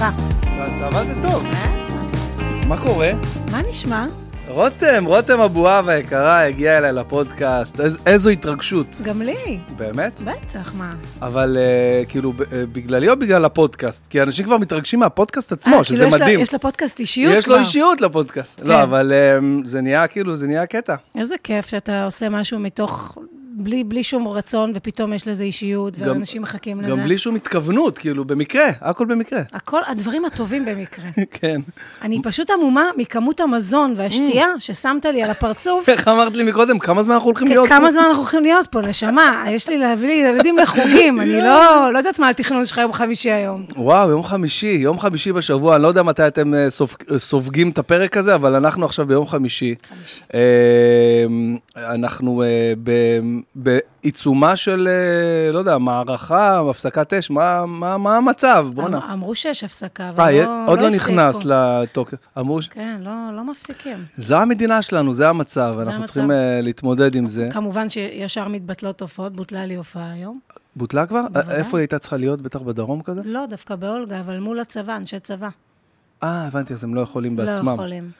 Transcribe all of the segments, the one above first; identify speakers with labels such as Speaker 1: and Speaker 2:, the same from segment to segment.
Speaker 1: כן,
Speaker 2: מה זה טוב? מה קורה?
Speaker 1: מה נשמע?
Speaker 2: רותם, רותם אבואב היקרה הגיעה אליי לפודקאסט, איז, איזו התרגשות.
Speaker 1: גם לי.
Speaker 2: באמת?
Speaker 1: בטח, מה?
Speaker 2: אבל אה, כאילו, ב- אה, בגללי או בגלל הפודקאסט? כי אנשים כבר מתרגשים מהפודקאסט עצמו,
Speaker 1: אה,
Speaker 2: שזה
Speaker 1: כאילו יש לה-
Speaker 2: מדהים.
Speaker 1: יש לה פודקאסט אישיות כבר. כן.
Speaker 2: יש לו אישיות לפודקאסט. לא, אבל אה, זה נהיה כאילו, זה נהיה קטע.
Speaker 1: איזה כיף שאתה עושה משהו מתוך, בלי, בלי שום רצון, ופתאום יש לזה אישיות,
Speaker 2: גם-
Speaker 1: ואנשים מחכים לזה.
Speaker 2: גם בלי שום התכוונות, כאילו, במקרה, הכל במקרה.
Speaker 1: הכל, הדברים הטובים במקרה.
Speaker 2: כן.
Speaker 1: אני פשוט המומה מכמות המזון והשתייה ששמת לי על הפרצוף.
Speaker 2: איך אמרת לי מקודם, כמה זמן אנחנו הולכים להיות? פה?
Speaker 1: כן, כמה זמן אנחנו הולכים להיות פה, נשמה? יש לי להביא לי ילדים לחוגים, אני לא לא יודעת מה התכנון שלך יום חמישי היום.
Speaker 2: וואו, יום חמישי, יום חמישי בשבוע, אני לא יודע מתי אתם אה, סופג- אה, סופגים את הפרק הזה, אבל אנחנו עכשיו ביום חמישי. אה, אנחנו אה, ב- בעיצומה של, אה, לא יודע, מערכה, הפסקת אש, מה- מה מה המצב? בואנה.
Speaker 1: אמ- אמרו שיש הפסקה, אבל
Speaker 2: אה, אה,
Speaker 1: לא
Speaker 2: עוד לא אה.
Speaker 1: הפסיקו.
Speaker 2: נכנס לתוקף. אמרו, ש-
Speaker 1: כן, לא- לא מפסיקים.
Speaker 2: זו המדינה שלנו, זה המצב, אנחנו
Speaker 1: המצב.
Speaker 2: צריכים אה, להתמודד עם זה.
Speaker 1: כמובן שישר מתבטלות הופעות, בוטלה לי הופעה היום.
Speaker 2: אה. בוטלה כבר?
Speaker 1: בוודאי.
Speaker 2: איפה היא הייתה צריכה להיות? בטח בדרום כזה?
Speaker 1: לא, דווקא באולגה, אבל מול הצבא, אנשי צבא.
Speaker 2: אה, הבנתי, אז הם לא יכולים
Speaker 1: לא
Speaker 2: בעצמם.
Speaker 1: יכולים.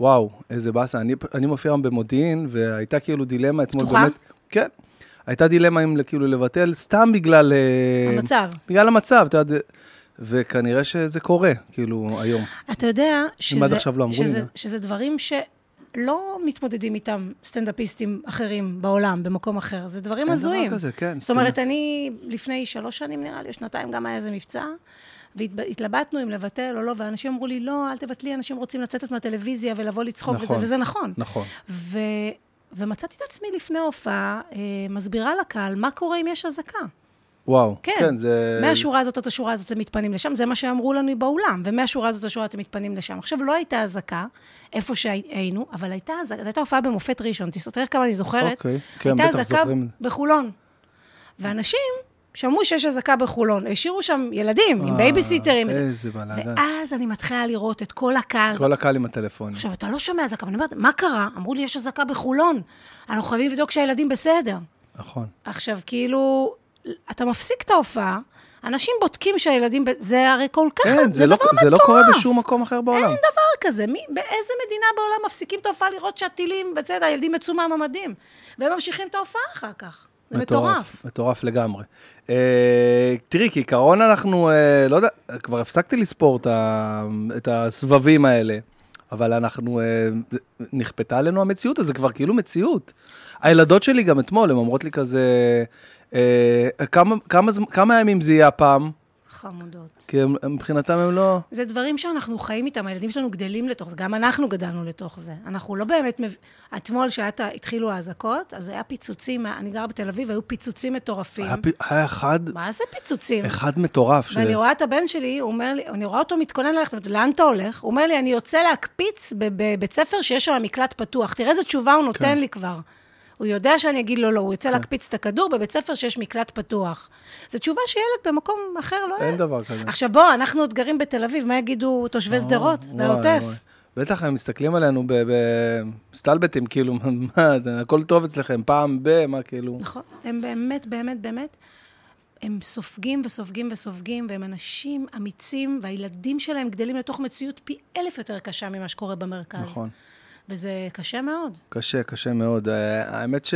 Speaker 2: וואו, איזה באסה. אני, אני מופיע היום במודיעין, והייתה כאילו דילמה אתמול.
Speaker 1: פתוחה?
Speaker 2: כן. הייתה דילמה אם כאילו לבטל, סתם בגלל... אה,
Speaker 1: המצב.
Speaker 2: בגלל המצב, את יודעת. וכנראה שזה קורה, כאילו, היום.
Speaker 1: אתה יודע שזה,
Speaker 2: עד עכשיו לא אמרו לי,
Speaker 1: שזה,
Speaker 2: מה?
Speaker 1: שזה דברים שלא מתמודדים איתם סטנדאפיסטים אחרים בעולם, במקום אחר. זה דברים
Speaker 2: אין דבר
Speaker 1: הזויים.
Speaker 2: כזה, כן,
Speaker 1: זאת אומרת, אני לפני שלוש שנים, נראה לי, או שנתיים, גם היה איזה מבצע, והתלבטנו אם לבטל או לא, ואנשים אמרו לי, לא, אל תבטלי, אנשים רוצים לצאת מהטלוויזיה ולבוא לצחוק,
Speaker 2: נכון.
Speaker 1: וזה, וזה נכון.
Speaker 2: נכון.
Speaker 1: ו... ומצאתי את עצמי לפני ההופעה, אה, מסבירה לקהל מה קורה אם יש אזעקה.
Speaker 2: וואו.
Speaker 1: כן.
Speaker 2: זה...
Speaker 1: מהשורה הזאת עד השורה הזאת אתם מתפנים לשם, זה מה שאמרו לנו באולם, ומהשורה הזאת עד השורה אתם מתפנים לשם. עכשיו, לא הייתה אזעקה איפה שהיינו, אבל הייתה אזעקה, זו הייתה הופעה במופת ראשון, תס- תראה כמה אני זוכרת.
Speaker 2: אוקיי, כן, בטח
Speaker 1: הייתה אזעקה
Speaker 2: זוכרים.
Speaker 1: בחולון. ואנשים שמעו שיש אזעקה בחולון, השאירו שם ילדים עם
Speaker 2: אה,
Speaker 1: בייביסיטרים. וזה.
Speaker 2: איזה בלאגן.
Speaker 1: ואז אני מתחילה לראות את כל הקהל
Speaker 2: כל הקהל עם הטלפונים.
Speaker 1: עכשיו, אתה לא שומע אזעקה, ואני אומרת, מה קרה? אמרו לי, יש אזעקה בחולון. אנחנו חייבים לבדוק שהילדים בסדר.
Speaker 2: נכון.
Speaker 1: עכשיו, כאילו, אתה מפסיק את ההופעה, אנשים בודקים שהילדים... ב- זה הרי כל כך...
Speaker 2: כן, זה לא-
Speaker 1: דבר
Speaker 2: זה לא קורה
Speaker 1: מטורף.
Speaker 2: בשום מקום אחר בעולם.
Speaker 1: אין דבר כזה. מי, באיזה מדינה בעולם מפסיקים את ההופעה לראות שהטילים, בסדר, הילדים יצאו מהממדים, והם ממשיכים את ההופעה אחר כך. זה מטורף.
Speaker 2: מטורף לגמרי. אה, תראי, כעיקרון אנחנו, אה, לא יודע, כבר הפסקתי לספור את, ה, את הסבבים האלה, אבל אנחנו, אה, נכפתה עלינו המציאות, אז זה כבר כאילו מציאות. הילדות שלי גם אתמול, הן אומרות לי כזה, אה, כמה, כמה, זמ- כמה ימים זה יהיה הפעם?
Speaker 1: חמודות.
Speaker 2: כי הם, מבחינתם הם לא...
Speaker 1: זה דברים שאנחנו חיים איתם, הילדים שלנו גדלים לתוך זה, גם אנחנו גדלנו לתוך זה. אנחנו לא באמת... מב... אתמול, כשהתחילו האזעקות, אז היה פיצוצים, אני גרה בתל אביב, היו פיצוצים מטורפים.
Speaker 2: היה, פ- היה אחד,
Speaker 1: מה זה פיצוצים?
Speaker 2: אחד מטורף. ש...
Speaker 1: ואני רואה את הבן שלי, הוא אומר לי, אני רואה אותו מתכונן ללכת, אמרתי, לאן אתה הולך? הוא אומר לי, אני יוצא להקפיץ ב- בבית ספר שיש שם מקלט פתוח. תראה איזה תשובה הוא
Speaker 2: כן.
Speaker 1: נותן לי כבר. הוא יודע שאני אגיד לו לא, הוא יוצא להקפיץ את הכדור בבית ספר שיש מקלט פתוח. זו תשובה שילד במקום אחר לא...
Speaker 2: אין
Speaker 1: היה.
Speaker 2: דבר כזה.
Speaker 1: עכשיו בוא, אנחנו עוד גרים בתל אביב, מה יגידו תושבי שדרות
Speaker 2: אה, וואי,
Speaker 1: והעוטף?
Speaker 2: וואי. בטח הם מסתכלים עלינו בסטלבטים, כאילו, מה, זה- הכל טוב אצלכם, פעם ב, מה כאילו.
Speaker 1: נכון, הם באמת, באמת, באמת, הם סופגים וסופגים וסופגים, והם אנשים אמיצים, והילדים שלהם גדלים לתוך מציאות פי אלף יותר קשה ממה שקורה במרכז.
Speaker 2: נכון.
Speaker 1: וזה קשה מאוד.
Speaker 2: קשה, קשה מאוד. אה, האמת ש...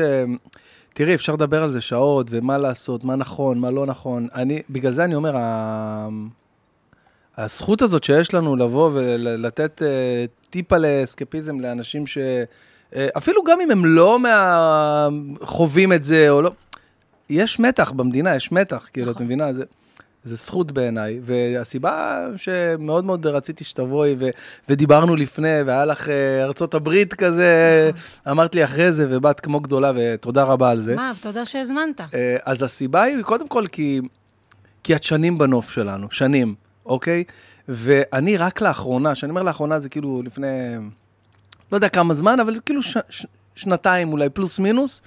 Speaker 2: תראי, אפשר לדבר על זה שעות, ומה לעשות, מה נכון, מה לא נכון. אני, בגלל זה אני אומר, ה... הזכות הזאת שיש לנו לבוא ולתת אה, טיפה לאסקפיזם לאנשים ש... אה, אפילו גם אם הם לא מה... חווים את זה או לא, יש מתח במדינה, יש מתח, כאילו, את
Speaker 1: נכון.
Speaker 2: מבינה? זה... זה זכות בעיניי, והסיבה שמאוד מאוד רציתי שתבואי, ו- ודיברנו לפני, והיה לך אה, ארצות הברית כזה, אמרת לי אחרי זה, ובאת כמו גדולה, ותודה רבה על זה.
Speaker 1: מה, תודה שהזמנת.
Speaker 2: אה, אז הסיבה היא, קודם כל, כי, כי את שנים בנוף שלנו, שנים, אוקיי? ואני רק לאחרונה, כשאני אומר לאחרונה זה כאילו לפני, לא יודע כמה זמן, אבל כאילו ש, ש, שנתיים אולי, פלוס מינוס,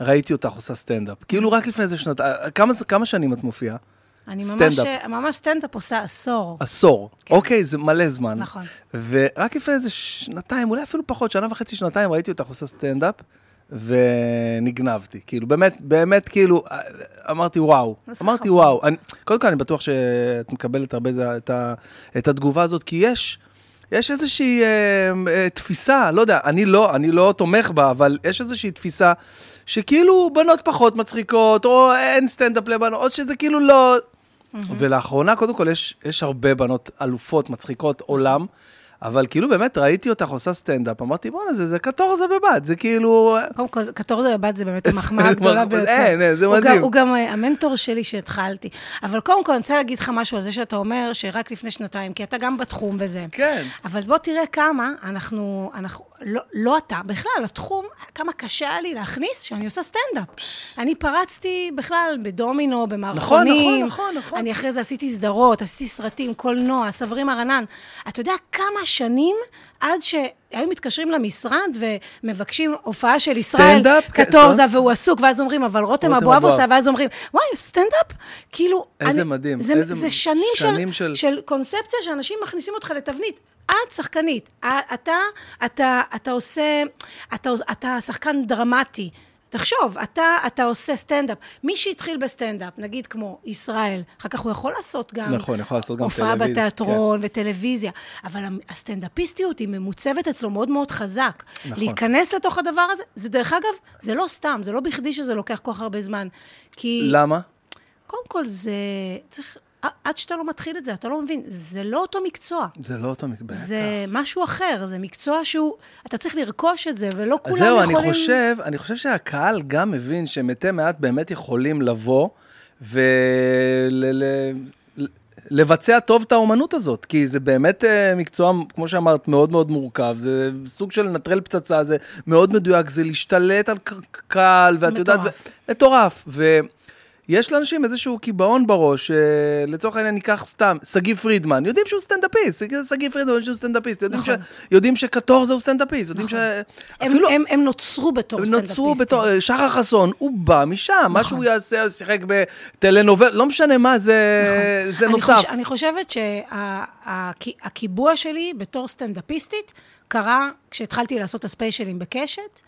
Speaker 2: ראיתי אותך עושה סטנדאפ. כאילו רק לפני איזה שנתיים, כמה, זה- כמה שנים את מופיעה?
Speaker 1: אני ממש, אה,
Speaker 2: סטנדאפ.
Speaker 1: ממש סטנדאפ עושה עשור.
Speaker 2: עשור. כן. אוקיי, זה מלא זמן.
Speaker 1: נכון.
Speaker 2: ורק לפני איזה שנתיים, אולי אפילו פחות, שנה וחצי, שנתיים, ראיתי אותך עושה סטנדאפ, ונגנבתי. כאילו, באמת, באמת, כאילו, אה, אמרתי וואו.
Speaker 1: איזה
Speaker 2: אמרתי
Speaker 1: חמור.
Speaker 2: וואו. אני, קודם כל, אני בטוח שאת מקבלת הרבה את, ה- את, ה- את התגובה הזאת, כי יש... יש איזושהי אה, אה, תפיסה, לא יודע, אני לא, אני לא תומך בה, אבל יש איזושהי תפיסה שכאילו בנות פחות מצחיקות, או אין סטנדאפ לבנות, או שזה כאילו לא... ולאחרונה, קודם כל, יש, יש הרבה בנות אלופות, מצחיקות, עולם, אבל כאילו באמת ראיתי אותך עושה סטנדאפ, אמרתי, בואנה, זה, זה קטורזה בבת, זה כאילו...
Speaker 1: קודם כל, קטורזה בבת זה באמת המחמאה הגדולה
Speaker 2: אין,
Speaker 1: ביותר.
Speaker 2: אין, זה
Speaker 1: הוא
Speaker 2: מדהים.
Speaker 1: גם- הוא גם אה, המנטור שלי שהתחלתי. אבל קודם כל, אני רוצה להגיד לך משהו על זה שאתה אומר שרק לפני שנתיים, כי אתה גם בתחום וזה.
Speaker 2: כן.
Speaker 1: אבל בוא תראה כמה אנחנו, אנחנו לא, לא אתה, בכלל, התחום, כמה קשה היה לי להכניס שאני עושה סטנדאפ. אני פרצתי בכלל בדומינו, במערכונים.
Speaker 2: נכון, נכון.
Speaker 1: אני אחרי זה עשיתי סדרות, עשיתי סרטים, קולנוע, סברים ארנן. אתה יודע כמה שנים עד שהיו מתקשרים למשרד ומבקשים הופעה של ישראל,
Speaker 2: סטנדאפ? כן,
Speaker 1: קטורזה,
Speaker 2: סטנדאפ.
Speaker 1: והוא עסוק, ואז אומרים, אבל רותם
Speaker 2: רותם
Speaker 1: אבואב
Speaker 2: אבואב.
Speaker 1: עושה, ואז אומרים, וואי, סטנדאפ? כאילו...
Speaker 2: איזה
Speaker 1: אני-
Speaker 2: מדהים,
Speaker 1: זה,
Speaker 2: איזה
Speaker 1: זה שנים,
Speaker 2: שנים של-
Speaker 1: של, של קונספציה שאנשים מכניסים אותך לתבנית. את שחקנית, א- אתה, אתה, אתה עושה, אתה, עוש- אתה שחקן דרמטי. תחשוב, אתה, אתה עושה סטנדאפ. מי שהתחיל בסטנדאפ, נגיד כמו ישראל, אחר כך הוא יכול לעשות גם...
Speaker 2: נכון, יכול לעשות גם
Speaker 1: הופעה
Speaker 2: טלוויזיה, כן.
Speaker 1: בתיאטרון וטלוויזיה, אבל המ- הסטנדאפיסטיות היא ממוצבת אצלו מאוד מאוד חזק.
Speaker 2: נכון.
Speaker 1: להיכנס לתוך הדבר הזה, זה דרך אגב, זה לא סתם, זה לא בכדי שזה לוקח כל כך הרבה זמן. כי...
Speaker 2: למה?
Speaker 1: קודם כל, זה... צריך... עד שאתה לא מתחיל את זה, אתה לא מבין, זה לא אותו מקצוע.
Speaker 2: זה לא אותו מקבץ.
Speaker 1: זה משהו אחר, זה מקצוע שהוא... אתה צריך לרכוש את זה, ולא כולם
Speaker 2: אז
Speaker 1: יכולים...
Speaker 2: זהו, אני חושב, אני חושב שהקהל גם מבין שמתי מעט באמת יכולים לבוא ולבצע טוב את האומנות הזאת, כי זה באמת אה, מקצוע, כמו שאמרת, מאוד מאוד מורכב, זה סוג של לנטרל פצצה, זה מאוד מדויק, זה להשתלט על ק- קהל, ואת יודעת...
Speaker 1: מטורף.
Speaker 2: ו- מטורף. ויש לאנשים איזשהו קיבעון בראש, אה, לצורך העניין ניקח סתם, שגיא פרידמן, יודעים שהוא סטנדאפיסט, שגיא פרידמן שהוא סטנדאפיסט, יודעים
Speaker 1: נכון.
Speaker 2: ש- יודעים שקטורזה הוא סטנדאפיסט, יודעים ש...
Speaker 1: הם,
Speaker 2: אפילו-
Speaker 1: הם, הם נוצרו בתור
Speaker 2: הם
Speaker 1: סטנדאפיסטים.
Speaker 2: נוצרו בתור, אה, שחר חסון, הוא בא משם,
Speaker 1: נכון.
Speaker 2: מה שהוא יעשה, הוא שיחק בטלנובל, לא משנה מה, זה, אה, זה
Speaker 1: נכון. אני
Speaker 2: נוסף.
Speaker 1: חוש, אני חושבת שהקיבוע שלי בתור סטנדאפיסטית קרה כשהתחלתי לעשות את הספיישלים בקשת.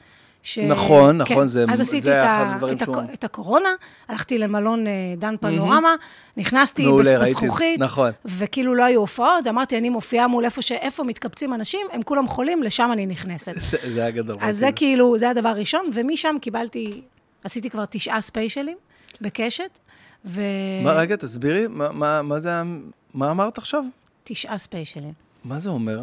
Speaker 1: ש... כן,
Speaker 2: נכון, נכון, זה-
Speaker 1: אז עשיתי
Speaker 2: זה
Speaker 1: את,
Speaker 2: אחד
Speaker 1: ה...
Speaker 2: הדברים
Speaker 1: את,
Speaker 2: שהוא-
Speaker 1: את הקורונה, הלכתי למלון אה, דן פנורמה, נכנסתי
Speaker 2: מעולה,
Speaker 1: בס-
Speaker 2: ראיתי את זה,
Speaker 1: בזכוכית,
Speaker 2: נכון.
Speaker 1: וכאילו לא היו הופעות, אמרתי, אני מופיעה מול איפה, ש... איפה מתקבצים אנשים, הם כולם חולים, לשם אני נכנסת.
Speaker 2: זה- זה היה גדול.
Speaker 1: אז זה כאילו, זה הדבר הראשון, ומשם קיבלתי, עשיתי כבר תשעה ספיישלים בקשת, ו...
Speaker 2: מה, רגע, תסבירי, מה- מה מה זה, ה- מה אמרת עכשיו?
Speaker 1: תשעה ספיישלים.
Speaker 2: מה זה אומר?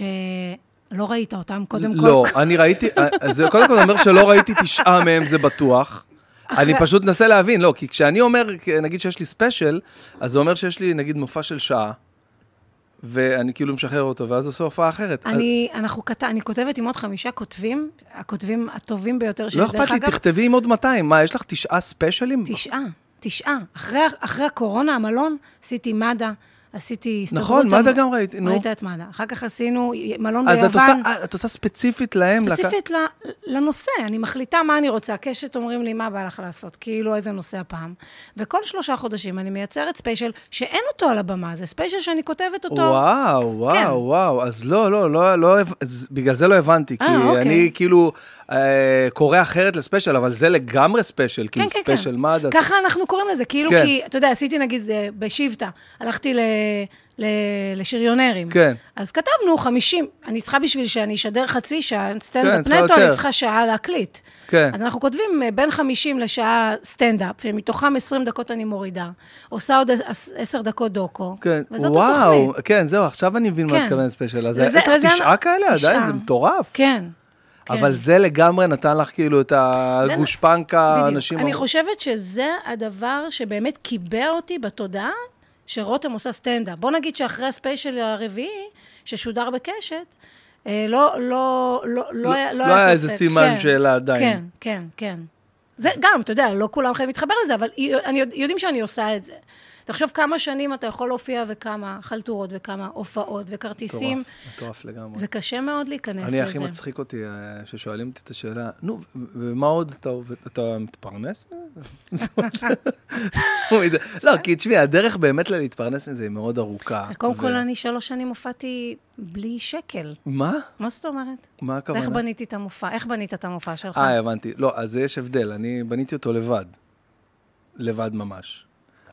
Speaker 1: שלא ראית אותם קודם כל.
Speaker 2: לא, אני ראיתי, אז זה קודם כל אומר שלא ראיתי תשעה מהם, זה בטוח. אני פשוט מנסה להבין, לא, כי כשאני אומר, נגיד שיש לי ספיישל, אז זה אומר שיש לי, נגיד, מופע של שעה, ואני כאילו משחרר אותו, ואז עושה הופעה אחרת. אז-
Speaker 1: אני, אנחנו כת... אני כותבת עם עוד חמישה כותבים, הכותבים הטובים ביותר שלי,
Speaker 2: לא
Speaker 1: דרך
Speaker 2: אכפת לי,
Speaker 1: אגב,
Speaker 2: תכתבי עם עוד 200. מה, יש לך תשעה ספיישלים?
Speaker 1: תשעה, תשעה. אחרי, אחרי הקורונה, המלון, עשיתי מד"א, עשיתי הסתדרות...
Speaker 2: נכון,
Speaker 1: המ-
Speaker 2: מד"א גם ראיתי, נו.
Speaker 1: ראית את מד"א. אחר כך עשינו מלון
Speaker 2: אז
Speaker 1: ביוון.
Speaker 2: את עושה, אה, את עושה ספציפית להם? לקח-
Speaker 1: ספציפית ל- לנושא, אני מחליטה מה אני רוצה. קשת אומרים לי, מה בא לך לעשות? כאילו, איזה נושא הפעם. וכל שלושה חודשים אני מייצרת ספיישל שאין אותו על הבמה, זה ספיישל שאני כותבת אותו.
Speaker 2: וואו,
Speaker 1: כן.
Speaker 2: וואו, וואו, אז לא, לא, לא, לא, הב- אז בגלל זה לא הבנתי, כי
Speaker 1: אה, אוקיי.
Speaker 2: אני כאילו אה, קורא אחרת לספיישל, אבל זה לגמרי ספיישל, כאילו ספיישל מד"א.
Speaker 1: כן, ככה אנחנו קוראים לזה, כאילו,
Speaker 2: כן.
Speaker 1: כי, אתה יודע, עשיתי נגיד אה, בשבטה, הלכתי ל... ל... לשריונרים.
Speaker 2: כן.
Speaker 1: אז כתבנו 50, אני צריכה בשביל שאני אשדר חצי שעה,
Speaker 2: כן,
Speaker 1: סטנדאפ
Speaker 2: צריכה
Speaker 1: נטו, אני
Speaker 2: יותר.
Speaker 1: צריכה שעה להקליט.
Speaker 2: כן.
Speaker 1: אז אנחנו כותבים אה, בין 50 לשעה סטנדאפ, שמתוכם 20 דקות אני מורידה, עושה עוד 10 דקות דוקו,
Speaker 2: כן,
Speaker 1: וזאת
Speaker 2: וואו,
Speaker 1: התוכנית.
Speaker 2: כן, זהו, עכשיו אני מבין מה
Speaker 1: כן.
Speaker 2: את מתכוונת ספיישל. אז
Speaker 1: וזה-
Speaker 2: יש לך
Speaker 1: וזה-
Speaker 2: תשעה כאלה
Speaker 1: תשעה.
Speaker 2: עדיין, זה מטורף.
Speaker 1: כן. כן.
Speaker 2: אבל זה לגמרי נתן לך כאילו את
Speaker 1: זה-
Speaker 2: הגושפנקה,
Speaker 1: בדיוק.
Speaker 2: האנשים...
Speaker 1: אני
Speaker 2: אמרו-
Speaker 1: חושבת שזה הדבר שבאמת קיבע אותי בתודעה, שרותם עושה סטנדאפ. בוא נגיד שאחרי הספיישל הרביעי, ששודר בקשת, אה, לא, לא, לא, לא, היה-
Speaker 2: לא היה
Speaker 1: ספק.
Speaker 2: איזה סימן שאלה עדיין.
Speaker 1: כן, כן, כן. זה גם, אתה יודע, לא כולם חייבים להתחבר לזה, אבל היא- אני, יודע- יודעים שאני עושה את זה. תחשוב כמה שנים אתה יכול להופיע וכמה חלטורות וכמה הופעות וכרטיסים.
Speaker 2: מטורף, מטורף לגמרי.
Speaker 1: זה קשה מאוד להיכנס
Speaker 2: אני
Speaker 1: לזה.
Speaker 2: הכי מצחיק אותי, אה, ששואלים אותי את השאלה, נו, ו- ומה עוד אתה עובד, אתה מתפרנס מזה? לא, כי תשמעי, הדרך באמת ל- להתפרנס מזה היא מאוד ארוכה.
Speaker 1: קודם
Speaker 2: ו-
Speaker 1: כל, אני שלוש שנים הופעתי בלי שקל.
Speaker 2: מה?
Speaker 1: מה זאת אומרת?
Speaker 2: מה
Speaker 1: איך
Speaker 2: הכוונה?
Speaker 1: בניתי את המופע? איך בנית את המופע שלך?
Speaker 2: אה, הבנתי. לא, אז יש הבדל, אני בניתי אותו לבד. לבד ממש.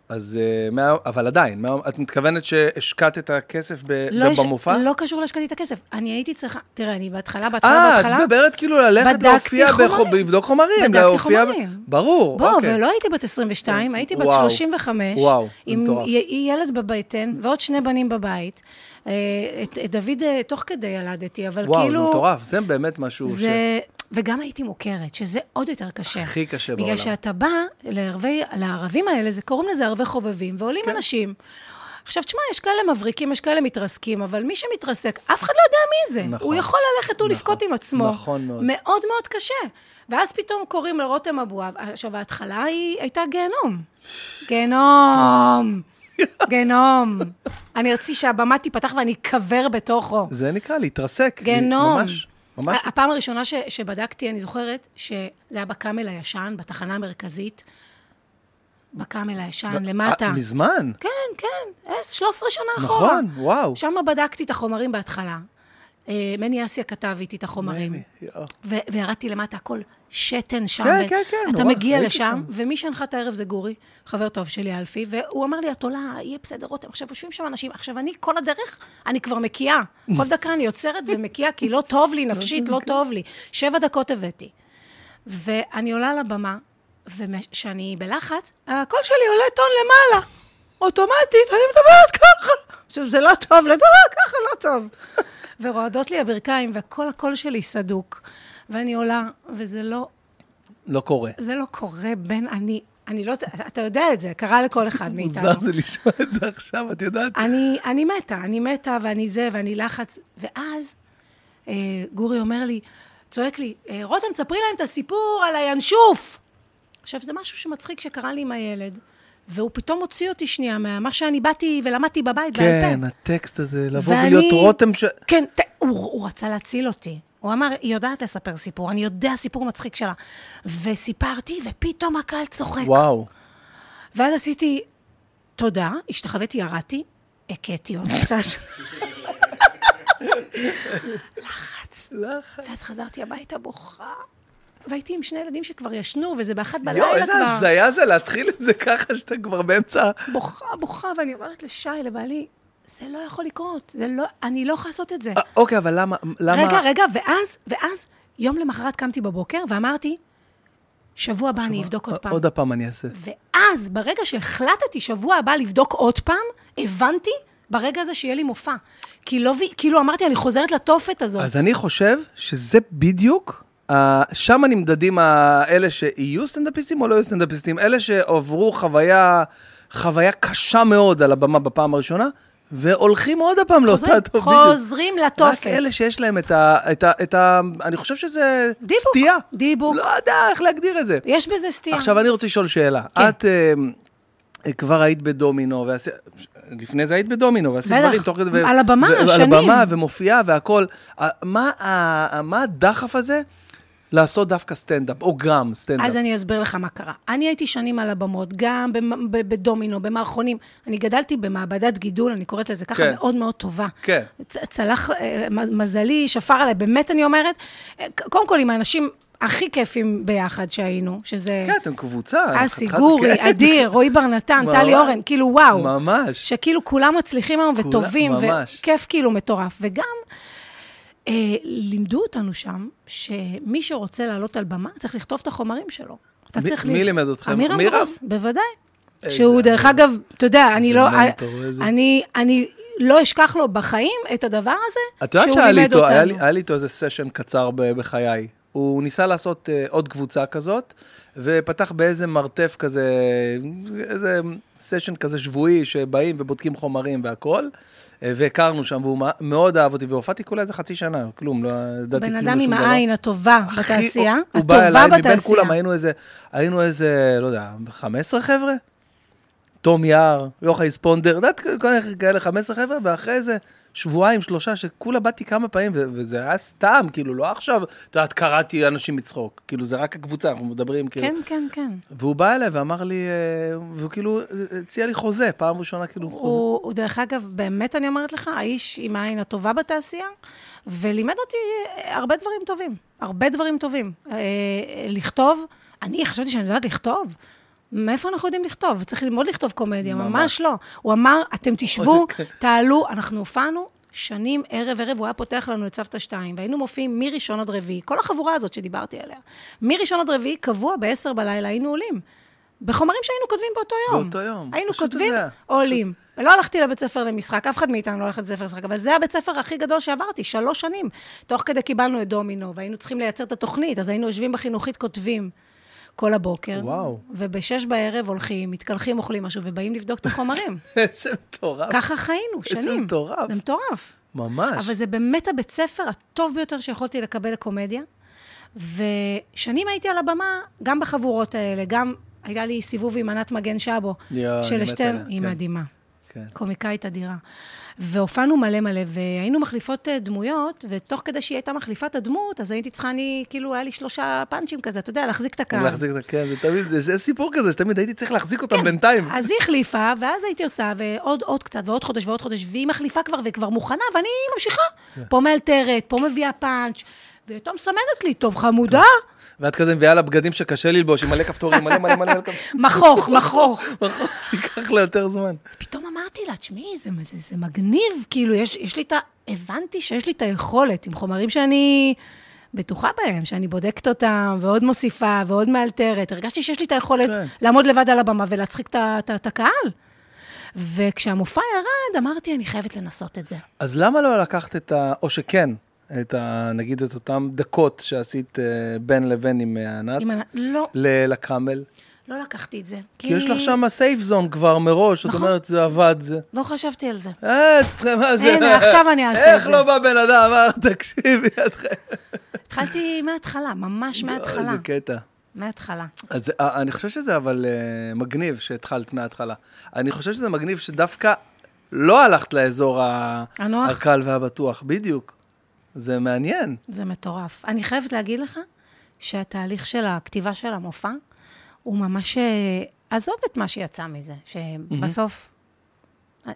Speaker 2: אז, אה, מה- אבל עדיין, מה- את מתכוונת שהשקעת את הכסף ב-
Speaker 1: לא יש-
Speaker 2: במופע?
Speaker 1: לא קשור להשקעתי את הכסף. אני הייתי צריכה... תראה, אני בהתחלה, בהתחלה,
Speaker 2: אה, את
Speaker 1: בהתחלה...
Speaker 2: מדברת כאילו ללכת
Speaker 1: בדקתי
Speaker 2: להופיע, בחו-
Speaker 1: חומרים.
Speaker 2: לבדוק חומרים.
Speaker 1: בדקתי
Speaker 2: להופיע ב-
Speaker 1: חומרים.
Speaker 2: ברור,
Speaker 1: בוא,
Speaker 2: אוקיי. אה,
Speaker 1: ולא הייתי בת 22, הייתי בת
Speaker 2: וואו.
Speaker 1: 35.
Speaker 2: וואו, זה
Speaker 1: עם
Speaker 2: מטורף.
Speaker 1: י- ילד בבטן ועוד שני בנים בבית. אה, את את דוד אה, תוך כדי ילדתי, אבל
Speaker 2: וואו,
Speaker 1: כאילו...
Speaker 2: זה מטורף, זה באמת משהו ש...
Speaker 1: זה... וגם הייתי מוכרת, שזה עוד יותר קשה.
Speaker 2: הכי קשה
Speaker 1: בגלל
Speaker 2: בעולם.
Speaker 1: שאתה בא לערבי, לערבים האלה, זה קוראים לזה ערבי חובבים, ועולים כן. אנשים. עכשיו, תשמע, יש כאלה מבריקים, יש כאלה מתרסקים, אבל מי שמתרסק, אף אחד לא יודע מי זה.
Speaker 2: נכון.
Speaker 1: הוא יכול ללכת, הוא לבכות עם עצמו.
Speaker 2: נכון מאוד.
Speaker 1: מאוד מאוד קשה. ואז פתאום קוראים לרותם אבואב. עכשיו, ההתחלה היא הייתה גיהנום. גיהנום. גיהנום. אני רציתי שהבמה תיפתח ואני אקבר בתוכו.
Speaker 2: זה נקרא להתרסק.
Speaker 1: גיהנום.
Speaker 2: ממש, ממש.
Speaker 1: ה- הפעם הראשונה ש, שבדקתי, אני זוכרת שזה היה בקאמל הישן, בתחנה המרכזית. בקאמל הישן, למטה.
Speaker 2: אה, מזמן.
Speaker 1: כן, כן, אה, 13 שנה אחורה.
Speaker 2: נכון, וואו.
Speaker 1: שם בדקתי את החומרים בהתחלה. אה, מני אסיה כתב איתי את החומרים.
Speaker 2: יואו.
Speaker 1: ו- וירדתי למטה, הכל שתן שם.
Speaker 2: כן,
Speaker 1: ו-
Speaker 2: כן, כן,
Speaker 1: אתה
Speaker 2: נורא,
Speaker 1: מגיע
Speaker 2: הייתי
Speaker 1: לשם,
Speaker 2: שם.
Speaker 1: ומי שהנחה את הערב זה גורי, חבר טוב שלי, אלפי, והוא אמר לי, את עולה, יהיה בסדר, רותם. עכשיו, יושבים שם אנשים, עכשיו, אני כל הדרך, אני כבר מקיאה. כל דקה אני עוצרת ומקיאה, כי לא טוב לי נפשית, לא טוב לי. שבע דקות הבאתי. ואני עולה לבמה, וכשאני בלחץ, הקול שלי עולה טון למעלה. אוטומטית, אני מדברת ככה. עכשיו, זה לא טוב, לדבר ככה לא טוב. ורועדות לי הברכיים, וכל הקול שלי סדוק. ואני עולה, וזה לא,
Speaker 2: לא קורה.
Speaker 1: זה לא קורה בין אני, אני לא, אתה יודע את זה, אה, קרה לכל אחד מאיתנו.
Speaker 2: מוזר זה לשמוע את זה עכשיו, את יודעת?
Speaker 1: אני, אני מתה, אני מתה, ואני זה, ואני לחץ. ואז אה, גורי אומר לי, צועק לי, אה, רותם, תספרי להם את הסיפור על הינשוף. עכשיו, זה משהו שמצחיק שקרה לי עם הילד, והוא פתאום הוציא אותי שנייה מה שאני באתי ולמדתי בבית בעל
Speaker 2: כן,
Speaker 1: פה.
Speaker 2: הטקסט הזה, לבוא
Speaker 1: ואני-
Speaker 2: ולהיות רותם ש...
Speaker 1: כן, ת... הוא, הוא רצה להציל אותי. הוא אמר, היא יודעת לספר סיפור, אני יודע סיפור מצחיק שלה. וסיפרתי, ופתאום הקהל צוחק.
Speaker 2: וואו.
Speaker 1: ואז עשיתי, תודה, השתחוויתי, ירדתי, הכיתי עוד קצת. לחץ. ואז חזרתי הביתה בוכה. והייתי עם שני ילדים שכבר ישנו, וזה באחת בלילה
Speaker 2: יואו,
Speaker 1: לא כבר.
Speaker 2: איזה הזיה זה להתחיל את זה ככה שאתה כבר באמצע...
Speaker 1: בוכה, בוכה, ואני אומרת לשי, לבעלי, זה לא יכול לקרות, זה לא, אני לא יכולה לעשות את זה.
Speaker 2: אה, אוקיי, אבל למה... למה...
Speaker 1: רגע, רגע, ואז, ואז, יום למחרת קמתי בבוקר ואמרתי, שבוע הבא אני אבדוק עוד פעם.
Speaker 2: עוד פעם אני אעשה.
Speaker 1: ואז, ברגע שהחלטתי שבוע הבא לבדוק עוד פעם, הבנתי ברגע הזה שיהיה לי מופע. כי לא, ו- כאילו אמרתי, אני חוזרת לתופת הזאת.
Speaker 2: אז אני חושב שזה בדיוק, ה- שם נמדדים ה- אלה שיהיו סטנדאפיסטים או לא יהיו סטנדאפיסטים, אלה שעברו חוויה, חוויה קשה מאוד על הבמה בפעם הראשונה, והולכים עוד הפעם לאותה
Speaker 1: חוזרים,
Speaker 2: טוב בדיוק.
Speaker 1: חוזרים לתופת.
Speaker 2: רק אלה שיש להם את ה... את ה, את ה אני חושב שזה
Speaker 1: דיבוק,
Speaker 2: סטייה.
Speaker 1: דיבוק.
Speaker 2: לא יודע איך להגדיר את זה.
Speaker 1: יש בזה סטייה.
Speaker 2: עכשיו, אני רוצה לשאול שאלה.
Speaker 1: כן.
Speaker 2: את אה, כבר היית בדומינו, ועשי... לפני זה היית בדומינו, ועשית
Speaker 1: בטח.
Speaker 2: דברים תוך כדי... ו-
Speaker 1: על הבמה,
Speaker 2: ו-
Speaker 1: שנים.
Speaker 2: על הבמה, ומופיעה והכול. אה, מה ה- מה הדחף הזה לעשות דווקא סטנדאפ, או גם סטנדאפ?
Speaker 1: אז אני אסביר לך מה קרה. אני הייתי שנים על הבמות, גם במ- ב- בדומינו, במערכונים. אני גדלתי במעבדת גידול, אני קוראת לזה ככה,
Speaker 2: כן.
Speaker 1: מאוד מאוד טובה.
Speaker 2: כן.
Speaker 1: צ- צלח, אה, מ- מזלי, שפר עליי, באמת אני אומרת. אה, ק- קודם כל, עם האנשים הכי כיפים ביחד שהיינו, שזה...
Speaker 2: כן, אתם קבוצה.
Speaker 1: אסי,
Speaker 2: חתיכת-
Speaker 1: גורי,
Speaker 2: כן.
Speaker 1: אה, אדיר, רועי בר נתן,
Speaker 2: ממש.
Speaker 1: טלי אורן, כאילו וואו.
Speaker 2: ממש.
Speaker 1: שכאילו כולם מצליחים היום
Speaker 2: כולם,
Speaker 1: וטובים,
Speaker 2: ממש.
Speaker 1: וכיף כאילו מטורף. וגם אה, לימדו אותנו שם, שמי שרוצה לעלות על במה, צריך לכתוב את החומרים שלו. אתה
Speaker 2: מי-
Speaker 1: צריך...
Speaker 2: מי
Speaker 1: ל-
Speaker 2: לימד אתכם?
Speaker 1: אמירם
Speaker 2: מירם?
Speaker 1: גרוס, בוודאי.
Speaker 2: איזה
Speaker 1: שהוא, דרך
Speaker 2: אמירם.
Speaker 1: אגב, אתה יודע, אני
Speaker 2: איזה
Speaker 1: לא...
Speaker 2: מנטור, איזה-
Speaker 1: אני, אני לא אשכח לו בחיים את הדבר הזה,
Speaker 2: את יודעת
Speaker 1: שהוא
Speaker 2: שהיה לי
Speaker 1: לימד
Speaker 2: איתו, היה לי,
Speaker 1: אותנו.
Speaker 2: היה לי איתו איזה סשן קצר ב- בחיי. הוא ניסה לעשות uh, עוד קבוצה כזאת, ופתח באיזה מרתף כזה, איזה סשן כזה שבועי, שבאים ובודקים חומרים והכול, אה, והכרנו שם, והוא מא- מאוד אהב אותי, והופעתי כולה איזה חצי שנה, כלום, לא ידעתי
Speaker 1: בן
Speaker 2: כלום
Speaker 1: אדם
Speaker 2: ושום
Speaker 1: עם
Speaker 2: דבר.
Speaker 1: העין הטובה
Speaker 2: אחי,
Speaker 1: בתעשייה,
Speaker 2: הוא- הוא בא
Speaker 1: הטובה
Speaker 2: אליי, מבין
Speaker 1: בתעשייה.
Speaker 2: כולם היינו איזה, היינו איזה, לא יודע, 15 חבר'ה? תום יער, יוחאי ספונדר, את יודעת, כל מיני כאלה 15 חבר'ה, ואחרי זה שבועיים, שלושה, שכולה באתי כמה פעמים, ו- וזה היה סתם, כאילו, לא עכשיו, את יודעת, קראתי אנשים מצחוק. כאילו, זה רק הקבוצה, אנחנו מדברים, כאילו.
Speaker 1: כן, כן, כן.
Speaker 2: והוא בא אליי ואמר לי, אה, והוא כאילו אה, הציע לי חוזה, פעם ראשונה כאילו חוזה.
Speaker 1: הוא, הוא, דרך אגב, באמת אני אומרת לך, האיש עם העין הטובה בתעשייה, ולימד אותי אה, הרבה דברים טובים. הרבה דברים טובים. אה, אה, לכתוב, אני חשבתי שאני יודעת לכתוב. מאיפה אנחנו יודעים לכתוב? צריך ללמוד לכתוב קומדיה, ממש, ממש לא. הוא אמר, אתם תשבו, תעלו, אנחנו הופענו. שנים, ערב ערב, הוא היה פותח לנו את סבתא שתיים, והיינו מופיעים מראשון עד רביעי, כל החבורה הזאת שדיברתי עליה. מראשון עד רביעי, קבוע ב-10 בלילה היינו עולים. בחומרים שהיינו כותבים באותו יום.
Speaker 2: באותו יום.
Speaker 1: היינו
Speaker 2: פשוט
Speaker 1: כותבים,
Speaker 2: זה היה.
Speaker 1: עולים. לא הלכתי לבית ספר למשחק, אף אחד מאיתנו לא הלך לבית ספר למשחק, אבל זה הבית ספר הכי גדול שעברתי, שלוש שנים. תוך כדי קיבלנו את דומינו, והיינו צריכים לייצר את התוכנית, אז היינו יושבים בחינוכית כותבים כל הבוקר.
Speaker 2: וואו.
Speaker 1: ובשש בערב הולכים, מתקלחים, אוכלים משהו, ובאים לבדוק את החומרים.
Speaker 2: איזה מטורף.
Speaker 1: ככה חיינו,
Speaker 2: איזה
Speaker 1: שנים.
Speaker 2: מטורף.
Speaker 1: זה מטורף.
Speaker 2: ממש.
Speaker 1: אבל זה באמת הבית ספר הטוב ביותר שיכולתי לקבל לקומדיה. ושנים הייתי על הבמה, גם בחבורות האלה, גם היה לי סיבוב עם ענת מגן שבו,
Speaker 2: יואו, אני מת
Speaker 1: שלשטרן,
Speaker 2: עליה,
Speaker 1: היא
Speaker 2: כן.
Speaker 1: מדהימה.
Speaker 2: כן.
Speaker 1: קומיקאית אדירה. והופענו מלא מלא, והיינו מחליפות אה, דמויות, ותוך כדי שהיא הייתה מחליפה את הדמות, אז הייתי צריכה, אני, כאילו, היה לי שלושה פאנצ'ים כזה, אתה יודע, להחזיק את הקהל.
Speaker 2: להחזיק את הקרן, זה תמיד, זה- זה סיפור כזה שתמיד הייתי צריך להחזיק
Speaker 1: כן.
Speaker 2: אותם בינתיים.
Speaker 1: אז היא החליפה, ואז הייתי עושה, ועוד עוד קצת, ועוד חודש, ועוד חודש, והיא מחליפה כבר, והיא כבר מוכנה, ואני ממשיכה. פה מאלתרת, פה מביאה פאנץ', ופתאום מסמנת לי, טוב, חמודה,
Speaker 2: ואת כזה מביאה לה בגדים שקשה ללבוש, עם מלא כפתורים, מלא מלא מלא כפתורים.
Speaker 1: מכוך, מכוך.
Speaker 2: נכון, שייקח לה יותר זמן.
Speaker 1: פתאום אמרתי לה, תשמעי, זה, זה, זה מגניב, כאילו, יש, יש לי את ה... הבנתי שיש לי את היכולת עם חומרים שאני בטוחה בהם, שאני בודקת אותם, ועוד מוסיפה, ועוד מאלתרת. הרגשתי שיש לי את היכולת
Speaker 2: כן.
Speaker 1: כן. לעמוד לבד על הבמה ולהצחיק את ה- את ה- את הקהל. וכשהמופע ירד, אמרתי, אני חייבת לנסות את זה.
Speaker 2: אז למה לא לקחת את ה... או שכן, את ה... נגיד את אותן דקות שעשית אה, בין לבין עם אה, ענת,
Speaker 1: אם אני... לא,
Speaker 2: ל- לקאמל?
Speaker 1: לא לקחתי את זה.
Speaker 2: כי יש לך שם סייף זון כבר מראש, זאת
Speaker 1: נכון.
Speaker 2: אומרת, זה עבד, זה...
Speaker 1: לא חשבתי על זה.
Speaker 2: אה, צריכה- מה זה?
Speaker 1: הנה, עכשיו אני אעשה את
Speaker 2: איך
Speaker 1: זה.
Speaker 2: לא בא בן אדם, אמר, תקשיבי, את חייבת...
Speaker 1: התחלתי מההתחלה, ממש מההתחלה.
Speaker 2: לא, זה כן. קטע.
Speaker 1: מההתחלה.
Speaker 2: אז אה, אני חושב שזה אבל אה, מגניב שהתחלת מההתחלה. אני חושב שזה מגניב שדווקא לא הלכת לאזור ה-
Speaker 1: הנוח.
Speaker 2: הקל והבטוח, בדיוק. זה מעניין.
Speaker 1: זה מטורף. אני חייבת להגיד לך שהתהליך של הכתיבה של המופע הוא ממש... אה, עזוב את מה שיצא מזה, שבסוף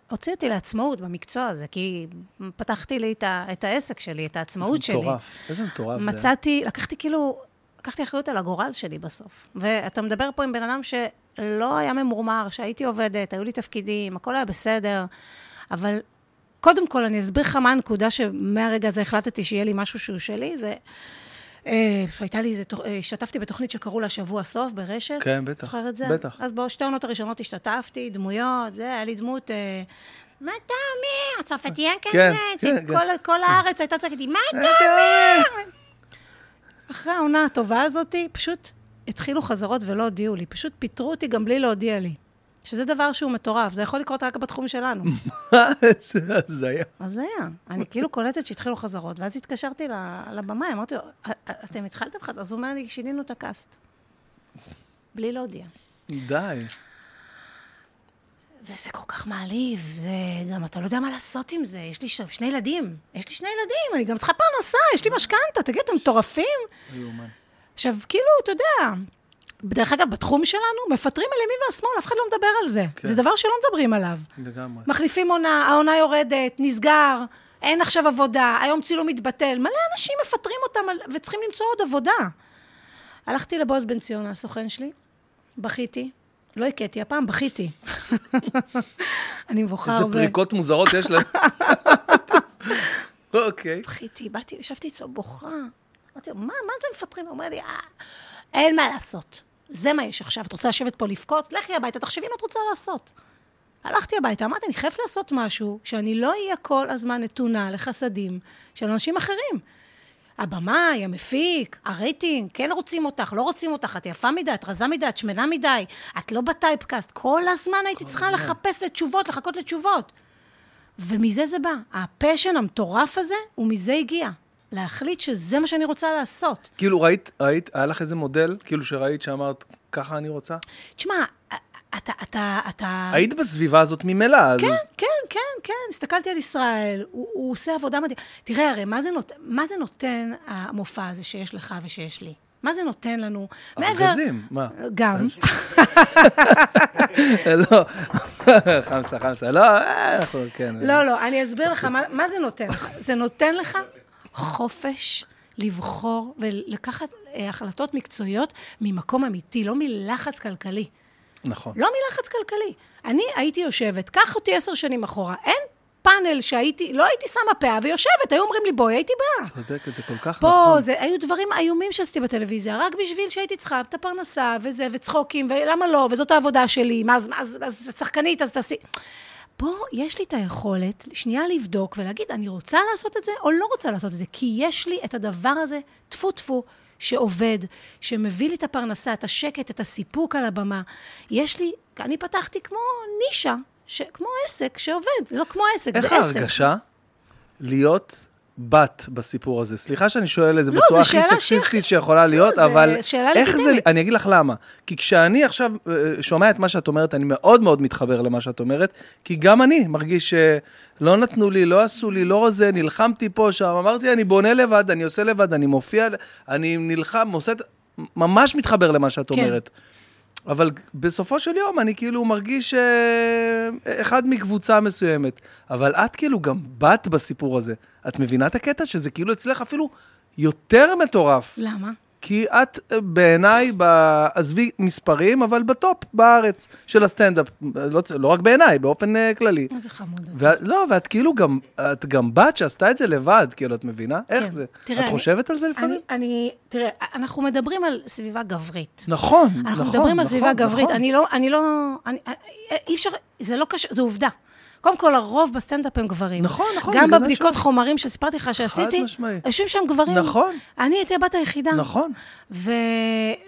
Speaker 1: הוציא אותי לעצמאות במקצוע הזה, כי פתחתי לי את, ה, את העסק שלי, את העצמאות
Speaker 2: איזה
Speaker 1: שלי.
Speaker 2: מטורף, איזה מטורף. זה.
Speaker 1: מצאתי, לקחתי כאילו, לקחתי אחריות על הגורל שלי בסוף. ואתה מדבר פה עם בן אדם שלא היה ממורמר, שהייתי עובדת, היו לי תפקידים, הכל היה בסדר, אבל קודם כל, אני אסביר לך מה הנקודה שמהרגע הזה החלטתי שיהיה לי משהו שהוא שלי, זה... אה, הייתה לי איזה, תוכ- אה, השתתפתי בתוכנית שקראו לה שבוע סוף ברשת.
Speaker 2: כן, בטח.
Speaker 1: זוכר את זה?
Speaker 2: בטח.
Speaker 1: אז בשתי העונות הראשונות השתתפתי, דמויות, זה, היה לי דמות... אה, מה אתה אומר? הצרפתי אין
Speaker 2: כן,
Speaker 1: כזה?
Speaker 2: כן,
Speaker 1: כל-
Speaker 2: כן.
Speaker 1: כל הארץ הייתה צועקת לי, מה
Speaker 2: אה,
Speaker 1: אתה אחרי העונה הטובה הזאת, פשוט התחילו חזרות ולא הודיעו לי. פשוט פיטרו אותי גם בלי להודיע לי. שזה דבר שהוא מטורף, זה יכול לקרות רק בתחום שלנו.
Speaker 2: זה הזיה.
Speaker 1: אז זה היה. אני כאילו קולטת שהתחילו חזרות, ואז התקשרתי ל- לבמאי, אמרתי לו, "א- א- אתם התחלתם חזרות? אז הוא אומר לי, שינינו את הקאסט. בלי להודיע.
Speaker 2: די.
Speaker 1: וזה כל כך מעליב, זה גם, אתה לא יודע מה לעשות עם זה. יש לי ש... שני ילדים, יש לי שני ילדים, אני גם צריכה פרנסה, יש לי משכנתה, תגיד, אתם מטורפים? עכשיו, כאילו, אתה יודע, דרך אגב, בתחום שלנו, מפטרים על ימין ועל שמאל, אף אחד לא מדבר על זה.
Speaker 2: כן.
Speaker 1: זה דבר שלא מדברים עליו.
Speaker 2: לגמרי.
Speaker 1: מחליפים עונה, העונה יורדת, נסגר, אין עכשיו עבודה, היום צילום מתבטל. מלא אנשים מפטרים אותם על- וצריכים למצוא עוד עבודה. הלכתי לבועז בן ציון, הסוכן שלי, בכיתי. לא הכיתי, הפעם בכיתי. אני מבוכה
Speaker 2: איזה
Speaker 1: הרבה.
Speaker 2: פריקות מוזרות יש להם. אוקיי.
Speaker 1: בכיתי, באתי, ישבתי אצלו בוכה. אמרתי לו, מה, מה זה מפטרים? הוא אומר לי, "אה, אין מה לעשות. זה מה יש עכשיו, את רוצה לשבת פה לבכות? לכי הביתה, תחשבי מה את רוצה לעשות. הלכתי הביתה, אמרתי, אני חייבת לעשות משהו, שאני לא אהיה כל הזמן נתונה לחסדים של אנשים אחרים. הבמאי, המפיק, הרייטינג, כן רוצים אותך, לא רוצים אותך, את יפה מדי, את רזה מדי, את שמנה מדי, את לא בטייפקאסט. כל הזמן הייתי צריכה לחפש לתשובות, לחכות לתשובות. ומזה זה בא. הפשן המטורף הזה, הוא מזה הגיע. להחליט שזה מה שאני רוצה לעשות. אה.
Speaker 2: כאילו, ראית, ראית, היה לך איזה מודל, כאילו שראית שאמרת, ככה אני רוצה?
Speaker 1: תשמע, ה- ה- אתה, אתה, אתה...
Speaker 2: היית בסביבה הזאת ממילא, אז...
Speaker 1: כן, כן, כן, כן, הסתכלתי על ישראל, הוא, הוא עושה עבודה מדהימה. תראה, הרי מה זה, נות... מה זה נותן המופע הזה שיש לך ושיש לי? מה זה נותן לנו?
Speaker 2: ארגזים, מה?
Speaker 1: גם. אה.
Speaker 2: לא, חמסה, חמסה, לא, אה, אנחנו, כן.
Speaker 1: לא, לא, אני אסביר לך מה, מה זה נותן לך. זה נותן לך חופש לבחור ולקחת אה, החלטות מקצועיות ממקום אמיתי, לא מלחץ כלכלי.
Speaker 2: נכון.
Speaker 1: לא מלחץ כלכלי. אני הייתי יושבת, קח אותי עשר שנים אחורה, אין פאנל שהייתי, לא הייתי שמה פאה ויושבת, היו אומרים לי בואי, הייתי באה.
Speaker 2: צודקת, זה כל כך
Speaker 1: פה,
Speaker 2: נכון.
Speaker 1: זה, היו דברים איומים שעשיתי בטלוויזיה, רק בשביל שהייתי צריכה את הפרנסה, וזה, וצחוקים, ולמה לא, וזאת העבודה שלי, מה, אז, אז, אז, אז שחקנית, אז תעשי... פה יש לי את היכולת שנייה לבדוק ולהגיד, אני רוצה לעשות את זה או לא רוצה לעשות את זה, כי יש לי את הדבר הזה, טפו טפו, שעובד, שמביא לי את הפרנסה, את השקט, את הסיפוק על הבמה. יש לי, אני פתחתי כמו נישה, ש, כמו עסק שעובד, זה לא כמו עסק, זה
Speaker 2: איך
Speaker 1: עסק.
Speaker 2: ההרגשה להיות בת בסיפור הזה? סליחה שאני שואל את זה
Speaker 1: לא,
Speaker 2: בצורה הכי
Speaker 1: זו שאלה לא,
Speaker 2: סקסיסטית שיכולה להיות,
Speaker 1: זה
Speaker 2: אבל
Speaker 1: שאלה
Speaker 2: איך זה,
Speaker 1: לגיטימית.
Speaker 2: אני אגיד לך למה. כי כשאני עכשיו אה, שומע את מה שאת אומרת, אני מאוד מאוד מתחבר למה שאת אומרת, כי גם אני מרגיש שלא נתנו לי, לא עשו לי, לא זה, נלחמתי פה, שם, אמרתי, אני בונה לבד, אני עושה לבד, אני מופיע, אני נלחם, עושה... את- ממש מתחבר למה שאת
Speaker 1: כן.
Speaker 2: אומרת. אבל בסופו של יום אני כאילו מרגיש אה, אחד מקבוצה מסוימת. אבל את כאילו גם בת בסיפור הזה. את מבינה את הקטע שזה כאילו אצלך אפילו יותר מטורף?
Speaker 1: למה?
Speaker 2: כי את אה, בעיניי, ב- עזבי מספרים, אבל בטופ בארץ של הסטנדאפ. לא, צ- לא רק בעיניי, באופן אה, כללי.
Speaker 1: איזה חמוד. אתה.
Speaker 2: ואת, לא, ואת כאילו גם, את גם בת שעשתה את זה לבד, כאילו, את מבינה? איך
Speaker 1: כן.
Speaker 2: זה?
Speaker 1: תראה,
Speaker 2: את
Speaker 1: אני-
Speaker 2: חושבת על זה לפעמים?
Speaker 1: אני, אני, תראה, אנחנו מדברים על סביבה גברית.
Speaker 2: נכון, נכון,
Speaker 1: אנחנו
Speaker 2: נכון.
Speaker 1: מדברים על סביבה
Speaker 2: נכון.
Speaker 1: גברית, אני לא, אני לא, אני- אי אפשר, זה לא קשה, זו עובדה. קודם כל, הרוב בסטנדאפ הם גברים.
Speaker 2: נכון, נכון,
Speaker 1: גם
Speaker 2: בגלל זה
Speaker 1: בבדיקות חומרים שסיפרתי לך שעשיתי,
Speaker 2: משמעי.
Speaker 1: יושבים שם גברים.
Speaker 2: נכון.
Speaker 1: אני הייתי הבת היחידה.
Speaker 2: נכון.
Speaker 1: ו...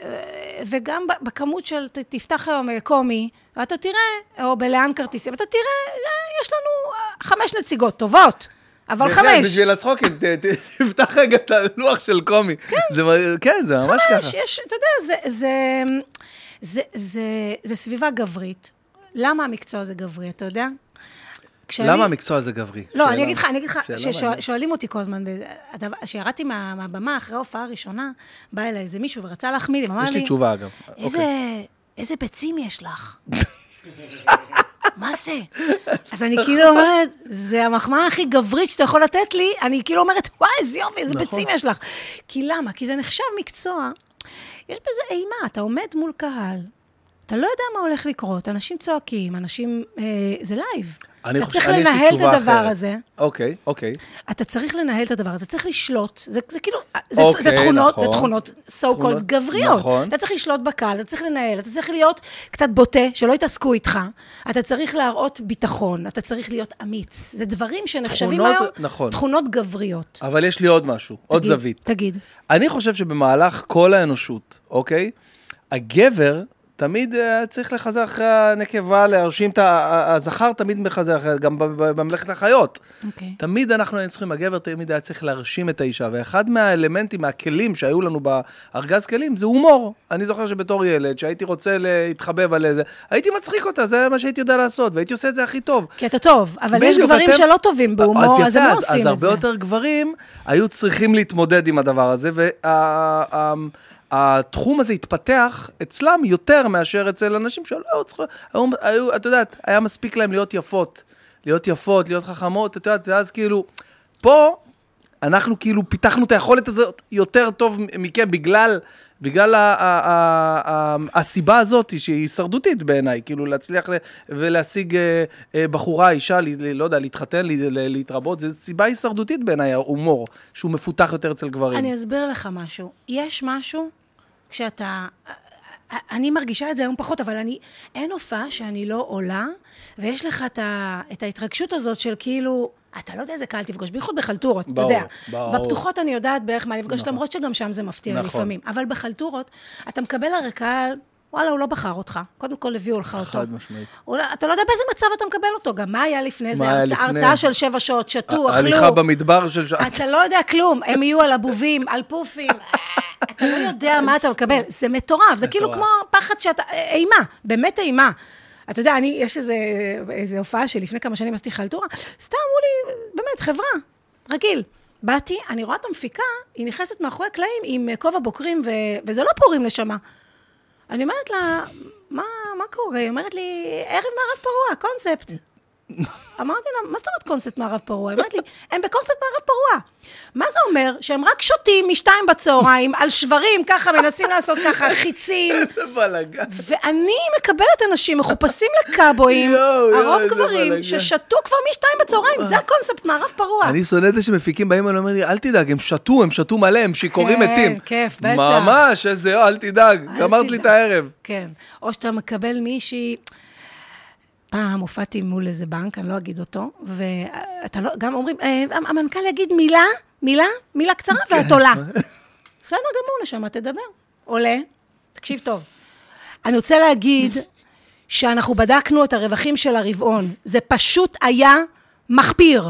Speaker 1: אה, וגם ב- בכמות של ת- תפתח היום אה, קומי, ואתה תראה, או בלאן כרטיסים, אתה תראה, אה, יש לנו אה, חמש נציגות טובות, אבל
Speaker 2: בהחלט,
Speaker 1: חמש.
Speaker 2: כן, בשביל הצחוקים, ת- ת- תפתח רגע את הלוח של קומי. זה מ- כן, זה ממש
Speaker 1: ממש,
Speaker 2: ככה.
Speaker 1: אה, יש, אתה יודע, זה, זה, זה, זה, זה סביבה גברית. למה המקצוע הזה גברי, אתה יודע? כשאני-
Speaker 2: למה המקצוע הזה גברי?
Speaker 1: לא,
Speaker 2: שאלה-
Speaker 1: אני אגיד לך, אני אגיד לך,
Speaker 2: שאלה מעניינת.
Speaker 1: ששואלים אותי כל הזמן, כשירדתי מה- מהבמה אחרי ההופעה הראשונה, בא אליי איזה מישהו ורצה להחמיא לי, אמר לי...
Speaker 2: יש לי תשובה, אגב.
Speaker 1: איזה,
Speaker 2: אוקיי.
Speaker 1: איזה ביצים יש לך? מה זה? אז אני כאילו אומרת, זה המחמאה הכי גברית שאתה יכול לתת לי, אני כאילו אומרת, וואי, איזה יופי, איזה
Speaker 2: נכון.
Speaker 1: ביצים יש לך. כי למה? כי זה נחשב מקצוע. יש בזה אימה, אתה עומד מול קהל, אתה לא יודע מה הולך לקרות, אנשים צועקים, אנשים... אה, זה לייב.
Speaker 2: אני
Speaker 1: אתה
Speaker 2: חושב-
Speaker 1: צריך
Speaker 2: אני, יש לי
Speaker 1: לנהל את
Speaker 2: תשובה
Speaker 1: הדבר
Speaker 2: אחרת.
Speaker 1: הזה.
Speaker 2: אוקיי, אוקיי.
Speaker 1: אתה צריך לנהל את הדבר הזה, צריך לשלוט. זה, זה כאילו, זה,
Speaker 2: אוקיי,
Speaker 1: זה תכונות,
Speaker 2: נכון.
Speaker 1: זה תכונות so
Speaker 2: תכונות,
Speaker 1: called גבריות.
Speaker 2: נכון.
Speaker 1: אתה צריך לשלוט בקהל, אתה צריך לנהל, אתה צריך להיות קצת בוטה, שלא יתעסקו איתך. אתה צריך להראות ביטחון, אתה צריך להיות אמיץ. זה דברים שנחשבים
Speaker 2: תכונות-
Speaker 1: היום,
Speaker 2: נכון.
Speaker 1: תכונות גבריות.
Speaker 2: אבל יש לי עוד משהו, עוד
Speaker 1: תגיד,
Speaker 2: זווית.
Speaker 1: תגיד.
Speaker 2: אני חושב שבמהלך כל האנושות, אוקיי? הגבר תמיד אה, צריך לחזר אחרי הנקבה, להרשים את ה... ה- הזכר תמיד מחזר אחרי, גם ב- ב- בממלכת החיות.
Speaker 1: אוקיי.
Speaker 2: תמיד אנחנו היינו צריכים, הגבר תמיד היה צריך להרשים את האישה, ואחד מהאלמנטים, מהכלים שהיו לנו בארגז כלים, זה הומור. אני זוכר שבתור ילד, שהייתי רוצה להתחבב על איזה, הייתי מצחיק אותה, זה מה שהייתי יודע לעשות, והייתי עושה את זה הכי טוב.
Speaker 1: כי אתה טוב, אבל יש
Speaker 2: בדיוק,
Speaker 1: גברים
Speaker 2: אתם-
Speaker 1: שלא טובים בהומור, אז הם
Speaker 2: יפה,
Speaker 1: לא עושים
Speaker 2: אז
Speaker 1: את
Speaker 2: הרבה
Speaker 1: זה.
Speaker 2: יותר גברים היו צריכים להתמודד עם הדבר הזה, והתחום הזה התפתח אצלם יותר מאשר אצל אנשים שלא היו צריכים, היו, היו, את יודעת, היה מספיק להם להיות יפות, להיות יפות, להיות חכמות, את יודעת, ואז כאילו, פה... אנחנו כאילו פיתחנו את היכולת הזאת יותר טוב מכם בגלל, בגלל ה- ה- ה- ה- הסיבה הזאת שהיא הישרדותית בעיניי, כאילו להצליח ל- ולהשיג אה, אה, בחורה, אישה, ל- ל- לא יודע, להתחתן, ל- ל- להתרבות, זו סיבה הישרדותית בעיניי, ההומור, שהוא מפותח יותר אצל
Speaker 1: אני
Speaker 2: גברים.
Speaker 1: אסביר לך משהו. יש משהו כשאתה... אני מרגישה את זה היום פחות, אבל אני... אין הופעה שאני לא עולה, ויש לך את, ה, את ההתרגשות הזאת של כאילו... אתה לא יודע איזה קהל תפגוש, בייחוד בחלטורות, אתה
Speaker 2: ברור,
Speaker 1: יודע.
Speaker 2: ברור.
Speaker 1: בפתוחות אני יודעת בערך מה לפגוש, נכון. למרות שגם שם זה מפתיע
Speaker 2: נכון.
Speaker 1: נכון. לפעמים. אבל בחלטורות, אתה מקבל הרי קהל, וואלה, הוא לא בחר אותך. קודם כל הביאו לך אותו.
Speaker 2: חד משמעית.
Speaker 1: הוא לא- אתה לא יודע באיזה מצב אתה מקבל אותו, גם מה היה לפני זה,
Speaker 2: מה היה
Speaker 1: הרצ...
Speaker 2: לפני?
Speaker 1: הרצאה של שבע שעות, שתו, אכלו.
Speaker 2: ההליכה במדבר של... ש-
Speaker 1: אתה לא יודע כלום, הם יהיו על הבובים, על פופים. אתה לא יודע מה אתה מקבל, זה מטורף, זה כאילו כמו
Speaker 2: מטורף.
Speaker 1: פחד שאתה, אימה, באמת אימה. אתה יודע, אני, יש איזה, איזה הופעה שלפני כמה שנים עשיתי חלטורה, סתם אמרו לי, באמת, חברה, רגיל. באתי, אני רואה את המפיקה, היא נכנסת מאחורי הקלעים עם כובע בוקרים, ו... וזה לא פורים נשמה. אני אומרת לה, מה, מה קורה? היא אומרת לי, ערב מערב פרוע, קונספט. אמרתי לה, מה זאת אומרת קונספט מערב פרוע? היא אומרת לי, הם בקונספט מערב פרוע. מה זה אומר? שהם רק שותים משתיים בצהריים על שברים, ככה, מנסים לעשות ככה, חיצים,
Speaker 2: איזה בלאגן.
Speaker 1: ואני מקבלת אנשים מחופשים לקאבויים,
Speaker 2: יואו, יואו,
Speaker 1: הרוב
Speaker 2: איזה
Speaker 1: גברים,
Speaker 2: בלאגן.
Speaker 1: ששתו כבר משתיים בצהריים, זה הקונספט מערב פרוע.
Speaker 2: אני שונא את זה שמפיקים באים אליי, אומר לי, אל תדאג, הם שתו, הם שתו מלא, הם שיכורים
Speaker 1: כן,
Speaker 2: מתים.
Speaker 1: כיף, בטח.
Speaker 2: ממש, איזה, אל תדאג,
Speaker 1: אל
Speaker 2: גמרת לי
Speaker 1: תדאג.
Speaker 2: את הערב.
Speaker 1: כן. או שאתה מקבל מישהי... פעם הופעתי מול איזה בנק, אני לא אגיד אותו, ואתה לא, גם אומרים, "אה, המנכ"ל יגיד מילה, מילה, מילה קצרה,
Speaker 2: כן.
Speaker 1: ואת עולה. בסדר גמור, נשמה, תדבר. עולה, תקשיב טוב. אני רוצה להגיד שאנחנו בדקנו את הרווחים של הרבעון. זה פשוט היה מחפיר.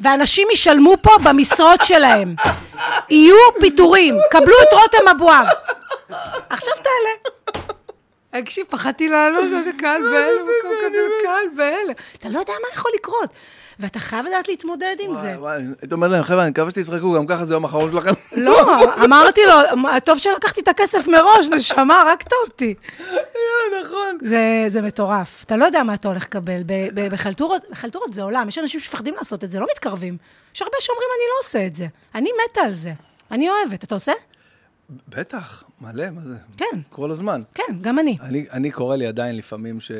Speaker 1: ואנשים ישלמו פה במשרות שלהם. יהיו פיטורים, קבלו את רותם אבואב. עכשיו תעלה. תקשיב, פחדתי לעלות, זה קהל בהלם, מקום קבלו קהל בהלם. אתה לא יודע מה יכול לקרות, ואתה חייב לדעת להתמודד עם זה.
Speaker 2: וואי, וואי, הייתי אומר להם, חבר'ה, אני מקווה שתצחקו, גם ככה זה יום אחרון שלכם.
Speaker 1: לא, אמרתי לו, "מה, טוב שלקחתי את הכסף מראש, נשמה, הרגת אותי.
Speaker 2: נכון.
Speaker 1: זה, זה מטורף. אתה לא יודע מה אתה הולך לקבל. ב- ב- בחלטורות, בחלטורות זה עולם, יש אנשים שמפחדים לעשות את זה, לא מתקרבים. יש הרבה שאומרים, אני לא עושה את זה. אני מתה על זה. אני אוהבת. אתה עושה?
Speaker 2: בטח, מלא, מה זה?
Speaker 1: כן.
Speaker 2: כל הזמן.
Speaker 1: כן, גם אני.
Speaker 2: אני, אני קורא לי עדיין לפעמים ש...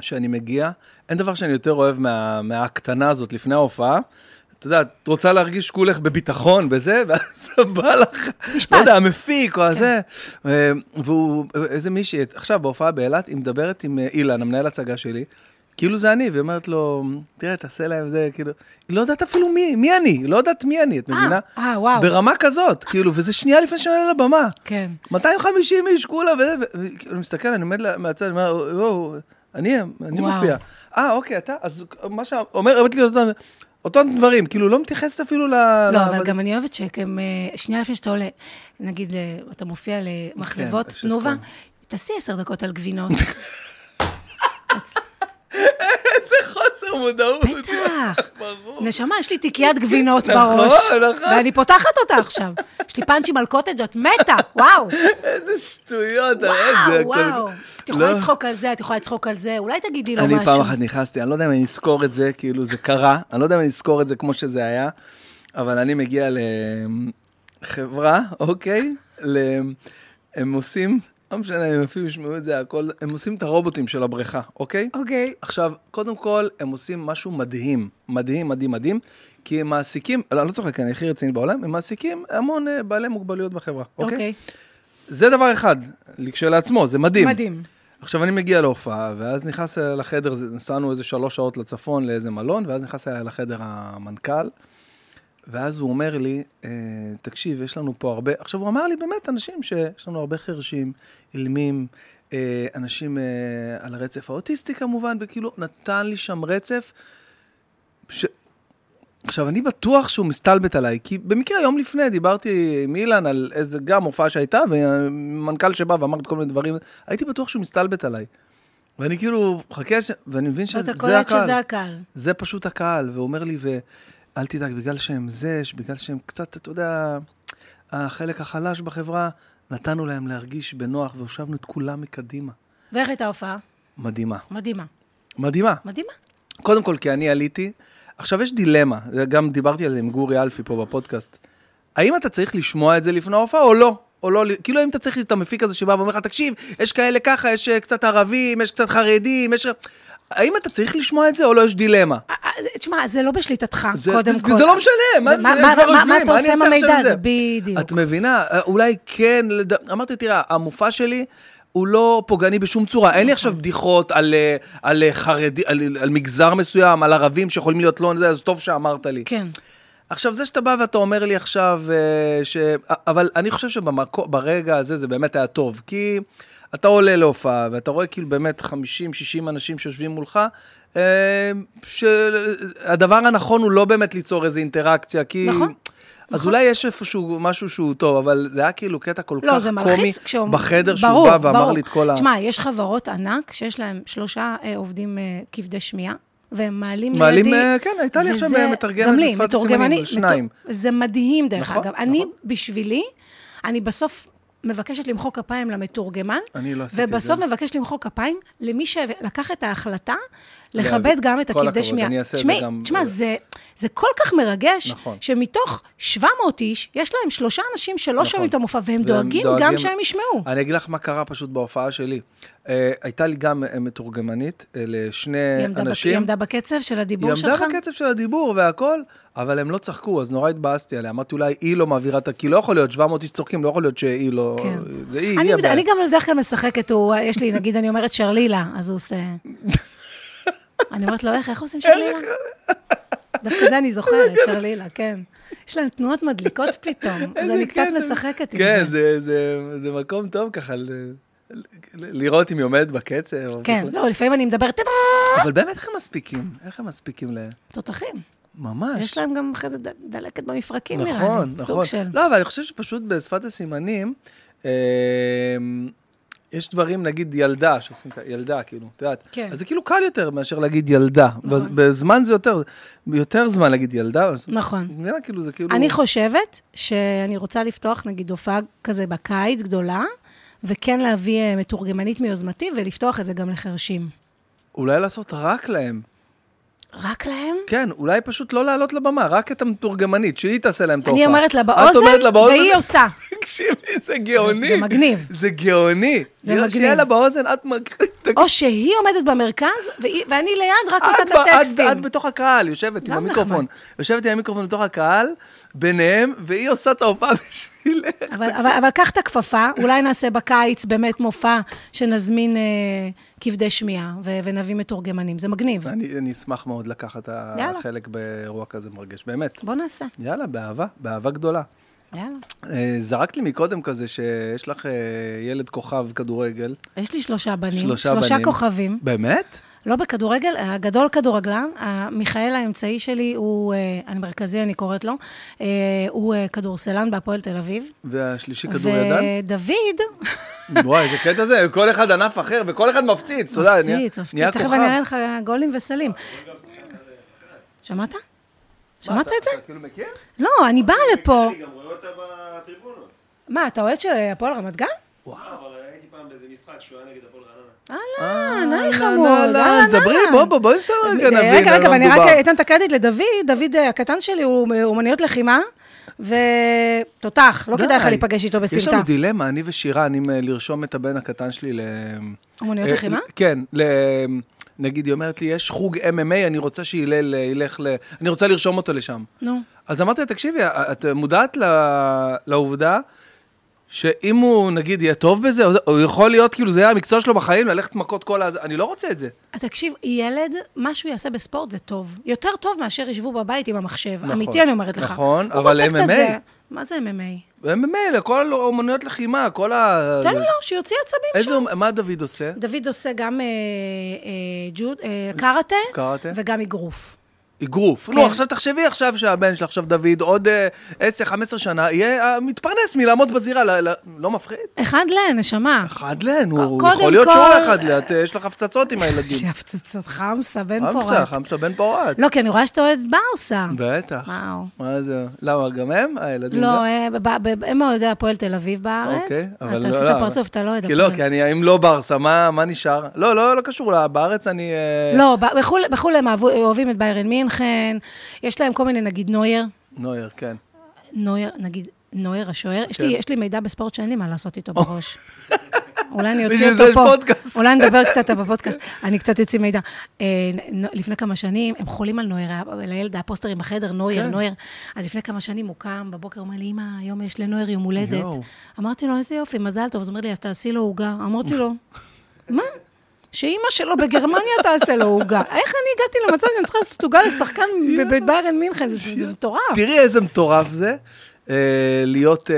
Speaker 2: שאני מגיע, אין דבר שאני יותר אוהב מה, מההקטנה הזאת לפני ההופעה. אתה יודע, את רוצה להרגיש כולך בביטחון בזה, ואז בא לך,
Speaker 1: משפט. כן.
Speaker 2: לא יודע, המפיק או הזה. אה, והוא, איזה מישהי, עכשיו בהופעה באילת, היא מדברת עם אה, אילן, המנהל הצגה שלי, כאילו זה אני, והיא אומרת לו, תראה, תעשה להם זה, כאילו, היא לא יודעת אפילו מי, מי אני, היא לא יודעת מי אני, את
Speaker 1: אה,
Speaker 2: מבינה?
Speaker 1: אה, וואו.
Speaker 2: ברמה כזאת, כאילו, וזה שנייה לפני שאני עולה לבמה.
Speaker 1: כן.
Speaker 2: 250 איש, כולה, וזה, וכאילו, כאילו, אני מסתכל, אני עומד לה- מהצד, אני אומר, וואו, אני, אני
Speaker 1: וואו.
Speaker 2: מופיע. אה, אוקיי, אתה, אז מה שאומר, אומרת לי אותם, אותם דברים, כאילו, לא מתייחסת אפילו ל... ל-
Speaker 1: לא, אבל גם אני אוהבת שהם, אה, שנייה לפני שאתה עולה, נגיד, אה, אתה מופיע למחלבות
Speaker 2: יש את
Speaker 1: תנובה,
Speaker 2: כל-
Speaker 1: תעשי עשר דקות על גבינות.
Speaker 2: איזה חוסר מודעות.
Speaker 1: בטח.
Speaker 2: ברור.
Speaker 1: נשמה, יש לי תיקיית גבינות
Speaker 2: נכון,
Speaker 1: בראש.
Speaker 2: נכון.
Speaker 1: ואני פותחת אותה עכשיו. יש לי פאנצ'ים על קוטג', את מתה, וואו.
Speaker 2: איזה שטויות, אה,
Speaker 1: וואו,
Speaker 2: איזה-
Speaker 1: וואו. את יכולה
Speaker 2: לא.
Speaker 1: לצחוק על זה, את יכולה לצחוק על זה, אולי תגידי לו משהו.
Speaker 2: אני פעם אחת נכנסתי, אני לא יודע אם אני אזכור את זה, כאילו זה קרה, אני לא יודע אם אני אזכור את זה כמו שזה היה, אבל אני מגיע לחברה, אוקיי? ל... הם עושים, לא משנה אם אפילו ישמעו את זה, הכל, הם עושים את הרובוטים של הבריכה, אוקיי?
Speaker 1: אוקיי.
Speaker 2: עכשיו, קודם כל, הם עושים משהו מדהים, מדהים, מדהים, מדהים, כי הם מעסיקים, לא, אני לא צוחק, אני הכי רציני בעולם, הם מעסיקים המון אה, בעלי מוגבלויות בחברה, אוקיי?
Speaker 1: אוקיי.
Speaker 2: זה דבר אחד, כשלעצמו, זה מדהים.
Speaker 1: מדהים.
Speaker 2: עכשיו, אני מגיע להופעה, ואז נכנס אליי לחדר, זה- נסענו איזה שלוש שעות לצפון לאיזה מלון, ואז נכנס אליי לחדר המנכ"ל, ואז הוא אומר לי, אה, תקשיב, יש לנו פה הרבה... עכשיו, הוא אמר לי באמת, אנשים שיש לנו הרבה חרשים, אילמים, אה, אנשים אה, על הרצף האוטיסטי כמובן, וכאילו, נתן לי שם רצף. ש... עכשיו, אני בטוח שהוא מסתלבט עליי, כי במקרה יום לפני דיברתי עם אילן על איזה גם הופעה שהייתה, ומנכ"ל שבא ואמר את כל מיני דברים, הייתי בטוח שהוא מסתלבט עליי. ואני כאילו, חכה, ש... ואני מבין שזה
Speaker 1: אתה
Speaker 2: הקהל.
Speaker 1: קולט שזה הקהל.
Speaker 2: זה פשוט הקהל, והוא אומר לי, ואל תדאג, בגלל שהם זה, בגלל שהם קצת, אתה יודע, החלק החלש בחברה, נתנו להם להרגיש בנוח, והושבנו את כולם מקדימה.
Speaker 1: ואיך הייתה ההופעה?
Speaker 2: מדהימה.
Speaker 1: מדהימה.
Speaker 2: מדהימה.
Speaker 1: מדהימה.
Speaker 2: קודם כל, כי אני עליתי, עכשיו יש דילמה, גם דיברתי על זה עם גורי אלפי פה בפודקאסט. האם אתה צריך לשמוע את זה לפני ההופעה או לא? או לא, כאילו אם אתה צריך את המפיק הזה שבא ואומר לך, תקשיב, יש כאלה ככה, יש אה, קצת ערבים, יש קצת חרדים, יש... האם אתה צריך לשמוע את זה או לא? יש דילמה.
Speaker 1: אה, אה, תשמע, זה לא בשליטתך,
Speaker 2: זה-
Speaker 1: קודם
Speaker 2: זה-
Speaker 1: כל.
Speaker 2: זה לא משנה, מה זה,
Speaker 1: מה-
Speaker 2: הם
Speaker 1: מה-
Speaker 2: כבר
Speaker 1: מה-
Speaker 2: יושבים,
Speaker 1: מה אתה
Speaker 2: אני
Speaker 1: עושה עם
Speaker 2: אעשה עכשיו
Speaker 1: המידע
Speaker 2: עם
Speaker 1: הזה?
Speaker 2: זה?
Speaker 1: בדיוק.
Speaker 2: את מבינה? אה, אולי כן, לד- אמרתי, תראה, המופע שלי... הוא לא פוגעני בשום צורה, אין לי עכשיו
Speaker 1: נכון.
Speaker 2: בדיחות על, אה, על אה, חרדי, על, על מגזר מסוים, על ערבים שיכולים להיות לא, זה, אז טוב שאמרת לי.
Speaker 1: כן.
Speaker 2: עכשיו, זה שאתה בא ואתה אומר לי עכשיו, אה, ש... אבל אני חושב שברגע הזה זה באמת היה טוב, כי אתה עולה להופעה, ואתה רואה כאילו באמת 50-60 אנשים שיושבים מולך, אה, שהדבר הנכון הוא לא באמת ליצור איזו אינטראקציה, כי...
Speaker 1: נכון.
Speaker 2: אז אולי יש איפשהו משהו שהוא טוב, אבל זה היה כאילו קטע כל
Speaker 1: לא,
Speaker 2: כך
Speaker 1: זה
Speaker 2: קומי
Speaker 1: מלחיץ כשהוא...
Speaker 2: בחדר
Speaker 1: ברור,
Speaker 2: שהוא בא ואמר
Speaker 1: ברור.
Speaker 2: לי את כל ה...
Speaker 1: תשמע, יש חברות ענק שיש להן שלושה אה, עובדים אה, כבדי שמיעה, והם מעלים לידי...
Speaker 2: מעלים, אה, כן, הייתה לי
Speaker 1: וזה-
Speaker 2: עכשיו אה, מתרגמת
Speaker 1: גם לי,
Speaker 2: לשפת
Speaker 1: מתורגמני,
Speaker 2: הסימנים, שניים.
Speaker 1: מתור- זה מדהים, דרך
Speaker 2: נכון,
Speaker 1: אגב. אני,
Speaker 2: נכון.
Speaker 1: בשבילי, אני בסוף מבקשת למחוא כפיים למתורגמן,
Speaker 2: אני לא עשיתי את זה.
Speaker 1: ובסוף מבקשת למחוא כפיים למי שלקח את ההחלטה לכבד
Speaker 2: להביא.
Speaker 1: גם את
Speaker 2: כל
Speaker 1: הכבדי
Speaker 2: הכבוד,
Speaker 1: שמיעה.
Speaker 2: אני אעשה את זה
Speaker 1: תשמעי,
Speaker 2: גם- אה,
Speaker 1: תשמע, זה- זה כל כך מרגש,
Speaker 2: נכון.
Speaker 1: שמתוך 700 איש, יש להם שלושה אנשים שלא
Speaker 2: נכון.
Speaker 1: שומעים את המופע, והם
Speaker 2: והם
Speaker 1: דואגים גם
Speaker 2: דואגים- אה,
Speaker 1: שהם ישמעו.
Speaker 2: אני אגיד לך מה קרה פשוט בהופעה שלי. אה, הייתה לי גם אה, מתורגמנית אה, לשני
Speaker 1: היא עמדה בק- היא
Speaker 2: אנשים.
Speaker 1: עמדה בקצב של
Speaker 2: היא
Speaker 1: הדיבור שלך?
Speaker 2: עמדה בקצב של הדיבור והכל, אבל הם לא צחקו, אז נורא התבאסתי עליה. אמרתי, אולי היא לא מעבירה את ה... כי לא יכול להיות 700 איש צוחקים, לא יכול להיות שהיא לא...
Speaker 1: כן.
Speaker 2: זה היא,
Speaker 1: אני,
Speaker 2: היא
Speaker 1: בד-
Speaker 2: הבעיה.
Speaker 1: אני גם בדרך כלל משחקת, הוא, יש לי, נגיד, אני אומרת שרלילה, אז הוא עושה... אני אומרת לו, איך, איך עושים שרלילה? דווקא זה אני זוכרת, שרלילה, כן. יש להם תנועות מדליקות פתאום, אז
Speaker 2: איזה
Speaker 1: אני קצת
Speaker 2: קטע.
Speaker 1: משחקת עם
Speaker 2: כן, זה,
Speaker 1: זה.
Speaker 2: זה, זה מקום טוב ככה, ל, ל, לראות אם היא עומדת בקצב. או
Speaker 1: כן,
Speaker 2: בכלל.
Speaker 1: לא, לפעמים אני מדברת, "טה-טה",
Speaker 2: אבל באמת, איך הם מספיקים? איך הם מספיקים ל...
Speaker 1: תותחים.
Speaker 2: ממש.
Speaker 1: יש להם גם אחרי זה ד- דלקת במפרקים, נראה לי.
Speaker 2: אה, נכון, נכון.
Speaker 1: סוג של...
Speaker 2: לא, אבל אני חושב שפשוט בשפת הסימנים, אה, יש דברים, נגיד ילדה, שעושים כ- ילדה, כאילו, את יודעת.
Speaker 1: כן.
Speaker 2: אז זה כאילו קל יותר מאשר להגיד ילדה. נכון. בזמן זה יותר, יותר זמן להגיד ילדה. אבל-
Speaker 1: נכון.
Speaker 2: מבינה, כאילו, זה כאילו...
Speaker 1: אני חושבת שאני רוצה לפתוח, נגיד, הופעה כזה בקיץ גדולה, וכן להביא אה, מתורגמנית מיוזמתי ולפתוח את זה גם לחרשים.
Speaker 2: אולי לעשות רק להם.
Speaker 1: רק להם?
Speaker 2: כן, אולי פשוט לא לעלות לבמה, רק את המתורגמנית, שהיא תעשה להם את ההופעה.
Speaker 1: אני אומרת לה
Speaker 2: את אומרת לה
Speaker 1: באוזן,
Speaker 2: באוזן,
Speaker 1: והיא עושה.
Speaker 2: תקשיבי, זה גאוני.
Speaker 1: זה מגניב.
Speaker 2: זה גאוני.
Speaker 1: זה
Speaker 2: יאללה,
Speaker 1: מגניב.
Speaker 2: שיהיה לה באוזן, את מג-
Speaker 1: או שהיא עומדת במרכז, והיא- ואני ליד רק עושה
Speaker 2: את
Speaker 1: את
Speaker 2: ב- את-
Speaker 1: הטקסטים.
Speaker 2: את בתוך הקהל, יושבת עם
Speaker 1: גם
Speaker 2: המיקרופון. יושבת עם המיקרופון בתוך הקהל, ביניהם, והיא עושה את ההופעה בשבילך.
Speaker 1: אבל- אבל אבל קח את הכפפה, אולי נעשה בקיץ באמת מופע שנזמין אה, כבדי שמיעה ו- ונביא מתורגמנים. זה מגניב.
Speaker 2: אני אני אשמח מאוד לקחת ה-
Speaker 1: יאללה.
Speaker 2: חלק באירוע כזה מרגש, באמת.
Speaker 1: בוא נעשה.
Speaker 2: יאללה, באהבה, באהבה גדולה.
Speaker 1: יאללה.
Speaker 2: אה, זרקת לי מקודם כזה שיש לך אה, ילד כוכב כדורגל.
Speaker 1: יש לי שלושה בנים.
Speaker 2: שלושה
Speaker 1: שלושה
Speaker 2: בנים.
Speaker 1: כוכבים.
Speaker 2: באמת?
Speaker 1: לא בכדורגל, הגדול כדורגלן, ה- מיכאל האמצעי שלי הוא, אה, המרכזי אני קוראת לו, אה, הוא אה, כדורסלן בהפועל תל אביב.
Speaker 2: והשלישי כדורידן?
Speaker 1: ודוד,
Speaker 2: וואי, איזה קטע זה, כל אחד ענף אחר, וכל אחד מפציץ, אתה יודע, נהיה-
Speaker 1: מפציץ, מפציץ,
Speaker 2: נהיה
Speaker 1: תכף
Speaker 2: כוכב.
Speaker 1: אני אראה לך גולים וסלים. שמעת? שמעת את זה?
Speaker 2: אתה כאילו מכיר?
Speaker 1: לא, אני באה לפה.
Speaker 3: אני גם רואה אותה בטריבונות.
Speaker 1: מה, אתה אוהד של אה, הפועל רמת גן?
Speaker 3: וואו. אבל הייתי פעם באיזה משחק שהוא היה נגד הפועל רעננה.
Speaker 2: אה,
Speaker 1: אהלן, היי
Speaker 2: לא,
Speaker 1: חמוד,
Speaker 2: לא, לא,
Speaker 1: אהלן.
Speaker 2: דברי, בוא, בוא, בואי נסיים רגע, נבין.
Speaker 1: אה, רגע,
Speaker 2: על
Speaker 1: רגע,
Speaker 2: מה
Speaker 1: ואני רק
Speaker 2: מדובר.
Speaker 1: אתן את הקרדיט לדוד, דוד אה, הקטן שלי הוא אה, אומניות לחימה, ותותח, לא
Speaker 2: די.
Speaker 1: כדאי לך להיפגש איתו
Speaker 2: יש
Speaker 1: בסמטה.
Speaker 2: לנו דילמה, אני ושירה, אני מ- לרשום את הבן הקטן שלי ל...
Speaker 1: אומנויות
Speaker 2: אה,
Speaker 1: לחימה?
Speaker 2: ל- כן, ל... נגיד, היא אומרת לי, יש חוג MMA, אני רוצה שהלל אה, ילך ל... אני רוצה לרשום אותו לשם.
Speaker 1: נו.
Speaker 2: אז אמרתי לה, תקשיבי, אה, את מודעת ל- לעובדה שאם הוא, נגיד, יהיה טוב בזה, או זה- הוא יכול להיות, כאילו, זה יהיה המקצוע שלו בחיים, ללכת מכות כל ה... אני לא רוצה את זה.
Speaker 1: אה, תקשיב, ילד, מה שהוא יעשה בספורט זה טוב. יותר טוב מאשר ישבו בבית עם המחשב. אמיתי אני אומרת לך.
Speaker 2: נכון,
Speaker 1: הוא
Speaker 2: אבל
Speaker 1: רוצה קצת
Speaker 2: MMA.
Speaker 1: זה- מה זה MMA?
Speaker 2: ממילא, כל אומנויות לחימה, כל ה...
Speaker 1: תן לו, שיוציא עצבים
Speaker 2: איזה...
Speaker 1: שם.
Speaker 2: מה דוד עושה?
Speaker 1: דוד עושה גם אה, אה, ג'וד- אה, קראטה,
Speaker 2: קראטה.
Speaker 1: וגם אגרוף.
Speaker 2: אגרוף. נו, לא, עכשיו תחשבי עכשיו שהבן שלך, עכשיו דוד, עוד אה, 10-15 שנה, יהיה אה, מתפרנס מלעמוד בזירה, ל- ל- לא מפחיד?
Speaker 1: אחד לנשמה.
Speaker 2: אחד להן, הוא
Speaker 1: קודם
Speaker 2: יכול להיות
Speaker 1: כל-
Speaker 2: שורה אחד לה, את, אה, יש לך הפצצות עם הילדים.
Speaker 1: שהפצצות חמסה בן
Speaker 2: חמסה,
Speaker 1: פורת.
Speaker 2: חמסה בן פורת.
Speaker 1: לא, כי אני רואה שאתה אוהד ברסה.
Speaker 2: בטח.
Speaker 1: וואו.
Speaker 2: מה זה? למה, גם הם? הילדים?
Speaker 1: לא,
Speaker 2: גם?
Speaker 1: אה, ב- ב- הם אוהדי הפועל תל אביב בארץ. אה,
Speaker 2: אוקיי, אבל
Speaker 1: אתה
Speaker 2: לא...
Speaker 1: עשית
Speaker 2: לא,
Speaker 1: פרצוף,
Speaker 2: אבל-
Speaker 1: אתה לא אוהד
Speaker 2: כי
Speaker 1: הפועל.
Speaker 2: לא, כי אני, אם לא ברסה, מה מה נשאר? לא, לא לא קשור, לה, בארץ אני... אה,
Speaker 1: לא, ב- בחו"ל- בחו"ל הם אהבו- אוהבים את ביירן מינכן, יש להם כל מיני, נגיד נויר,
Speaker 2: נויר, כן.
Speaker 1: נויר, נגיד נויר השוער, יש
Speaker 2: כן.
Speaker 1: לי- יש לי מידע בספורט שאין לי מה לעשות איתו בראש. אולי אני אוציא
Speaker 2: בשביל זה
Speaker 1: אותו
Speaker 2: יש
Speaker 1: פה,
Speaker 2: פודקאסט.
Speaker 1: אולי נדבר קצת בפודקאסט, אני קצת אוציא מידע. אה, נ- נ- לפני כמה שנים, הם חולים על נויר, היה- לילד היה פוסטרים בחדר, נויר,
Speaker 2: כן.
Speaker 1: נויר. אז לפני כמה שנים הוא קם בבוקר, הוא אומר לי, אמא, היום יש לנויר יום הולדת.
Speaker 2: יואו.
Speaker 1: אמרתי לו, איזה יופי, מזל טוב. אז הוא אומר לי, אז תעשי לו עוגה. אמרתי לו, מה? שאימא שלו בגרמניה תעשה לו עוגה. איך אני הגעתי למצב שאני צריכה לעשות עוגה לשחקן בבית ביירן מינכן? זה זה מטורף.
Speaker 2: תראי איזה מטורף זה אה, להיות אה,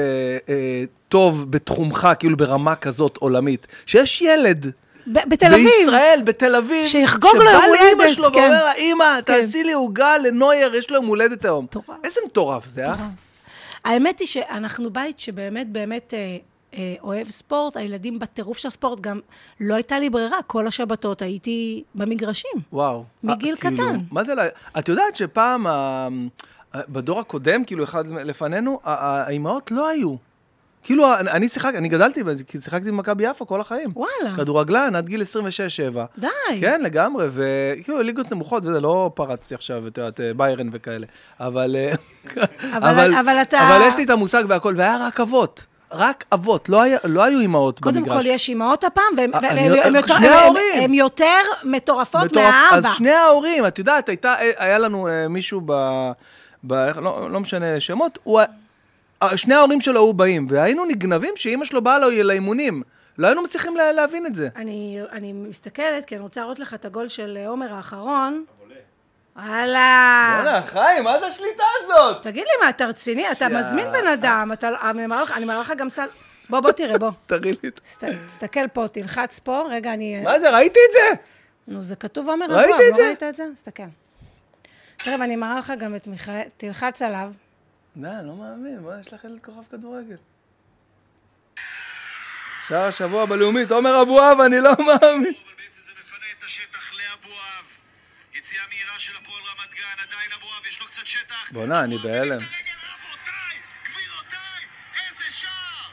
Speaker 2: אה, טוב בתחומך, כאילו ברמה כזאת עולמית. שיש ילד
Speaker 1: ב- בתל אביב.
Speaker 2: בישראל, בתל אביב,
Speaker 1: שיחגוג לו יום
Speaker 2: שבא לאמא
Speaker 1: הולדת,
Speaker 2: שלו
Speaker 1: כן.
Speaker 2: ואומר לה, אמא, תעשי לי עוגה לנויר, יש לו יום הולדת היום.
Speaker 1: מטורף.
Speaker 2: איזה מטורף זה, אה?
Speaker 1: האמת היא שאנחנו בית שבאמת באמת אה, אה, אוהב ספורט, הילדים בטירוף של הספורט, גם לא הייתה לי ברירה, כל השבתות הייתי במגרשים.
Speaker 2: וואו.
Speaker 1: מגיל
Speaker 2: אה, כאילו,
Speaker 1: קטן.
Speaker 2: מה זה, ל- את יודעת שפעם, ה- ה- בדור הקודם, כאילו אחד לפנינו, ה- ה- האימהות לא היו. כאילו, ה- אני שיחק, אני גדלתי, בזה, כי שיחקתי במכבי יפו כל החיים.
Speaker 1: וואלה.
Speaker 2: כדורגלן עד גיל 26-7.
Speaker 1: די.
Speaker 2: כן, לגמרי, וכאילו ליגות נמוכות, וזה לא פרצתי עכשיו, את יודעת, אה, ביירן וכאלה. אבל... אה,
Speaker 1: אבל אתה-
Speaker 2: אבל יש לי את המושג והכל, והיה רק אבות. רק אבות, לא, היה, לא היו אימהות במגרש.
Speaker 1: קודם כל, יש אימהות הפעם, והם
Speaker 2: אה, אני-
Speaker 1: והם- הם יותר-
Speaker 2: שני
Speaker 1: הם- הם-
Speaker 2: ההורים.
Speaker 1: הם יותר מטורפות
Speaker 2: מטורף.
Speaker 1: מהאבא.
Speaker 2: אז שני ההורים, את יודעת, הייתה, היה לנו אה, מישהו ב... ב איך- לא, לא משנה שמות, הוא, ה- ה- שני ההורים שלו היו באים, והיינו נגנבים שאימא שלו באה לו לאימונים. לא היינו מצליחים לה, להבין את זה.
Speaker 1: אני, אני מסתכלת, כי אני רוצה להראות לך את הגול של אה, עומר האחרון. וואלה.
Speaker 2: יאללה, חיים, מה זה השליטה הזאת?
Speaker 1: תגיד לי, מה, אתה רציני? אתה
Speaker 2: שא-
Speaker 1: מזמין בן אדם, אתה, לא- אני מראה לך- אני מראה לך גם סל... בוא, בוא תראה, בוא.
Speaker 2: תראי לי את...
Speaker 1: הסת- תסתכל פה, תלחץ פה, רגע, אני...
Speaker 2: מה זה, ראיתי את זה?
Speaker 1: נו, זה כתוב עומר
Speaker 2: ראיתי
Speaker 1: אברהם,
Speaker 2: את
Speaker 1: לא
Speaker 2: זה?
Speaker 1: ראית את זה? תסתכל. תראה, ואני מראה לך גם את מיכאל, תלחץ עליו.
Speaker 2: די, אני לא מאמין, מה יש לך ילד כוכב כדורגל? שער השבוע בלאומית, עומר אבואב, אני לא מאמין.
Speaker 4: אבל בעצם זה מפנה את השטח לאבואב. יציאה מהירה של הפועל רמת גן, עדיין אבואב, יש לו קצת שטח.
Speaker 2: בואנה, אני
Speaker 4: אבואב
Speaker 2: בהלם.
Speaker 4: מניף את הרגל, רבותיי, גבירותיי, איזה שער!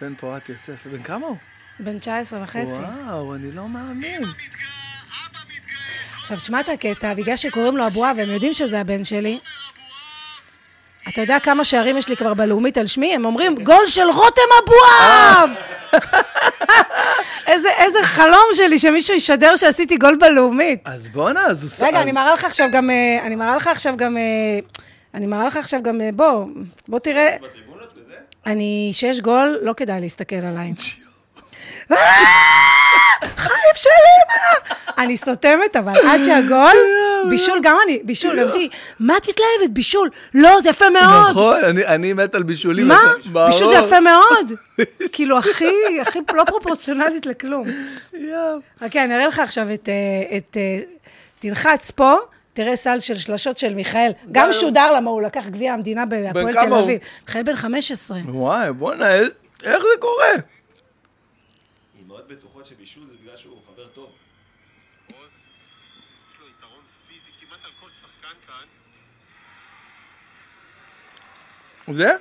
Speaker 2: בן פורת יוסף, בן כמה הוא?
Speaker 1: בן 19 וחצי.
Speaker 2: וואו, אני לא מאמין.
Speaker 4: מתגאה, אבא מתגאה, כל
Speaker 1: עכשיו, תשמע את הקטע, בגלל שקוראים לו אבואב, והם יודעים שזה הבן שלי, אתה יודע כמה שערים יש לי כבר בלאומית על שמי? הם אומרים, גול של רותם אבואב!
Speaker 2: אה.
Speaker 1: איזה, איזה חלום שלי שמישהו ישדר שעשיתי גול בלאומית.
Speaker 2: אז בואנה, אז הוא...
Speaker 1: רגע,
Speaker 2: אז-
Speaker 1: אני מראה לך עכשיו גם... אה, אני מראה לך עכשיו גם... אה, אני מראה לך עכשיו גם... אה, בוא, בוא תראה.
Speaker 3: בטריבונות וזה?
Speaker 1: אני... שיש גול, לא כדאי להסתכל עליי. אה, חיים של אימא! אני סותמת, אבל עד שהגול, בישול, גם אני, בישול, גם שלי, מה את מתלהבת? בישול. לא, זה יפה מאוד.
Speaker 2: נכון, אני- אני מת על בישולים.
Speaker 1: מה?
Speaker 2: אתה- ברור.
Speaker 1: בישול זה יפה מאוד. כאילו, הכי, הכי לא פרופורציונלית לכלום.
Speaker 2: יואו.
Speaker 1: חכה, אוקיי, אני אראה לך עכשיו את... אה, את אה, תלחץ פה, תראה סל של שלשות של מיכאל. גם
Speaker 2: די.
Speaker 1: שודר למה הוא לקח גביע המדינה בהפועל
Speaker 2: כמה
Speaker 1: תל
Speaker 2: הוא?
Speaker 1: אביב. מיכאל בן 15.
Speaker 2: וואי, בואנה, איך- איך זה קורה?
Speaker 3: אימהות בטוחות שבישול זה בגלל שהוא חבר טוב.
Speaker 4: עוז, יש לו יתרון פיזי כמעט על כל שחקן כאן,
Speaker 2: זה?
Speaker 4: ומייקל אבואב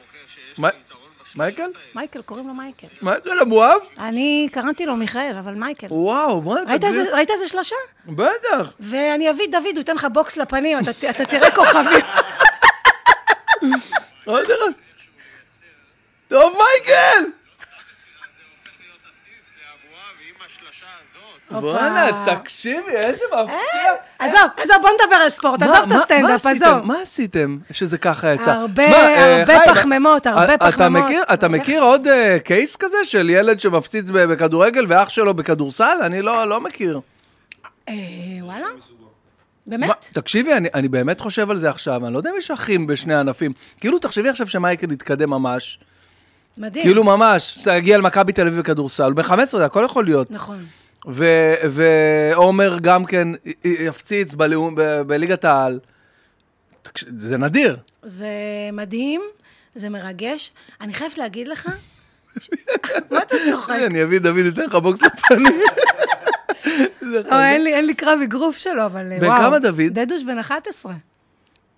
Speaker 4: מוכר שיש
Speaker 2: מה-
Speaker 4: לו יתרון בשלושות
Speaker 2: מייקל?
Speaker 4: האלה.
Speaker 1: מייקל, קוראים לו מייקל.
Speaker 2: מייקל אבואב?
Speaker 1: אני קראתי לו מיכאל, אבל מייקל.
Speaker 2: וואו, בואנה,
Speaker 1: ראית
Speaker 2: תגדיר-
Speaker 1: איזה- ראית איזה שלושה?
Speaker 2: בטח.
Speaker 1: ואני אביא את דוד, הוא ייתן לך בוקס לפנים, אתה ת- אתה תראה כוכבים.
Speaker 2: עוד אחד. לא טוב, מייקל!
Speaker 4: זה הופך להיות אסיסט לאבואב עם השלשה הזאת.
Speaker 1: הופה.
Speaker 2: בואנה, תקשיבי, איזה מפתיע.
Speaker 1: עזוב, עזוב, בוא נדבר על ספורט,
Speaker 2: מה-
Speaker 1: עזוב את
Speaker 2: מה- מה
Speaker 1: הסטנדאפ,
Speaker 2: עשיתם?
Speaker 1: עזוב.
Speaker 2: מה עשיתם שזה ככה יצא?
Speaker 1: הרבה-
Speaker 2: שמע, אה,
Speaker 1: הרבה
Speaker 2: חיים,
Speaker 1: פחמימות,
Speaker 2: אה,
Speaker 1: הרבה
Speaker 2: אתה
Speaker 1: פחמימות.
Speaker 2: מכיר- אתה
Speaker 1: הרבה-
Speaker 2: מכיר עוד אה, קייס כזה של ילד שמפציץ ב- בכדורגל ואח שלו בכדורסל? אני לא לא מכיר.
Speaker 1: אה, וואלה?
Speaker 2: מה,
Speaker 1: באמת?
Speaker 2: תקשיבי, אני, אני באמת חושב על זה עכשיו, אני לא יודע אם יש אחים בשני ענפים. כאילו, תחשבי עכשיו שמייקל יתקדם ממש,
Speaker 1: מדהים.
Speaker 2: כאילו ממש, להגיע למכבי תל אביב בכדורסל, הוא בן 15, זה הכל יכול להיות.
Speaker 1: נכון.
Speaker 2: ו- ועומר גם כן י- י- יפציץ בלאום, ב- בליגת העל. תקש- זה נדיר.
Speaker 1: זה מדהים, זה מרגש. אני חייבת להגיד לך... ש- מה אתה צוחק?
Speaker 2: אני אביא דוד, אתן לך בוקס לפנים. זה
Speaker 1: או,
Speaker 2: חמוד.
Speaker 1: אין לי- אין לי קרב אגרוף שלו, אבל אה,
Speaker 2: בן
Speaker 1: וואו.
Speaker 2: כמה דוד?
Speaker 1: דדוש בן 11.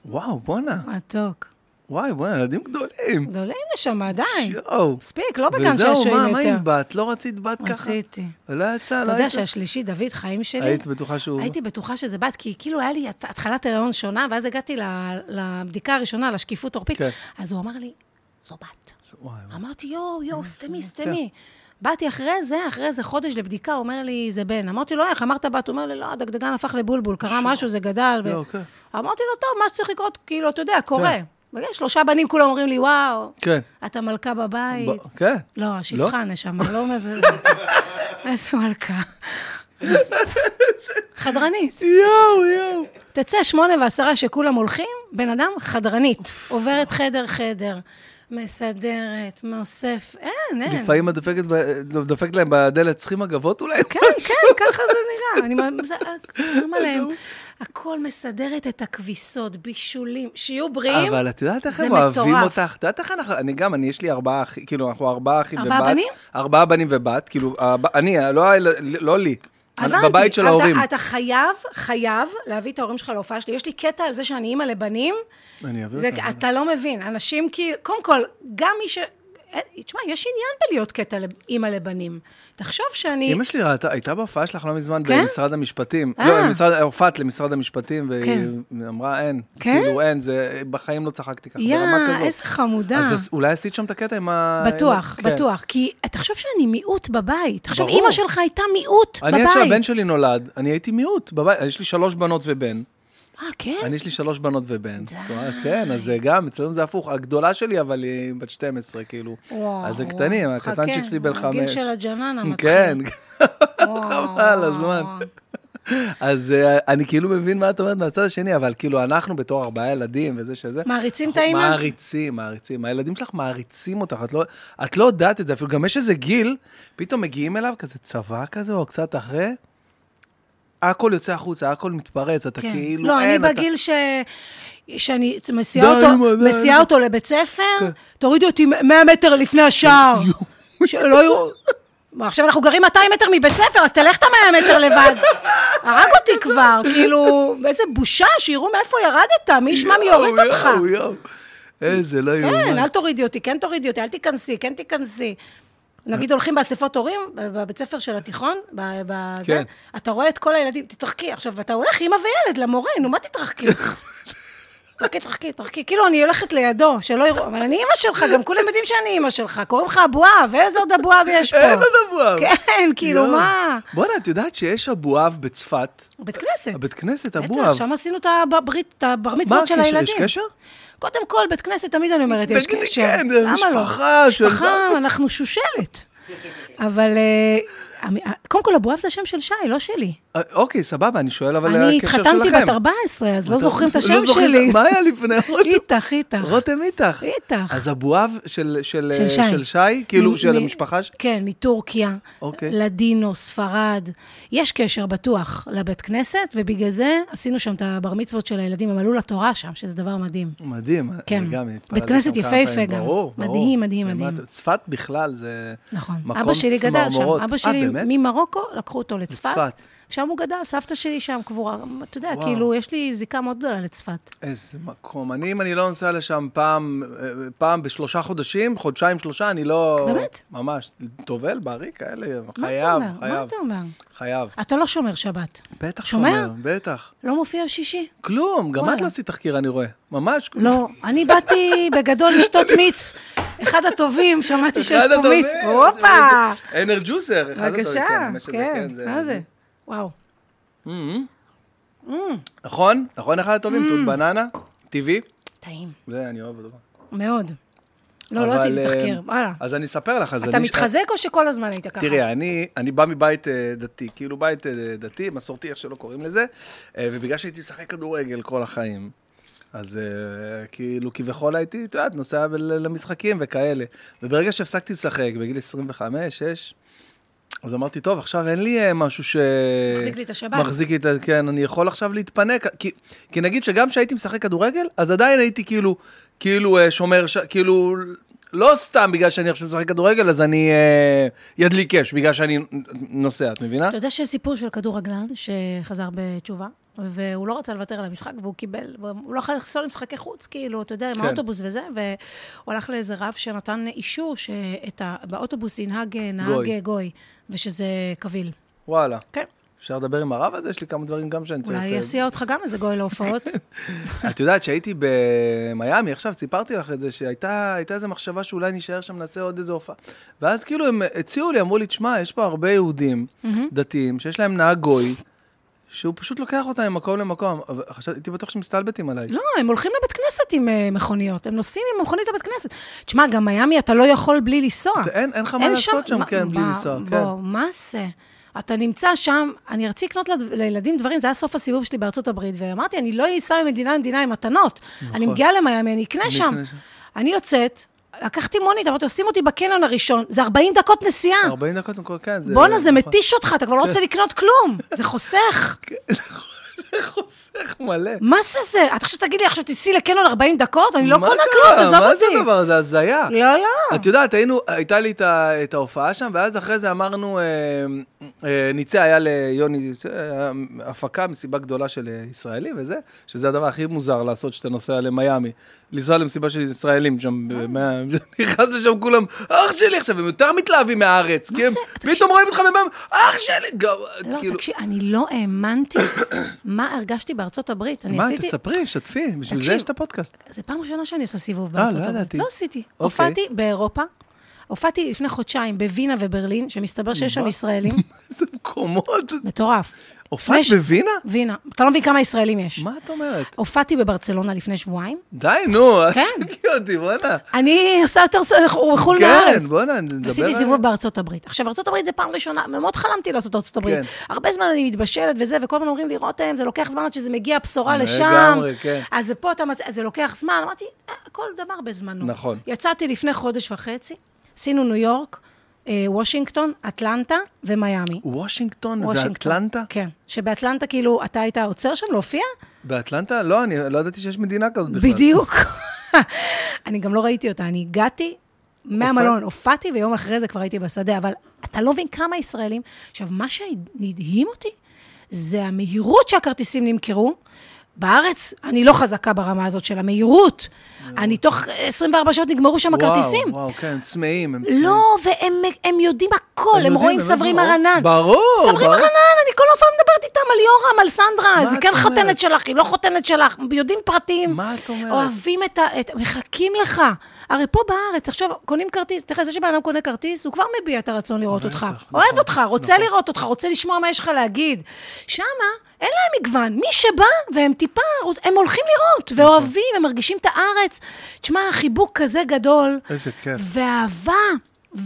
Speaker 2: וואו, בואנה.
Speaker 1: מתוק.
Speaker 2: וואי, בואנה, ילדים גדולים.
Speaker 1: גדולים נשמה, די.
Speaker 2: יואו.
Speaker 1: מספיק, לא בכאן
Speaker 2: וזהו,
Speaker 1: שעשועים
Speaker 2: מה, מה עם
Speaker 1: יותר.
Speaker 2: בת? לא רצית בת ככה?
Speaker 1: רציתי.
Speaker 2: לא יצא,
Speaker 1: אתה
Speaker 2: לא
Speaker 1: יודע
Speaker 2: היית.
Speaker 1: שהשלישי, דוד, חיים שלי,
Speaker 2: היית בטוחה שהוא...
Speaker 1: הייתי בטוחה שזה בת, כי כאילו היה לי הת- התחלת הריון שונה, ואז הגעתי ל- לבדיקה הראשונה, לשקיפות עורפית,
Speaker 2: כן.
Speaker 1: אז הוא אמר לי, זו בת.
Speaker 2: וואי,
Speaker 1: אמרתי, יואו,
Speaker 2: אה,
Speaker 1: יואו, סתמי,
Speaker 2: כן.
Speaker 1: סתמי. באתי אחרי זה, אחרי איזה חודש לבדיקה, הוא אומר לי, זה בן. אמרתי לו, איך אמרת בת? הוא אומר לי, לא, הדגדגן הפך לבולבול, קרה משהו, זה גדל. ו-
Speaker 2: לא, כן.
Speaker 1: אמרתי לו, טוב, מה שצריך לקרות, כאילו, אתה יודע, קורה.
Speaker 2: כן.
Speaker 1: מגיע שלושה בנים, כולם אומרים לי, וואו,
Speaker 2: כן.
Speaker 1: אתה מלכה בבית.
Speaker 2: ב- כן.
Speaker 1: לא, השפחה נשמה, לא אומר זה... איזה מלכה. חדרנית.
Speaker 2: יואו, יואו.
Speaker 1: תצא שמונה ועשרה שכולם הולכים, בן אדם חדרנית, עוברת חדר-חדר. מסדרת, מאוסף, אין, אין.
Speaker 2: לפעמים את דופקת ב- דופקת להם בדלת, צריכים אגבות אולי?
Speaker 1: כן.
Speaker 2: לא
Speaker 1: כן, כן, ככה זה נראה. אני מה- זה- שמה להם. הכל מסדרת את הכביסות, בישולים, שיהיו בריאים.
Speaker 2: אבל את יודעת איך
Speaker 1: זה
Speaker 2: הם אוהבים
Speaker 1: מטורף.
Speaker 2: אותך? את יודעת איך אנחנו, אני גם, אני, יש לי ארבעה אחים, כאילו, אנחנו ארבעה אחים ובת.
Speaker 1: ארבעה בנים?
Speaker 2: ארבעה בנים ובת, כאילו, הב- אני, לא הילד- לא לי.
Speaker 1: הבנתי,
Speaker 2: בבית של
Speaker 1: אתה-
Speaker 2: ההורים.
Speaker 1: אתה חייב, חייב להביא את ההורים שלך להופעה שלי. יש לי קטע על זה שאני אימא לבנים.
Speaker 2: אני אביא
Speaker 1: זה,
Speaker 2: אותם.
Speaker 1: אתה לא מבין. אנשים כאילו, קודם כל, גם מי ש... אה, תשמע, יש עניין בלהיות קטע לב- אימא לבנים. תחשוב שאני...
Speaker 2: אמא שלי ראתה, הייתה בהופעה שלך לא מזמן
Speaker 1: כן?
Speaker 2: במשרד המשפטים.
Speaker 1: אה.
Speaker 2: לא, משרד- הופעת למשרד המשפטים, והיא
Speaker 1: כן.
Speaker 2: אמרה, אין.
Speaker 1: כן?
Speaker 2: כאילו, אין, זה, בחיים לא צחקתי ככה,
Speaker 1: יא,
Speaker 2: ברמה כזאת.
Speaker 1: איזה חמודה.
Speaker 2: אז אולי עשית שם את הקטע עם ה... עם ה-
Speaker 1: בטוח,
Speaker 2: כן.
Speaker 1: בטוח. כי תחשוב שאני מיעוט בבית. תחשוב,
Speaker 2: ברור.
Speaker 1: אימא שלך הייתה מיעוט בבית.
Speaker 2: אני, עד שהבן שלי נולד, אני הייתי מיעוט בבית, יש לי שלוש בנות ובן.
Speaker 1: אה, כן?
Speaker 2: אני, יש לי שלוש בנות ובן. זאת אומרת, כן, אז זה גם, אצלנו זה הפוך. הגדולה שלי, אבל היא בת 12, כאילו.
Speaker 1: וואו,
Speaker 2: אז זה קטנים,
Speaker 1: וואו.
Speaker 2: הקטנצ'יק
Speaker 1: חכה,
Speaker 2: שלי בן חמש.
Speaker 1: הגיל של הג'ננה מתחיל.
Speaker 2: כן,
Speaker 1: וואו,
Speaker 2: חבל,
Speaker 1: וואו,
Speaker 2: הזמן.
Speaker 1: וואו.
Speaker 2: אז אה, אני כאילו מבין מה את אומרת מהצד השני, אבל כאילו, אנחנו בתור ארבעה ילדים וזה שזה...
Speaker 1: מעריצים את
Speaker 2: אנחנו
Speaker 1: האמא?
Speaker 2: מעריצים, מעריצים. הילדים שלך מעריצים אותך, את לא- את לא יודעת את זה. אפילו גם יש איזה גיל, פתאום מגיעים אליו כזה צבא כזה, או קצת אחרי, הכל יוצא החוצה, הכל מתפרץ, אתה
Speaker 1: כן.
Speaker 2: כאילו
Speaker 1: לא, אני
Speaker 2: אין, אתה-
Speaker 1: בגיל ש... שאני מסיעה
Speaker 2: די, כן.
Speaker 1: אותו,
Speaker 2: אמא, די,
Speaker 1: מסיעה
Speaker 2: אמא.
Speaker 1: אותו לבית ספר, תורידי אותי 100 מטר לפני השער. שלא יהיו... מה, עכשיו אנחנו גרים 200 מטר מבית ספר, אז תלך את ה-100 מטר לבד. הרג אותי כבר, כאילו, איזה בושה, שיראו מאיפה ירדת, מי ישמע מי יוריד
Speaker 2: יואו,
Speaker 1: אותך.
Speaker 2: יואו, יואו. איזה לא יאומן.
Speaker 1: כן, אל תורידי אותי, כן תורידי אותי, אל תיכנסי, כן תיכנסי.
Speaker 2: אה.
Speaker 1: נגיד הולכים באספות הורים, בבית ספר של התיכון, ב-
Speaker 2: כן.
Speaker 1: בזה, אתה רואה את כל הילדים, תתרחקי. עכשיו, אתה הולך אימא וילד למורה, נו, מה תתרחקי? תרחקי, תרחקי, תרחקי. כאילו, אני הולכת לידו, שלא יראו, אבל אני אימא שלך, גם כולם יודעים שאני אימא שלך. קוראים לך אבואב, איזה עוד אבואב יש פה?
Speaker 2: אין עוד אבואב.
Speaker 1: כן, כאילו,
Speaker 2: יואו.
Speaker 1: מה?
Speaker 2: בואנה, את יודעת שיש אבואב בצפת?
Speaker 1: בית כנסת.
Speaker 2: הבית כנסת,
Speaker 1: כן. בטח,
Speaker 2: אבואב.
Speaker 1: שם עשינו את הברית, את הבר מצוות של
Speaker 2: הקשר?
Speaker 1: הילדים.
Speaker 2: יש קשר?
Speaker 1: קודם כל, בית כנסת, תמיד אני אומרת, יש
Speaker 2: תגידי
Speaker 1: קשר.
Speaker 2: כן,
Speaker 1: למה לא?
Speaker 2: משפחה של-
Speaker 1: משפחה, אנחנו שושלת. אבל אה, המ- קודם כל, אבואב זה השם של שי, לא שלי.
Speaker 2: אה, אוקיי, סבבה, אני שואל, אבל
Speaker 1: אני
Speaker 2: הקשר שלכם.
Speaker 1: התחתנתי בת 14, אז לא
Speaker 2: אתה-
Speaker 1: זוכרים את השם
Speaker 2: לא זוכרים-
Speaker 1: שלי.
Speaker 2: מה היה לפני? רותם-
Speaker 1: איתך, איתך.
Speaker 2: רותם איתך.
Speaker 1: איתך.
Speaker 2: אז אבואב של של-
Speaker 1: של שי.
Speaker 2: של שי? כאילו,
Speaker 1: מ-
Speaker 2: של
Speaker 1: מ-
Speaker 2: המשפחה? ש-
Speaker 1: כן, מטורקיה,
Speaker 2: אוקיי.
Speaker 1: לדינו, ספרד. יש קשר בטוח לבית כנסת, ובגלל זה עשינו שם את הבר מצוות של הילדים, הם עלו לתורה שם, שזה דבר מדהים.
Speaker 2: מדהים, אני
Speaker 1: כן.
Speaker 2: גם התפללתי
Speaker 1: בית כנסת
Speaker 2: שם כמה
Speaker 1: יפהפה
Speaker 2: פעמים.
Speaker 1: גם.
Speaker 2: ברור, ברור.
Speaker 1: מדהים, מדהים,
Speaker 2: ומה,
Speaker 1: מדהים.
Speaker 2: צפת בכלל זה
Speaker 1: נכון.
Speaker 2: מקום
Speaker 1: אבא שלי גדל שם,
Speaker 2: צמרמורות.
Speaker 1: אבא
Speaker 2: אה,
Speaker 1: שלי
Speaker 2: באמת?
Speaker 1: ממרוקו, לקחו אותו לצפת.
Speaker 2: לצפת.
Speaker 1: שם הוא גדל, סבתא שלי שם קבורה. אתה יודע,
Speaker 2: וואו.
Speaker 1: כאילו, יש לי זיקה מאוד גדולה לצפת.
Speaker 2: איזה מקום. אני, אם אני לא נוסע לשם פעם, אה, פעם בשלושה חודשים, חודשיים, שלושה, אני לא...
Speaker 1: באמת?
Speaker 2: ממש. טובל, בריא, כאלה, חייב,
Speaker 1: מה אתה
Speaker 2: חייב.
Speaker 1: אומר? מה אתה אומר?
Speaker 2: חייב.
Speaker 1: אתה לא שומר שבת.
Speaker 2: בטח
Speaker 1: שומר?
Speaker 2: שומר, בטח.
Speaker 1: לא מופיע בשישי?
Speaker 2: כלום, גם את
Speaker 1: וואלה.
Speaker 2: לא עשית תחקיר, אני רואה. ממש.
Speaker 1: לא, אני באתי בגדול לשתות מיץ. אחד הטובים, שמעתי שיש
Speaker 2: אחד
Speaker 1: פה
Speaker 2: הטובים,
Speaker 1: מיץ. הופה!
Speaker 2: אנרג'וסר. אחד הטובים,
Speaker 1: בבקשה,
Speaker 2: יש את זה,
Speaker 1: כן,
Speaker 2: זה-
Speaker 1: מה זה? וואו.
Speaker 2: נכון? נכון, אחד
Speaker 1: Mm.
Speaker 2: הטובים, תות בננה, טבעי.
Speaker 1: טעים,
Speaker 2: זה, אני אוהב אותו.
Speaker 1: מאוד. לא, לא
Speaker 2: אבל,
Speaker 1: עשיתי
Speaker 2: אה,
Speaker 1: תחקיר, וואלה.
Speaker 2: אז אני אספר לך. אז
Speaker 1: אתה
Speaker 2: אני-
Speaker 1: מתחזק או שכל הזמן היית ככה?
Speaker 2: תראי, אני, אני בא מבית אה, דתי, כאילו בית אה, דתי, מסורתי, איך שלא קוראים לזה, אה, ובגלל שהייתי משחק כדורגל כל החיים, אז אה, כאילו כביכול הייתי, את יודעת, נוסע ב- ל- למשחקים וכאלה. וברגע שהפסקתי לשחק, בגיל 25, 6, אז אמרתי, טוב, עכשיו אין לי אה, משהו ש...
Speaker 1: מחזיק לי את השבת."
Speaker 2: מחזיק לי את ה... כן, אני יכול עכשיו להתפנק. כי, כי נגיד שגם כשהייתי משחק כדורגל, אז עדיין הייתי כאילו, כאילו אה, שומר, ש... כאילו, לא סתם בגלל שאני עכשיו משחק כדורגל, אז אני אה, ידליק אש, בגלל שאני נוסע, את מבינה?
Speaker 1: אתה יודע שיש סיפור של כדורגלן שחזר בתשובה, והוא לא רצה לוותר על המשחק, והוא קיבל, הוא לא יכול לחסול למשחקי חוץ, כאילו, אתה יודע, עם
Speaker 2: כן.
Speaker 1: האוטובוס וזה, והוא הלך לאיזה רב שנתן אישור שבאוטובוס ינהג אה, נהג
Speaker 2: גוי.
Speaker 1: אה, גוי, ושזה קביל.
Speaker 2: וואלה.
Speaker 1: כן.
Speaker 2: אפשר לדבר עם הרב הזה? יש לי כמה דברים גם שאני צריך...
Speaker 1: אולי
Speaker 2: אה,
Speaker 1: יסיע אותך גם איזה גוי להופעות.
Speaker 2: את יודעת שהייתי במיאמי, עכשיו סיפרתי לך את זה, שהייתה הייתה איזו מחשבה שאולי נשאר שם, נעשה עוד איזו הופעה. ואז כאילו הם הציעו לי, אמרו לי, תשמע, יש פה הרבה יהודים דתיים, שיש להם נהג גוי, שהוא פשוט לוקח אותם ממקום למקום. אבל חשבתי, הייתי בטוח שמסתלבטים עליי.
Speaker 1: לא, הם הולכים לבית כנסת עם אה, מכוניות, הם נוסעים עם מכונית לבית כנסת. תשמע, גם מיאמי אתה לא יכול בלי לנסוע.
Speaker 2: אתה- אין- אין לך מה לעשות שם, כן, בלי
Speaker 1: מה-
Speaker 2: לנסוע,
Speaker 1: בוא,
Speaker 2: כן.
Speaker 1: מה זה? אתה נמצא שם, אני רציתי לקנות לד- לילדים דברים, זה היה סוף הסיבוב שלי בארצות הברית, ואמרתי, אני לא אסע ממדינה למדינה עם מתנות. אני מגיעה למיאמי, אני אקנה שם.
Speaker 2: נכון. אקנה שם.
Speaker 1: אני יוצאת, לקחתי מונית, אמרתי לו, שים אותי בקניון הראשון, זה 40 דקות נסיעה.
Speaker 2: 40 דקות מכל כן. זה-
Speaker 1: בואנה, זה
Speaker 2: נכון.
Speaker 1: מתיש אותך, אתה כבר לא רוצה לקנות כלום, זה חוסך.
Speaker 2: חוסך מלא.
Speaker 1: מה זה זה? אתה עכשיו תגיד לי, עכשיו תיסעי לקניון 40 דקות? אני לא
Speaker 2: מה
Speaker 1: קונה
Speaker 2: קרה?
Speaker 1: כלום, תעזוב
Speaker 2: מה זה
Speaker 1: אותי.
Speaker 2: הדבר הזה? הזיה.
Speaker 1: לא, לא.
Speaker 2: את יודעת, היינו, הייתה לי את, ה, את ההופעה שם, ואז אחרי זה אמרנו, אה, אה, ניצה היה ליוני, אה, הפקה מסיבה גדולה של אה, ישראלי וזה, שזה הדבר הכי מוזר לעשות כשאתה נוסע למיאמי. לנסוע למסיבה של ישראלים שם,
Speaker 1: אה.
Speaker 2: במאה- נכנס לשם כולם, אח שלי עכשיו, הם יותר מתלהבים מהארץ, כי הם
Speaker 1: זה? תקשיב.
Speaker 2: פתאום רואים אותך מבם, אח שלי, גם,
Speaker 1: לא,
Speaker 2: כאילו,
Speaker 1: תקשיב, אני לא האמנתי מה הרגשתי בארצות הברית. אני
Speaker 2: מה,
Speaker 1: עשיתי...
Speaker 2: תספרי, שתפי, בשביל זה
Speaker 1: תקשיב.
Speaker 2: יש את הפודקאסט.
Speaker 1: זה פעם ראשונה שאני עושה סיבוב
Speaker 2: אה,
Speaker 1: בארצות
Speaker 2: לא
Speaker 1: הברית.
Speaker 2: ידעתי.
Speaker 1: לא עשיתי.
Speaker 2: אוקיי.
Speaker 1: הופעתי באירופה, הופעתי לפני חודשיים בווינה וברלין, שמסתבר שיש שם ישראלים.
Speaker 2: איזה מקומות.
Speaker 1: מטורף.
Speaker 2: הופעת
Speaker 1: יש-
Speaker 2: בווינה?
Speaker 1: וינה. אתה לא מבין כמה ישראלים יש.
Speaker 2: מה את אומרת?
Speaker 1: הופעתי בברצלונה לפני שבועיים.
Speaker 2: די, נו, אל
Speaker 1: כן.
Speaker 2: תגידי אותי, בואנה.
Speaker 1: אני עושה יותר ס- חו"ל
Speaker 2: כן,
Speaker 1: מארץ.
Speaker 2: בוא'נה, נדבר
Speaker 1: עשיתי
Speaker 2: על-
Speaker 1: סיבוב בארצות הברית. עכשיו, ארצות הברית זה פעם ראשונה, מאוד חלמתי לעשות ארצות הברית.
Speaker 2: כן.
Speaker 1: הרבה זמן אני מתבשלת וזה, וכל הזמן אומרים לי, רותם, זה לוקח זמן עד שזה מגיע הבשורה
Speaker 2: לגמרי,
Speaker 1: לשם.
Speaker 2: כן.
Speaker 1: אז זה פה אתה מצ... אז זה לוקח זמן. אמרתי, "אה, כל דבר בזמנו.
Speaker 2: נכון.
Speaker 1: יצאתי לפני חודש וחצי, עשינו ניו יורק, אה, וושינגטון, אטלנטה ומיאמי.
Speaker 2: וושינגטון
Speaker 1: וושינגטון.
Speaker 2: ואטלנטה?
Speaker 1: כן. שבאטלנטה, כאילו, אתה היית עוצר שם להופיע?
Speaker 2: באטלנטה? לא, אני לא ידעתי שיש מדינה כזאת בכלל.
Speaker 1: בדיוק. אני גם לא ראיתי אותה, אני הגעתי מהמלון, הופעתי, ויום אחרי זה כבר הייתי בשדה, אבל אתה לא מבין כמה ישראלים... עכשיו, מה שהדהים אותי, זה המהירות שהכרטיסים נמכרו. בארץ אני לא חזקה ברמה הזאת של המהירות. אני תוך 24 שעות נגמרו שם הכרטיסים.
Speaker 2: וואו, וואו, כן, הם צמאים, הם צמאים.
Speaker 1: לא, והם הם יודעים הכל,
Speaker 2: יודעים,
Speaker 1: הם רואים
Speaker 2: הם
Speaker 1: סברים
Speaker 2: יודעים,
Speaker 1: ארנן.
Speaker 2: ברור,
Speaker 1: סברים
Speaker 2: ברור.
Speaker 1: ארנן, אני כל פעם מדברת איתם על יורם, על סנדרה, אז
Speaker 2: את
Speaker 1: היא כן
Speaker 2: אומרת?
Speaker 1: חותנת שלך, היא לא חותנת שלך, יודעים פרטים.
Speaker 2: מה את אומרת?
Speaker 1: אוהבים את ה... את- מחכים לך. הרי פה בארץ, עכשיו, קונים כרטיס, תראה, זה שבן אדם קונה כרטיס, הוא כבר מביע את הרצון לראות אותך.
Speaker 2: נכון.
Speaker 1: אוהב אותך, רוצה לראות אותך, רוצה לשמוע מה יש לך להגיד. שמה, אין להם מגוון. מי שבא, והם טיפה, הם הולכים לראות,
Speaker 2: נכון.
Speaker 1: ואוהבים, הם מרגישים את הארץ. תשמע, חיבוק כזה גדול.
Speaker 2: איזה כיף.
Speaker 1: ואהבה,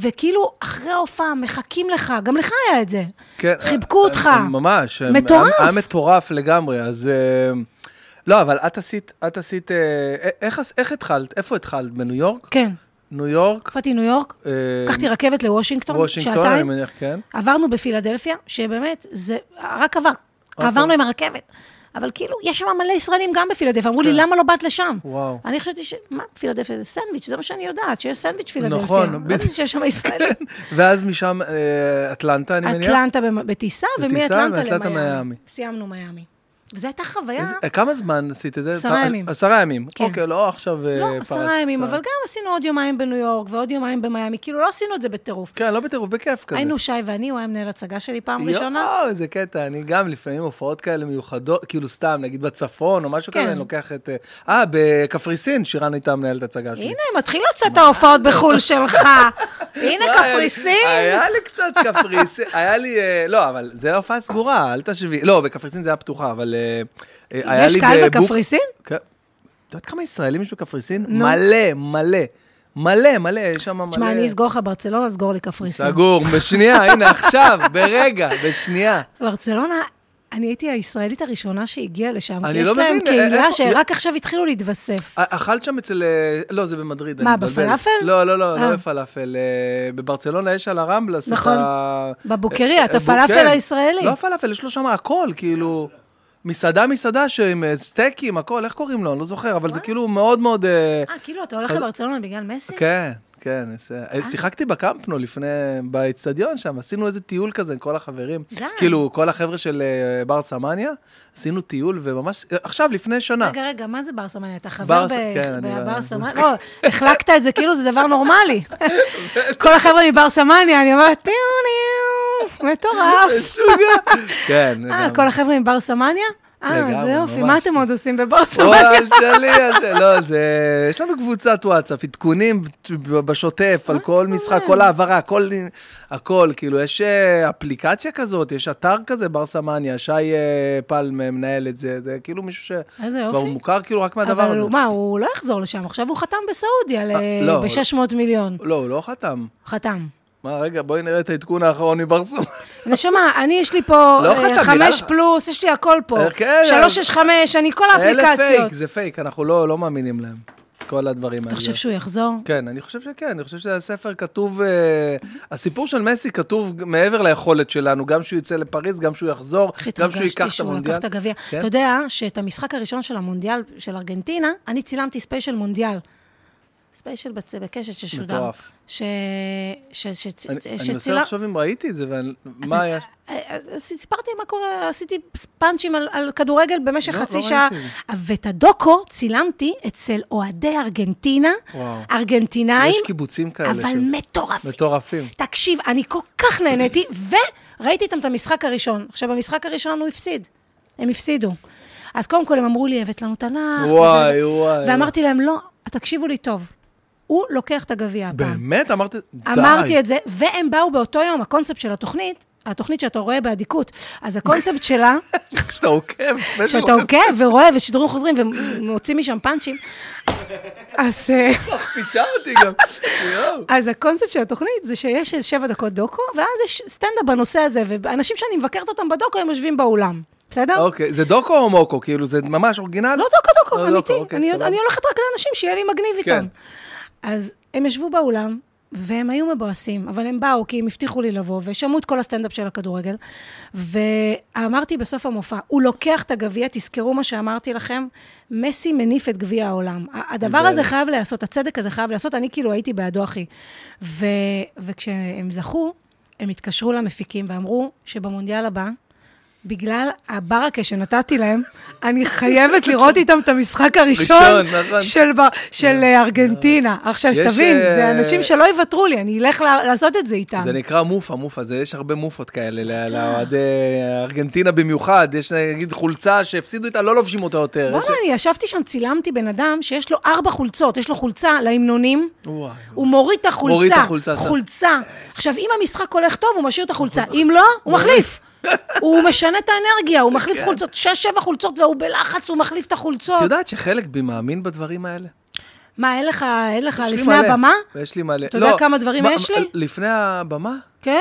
Speaker 1: וכאילו, אחרי ההופעה מחכים לך, גם לך היה את זה.
Speaker 2: כן,
Speaker 1: חיבקו אותך.
Speaker 2: ממש. הם-
Speaker 1: מטורף.
Speaker 2: היה- היה מטורף לגמרי, אז... אה, לא, אבל את עשית, את עשית... אה, א- איך עש- איך התחלת? איפה התחלת? בניו יורק?
Speaker 1: כן,
Speaker 2: ניו יורק?
Speaker 1: תקופתי ניו יורק,
Speaker 2: אה,
Speaker 1: לקחתי רכבת לוושינגטון,
Speaker 2: וושינגטון, אני
Speaker 1: שעתיים,
Speaker 2: מניח, כן.
Speaker 1: עברנו בפילדלפיה, שבאמת, זה רק עבר,
Speaker 2: אוקיי.
Speaker 1: עברנו עם הרכבת. אבל כאילו, יש שם מלא ישראלים גם בפילדלפיה, אמרו לי, למה לא באת לשם?
Speaker 2: כן. וואו.
Speaker 1: אני חשבתי ש... מה, פילדלפיה זה סנדוויץ', זה מה שאני יודעת, שיש סנדוויץ' פילדלפיה.
Speaker 2: נכון,
Speaker 1: לא
Speaker 2: בדיוק.
Speaker 1: ידעתי שיש שם ישראלים.
Speaker 2: ואז משם אה, אטלנטה, אני מניח.
Speaker 1: אטלנטה במ- בטיסה,
Speaker 2: בטיסה,
Speaker 1: ומאטלנטה
Speaker 2: מאטלנטה
Speaker 1: למיאמי.
Speaker 2: למיאמי.
Speaker 1: סיימנו מיאמי. וזו הייתה חוויה...
Speaker 2: איזה- אה, כמה זמן עשית את זה?
Speaker 1: עשרה
Speaker 2: פעם-
Speaker 1: ימים.
Speaker 2: עשרה ימים.
Speaker 1: כן.
Speaker 2: אוקיי, לא עכשיו אה,
Speaker 1: לא,
Speaker 2: פרצת.
Speaker 1: עשרה ימים, אבל גם עשינו עוד יומיים בניו יורק ועוד יומיים במיאמי, כאילו לא עשינו את זה בטירוף.
Speaker 2: כן, לא בטירוף, בכיף כזה.
Speaker 1: היינו שי ואני, הוא היה מנהל הצגה שלי פעם ראשונה.
Speaker 2: יואו, איזה קטע, אני גם לפעמים הופעות כאלה מיוחדות, כאילו סתם, נגיד בצפון או משהו
Speaker 1: כן.
Speaker 2: כזה, אני לוקח את... אה, אה, בקפריסין, שירן הייתה מנהלת הצגה שלי.
Speaker 1: הנה, מתחיל לצאת ההופעות בחו"ל שלך. הנה
Speaker 2: וואי,
Speaker 1: קפריסין.
Speaker 2: היה לי קצת קפריסין, היה לי, אה, לא, אבל זה הופעה סגורה, אל תשבי. לא, בקפריסין זה היה פתוחה, אבל אה, אה, היה לי...
Speaker 1: יש קהל
Speaker 2: בבוק-
Speaker 1: בקפריסין?
Speaker 2: כן. את יודעת כמה ישראלים יש בקפריסין? מלא, מלא. מלא, מלא, יש שם מלא.
Speaker 1: תשמע, אני אסגור לך ברצלונה, סגור לי קפריסין.
Speaker 2: סגור, בשנייה, הנה עכשיו, ברגע, בשנייה.
Speaker 1: ברצלונה, אני הייתי הישראלית הראשונה שהגיעה לשם, כי
Speaker 2: אני
Speaker 1: יש
Speaker 2: לא
Speaker 1: להם
Speaker 2: מבין, אה,
Speaker 1: קהילה
Speaker 2: איפה-
Speaker 1: שרק עכשיו התחילו להתווסף.
Speaker 2: אכלת שם אצל... אה, לא, זה במדריד. אני
Speaker 1: מה,
Speaker 2: מבלבל.
Speaker 1: בפלאפל?
Speaker 2: לא, לא, לא,
Speaker 1: אה.
Speaker 2: לא בפלאפל. אה, בברצלונה יש על הרמבלס את
Speaker 1: נכון.
Speaker 2: ה...
Speaker 1: בבוקריה, את
Speaker 2: אה, אה, בו-
Speaker 1: הפלאפל
Speaker 2: כן.
Speaker 1: הישראלי.
Speaker 2: לא הפלאפל, יש לו שם הכל, כאילו... מסעדה, מסעדה שעם אה, סטייקים, הכל, איך קוראים לו? אני לא זוכר, אבל זה כאילו מאוד מאוד... אה,
Speaker 1: אה, כאילו, אתה הולך לברצלונה בגלל מסי?
Speaker 2: כן, כן. זה- אה, שיחקתי בקמפנו לפני, באצטדיון שם, עשינו איזה טיול כזה עם כל החברים.
Speaker 1: די.
Speaker 2: כאילו, כל החבר'ה של אה, בר סמניה, עשינו טיול, וממש... אה, עכשיו, לפני שנה.
Speaker 1: רגע, רגע, מה זה בר סמניה? אתה חבר
Speaker 2: בר-
Speaker 1: ב-
Speaker 2: כן, אני לא-
Speaker 1: בבר סמניה? לא, החלקת את זה כאילו זה דבר נורמלי. כל החבר'ה מבר סמניה, אני אומרת, טיו ניו, מטורף.
Speaker 2: משוגע. כן.
Speaker 1: אה,
Speaker 2: לגמרי.
Speaker 1: כל החבר'ה מבר סמניה? אה,
Speaker 2: לגמרי,
Speaker 1: זה יופי, מה
Speaker 2: ממש. לא,
Speaker 1: אתם עוד עושים בבר סמניה?
Speaker 2: וואי, אל תשאלי, אל תשאלי. לא, זה... יש לנו קבוצת וואטסאפ, עדכונים בשוטף, על כל משחק, כל העברה, כל... הכל, כאילו, יש אה, אפליקציה כזאת, יש אתר כזה, בר סמניה, שי אה, פלם אה, מנהל את זה, זה כאילו מישהו ש...
Speaker 1: איזה יופי.
Speaker 2: כבר הוא מוכר כאילו רק מהדבר
Speaker 1: אבל
Speaker 2: הזה.
Speaker 1: הוא- מה, הוא לא יחזור לשם, עכשיו הוא חתם בסעודיה
Speaker 2: אה, לא.
Speaker 1: ב-600 מיליון.
Speaker 2: לא, הוא לא חתם.
Speaker 1: חתם.
Speaker 2: מה, רגע, בואי נראה את העדכון האחרון מבר סמניה.
Speaker 1: נשמה, אני יש לי פה
Speaker 2: לא
Speaker 1: אה,
Speaker 2: חתם,
Speaker 1: חמש
Speaker 2: נראה-
Speaker 1: פלוס, יש לי הכל פה.
Speaker 2: אה, כן,
Speaker 1: שלוש, שש, חמש, אני כל
Speaker 2: אלה פייק,
Speaker 1: האפליקציות.
Speaker 2: זה פייק, אנחנו לא לא מאמינים להם. כל הדברים האלה.
Speaker 1: אתה חושב שהוא יחזור?
Speaker 2: כן, אני חושב שכן, אני חושב שהספר כתוב, אה, הסיפור של מסי כתוב מעבר ליכולת שלנו, גם שהוא יצא לפריז, גם שהוא יחזור,
Speaker 1: איך
Speaker 2: גם שהוא
Speaker 1: התרגשתי
Speaker 2: ייקח את
Speaker 1: שהוא לקח
Speaker 2: המונדיאל.
Speaker 1: את הגביע.
Speaker 2: כן?
Speaker 1: אתה יודע שאת המשחק הראשון של המונדיאל של ארגנטינה, אני צילמתי ספיישל מונדיאל. ספיישל בצ- בקשת ששודר.
Speaker 2: מטורף.
Speaker 1: ש... ש... ש...
Speaker 2: אני-
Speaker 1: ש...
Speaker 2: אני מנסה
Speaker 1: שצילמתי...
Speaker 2: לחשוב אם ראיתי את זה, ואני- מה היה?
Speaker 1: סיפרתי מה קורה, עשיתי פאנצ'ים על, על כדורגל במשך
Speaker 2: לא,
Speaker 1: חצי
Speaker 2: לא
Speaker 1: שעה.
Speaker 2: ראיתי
Speaker 1: ואת הדוקו צילמתי אצל אוהדי ארגנטינה,
Speaker 2: וואו.
Speaker 1: ארגנטינאים,
Speaker 2: יש קיבוצים כאלה
Speaker 1: אבל
Speaker 2: של-
Speaker 1: מטורפים.
Speaker 2: מטורפים.
Speaker 1: תקשיב, אני כל כך נהניתי, וראיתי איתם את המשחק הראשון. עכשיו, במשחק הראשון הוא הפסיד. הם הפסידו. אז קודם כל הם אמרו לי, הבאת לנו תנ"ך. זה,
Speaker 2: וואי,
Speaker 1: זה, זה.
Speaker 2: וואי,
Speaker 1: ואמרתי להם, לא, תקשיבו לי טוב, הוא לוקח את הגביע הפעם.
Speaker 2: באמת? אמרת, די.
Speaker 1: אמרתי את זה, והם באו באותו יום, הקונספט של התוכנית, התוכנית שאתה רואה באדיקות, אז הקונספט שלה,
Speaker 2: כשאתה עוקב, ספיישל
Speaker 1: שאתה עוקב ורואה ושידורים חוזרים ומוצאים משם פאנצ'ים, אז... אה,
Speaker 2: פישרתי גם. יואו.
Speaker 1: אז הקונספט של התוכנית זה שיש איזה שבע דקות דוקו, ואז יש סטנדאפ בנושא הזה, ואנשים שאני מבקרת אותם בדוקו, הם יושבים באולם. בסדר?
Speaker 2: אוקיי, זה דוקו או מוקו? כאילו, זה ממש אורגינל?
Speaker 1: לא דוקו
Speaker 2: לא
Speaker 1: דוקו,
Speaker 2: דוקו,
Speaker 1: אמיתי.
Speaker 2: אוקיי,
Speaker 1: אני
Speaker 2: סבבה.
Speaker 1: אני הולכת רק לאנשים שיהיה לי מגניב
Speaker 2: כן.
Speaker 1: איתם. אז הם ישבו באולם, והם היו מבואסים, אבל הם באו כי הם הבטיחו לי לבוא, ושמעו את כל הסטנדאפ של הכדורגל. ואמרתי בסוף המופע, הוא לוקח את הגביע, תזכרו מה שאמרתי לכם, מסי מניף את גביע העולם. ה- הדבר
Speaker 2: זה-
Speaker 1: הזה חייב להיעשות, הצדק הזה חייב להיעשות, אני כאילו הייתי בעדו, אחי. ו... וכשהם זכו, הם התקשרו למפיקים ואמרו שבמונדיאל הבא, בגלל הברקה שנתתי להם, אני חייבת לראות איתם את המשחק הראשון
Speaker 2: ראשון, נכון.
Speaker 1: של, ב- של אה, ארגנטינה. עכשיו,
Speaker 2: יש,
Speaker 1: שתבין, זה
Speaker 2: אה,
Speaker 1: אנשים שלא יוותרו לי, אני אלך לה- לעשות את זה איתם.
Speaker 2: זה נקרא מופה, מופה, זה יש הרבה מופות כאלה, ל- לאוהדי אה, ארגנטינה במיוחד, יש אה, נגיד חולצה שהפסידו איתה, לא לובשים אותה יותר.
Speaker 1: בוא'נה, אני ישבתי שם, צילמתי בן אדם שיש לו ארבע חולצות, יש לו חולצה להמנונים,
Speaker 2: וואי.
Speaker 1: הוא מוריד את החולצה.
Speaker 2: מוריד את החולצה, שם.
Speaker 1: חולצה. עכשיו, אם המשחק הולך טוב, הוא משאיר את החולצה. אם לא, הוא מחליף. הוא משנה את האנרגיה, הוא
Speaker 2: כן.
Speaker 1: מחליף חולצות, שש-שבע חולצות, והוא בלחץ, הוא מחליף את החולצות.
Speaker 2: את יודעת שחלק בי מאמין בדברים האלה?
Speaker 1: מה, אין לך, אין לך
Speaker 2: יש לי
Speaker 1: לפני
Speaker 2: מלא.
Speaker 1: הבמה?
Speaker 2: יש לי מלא.
Speaker 1: אתה יודע
Speaker 2: לא,
Speaker 1: כמה דברים
Speaker 2: מה-
Speaker 1: יש לי?
Speaker 2: לפני הבמה?
Speaker 1: כן?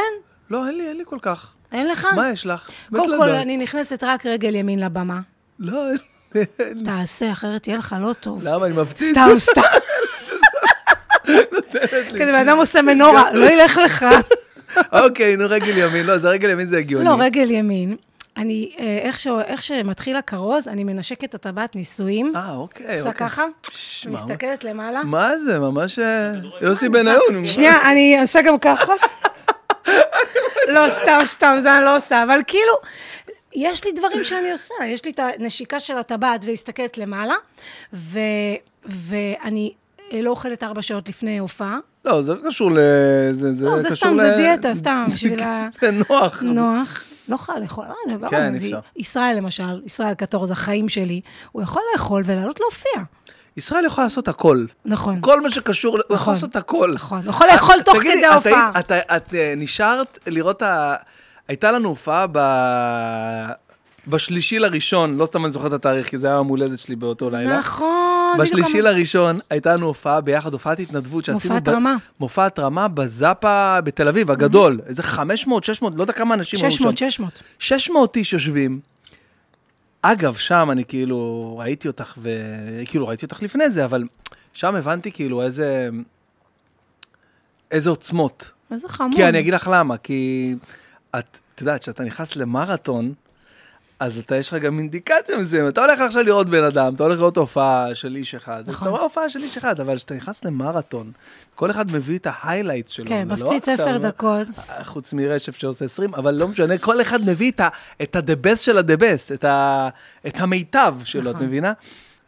Speaker 2: לא, אין לי, אין לי כל כך.
Speaker 1: אין לך?
Speaker 2: מה לא יש לך? מת
Speaker 1: אה. קודם כל,
Speaker 2: לדעת.
Speaker 1: אני נכנסת רק רגל ימין לבמה.
Speaker 2: לא, אין לי.
Speaker 1: תעשה, אחרת יהיה לך לא טוב.
Speaker 2: למה? אני מפציץ.
Speaker 1: סתם, סתם. כזה בן אדם עושה מנורה, לא ילך לך.
Speaker 2: אוקיי, נו, רגל ימין. לא, זה רגל ימין זה הגיוני.
Speaker 1: לא, רגל ימין. אני, אה, איך ש- איך שמתחיל הכרוז, אני מנשקת את הטבעת נישואים.
Speaker 2: אה, אוקיי.
Speaker 1: עושה
Speaker 2: אוקיי.
Speaker 1: ככה,
Speaker 2: פש, מה-
Speaker 1: מסתכלת למעלה.
Speaker 2: מה זה? ממש אה, יוסי בניון.
Speaker 1: שנייה, אני עושה גם ככה. לא, סתם, סתם, זה אני לא עושה, אבל כאילו, יש לי דברים שאני עושה, יש לי את הנשיקה של הטבעת והסתכלת למעלה, ו, ואני לא אוכלת ארבע שעות לפני הופעה.
Speaker 2: לא, זה לא קשור ל... זה, זה
Speaker 1: לא, זה
Speaker 2: קשור
Speaker 1: סתם,
Speaker 2: ל... כן,
Speaker 1: זה דיאטה, סתם, בשביל ה...
Speaker 2: זה נוח.
Speaker 1: נוח. לא יכול לאכול, אה, זה ברור,
Speaker 2: כן,
Speaker 1: זה-
Speaker 2: אפשר.
Speaker 1: ישראל למשל, ישראל קטורזה, החיים שלי, הוא יכול לאכול ולעלות להופיע.
Speaker 2: ישראל יכולה לעשות הכל.
Speaker 1: נכון.
Speaker 2: כל מה שקשור, הוא יכול לעשות הכל.
Speaker 1: נכון, יכול לאכול תוך
Speaker 2: תגידי,
Speaker 1: כדי
Speaker 2: את
Speaker 1: ההופעה.
Speaker 2: היית- את- את אה, נשארת לראות ה... הייתה לנו הופעה ב... בשלישי לראשון, לא סתם אני זוכר את התאריך, כי זה היה יום הולדת שלי באותו לילה.
Speaker 1: נכון, בדיוק
Speaker 2: בשלישי
Speaker 1: אמר-
Speaker 2: לראשון הייתה לנו הופעה ביחד, הופעת התנדבות שעשינו...
Speaker 1: מופעת
Speaker 2: ב-
Speaker 1: רמה.
Speaker 2: מופעת רמה בזאפה בתל אביב, הגדול. איזה 500, 600, לא יודע כמה אנשים היו שם.
Speaker 1: 600, 600.
Speaker 2: 600 איש יושבים. אגב, שם אני כאילו ראיתי אותך, וכאילו ראיתי אותך לפני זה, אבל שם הבנתי כאילו איזה, איזה עוצמות.
Speaker 1: איזה חמור.
Speaker 2: כי אני אגיד לך למה, כי את, את יודעת, כשאתה נכנס למרתון, אז אתה, יש לך גם אינדיקציה מסוימת. אתה הולך עכשיו לראות בן אדם, אתה הולך לראות הופעה של איש אחד, אז
Speaker 1: נכון.
Speaker 2: אתה רואה הופעה של איש אחד, אבל כשאתה נכנס למרתון, כל אחד מביא את ההיילייט שלו.
Speaker 1: כן,
Speaker 2: זה לא
Speaker 1: מפציץ
Speaker 2: עכשיו-
Speaker 1: עשר דקות.
Speaker 2: חוץ מרשף שעושה 20, אבל לא משנה, כל אחד מביא את ה- את ה-the best של ה-the best, את ה- את המיטב שלו, את
Speaker 1: נכון.
Speaker 2: מבינה?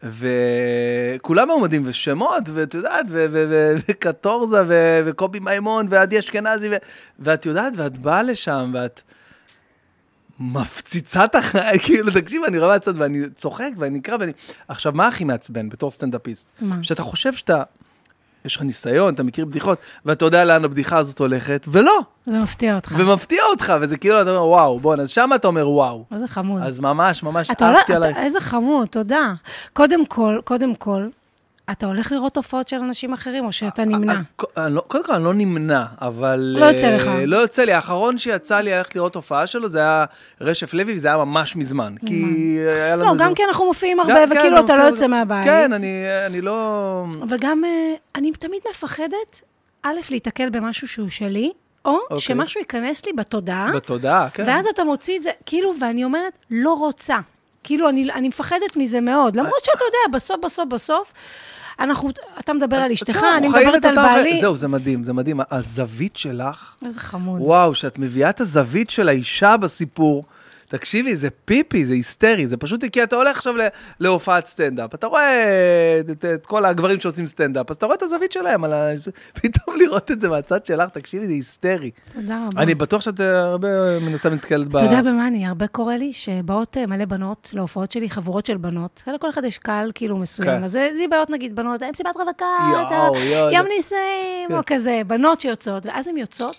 Speaker 2: וכולם מעומדים, ושמות, ואת יודעת, ו- ו- ו- וקטורזה, ו- וקובי מימון, ועדי אשכנזי, ו- ואת יודעת, ואת באה לשם, ואת מפציצה את החיים, כאילו, תקשיב, אני רואה מהצד, ואני צוחק, ואני נקרע, ואני... עכשיו, מה הכי מעצבן בתור סטנדאפיסט?
Speaker 1: מה?
Speaker 2: שאתה חושב שאתה... יש לך ניסיון, אתה מכיר בדיחות, ואתה יודע לאן הבדיחה הזאת הולכת, ולא.
Speaker 1: זה מפתיע אותך.
Speaker 2: ומפתיע אותך, וזה כאילו, אתה אומר, וואו, בוא'נה, אז שמה אתה אומר, וואו.
Speaker 1: איזה חמוד.
Speaker 2: אז ממש, ממש
Speaker 1: אתה לא-
Speaker 2: אהבתי
Speaker 1: אתה-
Speaker 2: עלייך.
Speaker 1: איזה חמוד, תודה. קודם כל, קודם כל, אתה הולך לראות תופעות של אנשים אחרים, או שאתה נמנע?
Speaker 2: אה, אה, לא- קודם כל, אני לא נמנע, אבל...
Speaker 1: לא יוצא לך.
Speaker 2: אה, לא יוצא לי. האחרון שיצא לי ללכת לראות הופעה שלו זה היה רשף לוי, וזה היה ממש מזמן. כי היה לנו...
Speaker 1: לא,
Speaker 2: איזה-
Speaker 1: גם כי אנחנו מופיעים
Speaker 2: גם-
Speaker 1: הרבה,
Speaker 2: כן,
Speaker 1: וכאילו אתה לא
Speaker 2: מופיע-
Speaker 1: יוצא מהבית.
Speaker 2: כן, אני אני לא...
Speaker 1: אבל גם, אה, אני תמיד מפחדת, א', להיתקל במשהו שהוא שלי, או
Speaker 2: אוקיי.
Speaker 1: שמשהו ייכנס לי בתודעה,
Speaker 2: בתודעה, כן.
Speaker 1: אה? ואז אתה מוציא את זה, כאילו, ואני אומרת, לא רוצה. כאילו, אני, אני מפחדת מזה מאוד. למרות שאתה יודע, בסוף, בסוף, בסוף, אנחנו, אתה מדבר על אשתך,
Speaker 2: כן,
Speaker 1: אני
Speaker 2: אנחנו חיים
Speaker 1: מדברת
Speaker 2: את
Speaker 1: על
Speaker 2: אותה חיי-
Speaker 1: בעלי.
Speaker 2: זהו, זה מדהים, זה מדהים. הזווית שלך,
Speaker 1: איזה חמוד.
Speaker 2: וואו, שאת מביאה את הזווית של האישה בסיפור. תקשיבי, זה פיפי, זה היסטרי, זה פשוט כי אתה הולך עכשיו ל- להופעת סטנדאפ, אתה רואה את, את, את כל הגברים שעושים סטנדאפ, אז אתה רואה את הזווית שלהם, על ה... זה- פתאום לראות את זה מהצד שלך, תקשיבי, זה היסטרי.
Speaker 1: תודה רבה.
Speaker 2: אני בטוח שאת אה, הרבה מן הסתם נתקלת ב...
Speaker 1: אתה יודע במה אני, הרבה קורה לי שבאות אה, מלא בנות להופעות שלי, חבורות של בנות, לכל אחד יש קהל כאילו מסוים,
Speaker 2: כן.
Speaker 1: אז זה זה בעיות נגיד בנות, "אה, מסיבת רווקה,
Speaker 2: יואו,
Speaker 1: אתה-
Speaker 2: יואו,
Speaker 1: יום
Speaker 2: זה-
Speaker 1: נישואים,
Speaker 2: כן.
Speaker 1: או כזה, בנות שיוצאות, ואז הן יוצאות,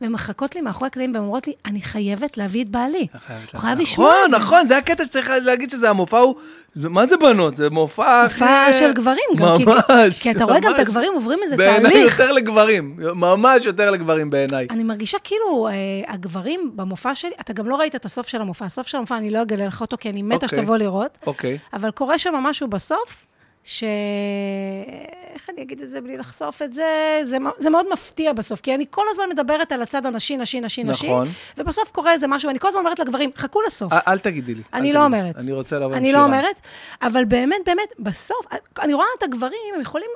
Speaker 1: והן מחכות לי מאחורי הקלעים, והן אומרות לי, אני חייבת להביא את בעלי. הוא חייב לשמוע את זה.
Speaker 2: נכון, נכון, זה הקטע שצריך להגיד שזה המופע הוא... זה- מה זה בנות? זה מופע...
Speaker 1: הופעה
Speaker 2: הכי-
Speaker 1: של גברים, גם כי-
Speaker 2: ממש,
Speaker 1: כי אתה רואה גם את
Speaker 2: ממש.
Speaker 1: הגברים עוברים איזה
Speaker 2: בעיניי
Speaker 1: תהליך.
Speaker 2: יותר לגברים, ממש יותר לגברים בעיניי.
Speaker 1: אני מרגישה כאילו אה, הגברים במופע שלי, אתה גם לא ראית את הסוף של המופע, הסוף של המופע, אני לא אגלה לך אותו, כי אני מתה
Speaker 2: אוקיי.
Speaker 1: שתבוא לראות.
Speaker 2: אוקיי.
Speaker 1: אבל קורה שם משהו בסוף, ש... איך אני אגיד את זה בלי לחשוף את זה? זה, מ- זה מאוד מפתיע בסוף, כי אני כל הזמן מדברת על הצד הנשי, נשי, נשי, נשי,
Speaker 2: נכון.
Speaker 1: ובסוף קורה איזה משהו, ואני כל הזמן אומרת לגברים, חכו לסוף.
Speaker 2: אל- אל תגידי לי. אל
Speaker 1: אני
Speaker 2: תגידי
Speaker 1: לא
Speaker 2: לי.
Speaker 1: אומרת.
Speaker 2: אני רוצה לעבור
Speaker 1: אני לא אומרת, אבל באמת, באמת, בסוף, אני רואה את הגברים, הם יכולים,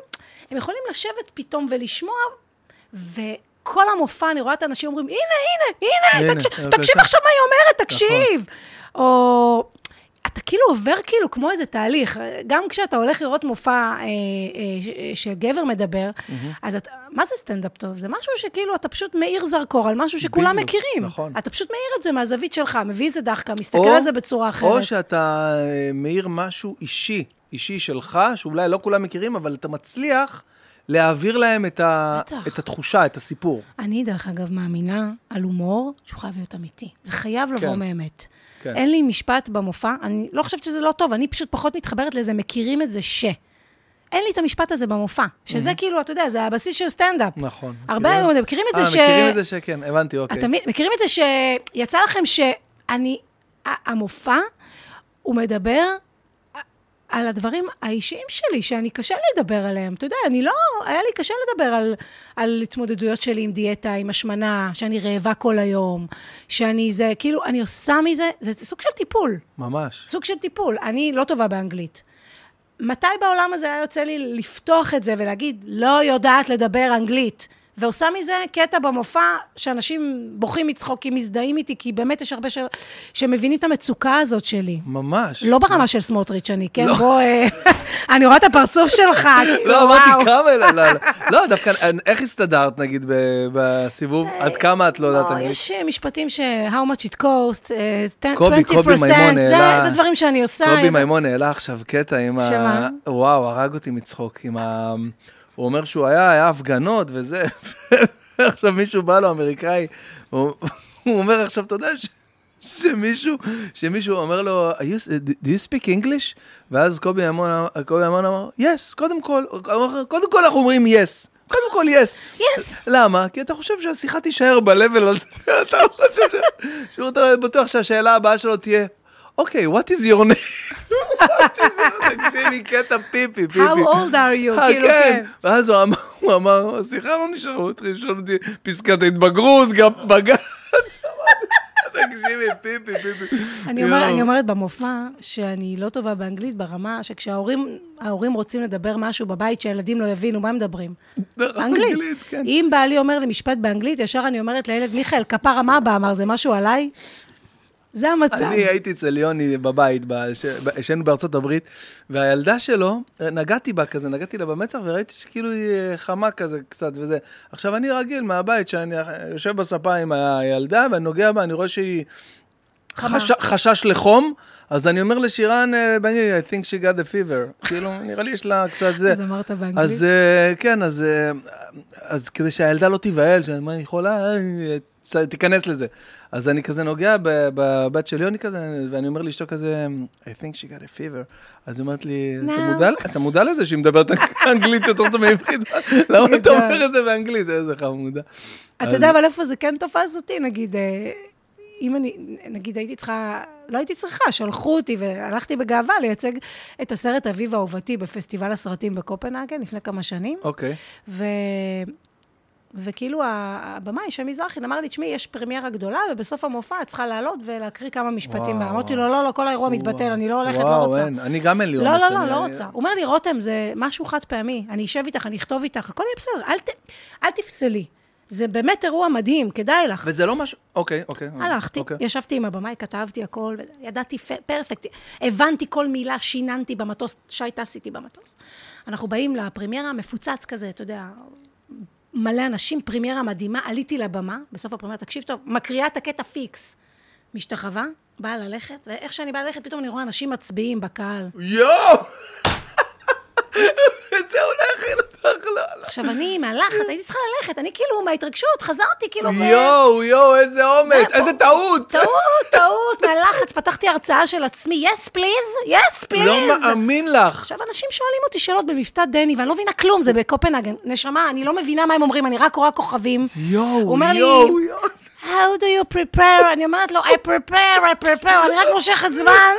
Speaker 1: הם יכולים לשבת פתאום ולשמוע, וכל המופע, אני רואה את האנשים אומרים, הנה, הנה, הנה,
Speaker 2: הנה, כן." נכון.
Speaker 1: תקש...
Speaker 2: בבקשה."
Speaker 1: תקשיב עכשיו מה היא אומרת, תקשיב. או... אתה כאילו עובר כאילו כמו איזה תהליך. גם כשאתה הולך לראות מופע אה, אה, ש- אה, שגבר מדבר, אז אתה, מה זה סטנדאפ טוב? זה משהו שכאילו אתה פשוט מאיר זרקור על משהו שכולם
Speaker 2: בדיוק,
Speaker 1: מכירים.
Speaker 2: נכון.
Speaker 1: אתה פשוט מאיר את זה מהזווית שלך, מביא איזה דחקה, מסתכל
Speaker 2: או-
Speaker 1: על זה בצורה אחרת.
Speaker 2: או שאתה אה, מאיר משהו אישי, אישי שלך, שאולי לא כולם מכירים, אבל אתה מצליח להעביר להם את ה-
Speaker 1: בטח.
Speaker 2: את התחושה, את הסיפור.
Speaker 1: אני, דרך אגב, מאמינה על הומור שהוא חייב להיות אמיתי. זה חייב לבוא
Speaker 2: כן.
Speaker 1: מאמת.
Speaker 2: כן.
Speaker 1: אין לי משפט במופע, אני לא חושבת שזה לא טוב, אני פשוט פחות מתחברת לזה, מכירים את זה ש. אין לי את המשפט הזה במופע, שזה כאילו, אתה יודע, זה הבסיס של סטנדאפ.
Speaker 2: נכון.
Speaker 1: הרבה
Speaker 2: מכירים-
Speaker 1: היום מכירים את זה ש...
Speaker 2: אה, מכירים את זה שכן, הבנתי, אוקיי.
Speaker 1: אתם מכירים את זה שיצא לכם שאני, ה- המופע, הוא מדבר ה- על הדברים האישיים שלי, שאני קשה לי לדבר עליהם. אתה יודע, אני לא, היה לי קשה לדבר על, על התמודדויות שלי עם דיאטה, עם השמנה, שאני רעבה כל היום, שאני זה, כאילו, אני עושה מזה, זה סוג של טיפול.
Speaker 2: ממש.
Speaker 1: סוג של טיפול. אני לא טובה באנגלית. מתי בעולם הזה היה יוצא לי לפתוח את זה ולהגיד, לא יודעת לדבר אנגלית, ועושה מזה קטע במופע שאנשים בוכים מצחוק, כי מזדהים איתי, כי באמת יש הרבה ש... שמבינים את המצוקה הזאת שלי.
Speaker 2: ממש.
Speaker 1: לא ברמה של סמוטריץ' אני, כן? בוא, אה, אני רואה את הפרצוף שלך, כאילו,
Speaker 2: לא,
Speaker 1: וואו.
Speaker 2: אמרתי כמה, לא, לא, לא. לא, דווקא, איך הסתדרת, נגיד, ב- בסיבוב? עד כמה את לא יודעת
Speaker 1: לא,
Speaker 2: אנגלית?
Speaker 1: יש אה, משפטים ש- how much it cost, אה, 10, 20%,
Speaker 2: קובי, קובי מימון
Speaker 1: זה-
Speaker 2: העלה...
Speaker 1: זה דברים שאני עושה.
Speaker 2: קובי מימון העלה עכשיו קטע עם ה...
Speaker 1: שמה?
Speaker 2: וואו, הרג אותי מצחוק. עם ה... הוא אומר שהוא היה, היה הפגנות וזה. עכשיו מישהו בא לו, אמריקאי, הוא הוא אומר עכשיו, אתה יודע ש... שמישהו, שמישהו אומר לו, "Are you, do you speak English? ואז קובי אמון, קובי אמון אמר, yes, קודם כל, קודם כל אנחנו אומרים yes. קודם כל, יס.
Speaker 1: Yes.
Speaker 2: למה? כי אתה חושב שהשיחה תישאר ב-level הזה, אתה לא חושב ש- שהוא אתה בטוח שהשאלה הבאה שלו תהיה, אוקיי, what is your name? What is your name? תקשיבי, קטע פיפי, פיפי.
Speaker 1: How old are you?
Speaker 2: אה,
Speaker 1: כאילו,
Speaker 2: כן.
Speaker 1: כן.
Speaker 2: ואז הוא אמר, הוא אמר, השיחה לא נשארה, הוא התחיל לשאול אותי, פסקת התבגרות, גם בג"ץ. תקשיבי, פיפי, פיפי.
Speaker 1: אני, אומר,
Speaker 2: יואו.
Speaker 1: אני אומרת במופע שאני לא טובה באנגלית ברמה שכשההורים ההורים רוצים לדבר משהו בבית שהילדים לא יבינו, מה הם מדברים?
Speaker 2: נכון,
Speaker 1: אנגלית.
Speaker 2: כן.
Speaker 1: אם בעלי אומר לי משפט באנגלית, ישר אני אומרת לילד, מיכאל, כפרה מה בא? אמר, זה משהו עליי? זה המצב.
Speaker 2: אני הייתי אצל יוני בבית, בש- ב- ישנו בארצות הברית, והילדה שלו, נגעתי בה כזה, נגעתי לה במצח, וראיתי שכאילו היא אה, חמה כזה קצת וזה. עכשיו, אני רגיל מהבית, שאני אה, יושב בספה עם הילדה, ואני נוגע בה, אני רואה שהיא...
Speaker 1: חמה.
Speaker 2: חש- חשש לחום, אז אני אומר לשירן, אה, בני, I think she got the fever. כאילו, נראה לי יש לה קצת זה.
Speaker 1: אז אמרת באנגלית?
Speaker 2: אז אה, כן, אז, אה, אז כדי שהילדה לא תיבהל, שאני מה, היא חולה, אה, בסדר, תיכנס לזה. אז אני כזה נוגע ב- בבת של יוני כזה, ואני אומר לאשתו כזה, I think she got a fever. אז היא אומרת לי, "אתה
Speaker 1: No.
Speaker 2: מודע- אתה מודע לזה שהיא מדברת אנגלית יותר טוב מעברית? למה אתה
Speaker 1: גדול.
Speaker 2: אומר את זה באנגלית? איזה חמודה.
Speaker 1: אתה יודע, אבל איפה זה כן תפס אותי? נגיד, אה, אם אני, נגיד הייתי צריכה, לא הייתי צריכה, שלחו אותי והלכתי בגאווה לייצג את הסרט אביב אהובתי בפסטיבל הסרטים בקופנהגן לפני כמה שנים.
Speaker 2: אוקיי.
Speaker 1: ו... וכאילו הבמאי, שם מזרחי, אמר לי, תשמעי, יש פרמיירה גדולה, ובסוף המופע את צריכה לעלות ולהקריא כמה משפטים.
Speaker 2: וואו.
Speaker 1: אמרתי לו, לא, לא, כל האירוע מתבטל, אני לא הולכת, לא
Speaker 2: וואו,
Speaker 1: רוצה.
Speaker 2: אין. אני גם אין לי
Speaker 1: לא,
Speaker 2: אומץ,
Speaker 1: לא, לא,
Speaker 2: אני-
Speaker 1: לא
Speaker 2: אני-
Speaker 1: רוצה. הוא אומר לי, רותם, זה משהו חד פעמי, אני אשב איתך, אני אכתוב איתך, הכל יהיה בסדר, אל, ת, אל תפסלי. זה באמת אירוע מדהים, כדאי לך.
Speaker 2: וזה לא משהו... אוקיי, אוקיי.
Speaker 1: הלכתי,
Speaker 2: אוקיי.
Speaker 1: ישבתי עם הבמאי, כתבתי הכל, ידעתי פ- פרפקט, הבנתי כל מילה, שיננתי במטוס, שי טס איתי במטוס. אנחנו באים לפרמיירה, מפוצץ כזה, אתה יודע, מלא אנשים, פרמיירה מדהימה, עליתי לבמה, בסוף הפרמיירה, תקשיב טוב, מקריאה את הקטע פיקס, משתחווה, באה ללכת, ואיך שאני באה ללכת, פתאום אני רואה אנשים מצביעים בקהל.
Speaker 2: יואו! את זה אולי הכי נפח לא...
Speaker 1: עכשיו, אני מהלחץ, הייתי צריכה ללכת, אני כאילו מההתרגשות, חזרתי כאילו... ב-
Speaker 2: יואו, יואו, איזה אומץ, איזה טעות!
Speaker 1: טעות, טעות, מהלחץ, פתחתי הרצאה של עצמי, יס פליז, יס פליז.
Speaker 2: לא מאמין לך.
Speaker 1: עכשיו, אנשים שואלים אותי שאלות במבטא דני, ואני לא מבינה כלום, זה בקופנהגן. נשמה, אני לא מבינה מה הם אומרים, אני רק רואה כוכבים. הוא
Speaker 2: יואו,
Speaker 1: אומר לי,
Speaker 2: יואו, יואו.
Speaker 1: How do you prepare? אני אומרת לו, I prepare, I prepare, אני רק מושכת זמן.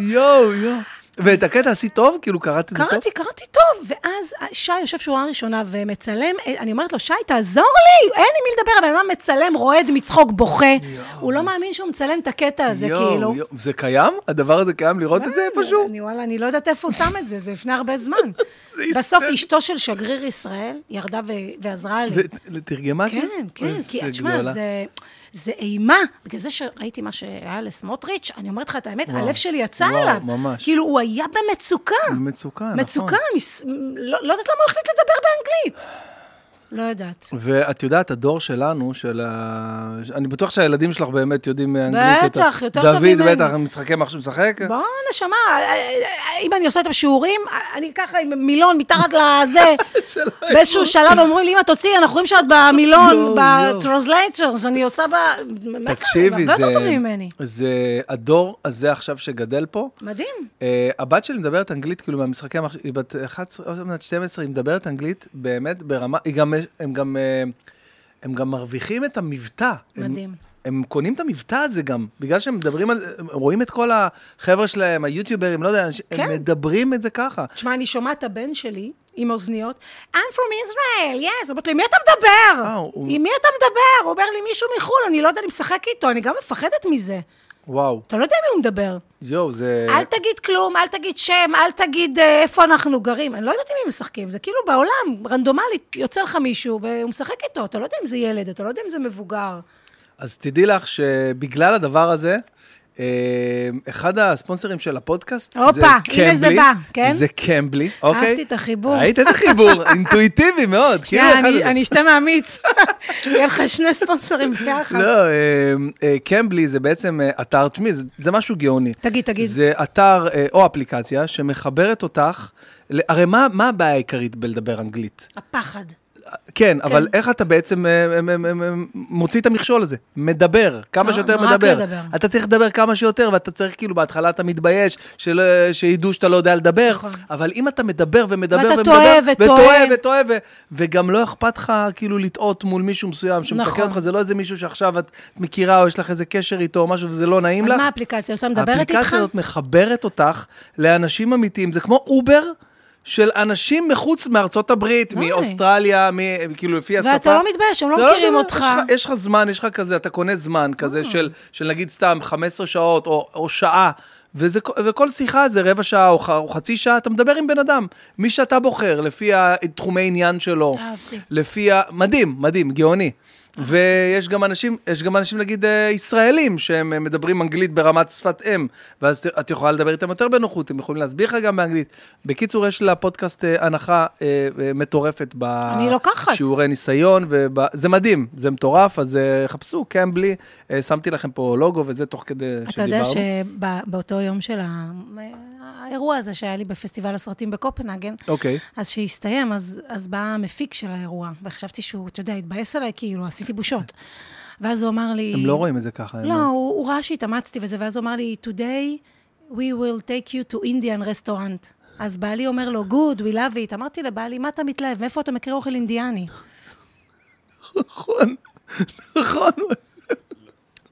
Speaker 2: יואו, יואו. ואת הקטע עשית טוב? כאילו קראת את זה טוב?
Speaker 1: קראתי, קראתי טוב, ואז שי יושב שורה ראשונה ומצלם, אה, אני אומרת לו, שי, תעזור לי, אין לי מי לדבר, אבל אני מצלם, רועד מצחוק, בוכה. הוא לא מאמין שהוא מצלם את הקטע הזה,
Speaker 2: יואו,
Speaker 1: כאילו.
Speaker 2: יואו. זה קיים? הדבר הזה קיים לראות את זה
Speaker 1: כן,
Speaker 2: איפשהו?
Speaker 1: אני, וואלה, אני לא יודעת איפה הוא שם את זה, זה לפני הרבה זמן.
Speaker 2: היסטרי.
Speaker 1: בסוף אשתו של שגריר ישראל ירדה ו- ועזרה לי.
Speaker 2: ו- תרגמת? לי?
Speaker 1: כן, כן, כי
Speaker 2: איזה
Speaker 1: תשמע,
Speaker 2: גדולה.
Speaker 1: זה, זה אימה. בגלל זה שראיתי מה שהיה לסמוטריץ', אני אומרת לך את האמת, הלב שלי יצא
Speaker 2: וואו,
Speaker 1: אליו.
Speaker 2: ממש.
Speaker 1: כאילו, הוא היה במצוקה.
Speaker 2: מצוקה, נכון.
Speaker 1: מצוקה, מס... לא, לא יודעת למה הוא החליט לדבר באנגלית. לא יודעת.
Speaker 2: ואת יודעת, הדור שלנו, של ה... אני בטוח שהילדים שלך באמת יודעים אנגלית
Speaker 1: בטח, יותר טוב
Speaker 2: דוד,
Speaker 1: ממני.
Speaker 2: בטח, משחקי מחשב משחק?
Speaker 1: בוא, נשמה, אה, אם אני עושה את השיעורים, אה, אני ככה עם מילון מתחת לזה. באיזשהו שלב אומרים לי, אמא, תוציאי, אנחנו רואים שאת במילון,
Speaker 2: יואו, יואו.
Speaker 1: בטרנסלייצ'רס, אני עושה ב...
Speaker 2: לא, תקשיבי,
Speaker 1: זה... הרבה יותר
Speaker 2: זה...
Speaker 1: טובים ממני.
Speaker 2: זה הדור הזה עכשיו שגדל פה.
Speaker 1: מדהים.
Speaker 2: Uh, הבת שלי מדברת אנגלית, כאילו, מהמשחקי המחשב, היא בת 11, עוד מעט 12, היא מדברת אנגלית באמת ברמה, היא גם, הם גם, אה, הם גם מרוויחים את המבטא.
Speaker 1: מדהים.
Speaker 2: הם, הם קונים את המבטא הזה גם, בגלל שהם מדברים על, הם רואים את כל החבר'ה שלהם, היוטיוברים, לא יודע, אנשים- הם
Speaker 1: כן.
Speaker 2: מדברים את זה ככה.
Speaker 1: תשמע, אני שומעת את הבן שלי עם אוזניות, I'm from Israel, yes. אומרת לי, עם מי אתה מדבר?
Speaker 2: אה, הוא-
Speaker 1: עם מי אתה מדבר? הוא אומר לי, מישהו מחו"ל, אני לא יודעת, אני משחק איתו, אני גם מפחדת מזה.
Speaker 2: וואו,
Speaker 1: אתה לא יודע עם מי הוא מדבר.
Speaker 2: יואו, זה...
Speaker 1: אל תגיד כלום, אל תגיד שם, אל תגיד אה, איפה אנחנו גרים. אני לא יודעת עם מי משחקים, זה כאילו בעולם, רנדומלית, יוצא לך מישהו והוא משחק איתו, אתה לא יודע אם זה ילד, אתה לא יודע אם זה מבוגר.
Speaker 2: אז תדעי לך שבגלל הדבר הזה, אה, אחד הספונסרים של הפודקאסט,
Speaker 1: הופה,
Speaker 2: זה
Speaker 1: הנה
Speaker 2: קמבלי,
Speaker 1: זה בא, כן?
Speaker 2: זה קמבלי, אוקיי?
Speaker 1: אהבתי את החיבור.
Speaker 2: ראית איזה חיבור, אינטואיטיבי מאוד. כאילו
Speaker 1: שנייה,
Speaker 2: אחד-
Speaker 1: לא, אני- אני אשתה מהמיץ. יהיה לך שני ספונסרים ביחד.
Speaker 2: לא, אה, אה, קמבלי זה בעצם אה, אתר, תשמעי, זה- זה משהו גאוני.
Speaker 1: תגיד, תגיד.
Speaker 2: זה אתר אה, או אפליקציה שמחברת אותך, ל- הרי מה מה הבעיה העיקרית בלדבר אנגלית?
Speaker 1: הפחד.
Speaker 2: כן, אבל איך אתה בעצם אה, אה, אה, אה, מוציא את המכשול הזה? מדבר, כמה
Speaker 1: לא,
Speaker 2: שיותר
Speaker 1: רק
Speaker 2: מדבר.
Speaker 1: לדבר.
Speaker 2: אתה צריך לדבר כמה שיותר, ואתה צריך, כאילו, בהתחלה אתה מתבייש, שלא- שידעו שאתה לא יודע לדבר,
Speaker 1: נכון.
Speaker 2: אבל אם אתה מדבר ומדבר
Speaker 1: ואתה
Speaker 2: ומדבר,
Speaker 1: טועה וטועה.
Speaker 2: וטועה וטועה, ו- וגם לא אכפת לך, כאילו, לטעות מול מישהו מסוים שמתקן
Speaker 1: נכון.
Speaker 2: אותך, זה לא איזה מישהו שעכשיו את מכירה, או יש לך איזה קשר איתו, או משהו, וזה לא נעים
Speaker 1: אז
Speaker 2: לך.
Speaker 1: מה האפליקציה עושה? מדברת איתך?
Speaker 2: האפליקציה הזאת מחברת אותך לאנשים אמיתיים, זה כמו אובר. של אנשים מחוץ מארצות הברית,
Speaker 1: די.
Speaker 2: מאוסטרליה, מ... כאילו לפי השפה.
Speaker 1: ואתה לא מתבייש, הם לא
Speaker 2: אתה
Speaker 1: מכירים
Speaker 2: מתבייש,
Speaker 1: אותך.
Speaker 2: יש לך- יש לך זמן, יש לך כזה, אתה קונה זמן
Speaker 1: אה.
Speaker 2: כזה של, של נגיד סתם 15 שעות או, או שעה, וזה, כ- וכל שיחה זה רבע שעה או, ח, או חצי שעה, אתה מדבר עם בן אדם, מי שאתה בוחר, לפי התחומי עניין שלו.
Speaker 1: אהבתי.
Speaker 2: לפי ה... מדהים, מדהים, גאוני. ויש גם אנשים, יש גם אנשים, נגיד, אה, ישראלים, שהם אה, מדברים אנגלית ברמת שפת אם, ואז ת- את יכולה לדבר איתם יותר בנוחות, הם יכולים להסביר לך גם באנגלית. בקיצור, יש לפודקאסט אה, הנחה אה, אה, מטורפת
Speaker 1: אני לוקחת.
Speaker 2: בשיעורי ניסיון, וזה מדהים, זה מטורף, אז אה, חפשו, קמבלי, אה, שמתי לכם פה לוגו וזה תוך כדי שדיברנו.
Speaker 1: אתה יודע שבאותו יום של ה- האירוע הזה שהיה לי בפסטיבל הסרטים בקופנהגן,
Speaker 2: אוקיי.
Speaker 1: אז שהסתיים, אז, אז בא המפיק של האירוע, וחשבתי שהוא, אתה יודע, התבאס עליי, כאילו, עשיתי בושות. ואז הוא אמר לי...
Speaker 2: הם לא רואים את זה ככה. הם-
Speaker 1: לא, הוא, הוא ראה שהתאמצתי וזה, ואז הוא אמר לי, today we will take you to Indian restaurant. אז בעלי אומר לו, good, we love it. אמרתי לבעלי, מה אתה מתלהב? מאיפה אתה מכיר אוכל אינדיאני?
Speaker 2: נכון, נכון.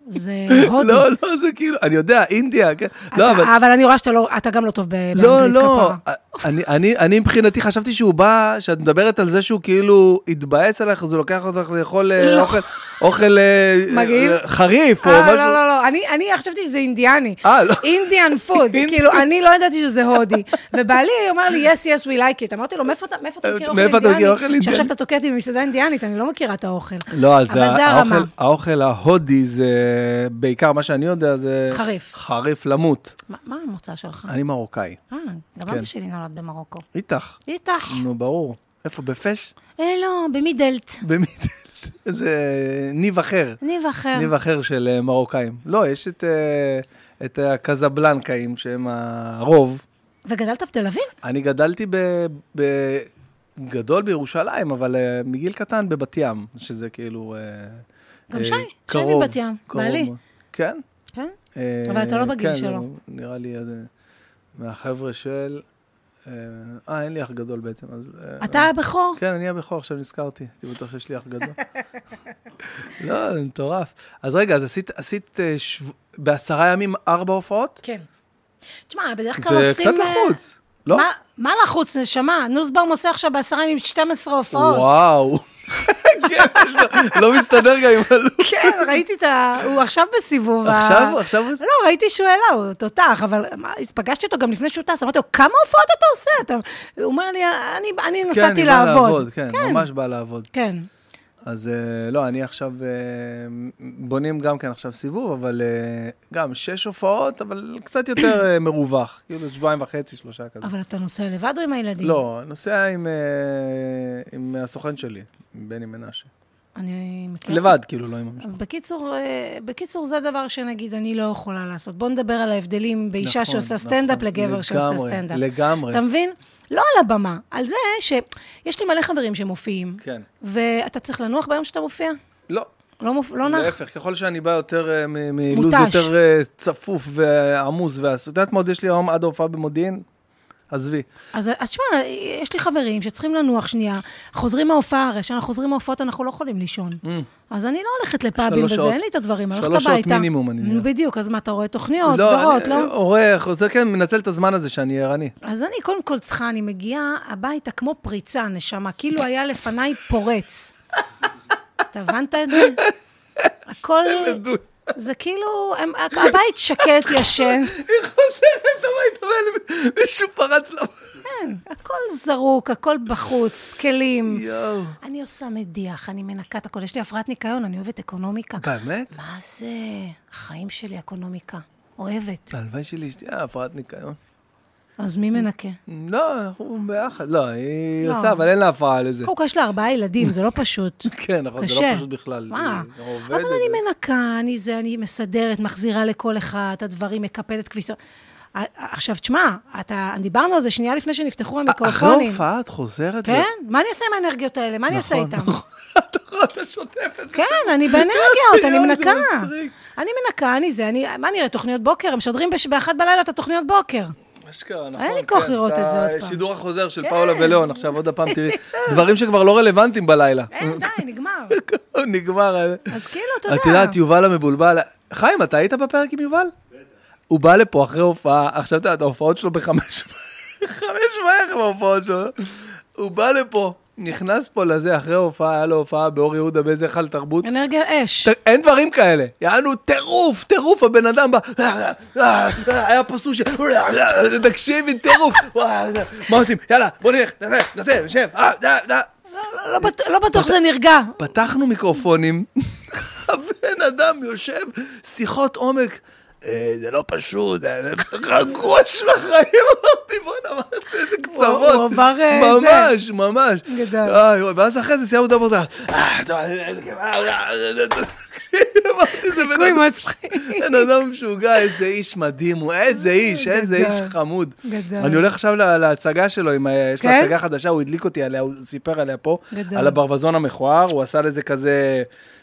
Speaker 1: זה הודו.
Speaker 2: לא, לא, זה כאילו, אני יודע, אינדיה, כן. לא, אבל...
Speaker 1: אתה, אבל אני רואה שאתה לא, אתה גם לא טוב ב- באנגלית
Speaker 2: לא, לא,
Speaker 1: כפרה.
Speaker 2: אני, אני, אני מבחינתי חשבתי שהוא בא, שאת מדברת על זה שהוא כאילו התבאס עליך, אז הוא לוקח אותך לאכול אה,
Speaker 1: לא.
Speaker 2: אוכל, אוכל אה,
Speaker 1: מגעיל?
Speaker 2: אה, חריף או
Speaker 1: אה,
Speaker 2: משהו.
Speaker 1: לא, לא, לא, אני, אני חשבתי שזה אינדיאני.
Speaker 2: אה, לא.
Speaker 1: אינדיאן פוד,
Speaker 2: אינדיאן.
Speaker 1: כאילו, אני לא ידעתי שזה הודי. ובעלי אומר לי, yes, yes, we like it. אמרתי לו, מאיפה אתה מאיפה אתה מכיר אוכל
Speaker 2: אה, מאיפה אתה מכיר אוכל
Speaker 1: אינדיאני?
Speaker 2: אינדיאני?
Speaker 1: שעכשיו אתה תוקע אותי במסעדה אינדיאנית, אני לא מכירה את האוכל.
Speaker 2: לא, אז
Speaker 1: אבל זה
Speaker 2: האוכל,
Speaker 1: הרמה.
Speaker 2: האוכל ההודי זה בעיקר, מה שאני יודע זה...
Speaker 1: חריף.
Speaker 2: חריף למות.
Speaker 1: מה- מה המוצא שלך?
Speaker 2: אני מרוקאי.
Speaker 1: אה, גם
Speaker 2: כן.
Speaker 1: אבא שלי נולד במרוקו.
Speaker 2: איתך.
Speaker 1: איתך.
Speaker 2: נו, ברור. איפה, בפש?
Speaker 1: אה, לא, במידלט.
Speaker 2: במי... זה ניב אחר.
Speaker 1: ניב אחר.
Speaker 2: ניב אחר של אה, מרוקאים. לא, יש את, אה, את הקזבלנקאים, שהם הרוב.
Speaker 1: וגדלת בתל אביב?
Speaker 2: אני גדלתי ב... ב... גדול בירושלים, אבל אה, מגיל קטן בבת ים, שזה כאילו... אה,
Speaker 1: גם
Speaker 2: אה,
Speaker 1: שי, שי
Speaker 2: קרוב,
Speaker 1: מבת ים,
Speaker 2: קרוב.
Speaker 1: בעלי.
Speaker 2: כן.
Speaker 1: כן.
Speaker 2: אה,
Speaker 1: אבל אתה לא בגיל
Speaker 2: כן,
Speaker 1: שלו.
Speaker 2: הוא נראה לי אה, מהחבר'ה של... אה, אה, אין לי אח גדול בעצם, אז... אה,
Speaker 1: אתה הבכור?
Speaker 2: כן, אני הבכור, עכשיו נזכרתי. הייתי בטוח שיש לי אח גדול. לא, זה מטורף. אז רגע, אז עשית, עשית אה, שב... בעשרה ימים ארבע הופעות?
Speaker 1: כן. תשמע, בדרך כלל
Speaker 2: זה
Speaker 1: עושים...
Speaker 2: קצת
Speaker 1: אה,
Speaker 2: לחוץ, לא?
Speaker 1: מה- מה לחוץ, נשמה? נוסבאום עושה עכשיו בעשרה ימים 12 הופעות.
Speaker 2: וואו. כן, יש לו- לא מסתדר גם עם הלו"ז.
Speaker 1: כן, ראיתי את ה... הוא עכשיו בסיבוב ה...
Speaker 2: עכשיו, עכשיו הוא...
Speaker 1: לא, ראיתי שהוא העלה, הוא תותח, אבל מה, פגשתי אותו גם לפני שהוא טס, אמרתי לו, כמה הופעות אתה עושה? אתה... הוא אומר לי, אני, אני
Speaker 2: כן,
Speaker 1: נסעתי
Speaker 2: היא באה
Speaker 1: לעבוד.
Speaker 2: כן, ממש בא לעבוד.
Speaker 1: כן.
Speaker 2: אז אה, לא, אני עכשיו, אה, בונים גם כן עכשיו סיבוב, אבל אה, גם שש הופעות, אבל קצת יותר אה, מרווח, כאילו שבועיים וחצי, שלושה כזה.
Speaker 1: אבל אתה נוסע לבד או עם הילדים?
Speaker 2: לא, נוסע עם, אה, עם הסוכן שלי, עם בני מנשה.
Speaker 1: אני מכירה.
Speaker 2: לבד, כאילו, לא עם המשפחה.
Speaker 1: בקיצור, אה, בקיצור, זה דבר שנגיד אני לא יכולה לעשות. בוא נדבר על ההבדלים באישה
Speaker 2: נכון,
Speaker 1: שעושה סטנדאפ
Speaker 2: נכון.
Speaker 1: לגבר שעושה
Speaker 2: לגמרי,
Speaker 1: סטנדאפ.
Speaker 2: לגמרי.
Speaker 1: אתה מבין? לא על הבמה, על זה שיש לי מלא חברים שמופיעים,
Speaker 2: כן.
Speaker 1: ואתה צריך לנוח ביום שאתה מופיע?
Speaker 2: לא,
Speaker 1: לא, מופ... לא נח?
Speaker 2: להפך, ככל שאני בא יותר אה, מ- מלו"ז
Speaker 1: מותש.
Speaker 2: יותר אה, צפוף ועמוס, ואת יודעת מה עוד יש לי היום עד ההופעה במודיעין? עזבי.
Speaker 1: אז אז תשמע, יש לי חברים שצריכים לנוח שנייה, חוזרים מההופעה, הרי כשאנחנו חוזרים מההופעות אנחנו לא יכולים לישון. אז אני לא הולכת לפאבים
Speaker 2: Mm. שלוש
Speaker 1: וזה,
Speaker 2: שעות.
Speaker 1: אין לי את הדברים, אני הולכת
Speaker 2: שלוש
Speaker 1: הביתה.
Speaker 2: שעות מינימום, אני יודע.
Speaker 1: בדיוק, אז מה, אתה רואה תוכניות,
Speaker 2: לא,
Speaker 1: סדרות,
Speaker 2: אני-
Speaker 1: לא?
Speaker 2: עורך, זה כן, מנצל את הזמן הזה שאני ערני.
Speaker 1: אז אני קודם כל צריכה, אני מגיעה הביתה כמו פריצה, נשמה, כאילו היה לפניי פורץ. אתה הבנת את זה? הכל, זה כאילו, הם, הבית שקט, ישן,
Speaker 2: היא חוזרת הביתה, מישהו פרץ לה.
Speaker 1: הכל זרוק, הכל בחוץ, כלים.
Speaker 2: יואו.
Speaker 1: אני עושה מדיח, אני מנקה את הכל, יש לי הפרעת ניקיון, אני אוהבת אקונומיקה.
Speaker 2: באמת?
Speaker 1: מה זה? החיים שלי, אקונומיקה. אוהבת.
Speaker 2: הלוואי שלאשתי היה הפרעת ניקיון.
Speaker 1: אז מי מנקה?
Speaker 2: לא, אנחנו ביחד. לא, היא
Speaker 1: לא.
Speaker 2: עושה, אבל אין לה הפרעה לזה.
Speaker 1: קודם כל, יש לה ארבעה ילדים, זה לא פשוט.
Speaker 2: כן, נכון, זה
Speaker 1: קשה.
Speaker 2: לא פשוט בכלל.
Speaker 1: מה?
Speaker 2: היא עובדת.
Speaker 1: אבל אני מנקה, אני זה, אני מסדרת, מחזירה לכל אחד את הדברים, מקפלת כביסות. ע- עכשיו, תשמע, אתה, דיברנו על זה שנייה לפני
Speaker 2: אה, אחרי
Speaker 1: שנפתחו המיקרופונים.
Speaker 2: לא, הופעה את חוזרת?
Speaker 1: כן? מה אני אעשה עם האנרגיות האלה? מה אני אעשה
Speaker 2: נכון,
Speaker 1: איתן?
Speaker 2: נכון. את אחת השוטפת.
Speaker 1: כן, אני באנרגיות, אני
Speaker 2: יואו, זה
Speaker 1: מנקה.
Speaker 2: מצחיק.
Speaker 1: אני מנקה, אני זה, אני, מה נראה, תוכניות בוקר? הם משדרים בש- באחת בלילה את התוכניות בוקר.
Speaker 2: אשכרה, נכון.
Speaker 1: אין לי כוח
Speaker 2: כן,
Speaker 1: לראות את זה עוד
Speaker 2: אתה-
Speaker 1: פעם.
Speaker 2: שידור החוזר של פאולה ולאון, עכשיו עוד הפעם תראי. דברים שכבר לא רלוונטיים בלילה.
Speaker 1: אין, די, נגמר.
Speaker 2: נגמר. אה.
Speaker 1: אז כאילו, אתה יודע.
Speaker 2: את יודעת, יובל המבולבל, חיים, אתה היית בפרק עם יובל? הוא בא לפה אחרי הופעה, עכשיו אתה יודע, ההופעות שלו בחמש חמש בערב ההופעות שלו. הוא בא לפה, נכנס פה לזה, אחרי ההופעה, היה לו הופעה באור יהודה באיזה היכל תרבות.
Speaker 1: אנרגיה אש.
Speaker 2: ת- אין דברים כאלה, יענו טירוף, טירוף, הבן אדם בא, "אה, אה, אה", היה פה סושי, "אה, אה", תקשיבי, טירוף, "וואי, אה, מה עושים, יאללה, בוא נלך, נעשה, נעשה, נשב, אה, אה, אה.
Speaker 1: לא, לא- לא בט- לא בטוח שזה נרגע.
Speaker 2: פתחנו מיקרופונים, הבן אדם יושב, שיחות עומק. "אה, זה לא פשוט, אה, רגוע של החיים, אמרתי, בוא'נה, מה זה, איזה קצוות.
Speaker 1: הוא עבר, אה,
Speaker 2: ממש, ממש.
Speaker 1: גדול.
Speaker 2: איי, וואי, ואז אחרי זה סיימנו את העבודה. אה, טוב, אה, אה, אה, אמרתי, זה בן
Speaker 1: חיקוי
Speaker 2: אדם-
Speaker 1: מצחיק.
Speaker 2: בן אדם משוגע, איזה איש מדהים הוא, איזה איש, איזה איש
Speaker 1: אה, גדול.
Speaker 2: חמוד.
Speaker 1: גדול.
Speaker 2: אני הולך עכשיו לה- להצגה שלו, עם ה- יש לו
Speaker 1: כן?
Speaker 2: הצגה חדשה, הוא הדליק אותי עליה, הוא סיפר עליה פה,
Speaker 1: גדול.
Speaker 2: על הברווזון המכוער, הוא עשה לזה כזה,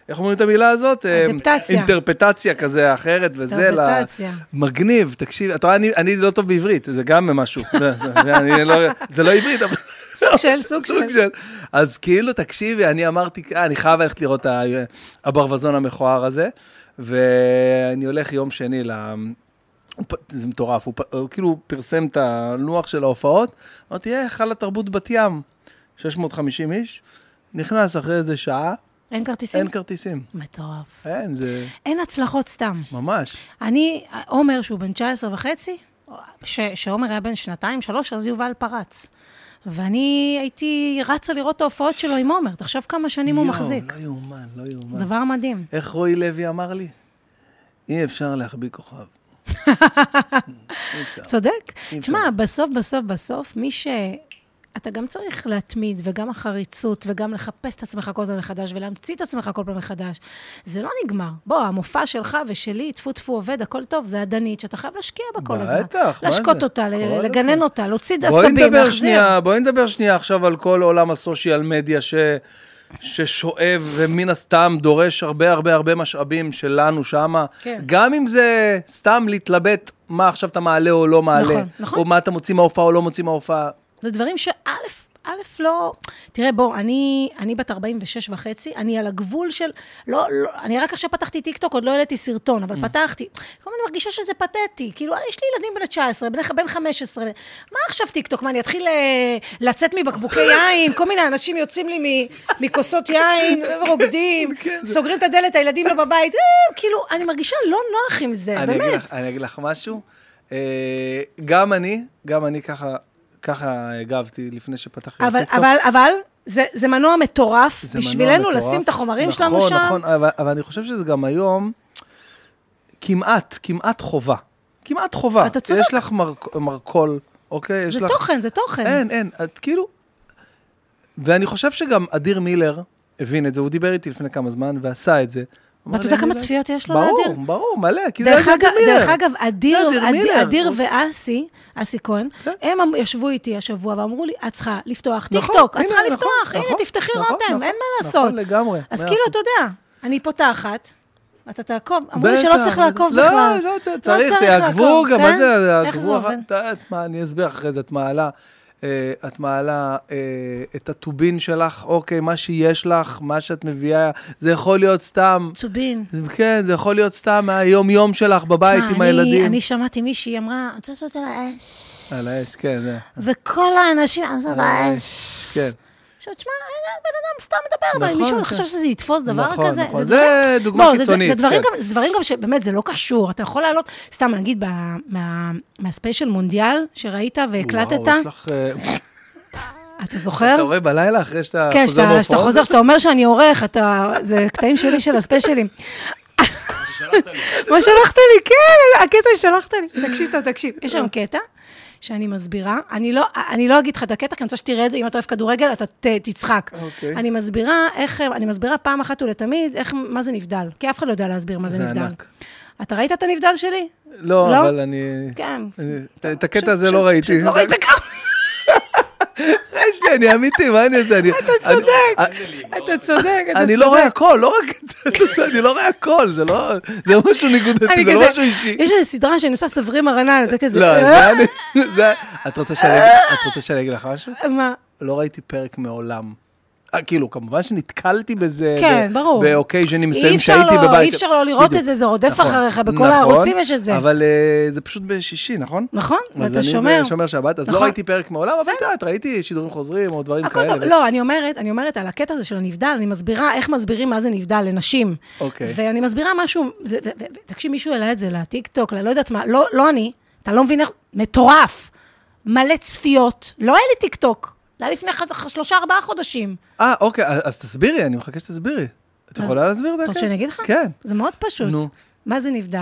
Speaker 2: איך אומרים את המילה הזאת? אה,
Speaker 1: אדפטציה.
Speaker 2: אינטרפטציה כזה אחרת, וזה, ל-
Speaker 1: אינטרפטציה.
Speaker 2: מגניב, תקשיב, אתה רואה, אני- אני לא טוב בעברית, זה גם משהו, זה- זה- אני לא- זה לא עברית, אבל...
Speaker 1: סוג של, סוג של.
Speaker 2: אז כאילו, תקשיבי, אני אמרתי, "אה, אני חייב ללכת לראות ה- הברווזון המכוער הזה, ואני הולך יום שני ל... הוא פ- זה מטורף, הוא, פ- הוא כאילו פרסם את הלוח של ההופעות, אמרתי, אה, חלה תרבות בת ים, 650 איש, נכנס אחרי איזה שעה,
Speaker 1: אין כרטיסים?
Speaker 2: אין כרטיסים.
Speaker 1: מטורף.
Speaker 2: אין, זה
Speaker 1: אין הצלחות סתם.
Speaker 2: ממש.
Speaker 1: אני, עומר, שהוא בן 19 וחצי, ש- שעומר היה בן שנתיים, שלוש, אז יובל פרץ. ואני הייתי רצה לראות את ההופעות שלו עם עומר, תחשוב כמה שנים הוא
Speaker 2: יואו,
Speaker 1: מחזיק.
Speaker 2: לא יאומן, לא יאומן.
Speaker 1: דבר מדהים.
Speaker 2: איך רועי לוי אמר לי? אי אפשר להחביא כוכב. אי אפשר.
Speaker 1: צודק.
Speaker 2: אי אפשר.
Speaker 1: תשמע, בסוף, בסוף, בסוף, מי ש... אתה גם צריך להתמיד, וגם החריצות, וגם לחפש את עצמך כל הזמן מחדש, ולהמציא את עצמך כל פעם מחדש. זה לא נגמר. בוא, המופע שלך ושלי, טפו טפו עובד, הכל טוב, זה אדנית, שאתה חייב להשקיע בה כל הזמן.
Speaker 2: בטח, מה
Speaker 1: להשקות
Speaker 2: זה?
Speaker 1: אותה, ל-
Speaker 2: כל
Speaker 1: לגנן
Speaker 2: הזמן.
Speaker 1: אותה, להוציא
Speaker 2: בואי
Speaker 1: דעשבים,
Speaker 2: נדבר
Speaker 1: להחזיר.
Speaker 2: שנייה, בואי נדבר שנייה עכשיו על כל עולם הסושיאל מדיה ש... ששואב ומן הסתם דורש הרבה הרבה הרבה משאבים שלנו שמה.
Speaker 1: כן.
Speaker 2: גם אם זה סתם להתלבט מה עכשיו אתה מעלה או לא מעלה.
Speaker 1: נכון, נכון. אה,
Speaker 2: או מה אתה מוציא מההופעה או לא מוציא מההופעה.
Speaker 1: זה דברים שא', א', לא... תראה, בוא, אני, אני בת 46 וחצי, אני על הגבול של... לא, לא, אני רק עכשיו פתחתי טיקטוק, עוד לא העליתי סרטון,
Speaker 2: Mm.
Speaker 1: אבל פתחתי. כל הזמן מרגישה שזה פתטי. כאילו, יש לי ילדים בני 19, בני, בן 15. מה עכשיו טיקטוק? מה, אני אתחיל אה, לצאת מבקבוקי יין? כל מיני אנשים יוצאים לי מ- מכוסות יין,
Speaker 2: כן,
Speaker 1: רוקדים, סוגרים את הדלת, הילדים לא בבית. אה, כאילו, אני מרגישה לא נוח עם זה,
Speaker 2: אני אגיד
Speaker 1: באמת.
Speaker 2: לך, אני אגיד לך משהו. אה, גם אני, גם אני ככה, ככה הגבתי לפני שפתחתי
Speaker 1: אבל,
Speaker 2: טיקטוק.
Speaker 1: אבל, אבל, זה, זה מנוע מטורף
Speaker 2: זה מנוע
Speaker 1: בשבילנו
Speaker 2: מטורף.
Speaker 1: לשים את החומרים
Speaker 2: נכון,
Speaker 1: שלנו שם.
Speaker 2: נכון, אבל, אבל אני חושב שזה גם היום כמעט, כמעט חובה. כמעט חובה.
Speaker 1: אתה צודק.
Speaker 2: יש לך מרק, מרכול, אוקיי? יש
Speaker 1: זה
Speaker 2: לך...
Speaker 1: תוכן, זה תוכן.
Speaker 2: אין, אין, את כאילו... ואני חושב שגם אדיר מילר הבין את זה, הוא דיבר איתי לפני כמה זמן ועשה את זה. אמר
Speaker 1: ואתה
Speaker 2: לי,
Speaker 1: יודע
Speaker 2: אני
Speaker 1: כמה
Speaker 2: לא-
Speaker 1: צפיות יש לו
Speaker 2: ברור,
Speaker 1: לאדיר?
Speaker 2: ברור, ברור, מלא, כי זה
Speaker 1: דרך
Speaker 2: אדיר
Speaker 1: אגב,
Speaker 2: מילר.
Speaker 1: דרך אגב, אדיר,
Speaker 2: אדיר
Speaker 1: אדיר,
Speaker 2: מילר.
Speaker 1: אדיר ואסי, אסי כהן, הם אמ- ישבו איתי השבוע ואמרו לי, את צריכה לפתוח
Speaker 2: כן. נכון,
Speaker 1: טיקטוק, את
Speaker 2: הנה,
Speaker 1: צריכה
Speaker 2: נכון,
Speaker 1: לפתוח, הנה,
Speaker 2: נכון,
Speaker 1: תפתחי
Speaker 2: נכון,
Speaker 1: רותם,
Speaker 2: נכון,
Speaker 1: אין מה לעשות.
Speaker 2: נכון, לגמרי,
Speaker 1: אז
Speaker 2: מאה
Speaker 1: כאילו,
Speaker 2: אחוז.
Speaker 1: אתה יודע, אני פותחת, אתה תעקוב, אמרו לי שלא
Speaker 2: בטח.
Speaker 1: צריך לעקוב
Speaker 2: לא,
Speaker 1: בכלל.
Speaker 2: לא, צריך, צריך, תעקבו
Speaker 1: לעקוב,
Speaker 2: גם,
Speaker 1: כן?
Speaker 2: מה זה,
Speaker 1: איך זה
Speaker 2: תעקבו
Speaker 1: עובד?
Speaker 2: אחר כך. אני אסביר אחרי זה, את מעלה. אה, את מעלה אה, את הטובין שלך, אוקיי, מה שיש לך, מה שאת מביאה, זה יכול להיות סתם,
Speaker 1: צובין.
Speaker 2: כן, זה יכול להיות סתם מהיום-יום שלך בבית
Speaker 1: תשמע,
Speaker 2: עם
Speaker 1: אני-
Speaker 2: הילדים.
Speaker 1: אני שמעתי מישהי, היא אמרה, לא אני רוצה לעשות על האש.
Speaker 2: על האש, כן, זה.
Speaker 1: וכל האנשים, אני אומרת,
Speaker 2: כן.
Speaker 1: עכשיו, תשמע, איזה בן אדם סתם מדבר, אבל
Speaker 2: נכון,
Speaker 1: מישהו
Speaker 2: נכון.
Speaker 1: חשב שזה יתפוס דבר
Speaker 2: נכון,
Speaker 1: כזה.
Speaker 2: נכון.
Speaker 1: דברים-
Speaker 2: זה דוגמה
Speaker 1: בוא,
Speaker 2: קיצונית,
Speaker 1: זה, זה, דברים
Speaker 2: כן.
Speaker 1: גם, זה דברים גם שבאמת, זה לא קשור. אתה יכול לעלות, סתם נגיד, ב, מה, מהספיישל מונדיאל שראית והקלטת,
Speaker 2: וואו, יש לך... אה,
Speaker 1: אתה זוכר?
Speaker 2: אתה רואה בלילה אחרי שאתה
Speaker 1: כן,
Speaker 2: חוזר
Speaker 1: שאתה,
Speaker 2: בהופעות?
Speaker 1: שאתה חוזר, שאתה אומר שאני עורך, אתה, זה קטעים שלי של הספיישלים. מה שלחת לי, כן, הקטע ששלחת לי. תקשיב טוב, תקשיב. יש שם קטע שאני מסבירה, אני לא, אני לא אגיד לך את הקטע, כי אני רוצה שתראה את זה, אם אתה אוהב כדורגל, אתה ת, תצחק.
Speaker 2: אוקיי.
Speaker 1: אני מסבירה איך, אני מסבירה פעם אחת ולתמיד, איך, מה זה נבדל, כי אף אחד לא יודע להסביר מה זה,
Speaker 2: זה
Speaker 1: נבדל.
Speaker 2: ענק.
Speaker 1: אתה ראית את הנבדל שלי?
Speaker 2: לא,
Speaker 1: לא?
Speaker 2: אבל אני...
Speaker 1: כן.
Speaker 2: אני-
Speaker 1: טוב,
Speaker 2: את הקטע
Speaker 1: פשוט-
Speaker 2: הזה
Speaker 1: פשוט-
Speaker 2: לא ראיתי.
Speaker 1: פשוט לא ראית כמה...
Speaker 2: יש לי, אני אמיתי, מה אני עושה? אתה
Speaker 1: צודק, אתה צודק, אתה
Speaker 2: אני
Speaker 1: צודק.
Speaker 2: לא רואה הכל, לא רק את זה, אני לא רואה הכל, זה לא, זה משהו ניגודתי,
Speaker 1: אני
Speaker 2: זה לא
Speaker 1: כזה-
Speaker 2: משהו אישי.
Speaker 1: יש איזו סדרה שאני עושה סברים ארנל, אתה כזה...
Speaker 2: לא,
Speaker 1: "אה?"
Speaker 2: זה אני, זה- את רוצה שאני אגיד- את רוצה שאני אגיד לך משהו?
Speaker 1: מה?
Speaker 2: לא ראיתי פרק מעולם. אה, כאילו, כמובן שנתקלתי בזה,
Speaker 1: כן,
Speaker 2: ב-
Speaker 1: ברור.
Speaker 2: באוקייז'נים
Speaker 1: אי
Speaker 2: מסוימים
Speaker 1: אפשר
Speaker 2: שהייתי
Speaker 1: לא-
Speaker 2: בבית.
Speaker 1: אי אפשר לא לראות
Speaker 2: בדיוק.
Speaker 1: את זה, זה רודף
Speaker 2: נכון,
Speaker 1: אחריך, בכל
Speaker 2: נכון,
Speaker 1: הערוצים יש את זה.
Speaker 2: אבל אה, זה פשוט בשישי, נכון?
Speaker 1: נכון,
Speaker 2: אז
Speaker 1: ואתה
Speaker 2: אני
Speaker 1: שומר.
Speaker 2: בשומר שבת, אז לא
Speaker 1: נכון.
Speaker 2: ראיתי פרק מעולם, אבל את יודעת, ראיתי שידורים חוזרים או דברים
Speaker 1: הכל
Speaker 2: כאלה.
Speaker 1: טוב.
Speaker 2: ו-
Speaker 1: לא, אני אומרת, אני אומרת על הקטע הזה של הנבדל, אני מסבירה איך מסבירים מה זה נבדל לנשים.
Speaker 2: אוקיי.
Speaker 1: ואני מסבירה משהו, זה- ו- ו- ו- תקשיב, מישהו העלה את זה לטיקטוק, ללא יודעת מה, לא לא אני, אתה לא מבין איך, מטורף. מלא צפיות, לא היה לי טיקטוק. זה היה לפני ח- שלושה, ארבעה חודשים.
Speaker 2: אה, אוקיי, אז אז תסבירי, אני מחכה שתסבירי. את
Speaker 1: אז-
Speaker 2: יכולה להסביר את זה?
Speaker 1: אתה רוצה
Speaker 2: כן?
Speaker 1: שאני אגיד לך?
Speaker 2: כן.
Speaker 1: זה מאוד פשוט.
Speaker 2: נו.
Speaker 1: מה זה נבדל?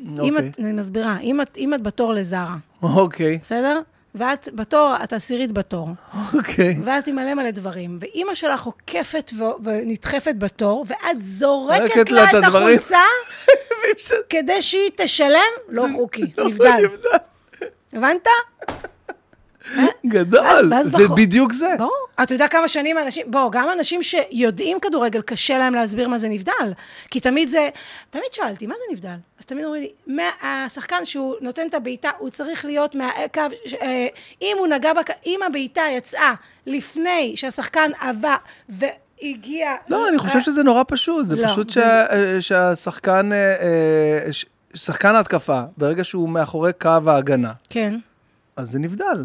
Speaker 1: אם
Speaker 2: אוקיי.
Speaker 1: את, אני מסבירה, אם את, אם את בתור לזרה,
Speaker 2: אוקיי,
Speaker 1: בסדר? ואת בתור, את עשירית בתור,
Speaker 2: אוקיי.
Speaker 1: ואת עם מלא מלא דברים, ואימא שלך עוקפת ו- ונדחפת בתור, ואת
Speaker 2: זורקת
Speaker 1: זורקת
Speaker 2: לה
Speaker 1: לה
Speaker 2: את
Speaker 1: את
Speaker 2: הדברים.
Speaker 1: החולצה כדי שהיא תשלם, לא חוקי, נבדל. הבנת?
Speaker 2: גדול,
Speaker 1: ואז- ואז
Speaker 2: זה
Speaker 1: בחור-
Speaker 2: בדיוק זה.
Speaker 1: ברור. אתה יודע כמה שנים אנשים, בוא, גם אנשים שיודעים כדורגל, קשה להם להסביר מה זה נבדל. כי תמיד זה, תמיד שאלתי, מה זה נבדל? אז תמיד אומרים לי, "מה- השחקן שהוא נותן את הבעיטה, הוא צריך להיות מהקו, ש- אה, אם הוא נגע, בק- אם הבעיטה יצאה לפני שהשחקן עבה והגיע...
Speaker 2: לא, אני חושב
Speaker 1: אה,
Speaker 2: שזה נורא פשוט, זה
Speaker 1: לא,
Speaker 2: פשוט
Speaker 1: זה-
Speaker 2: שה- אה, שהשחקן, אה, אה, ש- שחקן ההתקפה, ברגע שהוא מאחורי קו ההגנה,
Speaker 1: כן.
Speaker 2: אז זה נבדל.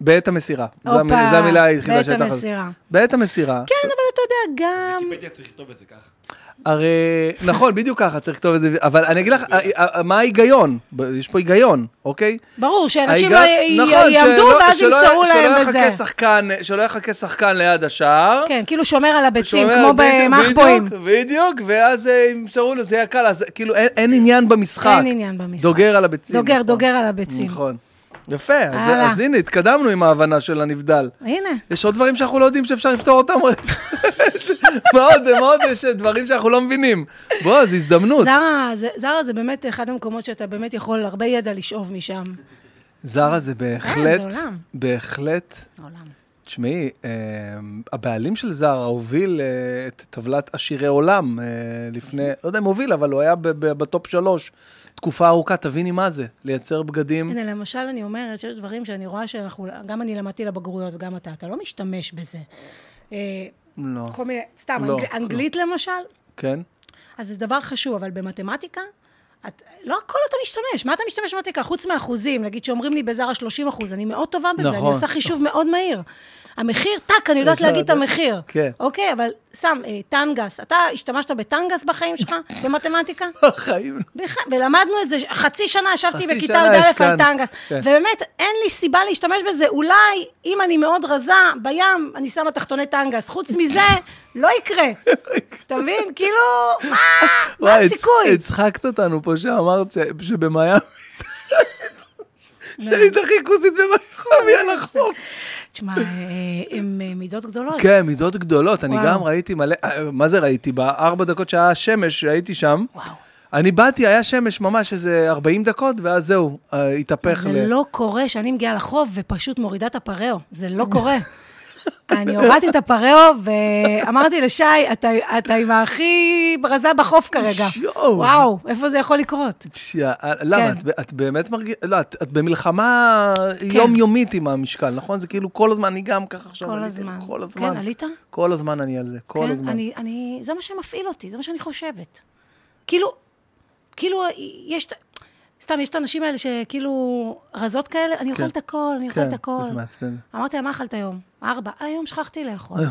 Speaker 2: בעת המסירה. זה המ-
Speaker 1: הופה,
Speaker 2: זה המילה היחידה
Speaker 1: בעת
Speaker 2: שהייתה חסרה.
Speaker 1: המסירה.
Speaker 2: בעת המסירה.
Speaker 1: כן, אבל אתה יודע, גם...
Speaker 3: ויקיפדיה צריך לכתוב את זה ככה.
Speaker 2: הרי, נכון, בדיוק ככה צריך לכתוב את זה, אבל אני אגיד לך, אה, אה, מה ההיגיון? ב- יש פה היגיון, אוקיי?
Speaker 1: ברור, שאנשים לא י-
Speaker 2: ההיגיון- נכון,
Speaker 1: יעמדו
Speaker 2: שלא-
Speaker 1: ואז
Speaker 2: שלא-
Speaker 1: ימסרו
Speaker 2: שלא
Speaker 1: להם
Speaker 2: יחכה
Speaker 1: בזה.
Speaker 2: שחקן- שלא יחכה שחקן ליד השער.
Speaker 1: כן, כאילו שומר על הביצים,
Speaker 2: שאומר,
Speaker 1: כמו
Speaker 2: בדיוק,
Speaker 1: במחבואים.
Speaker 2: בדיוק, בדיוק, ואז אה, ימסרו לו, זה יהיה קל, אז כאילו אין- אין עניין במשחק.
Speaker 1: אין עניין במשחק.
Speaker 2: דוגר על הביצים.
Speaker 1: דוגר,
Speaker 2: נכון.
Speaker 1: דוגר על הביצים.
Speaker 2: נכון. יפה, אז-
Speaker 1: הלאה.
Speaker 2: אז הנה, התקדמנו עם ההבנה של הנבדל.
Speaker 1: הנה.
Speaker 2: יש עוד דברים שאנחנו לא יודעים שאפשר לפתור אותם? מה עוד, מה עוד יש דברים שאנחנו לא מבינים? בוא, זו הזדמנות.
Speaker 1: זרה זה, זרה זה באמת אחד המקומות שאתה באמת יכול הרבה ידע לשאוב משם.
Speaker 2: זרה זה בהחלט,
Speaker 1: אה, זה עולם.
Speaker 2: בהחלט,
Speaker 1: העולם.
Speaker 2: תשמעי, אה, הבעלים של זרה הוביל אה, את טבלת עשירי עולם אה, לפני, לא יודע אם הוביל, אבל הוא היה ב- ב- בטופ שלוש. תקופה ארוכה, תביני מה זה, לייצר בגדים.
Speaker 1: הנה, למשל, אני אומרת שיש דברים שאני רואה שאנחנו, גם אני למדתי לבגרויות וגם אתה, אתה לא משתמש בזה. אה,
Speaker 2: לא,
Speaker 1: כל מיני, סתם,
Speaker 2: לא,
Speaker 1: אנגל, אנגלית למשל,
Speaker 2: כן?
Speaker 1: אז זה דבר חשוב, אבל במתמטיקה, את, לא הכל אתה משתמש. מה אתה משתמש במתמטיקה? חוץ מאחוזים, נגיד שאומרים לי בזרה 30 אחוז, אני מאוד טובה בזה,
Speaker 2: נכון.
Speaker 1: אני עושה חישוב מאוד מהיר. המחיר, טאק, אני יודעת
Speaker 2: יש לה-
Speaker 1: להגיד את המחיר.
Speaker 2: כן.
Speaker 1: אוקיי, אבל סם, אה, טנגס, אתה השתמשת בטנגס בחיים שלך, במתמטיקה?
Speaker 2: בחיים.
Speaker 1: בכלל, ולמדנו את זה, חצי שנה ישבתי
Speaker 2: חצי
Speaker 1: בכיתה
Speaker 2: שנה
Speaker 1: י"א
Speaker 2: השקענו,
Speaker 1: על טנגס,
Speaker 2: כן.
Speaker 1: ובאמת, אין לי סיבה להשתמש בזה, אולי אם אני מאוד רזה, בים, אני שמה תחתוני טנגס, חוץ מזה, לא יקרה. אתה מבין? כאילו, מה, מה
Speaker 2: וואי, הצ-
Speaker 1: הסיכוי?
Speaker 2: הצחקת אותנו פה שאמרת ש- שבמיאמי... שהיית הכי כוסית במיאמי על החוף.
Speaker 1: תשמע, אה, הם אה, מידות גדולות.
Speaker 2: כן, מידות גדולות, אני
Speaker 1: וואו.
Speaker 2: גם ראיתי מלא, אה, מה זה ראיתי? בארבע דקות שהיה השמש, הייתי שם.
Speaker 1: וואו.
Speaker 2: אני באתי, היה שמש ממש איזה 40 דקות, ואז זהו, אה, התהפך.
Speaker 1: זה
Speaker 2: ל-
Speaker 1: לא קורה שאני מגיעה לחוף ופשוט מורידה את הפרeo, זה לא קורה. אני הורדתי את הפרeo ואמרתי לשי, אתה, אתה עם הכי רזה בחוף כרגע.
Speaker 2: יואו.
Speaker 1: וואו, איפה זה יכול לקרות?
Speaker 2: שיה- אה, למה?
Speaker 1: כן.
Speaker 2: את ב- את באמת מרגישה, לא, את את במלחמה יומיומית עם המשקל, נכון? זה כאילו כל הזמן, אני גם ככה עכשיו
Speaker 1: כל
Speaker 2: עליתי,
Speaker 1: הזמן.
Speaker 2: כל הזמן.
Speaker 1: כן, עלית?
Speaker 2: כל הזמן אני על זה, כל
Speaker 1: כן,
Speaker 2: הזמן.
Speaker 1: אני, אני, זה מה שמפעיל אותי, זה מה שאני חושבת. כאילו, כאילו, יש... את- סתם, יש את הנשים האלה שכאילו רזות כאלה, אני אוכלת
Speaker 2: כן.
Speaker 1: הכל, אני
Speaker 2: כן,
Speaker 1: אוכלת הכל.
Speaker 2: זה מעצבן.
Speaker 1: אמרתי לה, מה אכלת היום? ארבע. "אה, היום שכחתי לאכול.
Speaker 2: היום.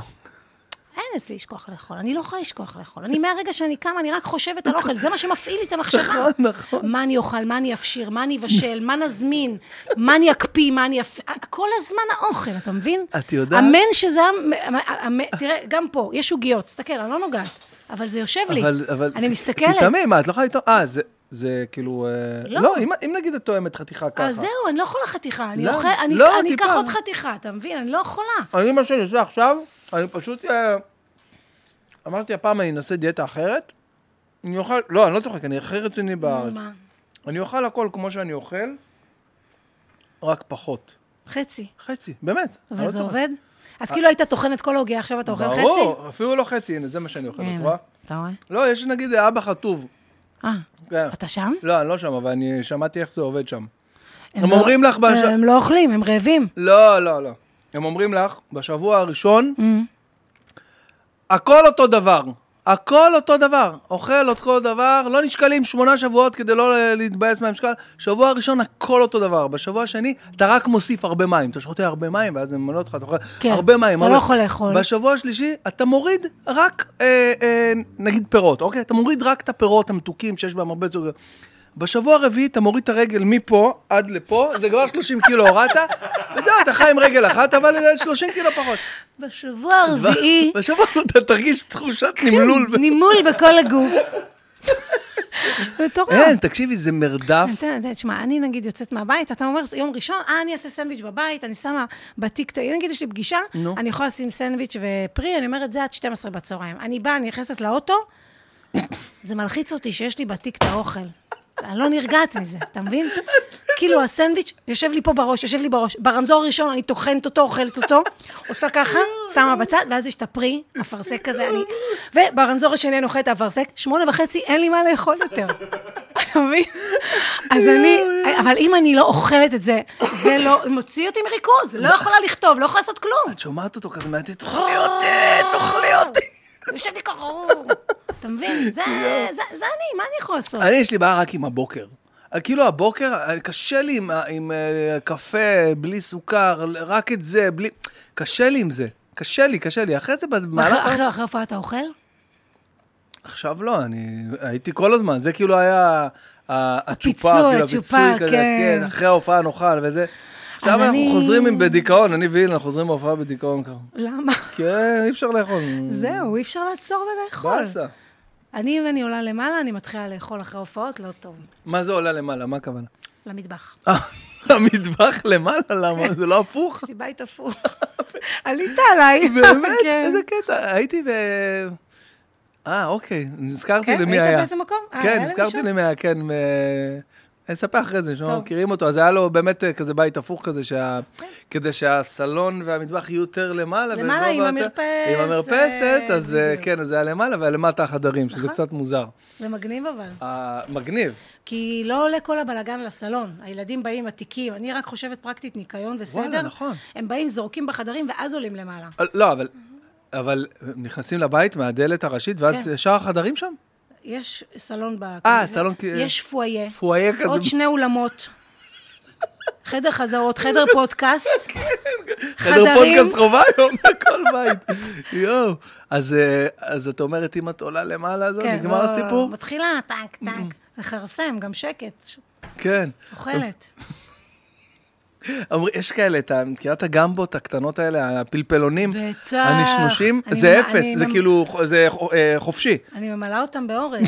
Speaker 1: אין אצלי יש כוח לאכול, אני לא יכולה יש כוח לאכול. אני מהרגע שאני קמה, אני רק חושבת על אוכל, זה מה שמפעיל לי את המחשבה.
Speaker 2: נכון.
Speaker 1: מה אני אוכל, מה אני אפשיר, מה אני אבשל, מה נזמין, מה אני אקפיא, מה אני אפ... כל הזמן האוכל, אתה מבין?
Speaker 2: את יודעת-
Speaker 1: אמן שזה... המ- המ- המ- תראה, גם פה, יש עוגיות, תסתכל, אני לא נוגעת, אבל זה יושב לי.
Speaker 2: אבל, אבל...
Speaker 1: אני מסתכלת.
Speaker 2: תתאמי, מה, את לא יכולה לטעום? אה, זה, זה כאילו... אה,
Speaker 1: לא.
Speaker 2: לא, אם, אם נגיד את תואמת חתיכה ככה.
Speaker 1: אה, זהו, אני לא יכולה חתיכה, אני
Speaker 2: לא,
Speaker 1: אוכל... אני-
Speaker 2: לא,
Speaker 1: אני
Speaker 2: טיפה.
Speaker 1: אקח עוד חתיכה, אתה מבין? אני לא יכולה.
Speaker 2: אני, מה שאני עושה עכשיו, אני פשוט... אה, אמרתי, הפעם אני אנסה דיאטה אחרת. אני אוכל... לא, אני לא צוחק, אני הכי רציני בארץ.
Speaker 1: מה?
Speaker 2: אני אוכל הכל כמו שאני אוכל, רק פחות.
Speaker 1: חצי.
Speaker 2: חצי, באמת. אני לא
Speaker 1: וזה
Speaker 2: צוחק.
Speaker 1: עובד? אז כאילו היית טוחן את כל העוגיה, עכשיו אתה אוכל חצי?
Speaker 2: אה- ברור, אפילו לא חצי, הנה, זה מה שאני אוכל, את
Speaker 1: הנה,
Speaker 2: רואה?
Speaker 1: אתה רואה?
Speaker 2: לא, יש נגיד אבא חטוב.
Speaker 1: אה,
Speaker 2: כן.
Speaker 1: אתה שם?
Speaker 2: לא, אני לא שם, אבל אני שמעתי איך זה עובד שם. הם
Speaker 1: לא-
Speaker 2: אומרים לך בש-
Speaker 1: הם לא אוכלים, הם רעבים.
Speaker 2: לא, לא, לא. הם אומרים לך, בשבוע הראשון, הכל אותו דבר. הכל אותו דבר. אוכל אותו דבר, לא נשקלים שמונה שבועות כדי לא אה, להתבאס מהמשקל. שבוע הראשון, הכל אותו דבר. בשבוע השני, אתה רק מוסיף הרבה מים. אתה שותה הרבה מים, ואז הם מלא אותך, אתה אוכל
Speaker 1: כן,
Speaker 2: הרבה
Speaker 1: אז
Speaker 2: מים.
Speaker 1: אתה לא
Speaker 2: הרבה.
Speaker 1: יכול לאכול.
Speaker 2: בשבוע השלישי, אתה מוריד רק, אה, אה, נגיד, פירות, אוקיי? אתה מוריד רק את הפירות המתוקים שיש בהם הרבה סוגר. בשבוע הרביעי אתה מוריד את הרגל מפה עד לפה, זה כבר 30 קילו הורדת, וזהו, אתה חי עם רגל אחת, אבל זה 30 קילו פחות.
Speaker 1: בשבוע הרביעי,
Speaker 2: בשבוע אתה תרגיש תחושת נמלול.
Speaker 1: נימול בכל הגוף. מטורף.
Speaker 2: אין, תקשיבי, זה מרדף.
Speaker 1: אתה יודע, תשמע, אני נגיד יוצאת מהבית, אתה אומר, יום ראשון, אה, אני אעשה סנדוויץ' בבית, אני שמה בתיק, ת- נגיד יש לי פגישה,
Speaker 2: נו.
Speaker 1: אני יכולה לשים סנדוויץ' ופרי, אני אומרת, זה עד 12 בצהריים. אני באה, אני נכנסת לאוטו, זה מלחיץ אותי שיש לי בתיק את האוכל. אני לא נרגעת מזה, אתה מבין? כאילו הסנדוויץ' יושב לי פה בראש, יושב לי בראש. ברמזור הראשון אני טוחנת אותו, אוכלת אותו, עושה ככה, שמה בצד, ואז יש את הפרי, אפרסק כזה, אני... וברמזור השני אני אוכלת את האפרסק, שמונה וחצי, אין לי מה לאכול יותר. אתה מבין? אז אני... אבל אם אני לא אוכלת את זה, זה לא... מוציא אותי מריכוז, לא יכולה לכתוב, לא יכולה לעשות כלום.
Speaker 2: את שומעת אותו כזה מעטית, תאכלי אותי, תאכלי אותי.
Speaker 1: יושב לי ככה, אתה מבין? זה זה- זה אני, מה אני יכולה לעשות?
Speaker 2: אני, יש לי בעיה רק עם הבוקר. כאילו הבוקר, אה, קשה לי עם, ה- עם אה, קפה, בלי סוכר, רק את זה, בלי... קשה לי עם זה. קשה לי, קשה לי. אחרי זה במהלך...
Speaker 1: אחרי- אחרי אחרי הופעה אתה אוכל?
Speaker 2: עכשיו לא, אני הייתי כל הזמן, זה כאילו היה ה- הצ'ופה,
Speaker 1: הפיצוי,
Speaker 2: כאילו
Speaker 1: הצ'ופה,
Speaker 2: הפיצוי כזה,
Speaker 1: כן.
Speaker 2: כן, אחרי ההופעה נאכל וזה. עכשיו אנחנו
Speaker 1: אני-
Speaker 2: חוזרים עם- בדיכאון, אני ואילן, אנחנו חוזרים בהופעה בדיכאון ככה.
Speaker 1: למה?
Speaker 2: כן, אי אפשר לאכול.
Speaker 1: זהו, אי אפשר לעצור ולאכול.
Speaker 2: באסה.
Speaker 1: אני, אם אני עולה למעלה, אני מתחילה לאכול אחרי הופעות, לא טוב.
Speaker 2: מה זה עולה למעלה? מה הכוונה?
Speaker 1: למטבח.
Speaker 2: אה, המטבח למעלה, למה? זה לא הפוך?
Speaker 1: יש לי בית הפוך. עלית עליי.
Speaker 2: באמת?
Speaker 1: כן.
Speaker 2: איזה קטע. הייתי ב... אה, אוקיי, נזכרתי
Speaker 1: כן?
Speaker 2: למי
Speaker 1: היית
Speaker 2: היה.
Speaker 1: באיזה מקום? אה, היה
Speaker 2: כן,
Speaker 1: למישהו?
Speaker 2: נזכרתי למי היה, כן. מ- אני אספר אחרי זה, שאנחנו
Speaker 1: טוב. כן.
Speaker 2: מכירים אותו. אז היה לו באמת אה, כזה בית הפוך כזה, שה- כדי שהסלון והמטבח יהיו יותר למעלה.
Speaker 1: למעלה,
Speaker 2: ולא
Speaker 1: עם
Speaker 2: יותר-
Speaker 1: המרפס,
Speaker 2: עם המרפסת,
Speaker 1: אה,
Speaker 2: אז אה,
Speaker 1: בדיוק.
Speaker 2: כן, אז זה היה למעלה, ולמטה החדרים, שזה
Speaker 1: נכון.
Speaker 2: קצת מוזר.
Speaker 1: זה מגניב אבל.
Speaker 2: אה, מגניב.
Speaker 1: כי לא עולה כל הבלגן לסלון. הילדים באים עם התיקים, אני רק חושבת פרקטית ניקיון וסדר.
Speaker 2: וואלה, נכון.
Speaker 1: הם באים, זורקים בחדרים, ואז עולים למעלה.
Speaker 2: אה, לא, אבל... אבל נכנסים לבית מהדלת הראשית, ואז
Speaker 1: כן.
Speaker 2: ישר החדרים שם?
Speaker 1: יש סלון ב...
Speaker 2: אה, סלון כ-
Speaker 1: יש פואיה.
Speaker 2: פואיה כזה.
Speaker 1: עוד שני אולמות. חדר חזרות, חדר פודקאסט.
Speaker 2: חדר
Speaker 1: חדרים.
Speaker 2: פודקאסט חובה היום בכל בית. יואו. אז, אה, אז את אומרת, אם את עולה למעלה, זהו,
Speaker 1: כן,
Speaker 2: נגמר
Speaker 1: לא,
Speaker 2: הסיפור?
Speaker 1: מתחילה, טק, טק. לכרסם, גם שקט.
Speaker 2: כן.
Speaker 1: אוכלת.
Speaker 2: אמר, יש כאלה, את ה- מכירה את הגמבות הקטנות האלה, הפלפלונים?
Speaker 1: בטח.
Speaker 2: הנשנושים?
Speaker 1: אני
Speaker 2: זה
Speaker 1: ממ-
Speaker 2: אפס,
Speaker 1: אני לא-
Speaker 2: זה
Speaker 1: ממ-
Speaker 2: כאילו, זה אה, חופשי.
Speaker 1: אני ממלאה אותם באורז.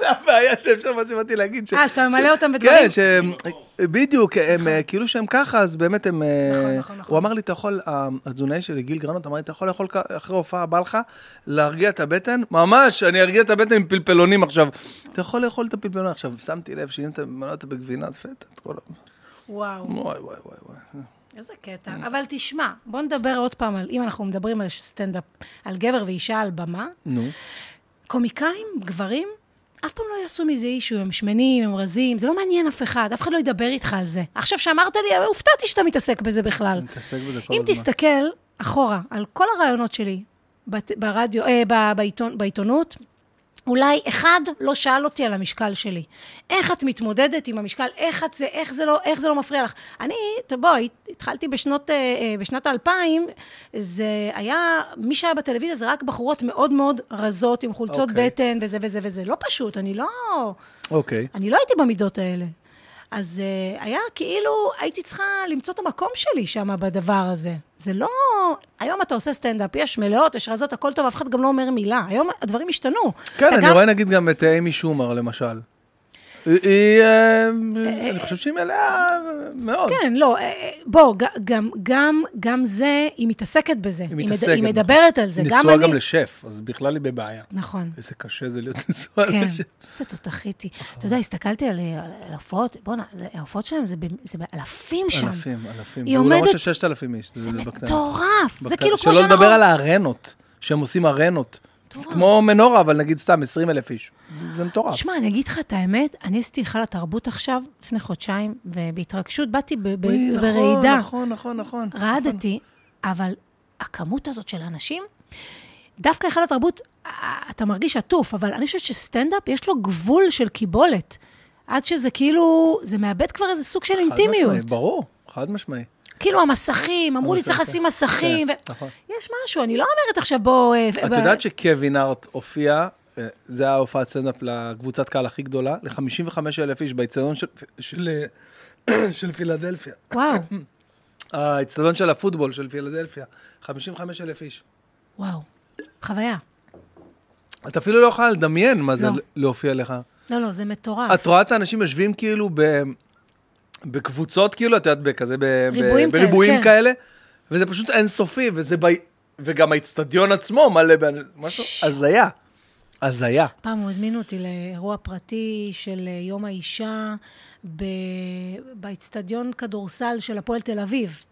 Speaker 2: זה הבעיה שאפשר, מה שבאתי להגיד. ש-
Speaker 1: אה, שאתה ממלא אותם
Speaker 2: כן,
Speaker 1: בדברים.
Speaker 2: שהם, בדיוק, הם אה, כאילו שהם ככה, אז באמת הם... אה,
Speaker 1: נכון, נכון, נכון.
Speaker 2: הוא אמר לי, אתה יכול, ה- התזונאי שלי, גיל גרנות, אמר לי, אתה יכול לאכול כ- אחרי הופעה, בא לך להרגיע את הבטן? ממש, אני ארגיע את הבטן עם פלפלונים עכשיו. אתה יכול לאכול את הפלפלונים עכשיו, שמתי לב שאם אתה ממלא אותה בגבינה, אז פטה, את כל ה...
Speaker 1: וואו,
Speaker 2: וואי, וואי, וואי, וואי.
Speaker 1: איזה קטע. אבל תשמע, בוא נדבר עוד פעם על, אם אנחנו מדברים על סטנדאפ, על גבר ואישה על במה,
Speaker 2: נו.
Speaker 1: קומיקאים, גברים, אף פעם לא יעשו מזה אישו, הם שמנים, הם רזים, זה לא מעניין אף אחד, אף אחד לא ידבר איתך על זה. עכשיו שאמרת לי, הופתעתי שאתה מתעסק בזה בכלל.
Speaker 2: מתעסק בזה כל
Speaker 1: אם
Speaker 2: הזמן.
Speaker 1: תסתכל אחורה על כל הרעיונות שלי בת- ברדיו, אה, ב- בעיתון, בעיתונות, אולי אחד לא שאל אותי על המשקל שלי. איך את מתמודדת עם המשקל? איך את זה, איך זה לא, איך זה לא מפריע לך? אני, טוב, בואי, התחלתי בשנות, אה, אה, בשנת האלפיים, זה היה, מי שהיה בטלוויזיה זה רק בחורות מאוד מאוד רזות, עם חולצות
Speaker 2: אוקיי.
Speaker 1: בטן וזה וזה וזה. לא פשוט, אני לא...
Speaker 2: אוקיי.
Speaker 1: אני לא הייתי במידות האלה. אז uh, היה כאילו, הייתי צריכה למצוא את המקום שלי שם בדבר הזה. זה לא... היום אתה עושה סטנדאפ, יש מלאות, יש רזות, הכל טוב, אף אחד גם לא אומר מילה. היום הדברים השתנו.
Speaker 2: כן,
Speaker 1: אתה
Speaker 2: אני
Speaker 1: גם-
Speaker 2: רואה נגיד גם את אימי שומר, למשל. היא- היא, אה, אני חושב שהיא מלאה מאוד.
Speaker 1: כן, לא, אה, אה, בוא, ג- גם, גם, גם זה, היא מתעסקת בזה. היא, מד-
Speaker 2: מתעסקת
Speaker 1: היא
Speaker 2: בזה.
Speaker 1: מדברת על זה.
Speaker 2: היא
Speaker 1: גם
Speaker 2: נשואה
Speaker 1: אני...
Speaker 2: גם לשף, אז בכלל היא בבעיה.
Speaker 1: נכון.
Speaker 2: איזה קשה זה להיות נשואה
Speaker 1: כן,
Speaker 2: לשף.
Speaker 1: איזה תותחיתי. אתה יודע, הסתכלתי על אה, על- על הופעות, בואנה, זה- ההופעות שלהם זה ב- זה באלפים שם.
Speaker 2: אלפים, אלפים. לא
Speaker 1: היא
Speaker 2: באולמות
Speaker 1: עומדת-
Speaker 2: של 6,000 איש.
Speaker 1: זה
Speaker 2: בקטנה.
Speaker 1: מטורף. זה
Speaker 2: בקטנה.
Speaker 1: כאילו כמו
Speaker 2: שלא
Speaker 1: שאנחנו...
Speaker 2: לדבר על הארנות, שהם עושים ארנות. כמו מנורה, אבל נגיד סתם 20,000 איש. זה מטורף.
Speaker 1: תשמע, אני אגיד לך את האמת, אני עשיתי היכל התרבות עכשיו, לפני חודשיים, ובהתרגשות באתי ב- ב-
Speaker 2: אוי, נכון,
Speaker 1: ברעידה.
Speaker 2: נכון, נכון, נכון.
Speaker 1: רעדתי, אבל הכמות הזאת של אנשים, דווקא היכל התרבות, אה, אתה מרגיש עטוף, אבל אני חושבת שסטנדאפ יש לו גבול של קיבולת. עד שזה כאילו, זה מאבד כבר איזה סוג של
Speaker 2: חד משמעי,
Speaker 1: אינטימיות.
Speaker 2: ברור, חד משמעי.
Speaker 1: כאילו המסכים, אמרו לי צריך
Speaker 2: המסכים,
Speaker 1: לשים מסכים.
Speaker 2: כן,
Speaker 1: ו-
Speaker 2: נכון.
Speaker 1: יש משהו, אני לא אומרת עכשיו בוא...
Speaker 2: את יודעת שקווין הארט הופיע אה, זה היה הופעת סטנדאפ לקבוצת קהל הכי גדולה, ל-55 אלף איש באיצטדיון של, של, אה, של פילדלפיה.
Speaker 1: וואו,
Speaker 2: האיצטדיון של הפוטבול של פילדלפיה, 55 אלף איש.
Speaker 1: וואו, חוויה.
Speaker 2: אתה אפילו לא יכולה לדמיין מה זה
Speaker 1: לא.
Speaker 2: להופיע לך.
Speaker 1: לא, לא, זה מטורף.
Speaker 2: את רואה את האנשים יושבים כאילו ב... בקבוצות, כאילו, את יודעת, בכזה, ב... ב-
Speaker 1: ריבועים כאלה,
Speaker 2: בריבועים
Speaker 1: כן.
Speaker 2: כאלה, וזה פשוט אינסופי, וזה ב... וגם האיצטדיון עצמו מלא ב... משהו, הזיה. הזיה.
Speaker 1: פעם הזמינו אותי לאירוע פרטי של אה, יום האישה ב- באיצטדיון כדורסל של הפועל תל אביב,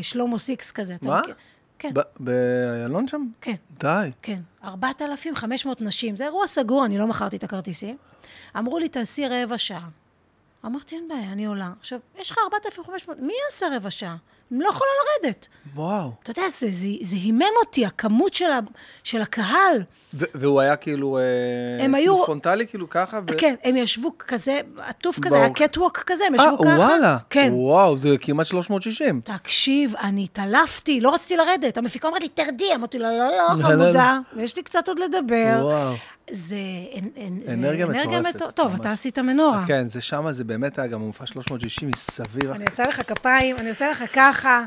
Speaker 1: בשלומו סיקס כזה. אתה
Speaker 2: מה?
Speaker 1: מכיר? כן,
Speaker 2: ב- באיילון שם?
Speaker 1: כן.
Speaker 2: די.
Speaker 1: כן, 4,500 נשים. זה אירוע סגור, אני לא מכרתי את הכרטיסים. אמרו לי, תעשי רבע שעה. אמרתי, אין בעיה, אני עולה. עכשיו, יש לך 4,500, מי יעשה רבע שעה? אני לא יכולה לרדת.
Speaker 2: וואו.
Speaker 1: אתה יודע, זה, זה, זה הימם אותי, הכמות של, ה, של הקהל.
Speaker 2: ו- והוא היה כאילו... אה,
Speaker 1: הם
Speaker 2: כאילו
Speaker 1: היו-
Speaker 2: פרונטלי, כאילו ככה? ו-
Speaker 1: כן, הם ישבו כזה, עטוף כזה,
Speaker 2: באור-
Speaker 1: היה קטווק כזה, הם
Speaker 2: אה,
Speaker 1: ישבו ככה.
Speaker 2: וואלה.
Speaker 1: כן.
Speaker 2: וואו, זה כמעט 360.
Speaker 1: תקשיב, אני התעלפתי, לא רציתי לרדת. המפיקה אומרת לי, תרדי. אמרתי לה, לא, לא,
Speaker 2: לא, לא,
Speaker 1: חמודה, יש לי קצת עוד לדבר.
Speaker 2: וואו.
Speaker 1: זה אנ- אנ- זה
Speaker 2: אנרגיה מטורפת,
Speaker 1: מטור- טוב,
Speaker 2: ממש.
Speaker 1: אתה עשית מנורה.
Speaker 2: כן, זה שמה, זה באמת היה גם מופע 360 מסביב.
Speaker 1: אני עושה לך כפיים, אני עושה לך ככה.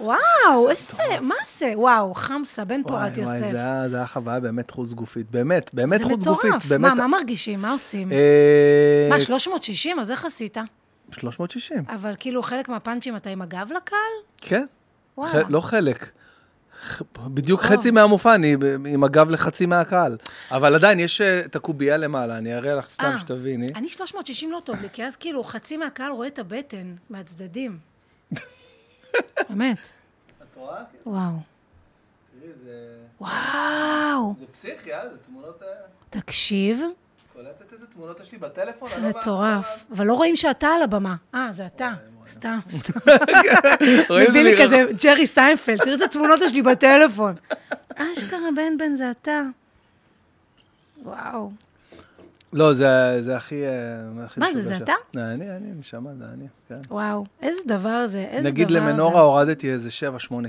Speaker 1: וואו, איזה, מה זה? וואו, חמסה, בן פורת
Speaker 2: וואי,
Speaker 1: יוסף.
Speaker 2: וואי, זה היה- זה היה חוויה באמת חוץ גופית, באמת, באמת
Speaker 1: זה
Speaker 2: חוץ גופית.
Speaker 1: מטורף.
Speaker 2: באמת.
Speaker 1: מה, מה מרגישים? מה עושים?
Speaker 2: אה,
Speaker 1: מה, 360? אז איך עשית?
Speaker 2: 360,
Speaker 1: אבל כאילו, חלק מהפאנצ'ים אתה עם הגב לקהל?
Speaker 2: כן.
Speaker 1: וואלה.
Speaker 2: ח- לא חלק. ח- בדיוק
Speaker 1: וואו.
Speaker 2: חצי מהמופע, אני ב- עם הגב לחצי מהקהל. אבל עדיין, יש אה, את הקובייה למעלה, אני אראה לך סתם
Speaker 1: אה,
Speaker 2: שתביני.
Speaker 1: אני 360 לא טוב לי, כי אז כאילו חצי מהקהל רואה את הבטן מהצדדים. באמת. וואו. וואו.
Speaker 2: זה פסיכי, אה? זה תמונות...
Speaker 1: תקשיב,
Speaker 2: קולטת איזה תמונות יש לי בטלפון?
Speaker 1: זה מטורף. אבל לא רואים שאתה על הבמה. אה, זה אתה. סתם, סתם. מביא
Speaker 2: לא-
Speaker 1: לי כזה ג'רי סיינפלד, תראה איזה תמונות יש לי בטלפון. אשכרה, בן בן, זה אתה. וואו.
Speaker 2: לא, זה- זה הכי... אה, הכי
Speaker 1: מה זה, זה
Speaker 2: משוגע
Speaker 1: אתה?
Speaker 2: ש- אני, אני, נשמה, זה אני, כן.
Speaker 1: וואו. איזה דבר זה, איזה דבר זה.
Speaker 2: נגיד למנורה הורדתי איזה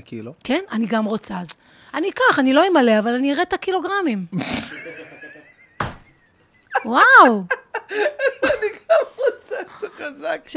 Speaker 2: 7-8 קילו.
Speaker 1: כן, אני גם רוצה אז. אני אקח, אני לא אמלא, אבל אני אראה את הקילוגרמים. וואו,
Speaker 2: זה חזק.
Speaker 1: 7-8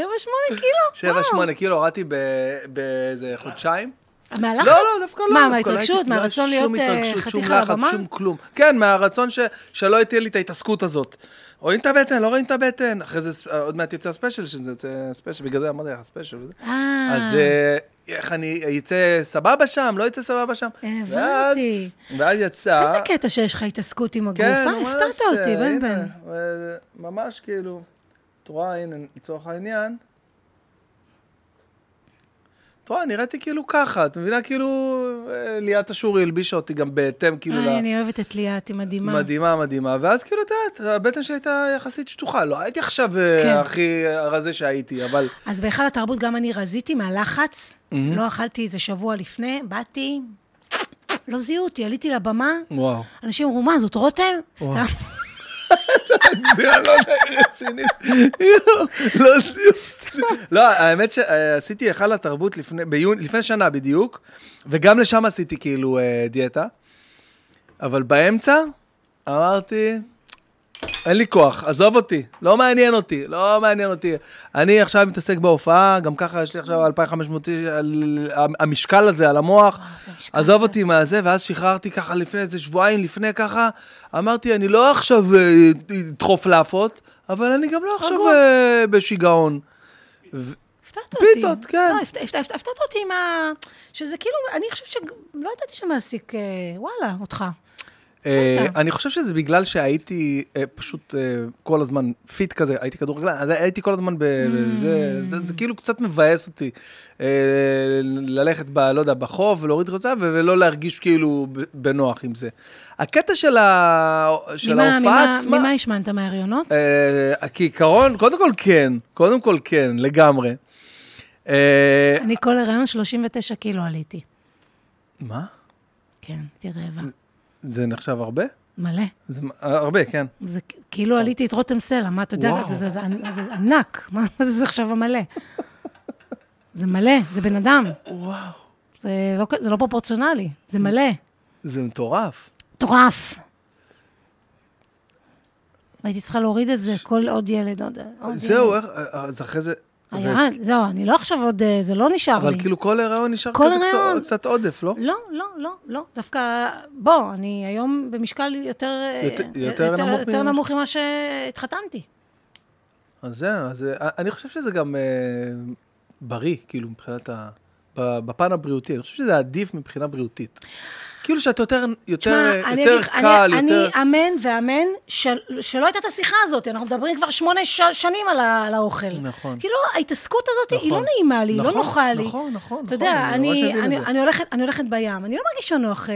Speaker 1: קילו, וואו.
Speaker 2: 7-8 קילו כאילו, הורדתי ב- באיזה חודשיים.
Speaker 1: מהלחץ?
Speaker 2: לא, לא, דווקא לא.
Speaker 1: נכון. מה,
Speaker 2: דווקא לא
Speaker 1: מההתרגשות,
Speaker 2: הייתי- לא היה שום
Speaker 1: מהרצון להיות אה,
Speaker 2: התרגשות,
Speaker 1: חתיך
Speaker 2: שום
Speaker 1: על
Speaker 2: לחץ,
Speaker 1: הבמה?
Speaker 2: שום כלום. כן, מהרצון ש- שלא תהיה לי את ההתעסקות הזאת. רואים את הבטן, לא רואים את הבטן. אחרי זה, ס- עוד מעט יוצא הספיישל, שזה יוצא ספיישל, בגלל זה אמרתי לך ספיישל וזה.
Speaker 1: אה,
Speaker 2: אז אה, איך אני אצא סבבה שם, לא אצא סבבה שם. ואז-
Speaker 1: הבנתי.
Speaker 2: ואז יצא...
Speaker 1: איזה קטע שיש לך התעסקות עם
Speaker 2: כן,
Speaker 1: הגופה,
Speaker 2: ממש,
Speaker 1: הפתעת
Speaker 2: אה,
Speaker 1: אותי, בן
Speaker 2: הנה,
Speaker 1: בן.
Speaker 2: אה, ממש כאילו, את רואה, הנה, לצורך העניין. את רואה, נראיתי כאילו ככה, את מבינה? כאילו, אה, ליאת אשורי הלבישה אותי גם בהתאם, כאילו,
Speaker 1: איי, אני אוהבת את ליאת, אה, היא מדהימה.
Speaker 2: מדהימה, מדהימה. ואז כאילו, את יודעת, הבטן שלי הייתה יחסית שטוחה. לא הייתי עכשיו אה,
Speaker 1: כן.
Speaker 2: הכי רזה שהייתי, אבל...
Speaker 1: אז בהיכל התרבות גם אני רזיתי מהלחץ,
Speaker 2: Mm-hmm.
Speaker 1: לא אכלתי איזה שבוע לפני, באתי, לא זיהו אותי, עליתי לבמה,
Speaker 2: וואו.
Speaker 1: אנשים אמרו, מה, זאת רותם? סתם.
Speaker 2: זה היה לא רצינית. יואו, לא סיוסטי. לא, האמת שעשיתי היכל התרבות לפני- ביוני- לפני שנה בדיוק, וגם לשם עשיתי כאילו אה, דיאטה. אבל באמצע אמרתי, אין לי כוח, עזוב אותי, לא מעניין אותי, לא מעניין אותי. אני עכשיו מתעסק בהופעה, גם ככה יש לי עכשיו 2,500 איש, על- המשקל הזה על המוח,
Speaker 1: אה, זה המשקל
Speaker 2: עזוב
Speaker 1: הזה.
Speaker 2: אותי מהזה, ואז שחררתי ככה לפני איזה שבועיים לפני ככה, אמרתי, אני לא עכשיו אה, אדחוף לאפות, אבל אני גם לא עכשיו
Speaker 1: רגוע.
Speaker 2: אה, בשיגעון.
Speaker 1: הפתעת אותי.
Speaker 2: פיתות, כן.
Speaker 1: לא, הפת- הפת- הפתעת אותי עם ה... שזה כאילו, אני חושבת ש... לא ידעתי שמעסיק, אה, וואלה, אותך.
Speaker 2: אה,
Speaker 1: אתה.
Speaker 2: אני חושב שזה בגלל שהייתי אה, פשוט אה, כל הזמן פיט כזה, הייתי כדורגלן, אז הייתי כל הזמן ב...
Speaker 1: Mm.
Speaker 2: זה- זה זה כאילו קצת מבאס אותי אה, ללכת, ב- לא יודע, בחוף ולהוריד רצה ו- ולא להרגיש כאילו ב- בנוח עם זה. הקטע של ה- של
Speaker 1: ממה-
Speaker 2: ההופעה
Speaker 1: ממה-
Speaker 2: עצמה...
Speaker 1: ממה השמנת מההריונות?
Speaker 2: אה, כעיקרון, קודם כל כן, קודם כל כן, לגמרי. אה,
Speaker 1: אני כל הריון 39 קילו עליתי.
Speaker 2: מה?
Speaker 1: כן, הייתי רעבה.
Speaker 2: זה נחשב הרבה?
Speaker 1: מלא.
Speaker 2: זה מ- הרבה, כן.
Speaker 1: זה כ- כאילו עליתי את רותם סלע, מה, אתה יודע,
Speaker 2: וואו.
Speaker 1: זה- זה- זה זה ענק, מה מה זה עכשיו המלא? זה מלא, זה בן אדם.
Speaker 2: וואו.
Speaker 1: זה לא כ- זה לא פרופורציונלי, זה מלא.
Speaker 2: זה מטורף.
Speaker 1: מטורף. והייתי צריכה להוריד את זה, כל עוד ילד, עוד... עוד
Speaker 2: זהו,
Speaker 1: ילד.
Speaker 2: איך, אה, אז אחרי זה...
Speaker 1: היה, זהו, אני לא עכשיו עוד, אה, זה לא נשאר לי.
Speaker 2: אבל כאילו כל הריון נשאר
Speaker 1: כל
Speaker 2: כזה קצת-
Speaker 1: הריון.
Speaker 2: קצת עודף, לא?
Speaker 1: לא, לא, לא, לא. דווקא, בוא, אני היום במשקל יותר... אה,
Speaker 2: יותר- יותר נמוך
Speaker 1: יותר
Speaker 2: ממה-
Speaker 1: נמוך ממה שהתחתנתי.
Speaker 2: אז זהו, אז אה, אני חושב שזה גם אה, בריא, כאילו, מבחינת ה... ב- בפן הבריאותי, אני חושב שזה עדיף מבחינה בריאותית. כאילו שאתה יותר, יותר,
Speaker 1: תשמע, אני
Speaker 2: יותר
Speaker 1: אגיד לך,
Speaker 2: קל,
Speaker 1: אני,
Speaker 2: יותר...
Speaker 1: אני אמן ואמן של, שלא הייתה את השיחה הזאת, אנחנו מדברים כבר שמונה ש, שנים על, ה, על האוכל.
Speaker 2: נכון.
Speaker 1: כאילו, ההתעסקות הזאת נכון, היא לא
Speaker 2: נכון.
Speaker 1: נעימה לי, היא
Speaker 2: נכון,
Speaker 1: לא נוחה לי.
Speaker 2: נכון, נכון,
Speaker 1: אתה
Speaker 2: נכון,
Speaker 1: יודע,
Speaker 2: אני ממש
Speaker 1: אני,
Speaker 2: מבין את
Speaker 1: אני,
Speaker 2: זה.
Speaker 1: אני, הולכת, אני הולכת בים, אני לא מרגישה נוח אה,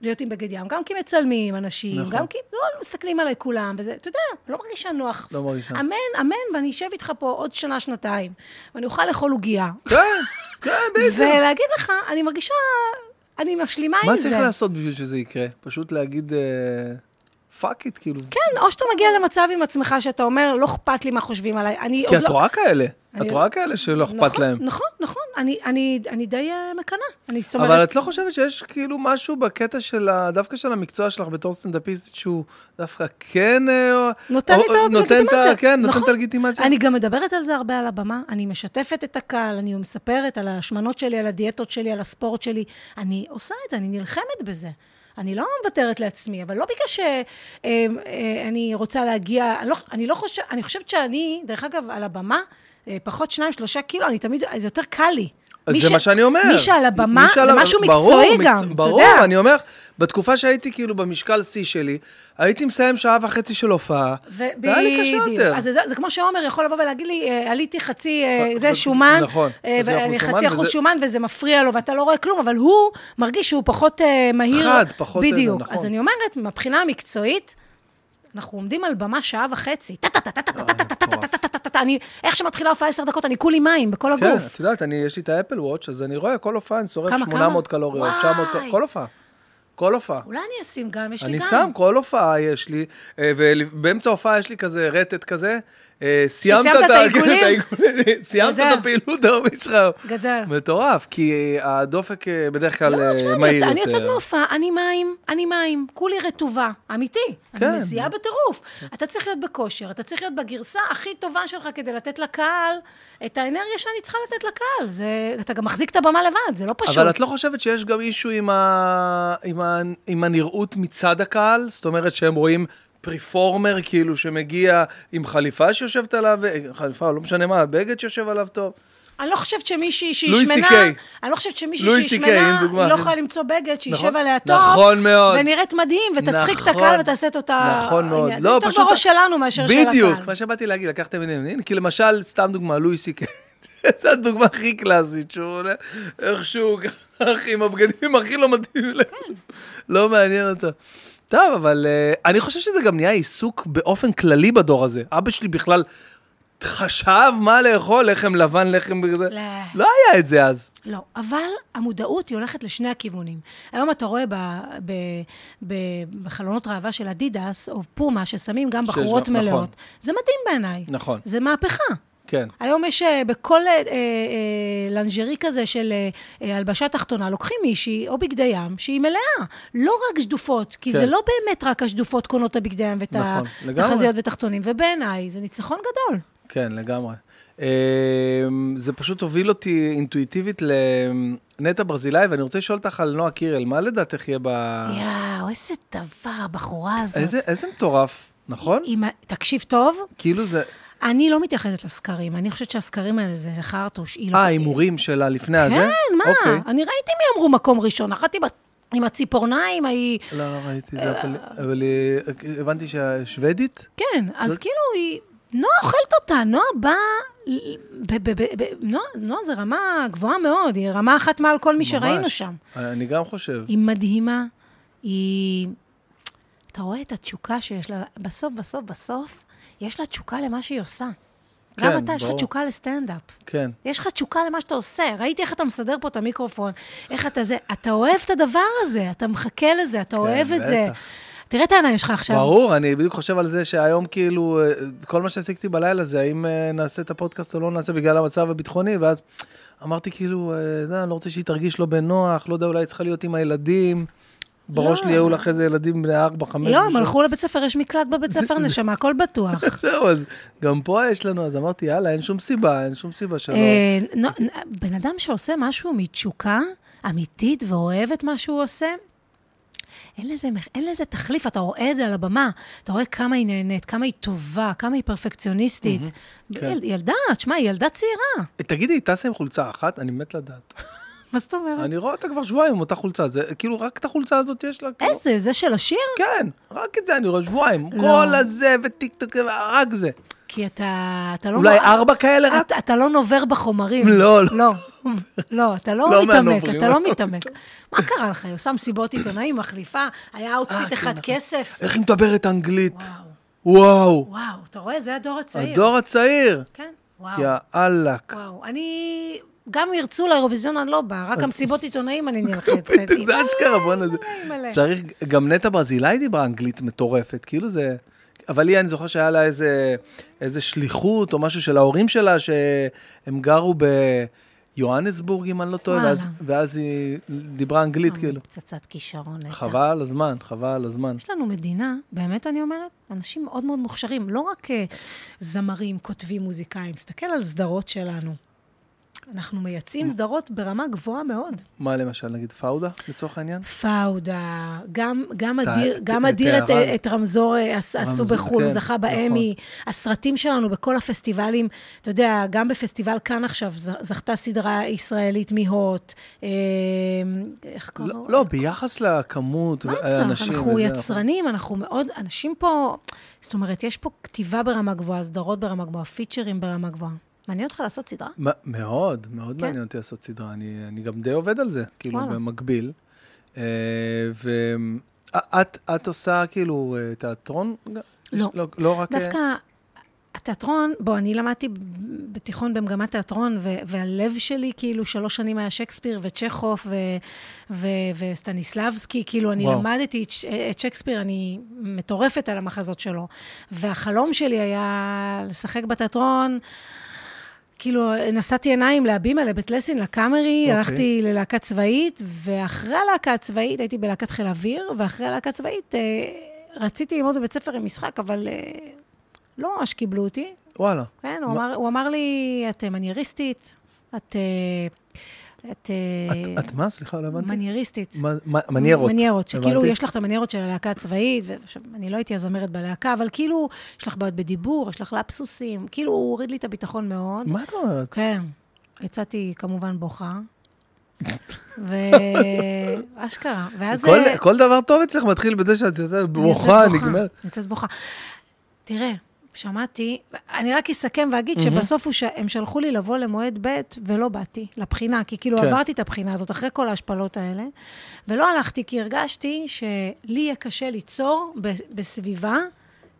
Speaker 1: להיות עם בגד ים, גם כי מצלמים אנשים,
Speaker 2: נכון.
Speaker 1: גם כי לא מסתכלים עליי כולם, וזה, אתה יודע, לא מרגישה נוח.
Speaker 2: לא מרגישה.
Speaker 1: אמן, אמן, ואני אשב איתך פה עוד שנה, שנתיים, ואני אוכל לאכול עוגייה.
Speaker 2: כן, כן, בדיוק.
Speaker 1: ולהגיד לך, אני מרגישה, אני משלימה עם
Speaker 2: מה
Speaker 1: זה.
Speaker 2: צריך לעשות בשביל שזה יקרה? פשוט להגיד, פאק איט, כאילו.
Speaker 1: כן, או שאתה מגיע למצב עם עצמך שאתה אומר, לא אכפת לי מה חושבים עליי. אני
Speaker 2: כי
Speaker 1: עוד
Speaker 2: את
Speaker 1: לא...
Speaker 2: רואה כאלה, את
Speaker 1: אני-
Speaker 2: רואה כאלה שלא אכפת
Speaker 1: נכון,
Speaker 2: להם.
Speaker 1: נכון, נכון. אני, אני, אני די אה, מקנאה. אני, זאת אומרת...
Speaker 2: אבל את לא חושבת שיש כאילו משהו בקטע של, ה- דווקא של המקצוע שלך בתור סטנדאפיסטית, שהוא דווקא כן... אה,
Speaker 1: נותן
Speaker 2: או-
Speaker 1: לי את
Speaker 2: או- נותן
Speaker 1: הלגיטימציה.
Speaker 2: כן, נותן
Speaker 1: נכון.
Speaker 2: את הלגיטימציה.
Speaker 1: אני גם מדברת על זה הרבה על הבמה. אני משתפת את הקהל, אני מספרת על ההשמנות שלי, על הדיאטות שלי, על הספורט שלי. אני עושה את זה, אני נלחמת בזה. אני לא מוותרת לעצמי, אבל לא בגלל שאני רוצה להגיע, אני לא, אני לא חושבת, אני חושבת שאני, דרך אגב, על הבמה, אה, פחות שניים, שלושה קילו, אני תמיד, זה יותר קל לי.
Speaker 2: אז
Speaker 1: מי
Speaker 2: זה
Speaker 1: ש-
Speaker 2: מה שאני אומר.
Speaker 1: מי שעל הבמה,
Speaker 2: מי שעל
Speaker 1: זה
Speaker 2: ה-
Speaker 1: משהו
Speaker 2: ברור,
Speaker 1: מקצועי
Speaker 2: מקצוע-
Speaker 1: גם, אתה יודע.
Speaker 2: ברור, אני אומר, בתקופה שהייתי כאילו במשקל שיא שלי, הייתי מסיים שעה וחצי של הופעה, והיה לא לי קשה
Speaker 1: בדיוק.
Speaker 2: יותר.
Speaker 1: אז זה, זה כמו שעומר יכול לבוא ולהגיד לי, "אה, עליתי חצי, אה,
Speaker 2: ח-
Speaker 1: זה
Speaker 2: חצי-
Speaker 1: שומן,
Speaker 2: נכון,
Speaker 1: אה,
Speaker 2: חצי
Speaker 1: ואני
Speaker 2: אחוז
Speaker 1: חצי
Speaker 2: שומן,
Speaker 1: אחוז
Speaker 2: וזה-
Speaker 1: שומן וזה מפריע לו ואתה לא רואה כלום, אבל הוא מרגיש שהוא פחות אה, מהיר.
Speaker 2: חד, פחות, אה,
Speaker 1: בדיוק.
Speaker 2: נכון.
Speaker 1: אז אני אומרת, מבחינה המקצועית, אנחנו עומדים על במה שעה וחצי. טה-טה-טה-טה-טה-טה-טה-טה-טה-טה-טה-טה-טה. אני, איך שמתחילה הופעה עשר דקות, אני כולי מים בכל
Speaker 2: כן,
Speaker 1: הגוף.
Speaker 2: את יודעת, אני, יש לי את האפל וואץ', אז אני רואה, כל הופעה אני שורף
Speaker 1: כמה,
Speaker 2: 800
Speaker 1: כמה?
Speaker 2: קלוריות,
Speaker 1: וואי.
Speaker 2: 900 קלוריות, כל הופעה. כל הופעה.
Speaker 1: אולי אני אשים גם, יש לי
Speaker 2: אני
Speaker 1: גם.
Speaker 2: שם, כל הופעה יש לי, אה, ובאמצע ההופעה יש לי כזה רטט כזה. אה, סיימת
Speaker 1: שסיימת את
Speaker 2: ה-
Speaker 1: העיגולים?
Speaker 2: את העיגולים, סיימת
Speaker 1: גדל.
Speaker 2: את הפעילות העומד שלך.
Speaker 1: גדל.
Speaker 2: מטורף, כי אה, הדופק אה, בדרך כלל
Speaker 1: לא,
Speaker 2: אה,
Speaker 1: תשמע, אני
Speaker 2: מהיר
Speaker 1: יוצא-
Speaker 2: יותר.
Speaker 1: אני יוצאת מהופעה, אני מים, אני מים, כולי רטובה, אמיתי.
Speaker 2: כן.
Speaker 1: אני מזיעה בטירוף. אתה צריך להיות בכושר, אתה צריך להיות בגרסה הכי טובה שלך כדי לתת לקהל את האנרגיה שאני צריכה לתת לקהל. זה, אתה גם מחזיק את הבמה לבד, זה לא פשוט.
Speaker 2: אבל את לא חושבת שיש גם אישו עם, ה... עם, ה... עם הנראות מצד הקהל? זאת אומרת שהם רואים פריפורמר כאילו שמגיע עם חליפה שיושבת עליו, אה, חליפה, לא משנה מה, בגד שיושב עליו טוב.
Speaker 1: אני לא חושבת שמישהי שהיא
Speaker 2: לואי
Speaker 1: שמנה,
Speaker 2: סי-קיי.
Speaker 1: אני לא חושבת
Speaker 2: לואי
Speaker 1: שמישהי שהיא
Speaker 2: סי-קיי,
Speaker 1: שמנה,
Speaker 2: הנה דוגמה.
Speaker 1: היא לא יכולה למצוא בגד שישב
Speaker 2: נכון.
Speaker 1: עליה טוב,
Speaker 2: נכון מאוד.
Speaker 1: ונראית מדהים, ותצחיק את
Speaker 2: נכון.
Speaker 1: הקהל ותעשה את אותה...
Speaker 2: נכון מאוד.
Speaker 1: זה יותר בראש שלנו מאשר של הקהל.
Speaker 2: בדיוק, מה שבאתי להגיד, לקחתם את העניינים. כי למשל, סתם דוגמה, לואי סי קיי. זו הדוגמה הכי קלאסית, שהוא עולה איכשהו, ככה, עם הבגדים הכי לא מתאימים לך.
Speaker 1: כן.
Speaker 2: לא מעניין אותו. טוב, אבל אה, אני חושב שזה גם נהיה עיסוק באופן כללי בדור הזה. אבא שלי בכלל חשב מה לאכול, לחם לבן, לחם כזה.
Speaker 1: לא.
Speaker 2: לא היה את זה אז.
Speaker 1: לא, אבל המודעות היא הולכת לשני הכיוונים. היום אתה רואה ב, ב, ב, בחלונות ראווה של אדידס, או פומה, ששמים גם
Speaker 2: שיש
Speaker 1: בחורות
Speaker 2: גם- נכון.
Speaker 1: מלאות. זה מדהים בעיניי.
Speaker 2: נכון.
Speaker 1: זה מהפכה.
Speaker 2: כן.
Speaker 1: היום יש אה, בכל אה, אה, אה, לנג'רי כזה של אה, אה, הלבשה תחתונה, לוקחים מישהי או בגדי ים שהיא מלאה, לא רק שדופות, כי
Speaker 2: כן.
Speaker 1: זה לא באמת רק השדופות קונות את הבגדי ים ואת
Speaker 2: נכון, לגמרי.
Speaker 1: התחזיות ותחתונים, ובעיניי זה ניצחון גדול.
Speaker 2: כן, לגמרי. אמ, זה פשוט הוביל אותי אינטואיטיבית לנטע ברזילי, ואני רוצה לשאול אותך על נועה קירל, מה לדעתך יהיה ב...
Speaker 1: יאו, איזה דבר, הבחורה הזאת.
Speaker 2: איזה איזה מטורף, נכון?
Speaker 1: היא מה- תקשיב טוב,
Speaker 2: כאילו זה...
Speaker 1: אני לא מתייחסת לסקרים, אני חושבת שהסקרים האלה זה זה חרטוש. היא לא-
Speaker 2: אה, ההימורים שלה לפני הזה?
Speaker 1: כן, מה?
Speaker 2: אוקיי.
Speaker 1: אני ראיתי מי אמרו מקום ראשון, אחת עם ה- עם הציפורניים, ההיא...
Speaker 2: לא, לא ראיתי את זה, אבל- אבל אה, הבנתי שהשוודית?
Speaker 1: כן, אז כאילו היא... נועה אוכלת אותה, נועה באה... ל- ב- ב- ב- ב- נועה- נועה זה רמה גבוהה מאוד, היא רמה אחת מעל כל מי שראינו
Speaker 2: ממש.
Speaker 1: שם.
Speaker 2: אני גם חושב.
Speaker 1: היא מדהימה, היא... אתה רואה את התשוקה שיש לה, בסוף, בסוף, בסוף, יש לה תשוקה למה שהיא עושה. גם
Speaker 2: כן,
Speaker 1: אתה, יש לך
Speaker 2: ברור.
Speaker 1: תשוקה לסטנדאפ.
Speaker 2: כן.
Speaker 1: יש לך תשוקה למה שאתה עושה. ראיתי איך אתה מסדר פה את המיקרופון, איך אתה זה. אתה אוהב את הדבר הזה, אתה מחכה לזה, אתה אוהב את זה.
Speaker 2: כן, בטח.
Speaker 1: תראה את העיניים שלך עכשיו.
Speaker 2: ברור, אני בדיוק חושב על זה שהיום כאילו, אה, כל מה שעסקתי בלילה זה האם אה, נעשה את הפודקאסט או לא נעשה בגלל המצב הביטחוני, ואז אמרתי כאילו, אה, זה, אני לא רוצה שהיא תרגיש לא בנוח, לא יודע, אולי היא צריכה להיות עם הילדים. בראש
Speaker 1: לא.
Speaker 2: לי היו לך איזה ילדים בני 4, 5.
Speaker 1: לא, הם הלכו לבית ספר, יש מקלט בבית ספר, נשמה, הכל בטוח.
Speaker 2: זהו, אז גם פה יש לנו, אז אמרתי, יאללה, אין שום סיבה, אין שום סיבה שלא.
Speaker 1: אה,
Speaker 2: לא-
Speaker 1: נו- נ- בן אדם שעושה משהו מתשוקה אמיתית ואוהב את מה שהוא עושה, אין לזה, מח- אין לזה תחליף, אתה רואה את זה על הבמה, אתה רואה כמה היא נהנית, כמה היא טובה, כמה היא פרפקציוניסטית.
Speaker 2: כן.
Speaker 1: יל- ילדה, תשמע, היא ילדה צעירה.
Speaker 2: תגידי, היא טסה עם חולצה אחת? אני מת לדעת.
Speaker 1: אה. מה זאת אומרת?
Speaker 2: אני רואה אותה כבר שבועיים עם אותה חולצה, זה כאילו רק את החולצה הזאת יש לה. כאילו.
Speaker 1: איזה, זה של השיר?
Speaker 2: כן, רק את זה אני רואה שבועיים.
Speaker 1: לא.
Speaker 2: כל הזה וטיק טוק, רק זה.
Speaker 1: כי אתה, אתה לא...
Speaker 2: אולי
Speaker 1: נוע-
Speaker 2: ארבע כאלה רק?
Speaker 1: אתה, אתה לא נובר בחומרים.
Speaker 2: לא, לא.
Speaker 1: לא, לא, אתה לא,
Speaker 2: לא
Speaker 1: מתעמק,
Speaker 2: מהנוברים.
Speaker 1: אתה לא מתעמק. מה קרה לך? היא עושה מסיבות עיתונאים, מחליפה, היה
Speaker 2: אה,
Speaker 1: אאוטפיט
Speaker 2: כן,
Speaker 1: אחד
Speaker 2: נכון.
Speaker 1: כסף.
Speaker 2: איך היא מדברת אנגלית?
Speaker 1: וואו.
Speaker 2: וואו.
Speaker 1: וואו, אתה רואה? זה הדור הצעיר.
Speaker 2: הדור הצעיר.
Speaker 1: כן, וואו.
Speaker 2: יא אללק.
Speaker 1: וואו. אני, גם אם ירצו לאירוויזיון, אני לא באה, רק המסיבות עיתונאים אני נלחצת.
Speaker 2: אה, זה אשכרה, בוא'נה, זה...
Speaker 1: אימא'לה.
Speaker 2: צריך, גם נטע ברזילאי דיברה אנגלית מטורפת, כאילו זה... אבל היא, אני זוכר שהיה לה איזה, איזה שליחות או משהו של ההורים שלה, שהם גרו ביוהנסבורג, אם אני לא טועה,
Speaker 1: וואלה. אה,
Speaker 2: ואז, ואז היא דיברה אנגלית, כאילו.
Speaker 1: פצצת כישרון. הייתה.
Speaker 2: חבל על הזמן, חבל על הזמן.
Speaker 1: יש לנו מדינה, באמת אני אומרת, אנשים מאוד מאוד מוכשרים, לא רק אה, זמרים, כותבים, מוזיקאים, תסתכל על סדרות שלנו. אנחנו מייצאים סדרות ברמה גבוהה מאוד.
Speaker 2: מה למשל, נגיד פאודה, לצורך העניין?
Speaker 1: פאודה, גם, גם
Speaker 2: ת-
Speaker 1: אדיר,
Speaker 2: ת-
Speaker 1: גם אדיר את,
Speaker 2: טהרן.
Speaker 1: את רמזור אה, עש- עשו
Speaker 2: רמזור,
Speaker 1: בחו"ל,
Speaker 2: כן,
Speaker 1: הוא זכה באמי. הסרטים שלנו בכל הפסטיבלים, אתה יודע, גם בפסטיבל כאן עכשיו ז- זכתה סדרה ישראלית מהוט. אה, איך קוראים?
Speaker 2: לא, לא, ביחס לכמות,
Speaker 1: מה צריך?
Speaker 2: האנשים...
Speaker 1: אנחנו
Speaker 2: וזה,
Speaker 1: יצרנים, אנחנו מאוד, אנשים פה, זאת אומרת, יש פה כתיבה ברמה גבוהה, סדרות ברמה גבוהה, פיצ'רים ברמה גבוהה. מעניין אותך לעשות סדרה?
Speaker 2: מ- מאוד, מאוד
Speaker 1: כן.
Speaker 2: מעניין אותי לעשות סדרה. אני, אני גם די עובד על זה, כאילו,
Speaker 1: וואלה.
Speaker 2: במקביל. אה, ו... א- את, את עושה כאילו אה, תיאטרון? גם?
Speaker 1: לא.
Speaker 2: לא, לא רק... אה,
Speaker 1: דווקא התיאטרון, בוא, אני למדתי בתיכון במגמת תיאטרון, ו- והלב שלי כאילו שלוש שנים היה שייקספיר וצ'כוף ו- ו- וסטניסלבסקי, כאילו אני
Speaker 2: וואו.
Speaker 1: וואו. למדתי את, ש- את שייקספיר, אני מטורפת על המחזות שלו. והחלום שלי היה לשחק בתיאטרון. כאילו, נשאתי עיניים להבימה, לבית לסין, לקאמרי,
Speaker 2: אוקיי.
Speaker 1: okay. הלכתי ללהקה צבאית, ואחרי הלהקה הצבאית, הייתי בלהקת חיל אוויר, ואחרי הלהקה הצבאית אה, רציתי ללמוד בבית ספר עם משחק, אבל אה, לא ממש קיבלו אותי.
Speaker 2: וואלה.
Speaker 1: כן, הוא,
Speaker 2: מה-
Speaker 1: אמר, הוא אמר לי, את אה, מנייריסטית, את... אה, את... אה,
Speaker 2: את, את מה? סליחה, לא הבנתי.
Speaker 1: מנייריסטית.
Speaker 2: מה- מה- מניירות.
Speaker 1: מניירות, שכאילו
Speaker 2: הבנתי.
Speaker 1: יש לך את המניירות של הלהקה הצבאית, ועכשיו, אני לא הייתי הזמרת בלהקה, אבל כאילו, יש לך בעיות בדיבור, יש לך לפסוסים, כאילו, הוא הוריד לי את הביטחון מאוד.
Speaker 2: מה את אומרת?
Speaker 1: כן. יצאתי כמובן בוכה, ואשכרה. ואז...
Speaker 2: כל,
Speaker 1: אה,
Speaker 2: כל דבר טוב אצלך מתחיל בזה שאת יודעת,
Speaker 1: אני יוצאת
Speaker 2: ברוכה, נגמרת.
Speaker 1: אני יוצאת בוכה. תראה, שמעתי, אני רק אסכם ואגיד שבסוף הוא ש- הם שלחו לי לבוא למועד ב' ולא באתי לבחינה, כי כאילו
Speaker 2: כן.
Speaker 1: עברתי את הבחינה הזאת אחרי כל ההשפלות האלה, ולא הלכתי כי הרגשתי שלי יהיה קשה ליצור ב- בסביבה.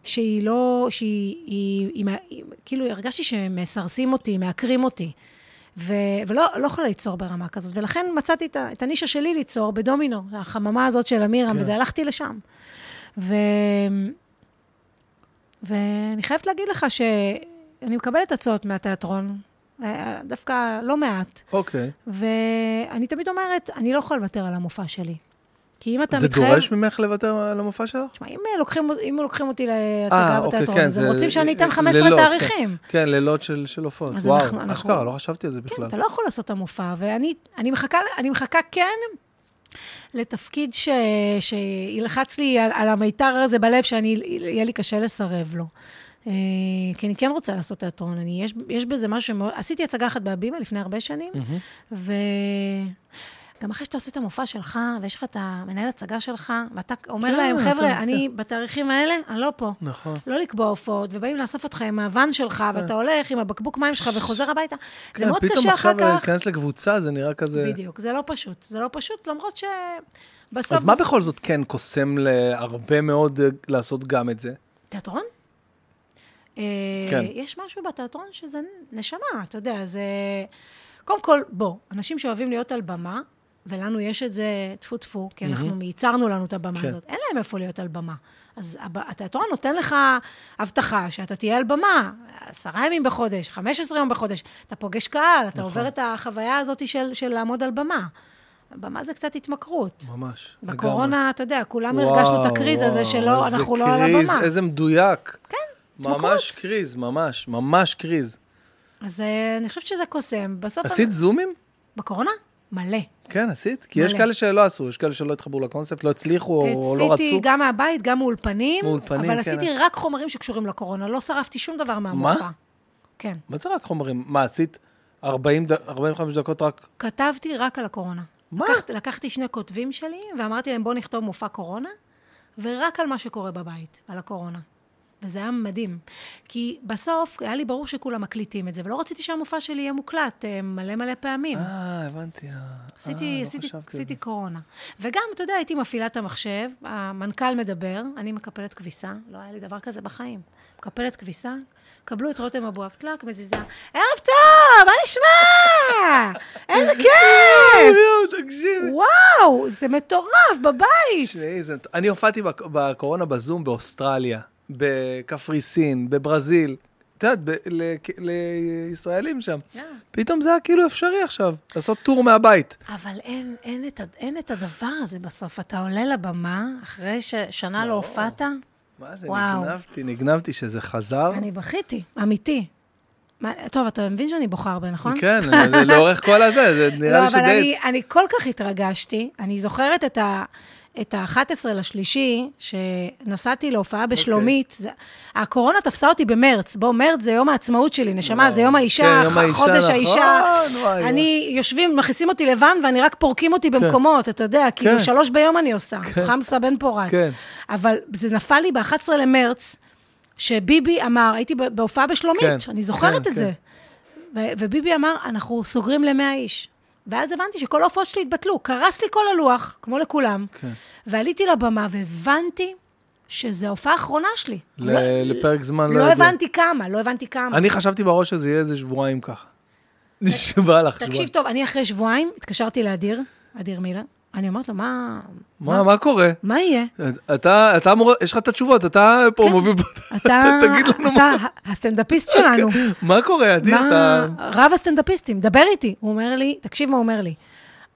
Speaker 1: שהיא לא, שהיא, היא, היא, היא, כאילו הרגשתי שמסרסים אותי, מעקרים אותי. ו, ולא לא יכולה ליצור ברמה כזאת. ולכן מצאתי את, ה- את הנישה שלי ליצור בדומינו, החממה הזאת של אמירם,
Speaker 2: כן.
Speaker 1: כן. וזה הלכתי לשם. ו... ואני חייבת להגיד לך שאני מקבלת הצעות מהתיאטרון, אה, דווקא לא מעט,
Speaker 2: אוקיי.
Speaker 1: ואני תמיד אומרת, אני לא יכולה לוותר על המופע שלי. כי אם אתה
Speaker 2: זה
Speaker 1: מתחייב...
Speaker 2: דורש ממך לוותר על המופע שלך?
Speaker 1: תשמע, אם אה, לוקחים, אם לוקחים אותי
Speaker 2: אה,
Speaker 1: להצגה
Speaker 2: אוקיי,
Speaker 1: בתיאטרון,
Speaker 2: כן,
Speaker 1: אז הם
Speaker 2: זה-
Speaker 1: רוצים שאני אתן
Speaker 2: אה,
Speaker 1: 15
Speaker 2: לילות, כן.
Speaker 1: תאריכים.
Speaker 2: כן, לילות של של הופעות.
Speaker 1: אז אנחנו-
Speaker 2: וואו,
Speaker 1: אנחנו-
Speaker 2: אשכרה, לא חשבתי על זה
Speaker 1: כן,
Speaker 2: בכלל.
Speaker 1: אתה לא יכול לעשות את המופע, ואני אני מחכה, אני מחכה כן לתפקיד ש, שילחץ לי על, על המיתר הזה בלב, שיהיה לי קשה לסרב לו. אה, כי אני כן רוצה לעשות תיאטרון, אני, יש, יש בזה משהו שמאוד... עשיתי הצגה אחת בהבימה לפני הרבה שנים, וגם אחרי שאתה עושה את המופע שלך, ויש לך את המנהל הצגה שלך, ואתה אומר
Speaker 2: כן,
Speaker 1: להם,
Speaker 2: כן, כן.
Speaker 1: חבר'ה, אני בתאריכים האלה, אני לא פה.
Speaker 2: נכון.
Speaker 1: לא לקבוע הופעות, ובאים לאסוף אותך עם הוואן שלך, ואתה הולך עם הבקבוק מים שלך וחוזר הביתה. זה
Speaker 2: כן,
Speaker 1: מאוד
Speaker 2: פתאום
Speaker 1: קשה אחר
Speaker 2: עכשיו
Speaker 1: כך.
Speaker 2: להיכנס לקבוצה, זה נראה כזה...
Speaker 1: בדיוק, זה לא פשוט. זה לא פשוט, למרות שבסוף...
Speaker 2: אז מה
Speaker 1: בסוף-
Speaker 2: בכל זאת כן קוסם להרבה מאוד אה, לעשות גם את זה?
Speaker 1: תיאטרון?
Speaker 2: כן.
Speaker 1: כן. יש משהו בתיאטרון שזה נשמה, אתה יודע, זה... קודם כל, בוא, אנשים שאוהבים להיות על במה, ולנו יש את זה טפו טפו, כי אנחנו ייצרנו לנו את הבמה
Speaker 2: כן.
Speaker 1: הזאת. אין להם איפה להיות על במה. אז הב- התיאטרון נותן לך הבטחה שאתה תהיה על במה עשרה ימים בחודש,
Speaker 2: נכון.
Speaker 1: 15 יום בחודש, אתה פוגש קהל, אתה עובר את החוויה הזאת של, של לעמוד על במה. הבמה זה קצת התמכרות.
Speaker 2: ממש.
Speaker 1: בקורונה, אתה יודע, כולם
Speaker 2: לגמרי.
Speaker 1: הרגשנו את
Speaker 2: וואו,
Speaker 1: הקריז הזה
Speaker 2: וואו,
Speaker 1: שלא,
Speaker 2: איזה
Speaker 1: אנחנו לא על
Speaker 2: קריז,
Speaker 1: הבמה.
Speaker 2: איזה מדויק.
Speaker 1: כן,
Speaker 2: ממש
Speaker 1: התמכרות.
Speaker 2: קריז, ממש, ממש קריז.
Speaker 1: אז אה, אני חושבת שזה קוסם. בסוף...
Speaker 2: עשית זומים?
Speaker 1: בקורונה? מלא.
Speaker 2: כן, עשית? כי יש
Speaker 1: מלא.
Speaker 2: כאלה שלא עשו, יש כאלה שלא התחברו לקונספט, לא הצליחו או לא
Speaker 1: עשיתי
Speaker 2: רצו.
Speaker 1: גם מהבית, גם מאולפנים,
Speaker 2: מאולפנים, כן.
Speaker 1: אבל עשיתי רק חומרים שקשורים לקורונה, לא שרפתי שום דבר מהמופע.
Speaker 2: מה?
Speaker 1: כן.
Speaker 2: מה זה רק חומרים? מה, עשית 40 ד- 45 דקות רק?
Speaker 1: כתבתי רק על הקורונה.
Speaker 2: מה?
Speaker 1: לקחת, לקחתי שני כותבים שלי, ואמרתי להם, בואו נכתוב מופע קורונה, ורק על מה שקורה בבית, על הקורונה. וזה היה מדהים. כי בסוף היה לי ברור שכולם מקליטים את זה, ולא רציתי שהמופע שלי יהיה מוקלט אה, מלא מלא פעמים.
Speaker 2: אה, הבנתי. אה,
Speaker 1: עשיתי,
Speaker 2: אה, לא
Speaker 1: עשיתי,
Speaker 2: חשבתי על
Speaker 1: עשיתי
Speaker 2: זה.
Speaker 1: קורונה. וגם, אתה יודע, הייתי מפעילה את המחשב, המנכ"ל מדבר, אני מקפלת כביסה, לא היה לי דבר כזה בחיים. מקפלת כביסה, קבלו את רותם אבואב, טלק, מזיזה, ערב טוב, מה נשמע? איזה כיף!
Speaker 2: יואו, תקשיב.
Speaker 1: וואו, זה מטורף, בבית!
Speaker 2: תשמעי, זה- אני הופעתי בק- בקורונה בזום באוסטרליה, בקפריסין, בברזיל. את יודעת, ב- ל- לישראלים שם.
Speaker 1: אה.
Speaker 2: פתאום זה היה כאילו אפשרי עכשיו, לעשות טור מהבית.
Speaker 1: אבל אין, אין, את, ה- אין את הדבר הזה בסוף. אתה עולה לבמה, אחרי ששנה לא הופעת,
Speaker 2: מה זה,
Speaker 1: וואו.
Speaker 2: נגנבתי, נגנבתי שזה חזר.
Speaker 1: אני בכיתי, אמיתי. מה, טוב, אתה מבין שאני בוכה הרבה, נכון?
Speaker 2: כן, זה לאורך כל הזה, זה נראה לי
Speaker 1: לא, אבל
Speaker 2: שדי...
Speaker 1: אני, אני כל כך התרגשתי. אני זוכרת את ה... את ה-11 לשלישי, שנסעתי להופעה
Speaker 2: אוקיי.
Speaker 1: בשלומית, okay. זה, הקורונה תפסה אותי במרץ. בוא, מרץ זה יום העצמאות שלי, נשמה, זה יום האישה,
Speaker 2: כן, יום
Speaker 1: ח-
Speaker 2: האישה,
Speaker 1: חודש
Speaker 2: נכון,
Speaker 1: האישה.
Speaker 2: וואי, כן.
Speaker 1: אני, יושבים, מכניסים אותי לבן, ואני רק פורקים אותי במקומות, אתה יודע, כאילו שלוש ביום אני עושה, חמסה בן פורת.
Speaker 2: כן.
Speaker 1: אבל זה נפל לי ב-11 למרץ, שביבי אמר, הייתי ב- בהופעה בשלומית,
Speaker 2: כן,
Speaker 1: אני זוכרת
Speaker 2: כן,
Speaker 1: את זה. ו- וביבי אמר, אנחנו סוגרים ל-100 איש. ואז הבנתי שכל ההופעות שלי התבטלו. קרס לי כל הלוח, כמו לכולם. כן. ועליתי לבמה והבנתי שזו ההופעה האחרונה שלי. לא,
Speaker 2: ל- לפרק זמן לא
Speaker 1: לא
Speaker 2: יודע.
Speaker 1: הבנתי כמה, לא הבנתי כמה.
Speaker 2: אני חשבתי בראש שזה יהיה איזה שבועיים ככה. נשבע לך,
Speaker 1: תקשיב
Speaker 2: שבועיים.
Speaker 1: טוב, אני אחרי שבועיים התקשרתי לאדיר, אדיר מילר, אני אומרת לו, מה...
Speaker 2: מה, מה קורה?
Speaker 1: מה יהיה?
Speaker 2: אתה, אתה אמור, יש לך את התשובות, אתה פה
Speaker 1: כן.
Speaker 2: מוביל,
Speaker 1: אתה,
Speaker 2: תגיד לנו
Speaker 1: אתה ה- הסטנדאפיסט שלנו.
Speaker 2: מה קורה, אדיר,
Speaker 1: מה,
Speaker 2: אתה...
Speaker 1: רב הסטנדאפיסטים, דבר איתי. הוא אומר לי, תקשיב מה הוא אומר לי,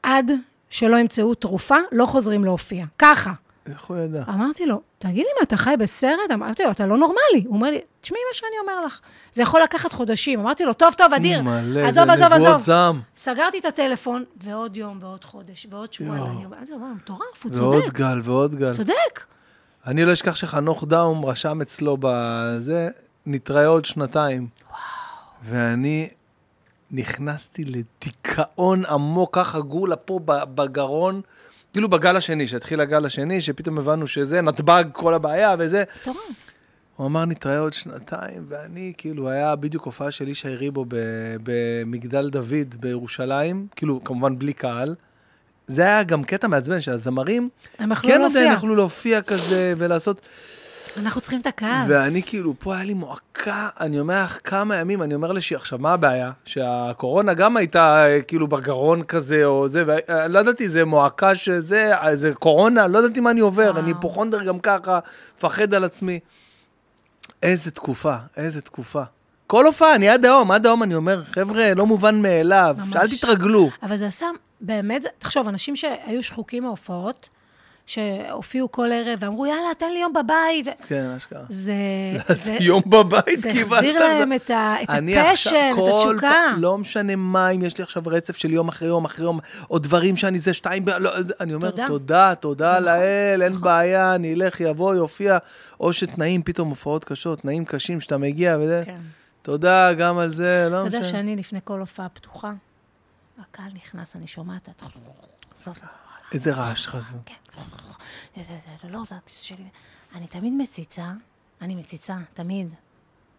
Speaker 1: עד שלא ימצאו תרופה, לא חוזרים להופיע. ככה.
Speaker 2: איך הוא ידע?
Speaker 1: אמרתי לו, תגיד לי מה, אתה חי בסרט? אמרתי לו, אתה לא נורמלי. הוא אומר לי, תשמעי מה שאני אומר לך. זה יכול לקחת חודשים. אמרתי לו, טוב, טוב, אדיר,
Speaker 2: מלא,
Speaker 1: עזוב,
Speaker 2: זה
Speaker 1: עזוב,
Speaker 2: נבואות
Speaker 1: עזוב.
Speaker 2: זעם.
Speaker 1: סגרתי את הטלפון, ועוד יום, ועוד חודש, ועוד שבועיים. אני אמרתי לו, "וואו, מטורף, הוא
Speaker 2: ועוד
Speaker 1: צודק,
Speaker 2: גל, ועוד גל.
Speaker 1: צודק.
Speaker 2: אני לא אשכח שחנוך דאום רשם אצלו בזה, נתראה עוד שנתיים. ואני נכנסתי לדיכאון עמוק, ככה גולה פה ב- בגרון, כאילו בגל השני, שהתחיל הגל השני, שפתאום הבנו שזה נתב"ג כל הבעיה וזה.
Speaker 1: מטורף.
Speaker 2: הוא אמר, נתראה עוד שנתיים, ואני, כאילו, היה בדיוק הופעה של ישי ריבו ב- במגדל דוד בירושלים, כאילו, כמובן בלי קהל. זה היה גם קטע מעצבן, שהזמרים
Speaker 1: הם יכלו לא
Speaker 2: כן
Speaker 1: להופיע.
Speaker 2: עדיין יכלו להופיע כזה ולעשות,
Speaker 1: אנחנו צריכים את הקהל.
Speaker 2: ואני כאילו, פה היה לי מועקה, אני אומר לך, כמה ימים, אני אומר לשיר, עכשיו, מה הבעיה? שהקורונה גם הייתה אה, כאילו בגרון כזה או זה, ולא ידעתי, זה מועקה שזה, אה, זה קורונה, לא ידעתי מה אני עובר,
Speaker 1: וואו.
Speaker 2: אני היפוכונדר גם ככה, מפחד על עצמי. איזה תקופה, איזה תקופה. כל הופעה, אני עד היום, עד היום אני אומר, חבר'ה, לא מובן מאליו,
Speaker 1: ממש.
Speaker 2: שאל תתרגלו.
Speaker 1: אבל זה עשה, באמת, זה- תחשוב, אנשים שהיו שחוקים מההופעות, שהופיעו כל ערב ואמרו, יאללה, תן לי יום בבית. ו-
Speaker 2: כן, אשכרה.
Speaker 1: זה...
Speaker 2: אז יום בבית
Speaker 1: אה, זה
Speaker 2: קיבלת.
Speaker 1: החזיר להם את ה- את
Speaker 2: אני
Speaker 1: הפשן,
Speaker 2: עכשיו
Speaker 1: את
Speaker 2: כל
Speaker 1: התשוקה.
Speaker 2: פעם- לא משנה מה, אם יש לי עכשיו רצף של יום אחרי יום אחרי יום, או דברים שאני זה שתיים, ב- לא, זה- אני אומר,
Speaker 1: תודה.
Speaker 2: תודה, תודה
Speaker 1: זה נכון,
Speaker 2: לאל, אין בעיה, אני אלך, יבוא, יופיע, או שתנאים, פתאום הופעות קשות, תנאים קשים שאתה מגיע וזה.
Speaker 1: כן.
Speaker 2: תודה גם על זה, לא
Speaker 1: אתה יודע
Speaker 2: משנה.
Speaker 1: שאני לפני כל הופעה פתוחה, הקהל נכנס, אני שומעת, את- זה- זה-
Speaker 2: איזה רעש חזור.
Speaker 1: כן, זה- זה- זה- זה לא זה הכיסא שלי. אני תמיד מציצה, אני מציצה, תמיד.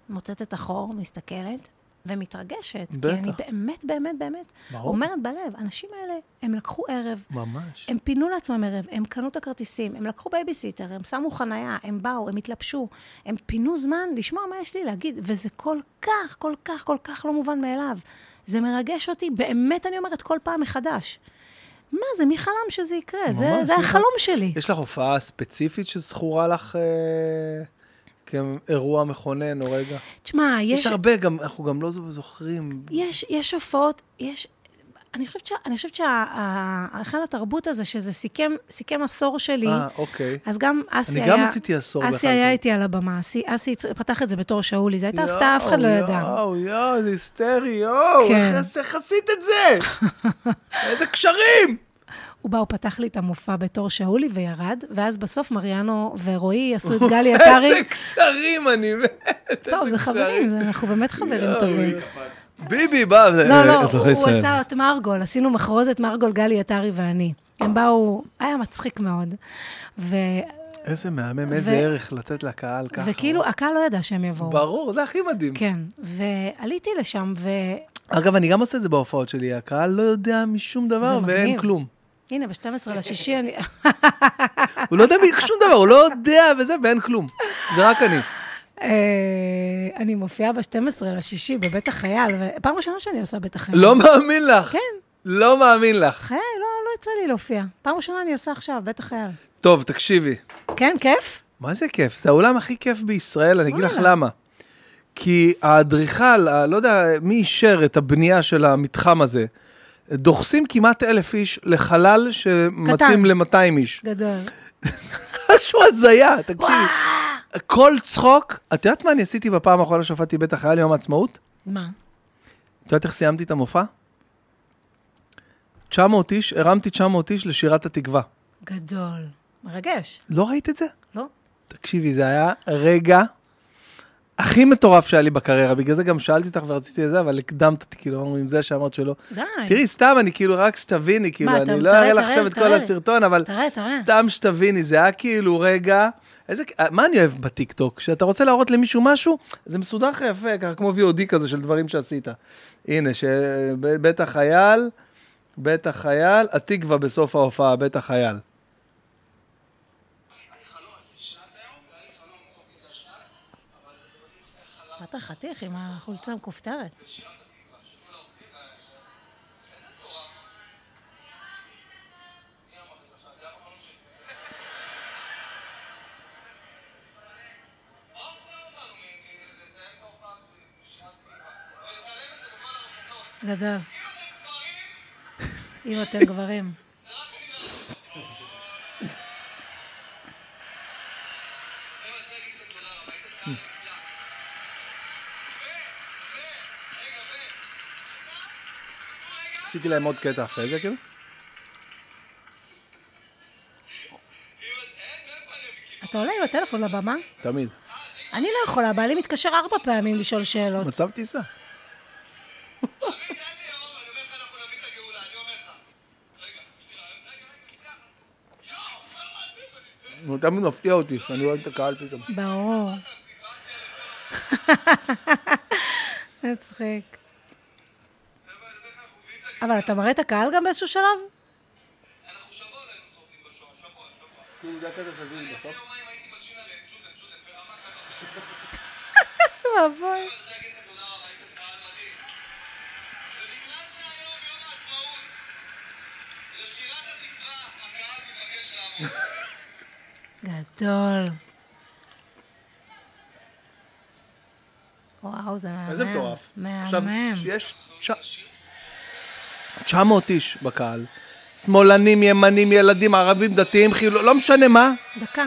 Speaker 1: מוצאת את החור, מסתכלת ומתרגשת. כי
Speaker 2: בטח.
Speaker 1: אני באמת, באמת, באמת
Speaker 2: ברור.
Speaker 1: אומרת בלב, האנשים האלה, הם לקחו ערב,
Speaker 2: ממש.
Speaker 1: הם פינו לעצמם ערב, הם קנו את הכרטיסים, הם לקחו בייביסיטר, הם שמו חנייה, הם באו, הם התלבשו, הם פינו זמן לשמוע מה יש לי להגיד, וזה כל כך, כל כך, כל כך לא מובן מאליו. זה מרגש אותי, באמת אני אומרת, כל פעם מחדש. מה זה, מי חלם שזה יקרה? זה,
Speaker 2: ממש,
Speaker 1: זה
Speaker 2: מי
Speaker 1: החלום
Speaker 2: חלם?
Speaker 1: שלי.
Speaker 2: יש לך הופעה ספציפית שזכורה לך אה, כאירוע מכונן או רגע?
Speaker 1: תשמע,
Speaker 2: יש
Speaker 1: יש,
Speaker 2: הרבה, גם- אנחנו גם לא זוכרים.
Speaker 1: יש, יש הופעות, יש... אני חושבת שה- אני חושבת שההיכל התרבות הזה, שזה סיכם, סיכם עשור שלי,
Speaker 2: אה, אוקיי.
Speaker 1: אז גם אסי
Speaker 2: אני
Speaker 1: היה...
Speaker 2: גם עשיתי עשור
Speaker 1: אסי
Speaker 2: בהיכל
Speaker 1: היה
Speaker 2: התרבות.
Speaker 1: איתי על הבמה, אסי, אסי פתח את זה בתור שאולי, זו הייתה הפתעה, אף אחד לא
Speaker 2: יואו,
Speaker 1: ידע.
Speaker 2: יואו, יואו, זה היסטרי, יואו,
Speaker 1: כן.
Speaker 2: איך- איך- איך עשית את זה? איזה קשרים!
Speaker 1: הוא בא, הוא פתח לי את המופע בתור שאולי וירד, ואז בסוף מריאנו ורועי עשו את גלי עטרי.
Speaker 2: איזה קשרים, אני מת.
Speaker 1: טוב,
Speaker 2: איזה
Speaker 1: זה חברים,
Speaker 2: קשרים.
Speaker 1: זה- אנחנו באמת חברים טובים.
Speaker 2: ביבי בא, זה-
Speaker 1: לא, לא,
Speaker 2: אה, אזרחי
Speaker 1: הוא- הוא
Speaker 2: ישראל.
Speaker 1: עשה את מרגול, עשינו מחרוזת מרגול, גלי עטרי ואני. הם באו, היה מצחיק מאוד. ו-
Speaker 2: איזה מהמם,
Speaker 1: ו-
Speaker 2: איזה ערך לתת לקהל ככה.
Speaker 1: וכאילו, הקהל לא ידע שהם יבואו.
Speaker 2: ברור, זה הכי מדהים.
Speaker 1: כן, ועליתי לשם, והנה,
Speaker 2: אגב, אני גם עושה את זה בהופעות שלי, הקהל לא יודע משום דבר
Speaker 1: זה
Speaker 2: ואין
Speaker 1: מגניב.
Speaker 2: כלום.
Speaker 1: ב-12 לשישי אני...
Speaker 2: הוא לא יודע משום דבר, הוא לא יודע וזה, ואין כלום. זה רק אני.
Speaker 1: אה, אני מופיעה ב-12 לשישי בבית החייל, ופעם ראשונה שאני עושה בית החייל.
Speaker 2: לא מאמין לך.
Speaker 1: כן.
Speaker 2: לא מאמין לך.
Speaker 1: חיי, לא, לא יצא לי להופיע. פעם ראשונה אני עושה עכשיו, בית החייל.
Speaker 2: טוב, תקשיבי.
Speaker 1: כן, כיף?
Speaker 2: מה זה כיף? זה האולם הכי כיף בישראל, אני אגיד לך
Speaker 1: וואלה.
Speaker 2: למה. כי האדריכל, ה- לא יודע מי אישר את הבנייה של המתחם הזה, דוחסים כמעט אלף איש לחלל שמתאים ל-200 איש.
Speaker 1: גדול.
Speaker 2: משהו הזיה, תקשיבי. כל צחוק, את יודעת מה אני עשיתי בפעם האחרונה שהופעתי בית החייל יום העצמאות?
Speaker 1: מה?
Speaker 2: את יודעת איך סיימתי את המופע? 900 איש, הרמתי 900 איש לשירת התקווה.
Speaker 1: גדול. מרגש,
Speaker 2: לא ראית את זה?
Speaker 1: לא?
Speaker 2: תקשיבי, זה היה רגע הכי מטורף שהיה לי בקריירה, בגלל זה גם שאלתי אותך ורציתי את זה, אבל הקדמת אותי, כאילו, אמרנו, עם זה שאמרת שלא.
Speaker 1: די.
Speaker 2: תראי, סתם, אני כאילו, רק שתביני, כאילו,
Speaker 1: אתה-
Speaker 2: אני לא
Speaker 1: תראה,
Speaker 2: אראה לך
Speaker 1: תראה,
Speaker 2: עכשיו את כל
Speaker 1: תראה.
Speaker 2: הסרטון, אבל
Speaker 1: תראה, תראה.
Speaker 2: סתם שתביני, זה היה כאילו רגע... איזה, אה, מה אני אוהב בטיקטוק? כשאתה רוצה להראות למישהו משהו, זה מסודר לך יפה, ככה כמו VOD כזה של דברים שעשית. הנה, שבית החייל, בית החייל, התקווה בסוף ההופעה, בית החייל.
Speaker 1: אתה חתיך עם החולצה המכופתרת. גדול. אם אתם גברים.
Speaker 2: עשיתי להם עוד קטע אחרי זה, כאילו.
Speaker 1: אתה עולה עם הטלפון לבמה?
Speaker 2: תמיד.
Speaker 1: אני לא יכולה, בעלי מתקשר ארבע פעמים לשאול שאלות.
Speaker 2: מצב טיסה. הוא תמיד מפתיע אותי, שאני רואה את הקהל פתאום.
Speaker 1: ברור. מצחיק. אבל אתה מראה את הקהל גם באיזשהו שלב? ואבוי. גדול. וואו, זה מהמם.
Speaker 2: איזה מטורף. עכשיו,
Speaker 1: מהמם.
Speaker 2: יש ש- 900 איש בקהל. שמאלנים, ימנים, ילדים, ערבים, דתיים, חילול, לא משנה מה,
Speaker 1: דקה.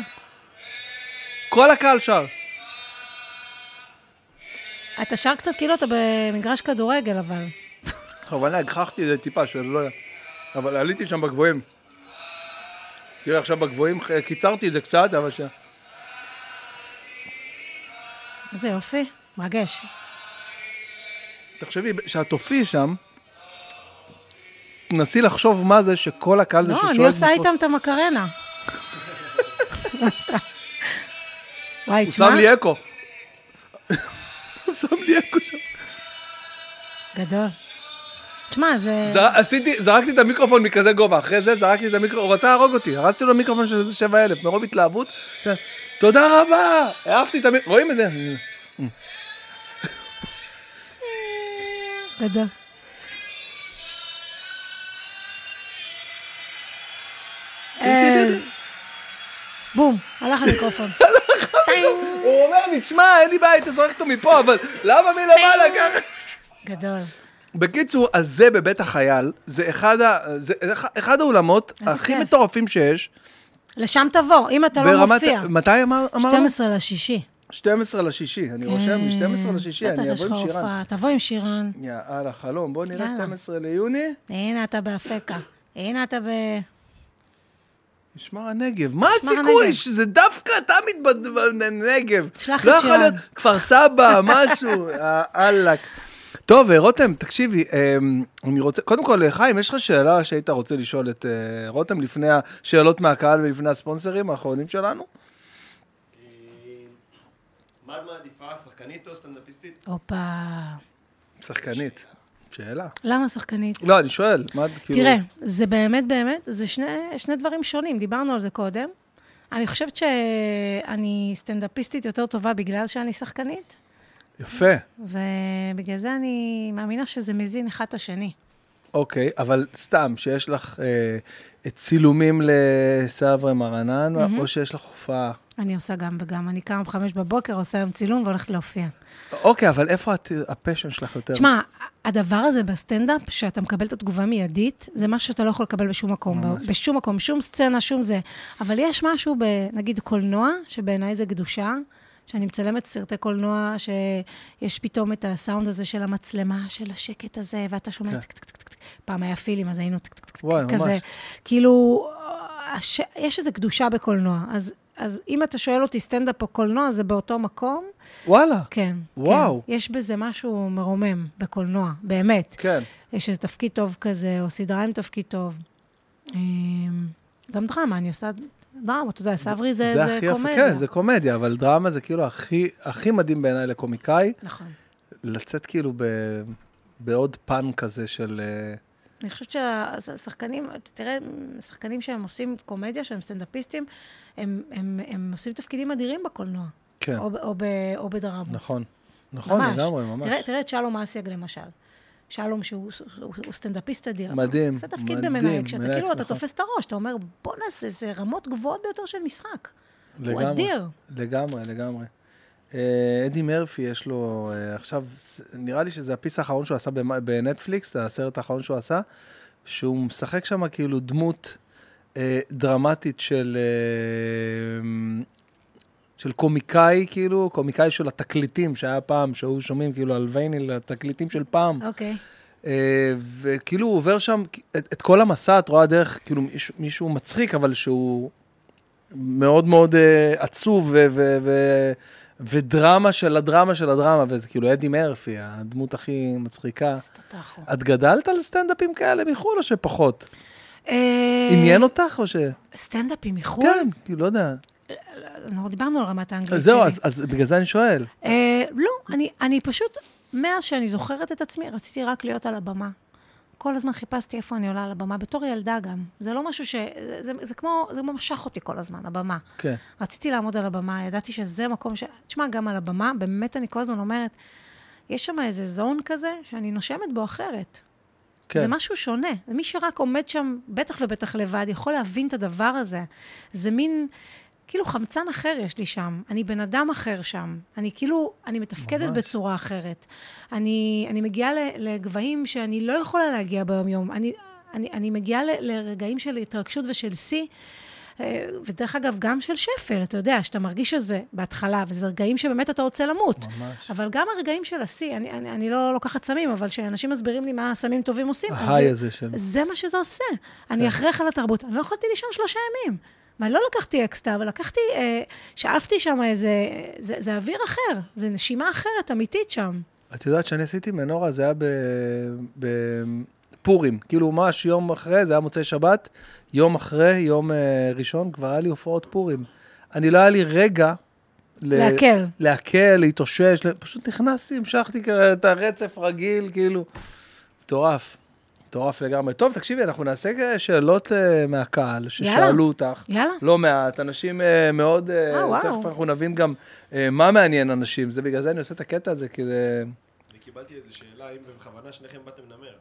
Speaker 2: כל הקהל שר.
Speaker 1: אתה שר קצת כאילו אתה במגרש כדורגל, אבל.
Speaker 2: בכוונה הגחכתי את זה טיפה, שלא... אבל עליתי שם בגבוהים. תראה, עכשיו בגבוהים, אה, קיצרתי את זה קצת, אבל ש...
Speaker 1: איזה יופי. מרגש.
Speaker 2: תחשבי, כשאת תופיעי שם, תנסי לחשוב מה זה שכל הקהל זה
Speaker 1: לא,
Speaker 2: ששואל...
Speaker 1: אני עושה
Speaker 2: בצחוק.
Speaker 1: איתם את המקרנה. לא וואי,
Speaker 2: הוא
Speaker 1: תשמע,
Speaker 2: שם לי אקו. הוא שם לי אקו שם.
Speaker 1: כן. גדול. תשמע, זה...
Speaker 2: זר- עשיתי, זרקתי את המיקרופון מכזה גובה, אחרי זה זרקתי את המיקרופון, הוא רצה להרוג אותי, הרסתי לו מיקרופון של איזה 7,000, מרוב התלהבות, תודה רבה, העפתי את המיקרופון, רואים את זה?
Speaker 1: גדול. אה, בום, הלך המיקרופון. טינג. כן.
Speaker 2: הוא אומר לי, תשמע, אין לי בעיה, היית זורק אותו מפה, אבל למה מלמעלה ככה?
Speaker 1: גדול.
Speaker 2: בקיצור, אז זה בבית החייל, זה אחד, ה, זה אח- אחד האולמות
Speaker 1: איזה
Speaker 2: הכי
Speaker 1: כיף.
Speaker 2: מטורפים שיש.
Speaker 1: לשם תבוא, אם אתה לא
Speaker 2: ברמת-
Speaker 1: מופיע.
Speaker 2: מתי אמר- אמרנו?
Speaker 1: 12 לשישי.
Speaker 2: 12 לשישי, אני רושם לי, 12 לשישי,
Speaker 1: כן. בטח
Speaker 2: אני
Speaker 1: יש
Speaker 2: אבוא
Speaker 1: לך
Speaker 2: עם שירן.
Speaker 1: הופעה, תבוא עם שירן.
Speaker 2: יאללה, חלום, בוא נראה
Speaker 1: יאללה.
Speaker 2: 12 ליוני,
Speaker 1: הנה אתה באפקה. הנה אתה ב...
Speaker 2: משמר הנגב. מה
Speaker 1: משמר
Speaker 2: הסיכוי
Speaker 1: הנגב.
Speaker 2: שזה דווקא אתה מתבד- בנגב?
Speaker 1: שלח
Speaker 2: לא
Speaker 1: את
Speaker 2: יכול
Speaker 1: שירן.
Speaker 2: להיות כפר סבא, משהו, אללק. טוב, אה, רותם, תקשיבי, אה, אני רוצה, קודם כל, אה, חיים, יש לך שאלה שהיית רוצה לשאול את אה, רותם לפני השאלות מהקהל ולפני הספונסרים האחרונים שלנו?
Speaker 3: אה, מה את מעדיפה, שחקנית או סטנדאפיסטית?
Speaker 1: הופה.
Speaker 2: שחקנית. שאלה.
Speaker 1: למה שחקנית?
Speaker 2: לא, אני שואל, מה, כאילו...
Speaker 1: תראה, זה באמת באמת, זה שני, שני דברים שונים, דיברנו על זה קודם. אני חושבת שאני סטנדאפיסטית יותר טובה בגלל שאני שחקנית,
Speaker 2: יפה.
Speaker 1: ובגלל זה אני מאמינה שזה מזין אחד את השני.
Speaker 2: אוקיי, אבל סתם, שיש לך אה, את צילומים לסברה מרנן, mm-hmm. או שיש לך הופעה.
Speaker 1: אני עושה גם וגם, אני קמה בחמש בבוקר, עושה היום צילום והולכת להופיע.
Speaker 2: אוקיי, אבל איפה את, הפשן שלך יותר?
Speaker 1: תשמע, הדבר הזה בסטנדאפ, שאתה מקבל את התגובה מיידית, זה משהו שאתה לא יכול לקבל בשום מקום. ממש. בשום מקום, שום סצנה, שום זה. אבל יש משהו, ב, נגיד, קולנוע, שבעיניי זה קדושה, שאני מצלמת סרטי קולנוע, שיש פתאום את הסאונד הזה של המצלמה, של השקט הזה, ואתה שומע
Speaker 2: כן.
Speaker 1: טק, טק, טק, טק. פעם היה פילים, אז היינו טק, טק, טק,
Speaker 2: וואי, ממש.
Speaker 1: כזה. כאילו, הש... יש איזו קדושה בקולנוע. אז, אז אם אתה שואל אותי סטנדאפ או קולנוע, זה באותו מקום.
Speaker 2: וואלה.
Speaker 1: כן.
Speaker 2: וואו.
Speaker 1: כן. יש בזה משהו מרומם בקולנוע, באמת.
Speaker 2: כן.
Speaker 1: יש איזה תפקיד טוב כזה, או סדרה עם תפקיד טוב. אמ, גם דרמה, אני עושה דרמה, אתה יודע, סברי זה, זה,
Speaker 2: הכי
Speaker 1: קומדיה.
Speaker 2: כן, זה קומדיה, אבל דרמה זה כאילו הכי, הכי מדהים בעיניי לקומיקאי,
Speaker 1: נכון.
Speaker 2: לצאת כאילו ב, בעוד פן כזה של... אה,
Speaker 1: אני חושבת שהשחקנים, אתה תראה, שחקנים שהם עושים קומדיה, שהם סטנדאפיסטים, הם, הם, הם עושים תפקידים אדירים בקולנוע.
Speaker 2: כן,
Speaker 1: או, ב- או, ב, או בדרמות.
Speaker 2: נכון. נכון,
Speaker 1: אוקיי. ממש.
Speaker 2: לגמרי, ממש.
Speaker 1: תראה, תראה את שלום אסיאג למשל. שלום שהוא הוא, הוא סטנדאפיסט אדיר.
Speaker 2: מדהים,
Speaker 1: זה תפקיד
Speaker 2: מדהים,
Speaker 1: במנהג, שאתה
Speaker 2: מנהג,
Speaker 1: כאילו, אתה
Speaker 2: נכון.
Speaker 1: תופס את הראש, אתה אומר, בואנה, זה, זה רמות גבוהות ביותר של משחק.
Speaker 2: לגמרי.
Speaker 1: הוא אדיר.
Speaker 2: לגמרי, לגמרי. אה, אדי מרפי, יש לו אה, עכשיו, ס- נראה לי שזה הפיס האחרון שהוא עשה במ- בנטפליקס, זה הסרט האחרון שהוא עשה, שהוא משחק שם כאילו דמות אה, דרמטית של, אה, של קומיקאי, כאילו, קומיקאי של התקליטים שהיה פעם, שהיו שומעים כאילו על וייניל, התקליטים של פעם.
Speaker 1: אוקיי.
Speaker 2: אה, וכאילו הוא עובר שם, את, את כל המסע את רואה דרך, כאילו מישהו, מישהו מצחיק, אבל שהוא מאוד מאוד אה, עצוב ו, ו, ו, ודרמה של הדרמה של הדרמה, וזה כאילו אדי מרפי, הדמות הכי מצחיקה.
Speaker 1: אז תותחו.
Speaker 2: את גדלת על סטנדאפים כאלה מחו"ל או שפחות?
Speaker 1: אה,
Speaker 2: עניין אותך או ש...
Speaker 1: סטנדאפים מחו"ל?
Speaker 2: כן, כאילו, לא יודע.
Speaker 1: אנחנו דיברנו על רמת האנגלית שלי.
Speaker 2: אז זהו, אז- אז בגלל זה אני שואל.
Speaker 1: אה, לא, אני, אני פשוט, מאז שאני זוכרת את עצמי, רציתי רק להיות על הבמה. כל הזמן חיפשתי איפה אני עולה על הבמה, בתור ילדה גם. זה לא משהו ש... זה, זה, זה כמו, זה כמו משך אותי כל הזמן, הבמה.
Speaker 2: כן.
Speaker 1: רציתי לעמוד על הבמה, ידעתי שזה מקום ש... תשמע, גם על הבמה, באמת אני כל הזמן אומרת, יש שם איזה זון כזה שאני נושמת בו אחרת.
Speaker 2: כן.
Speaker 1: כן. זה משהו שונה. מי שרק עומד שם, בטח ובטח לבד, יכול להבין את הדבר הזה. זה מין, כאילו חמצן אחר יש לי שם. אני בן אדם אחר שם. אני כאילו, אני מתפקדת
Speaker 2: ממש.
Speaker 1: ממש. בצורה אחרת. אני, אני מגיעה ל- לגבהים שאני לא יכולה להגיע ביום-יום. אני, אני, אני מגיעה ל- לרגעים של התרגשות ושל שיא. אה, ודרך אגב, גם של שפל, אתה יודע, שאתה מרגיש את זה בהתחלה, וזה רגעים שבאמת אתה רוצה למות.
Speaker 2: ממש.
Speaker 1: אבל גם הרגעים של השיא, אני, אני, אני לא לוקחת סמים, אבל כשאנשים מסבירים לי מה סמים טובים עושים, אז
Speaker 2: ההיי
Speaker 1: זה-
Speaker 2: הזה של-
Speaker 1: זה מה שזה עושה. אני אחרי חלת תרבות, אני לא יכולתי לישון שלושה ימים. ואני לא לקחתי אקסטה, אבל לקחתי, אה, שאפתי שם איזה, זה, זה אוויר אחר, זה נשימה אחרת, אמיתית שם.
Speaker 2: את יודעת שאני עשיתי מנורה, זה היה בפורים. כאילו, ממש יום אחרי, זה היה מוצאי שבת, יום אחרי, יום אה, ראשון, כבר היה לי הופעות פורים. אני לא היה לי רגע... ל-
Speaker 1: להקל.
Speaker 2: להקל, להתאושש, ל- פשוט נכנסתי, המשכתי כ- את הרצף רגיל, כאילו, מטורף. מטורף לגמרי. טוב, תקשיבי, אנחנו נעשה כ- שאלות אה, מהקהל, ששאלו
Speaker 1: יאללה.
Speaker 2: אותך.
Speaker 1: יאללה.
Speaker 2: לא מעט, אנשים אה, מאוד, אה,
Speaker 1: אה, וואו.
Speaker 2: תכף אנחנו נבין גם אה, מה מעניין אנשים, זה בגלל זה אני עושה את הקטע הזה, כדי...
Speaker 3: אני קיבלתי איזו שאלה, אם בכוונה שניכם באתם לנמר.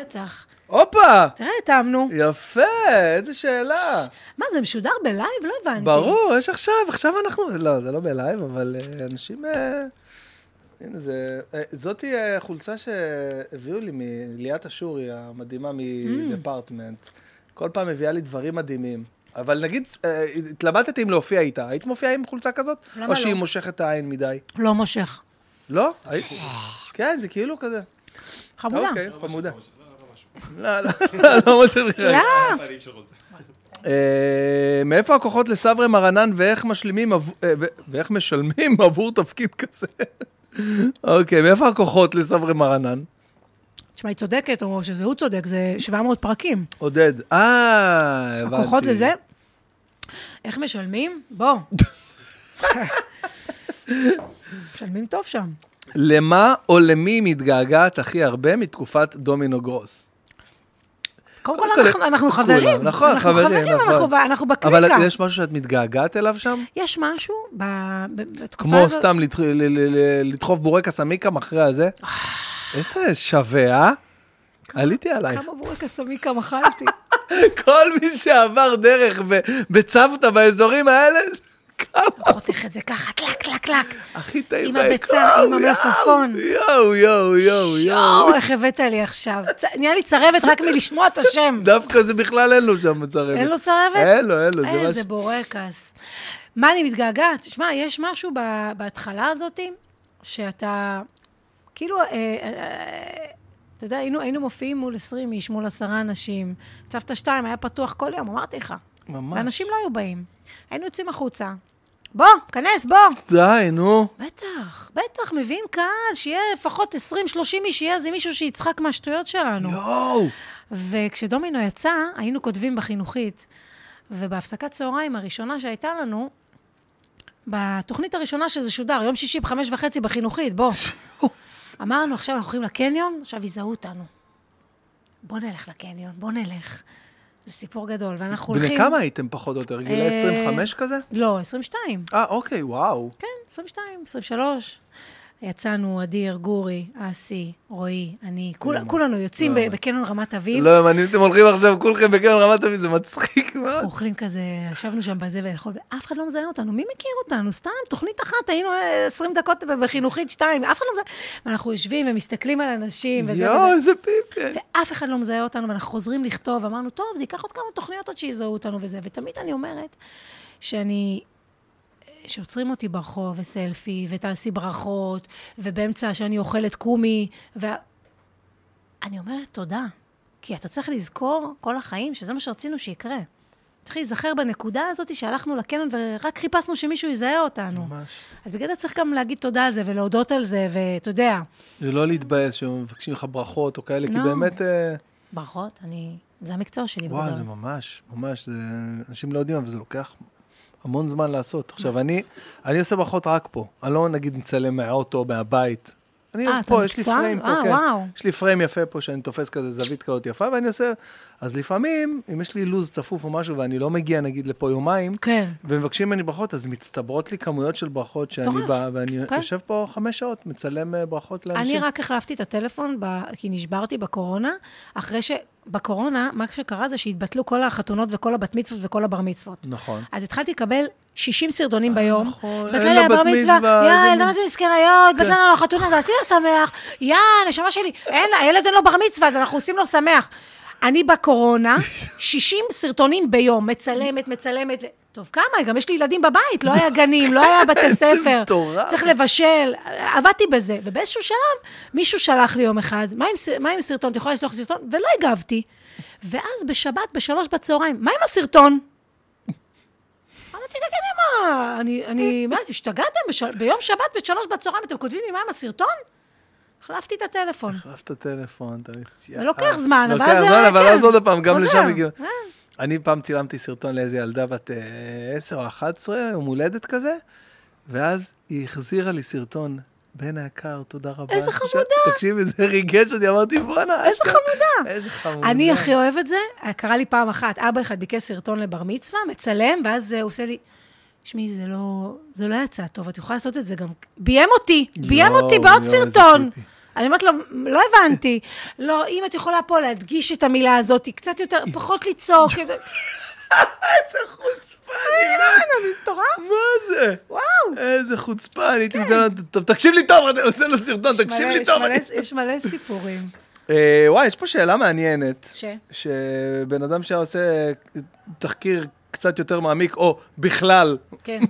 Speaker 1: בטח.
Speaker 2: הופה!
Speaker 1: תראה, טעמנו.
Speaker 2: יפה, איזה שאלה.
Speaker 1: מה, זה משודר בלייב? לא הבנתי.
Speaker 2: ברור, יש עכשיו, עכשיו אנחנו... לא, זה לא בלייב, אבל אה, אנשים... אה, הנה, זה... אה, זאתי אה, חולצה שהביאו לי מליאת אשורי המדהימה
Speaker 1: Mm.
Speaker 2: מדפרטמנט. כל פעם מביאה לי דברים מדהימים. אבל נגיד, אה, התלבטתי אם להופיע איתה. היית מופיעה עם חולצה כזאת?
Speaker 1: למה
Speaker 2: או שהיא
Speaker 1: לא?
Speaker 2: מושכת את העין מדי?
Speaker 1: לא מושך.
Speaker 2: לא? היית- כן, זה כאילו כזה.
Speaker 1: אה. חמודה.
Speaker 2: אוקיי, חמודה. לא, לא, לא משהו.
Speaker 1: לא,
Speaker 3: פנים של חולצה.
Speaker 2: אה, מאיפה הכוחות לסברי מרנן ואיך משלימים, עב- אה, ו- ואיך משלמים עבור תפקיד כזה? אוקיי, מאיפה הכוחות לסברי מרנן?
Speaker 1: תשמע, היא צודקת, או שזה הוא צודק, זה 700 פרקים.
Speaker 2: עודד. אה, הבנתי.
Speaker 1: הכוחות לזה, איך משלמים? בוא. משלמים טוב שם.
Speaker 2: למה או למי מתגעגעת הכי הרבה מתקופת דומינו גרוס?
Speaker 1: קודם
Speaker 2: קודם
Speaker 1: כל,
Speaker 2: כל,
Speaker 1: אנחנו- אנחנו
Speaker 2: כולם,
Speaker 1: חברים.
Speaker 2: נכון,
Speaker 1: אנחנו
Speaker 2: חברים,
Speaker 1: חברים,
Speaker 2: נכון.
Speaker 1: אנחנו ב- אנחנו
Speaker 2: אבל
Speaker 1: בקליקה.
Speaker 2: יש משהו שאת מתגעגעת אליו שם?
Speaker 1: יש משהו ב- ב- בתקופה
Speaker 2: כמו
Speaker 1: הזאת?
Speaker 2: סתם לת- ל- ל- ל- לדחוף בורקס עמיקם אחרי הזה?
Speaker 1: אה.
Speaker 2: איזה שווה, אה? עליתי עלייך.
Speaker 1: כמה בורקס עמיקה מחלתי.
Speaker 2: כל מי שעבר דרך ו- בצוותא באזורים האלה, כמה
Speaker 1: חותך את זה ככה, טלק, טלק, טלק.
Speaker 2: הכי טעים
Speaker 1: עם
Speaker 2: להם.
Speaker 1: הביצה, עם
Speaker 2: יואו,
Speaker 1: המלפפון.
Speaker 2: יואו, יואו, יואו, יואו.
Speaker 1: שואו, איך הבאת לי עכשיו. צ- נהיה לי צרבת רק מלשמוע את השם.
Speaker 2: דווקא זה בכלל אין לו שם צרבת.
Speaker 1: אין לו צרבת?
Speaker 2: אין לו, אין לו, זה
Speaker 1: איזה
Speaker 2: משהו.
Speaker 1: בורקס. מה אני מתגעגעת? תשמע, יש משהו ב- בהתחלה הזאת, שאתה, כאילו, אה, אה, אה, אתה יודע, היינו, היינו מופיעים מול 20 איש, מול עשרה אנשים. צוותא 2 היה פתוח כל יום, אמרתי לך.
Speaker 2: ממש.
Speaker 1: ואנשים לא היו באים. היינו יוצאים החוצה. בוא, כנס, בוא.
Speaker 2: די, נו.
Speaker 1: בטח, בטח, מביאים קהל, שיהיה לפחות 20-30 איש, שיהיה איזה מישהו שיצחק מהשטויות שלנו.
Speaker 2: יואו.
Speaker 1: וכשדומינו יצא, היינו כותבים בחינוכית, ובהפסקת צהריים הראשונה שהייתה לנו, בתוכנית הראשונה שזה שודר, יום שישי בחמש וחצי בחינוכית, בוא. אמרנו, עכשיו אנחנו הולכים לקניון, עכשיו יזהו אותנו. בוא נלך לקניון, בוא נלך. זה סיפור גדול, ואנחנו הולכים...
Speaker 2: בני כמה הייתם פחות או יותר? גילה
Speaker 1: אה,
Speaker 2: 25 כזה?
Speaker 1: לא, 22.
Speaker 2: אה, אוקיי, וואו.
Speaker 1: כן, 22, 23. יצאנו, אדיר, גורי, אסי, רועי, אני, כול, כולנו יוצאים ב- בקניון רמת אביב.
Speaker 2: לא, אם אתם הולכים עכשיו כולכם בקרן רמת אביב, זה מצחיק מאוד.
Speaker 1: אנחנו אוכלים כזה, ישבנו שם בזה ולאכול, ואף אחד לא מזיין אותנו, מי מכיר אותנו? סתם, תוכנית אחת, היינו אה, 20 דקות בחינוכית שתיים, אף אחד לא מזיין. ואנחנו יושבים ומסתכלים על אנשים וזה
Speaker 2: יואו,
Speaker 1: וזה,
Speaker 2: איזה פיפי.
Speaker 1: ואף אחד לא מזהה אותנו, ואנחנו חוזרים לכתוב, אמרנו, טוב, זה ייקח עוד כמה תוכניות עד שיזהו אותנו וזה, ותמיד אני אומרת שאני... שעוצרים אותי ברחוב, וסלפי, ותעשי ברכות, ובאמצע שאני אוכלת קומי, ו... אני אומרת תודה, כי אתה צריך לזכור כל החיים שזה מה שרצינו שיקרה. צריך להיזכר בנקודה הזאת שהלכנו לקניון ורק חיפשנו שמישהו יזהה אותנו.
Speaker 2: ממש.
Speaker 1: אז בגלל זה צריך גם להגיד תודה על זה ולהודות על זה, ואתה יודע,
Speaker 2: זה לא להתבאס שמבקשים לך ברכות או כאלה, כי
Speaker 1: לא.
Speaker 2: באמת... אה,
Speaker 1: ברכות, אני... זה המקצוע שלי
Speaker 2: וואי,
Speaker 1: בגדול.
Speaker 2: זה ממש, ממש, זה... אנשים לא יודעים, אבל זה לוקח המון זמן לעשות. עכשיו,
Speaker 1: נכון.
Speaker 2: אני, אני עושה ברכות רק פה. אני לא, נגיד, מצלם מהאוטו, מהבית. אני
Speaker 1: אה, אתה
Speaker 2: פה, יש לי
Speaker 1: מקצוען?
Speaker 2: פריים פה,
Speaker 1: אה,
Speaker 2: כן.
Speaker 1: וואו.
Speaker 2: יש לי פריים יפה פה, שאני תופס כזה זווית כזאת יפה, ואני עושה... אז לפעמים, אם יש לי לו"ז צפוף או משהו, ואני לא מגיע, נגיד, לפה יומיים,
Speaker 1: כן.
Speaker 2: ומבקשים ממני ברכות, אז מצטברות לי כמויות של ברכות שאני
Speaker 1: מטורף.
Speaker 2: בא, ואני
Speaker 1: כן.
Speaker 2: יושב פה חמש שעות, מצלם אה, ברכות לאנשים.
Speaker 1: אני רק החלפתי את הטלפון, ב... כי נשברתי בקורונה, אחרי ש... בקורונה, מה שקרה זה שהתבטלו כל החתונות וכל הבת מצוות וכל הבר מצוות.
Speaker 2: נכון.
Speaker 1: אז התחלתי לקבל 60 סרטונים ביום.
Speaker 2: נכון,
Speaker 1: בטלה
Speaker 2: אין לה
Speaker 1: לי הבר
Speaker 2: בת
Speaker 1: מצווה,
Speaker 2: מצווה,
Speaker 1: יא,
Speaker 2: זה-
Speaker 1: ילדה מה זה מסכנה, יא, התבטלה לנו החתונה, תעשי לה שמח. יא, נשמה שלי, אין, הילד אין לו בר מצווה, אז אנחנו עושים לו שמח. אני בקורונה, 60 סרטונים ביום, מצלמת, מצלמת. ו- טוב, כמה? גם יש לי ילדים בבית, לא היה גנים, לא היה בתי ספר.
Speaker 2: מטורף.
Speaker 1: צריך לבשל, עבדתי בזה. ובאיזשהו שלב, מישהו שלח לי יום אחד, מה עם, ס- מה עם סרטון, את יכולה לשלוח סרטון? ולא הגבתי. ואז בשבת, בשלוש בצהריים, מה עם הסרטון? אמרתי, תגידי מה, אני, אני, מה, אתם השתגעתם? בש... ביום שבת בשלוש בצהריים אתם כותבים לי מה עם הסרטון? החלפתי את הטלפון.
Speaker 2: החלף את הטלפון, אתה...
Speaker 1: זה לוקח זמן, אבל
Speaker 2: אה, לוקח
Speaker 1: זה-
Speaker 2: זמן, אבל
Speaker 1: כן,
Speaker 2: אז עוד פעם, גם
Speaker 1: חוזר.
Speaker 2: לשם הגיעו.
Speaker 1: אה.
Speaker 2: אני פעם צילמתי סרטון לאיזה ילדה בת אה, 10 או 11, יום הולדת כזה, ואז היא החזירה לי סרטון. בן היקר, תודה רבה.
Speaker 1: איזה
Speaker 2: תקשיב-
Speaker 1: חמודה.
Speaker 2: תקשיבי, זה ריגש אותי, אמרתי, בואנה.
Speaker 1: איזה
Speaker 2: אשכרה."
Speaker 1: חמודה.
Speaker 2: איזה חמודה.
Speaker 1: אני הכי אוהב את זה, קרה לי פעם אחת, אבא אחד ביקש סרטון לבר מצווה, מצלם, ואז אה, הוא עושה לי, שמי, זה לא, זה לא יצא טוב, את יכולה לעשות את זה גם... ביים אותי, ביים
Speaker 2: יואו,
Speaker 1: אותי בעוד
Speaker 2: יואו, איזה
Speaker 1: סרטון.
Speaker 2: טיפי.
Speaker 1: אני אומרת לו, לא הבנתי. לא, אם את יכולה פה להדגיש את המילה הזאת, קצת יותר, פחות לצעוק. כזה."
Speaker 2: איזה חוצפה, נראה.
Speaker 1: אני לא, מטורף,
Speaker 2: מה זה?
Speaker 1: וואו.
Speaker 2: איזה חוצפה, אני הייתי נותן לו... טוב, תקשיב לי טוב, אני עושה לו סרטון,
Speaker 1: יש
Speaker 2: תקשיב
Speaker 1: מלא-
Speaker 2: לי
Speaker 1: יש
Speaker 2: טוב.
Speaker 1: מלא-
Speaker 2: אני-
Speaker 1: יש מלא סיפורים.
Speaker 2: אה, וואי, יש פה שאלה מעניינת.
Speaker 1: ש?
Speaker 2: שבן אדם שהיה עושה תחקיר קצת יותר מעמיק, או בכלל,
Speaker 1: כן.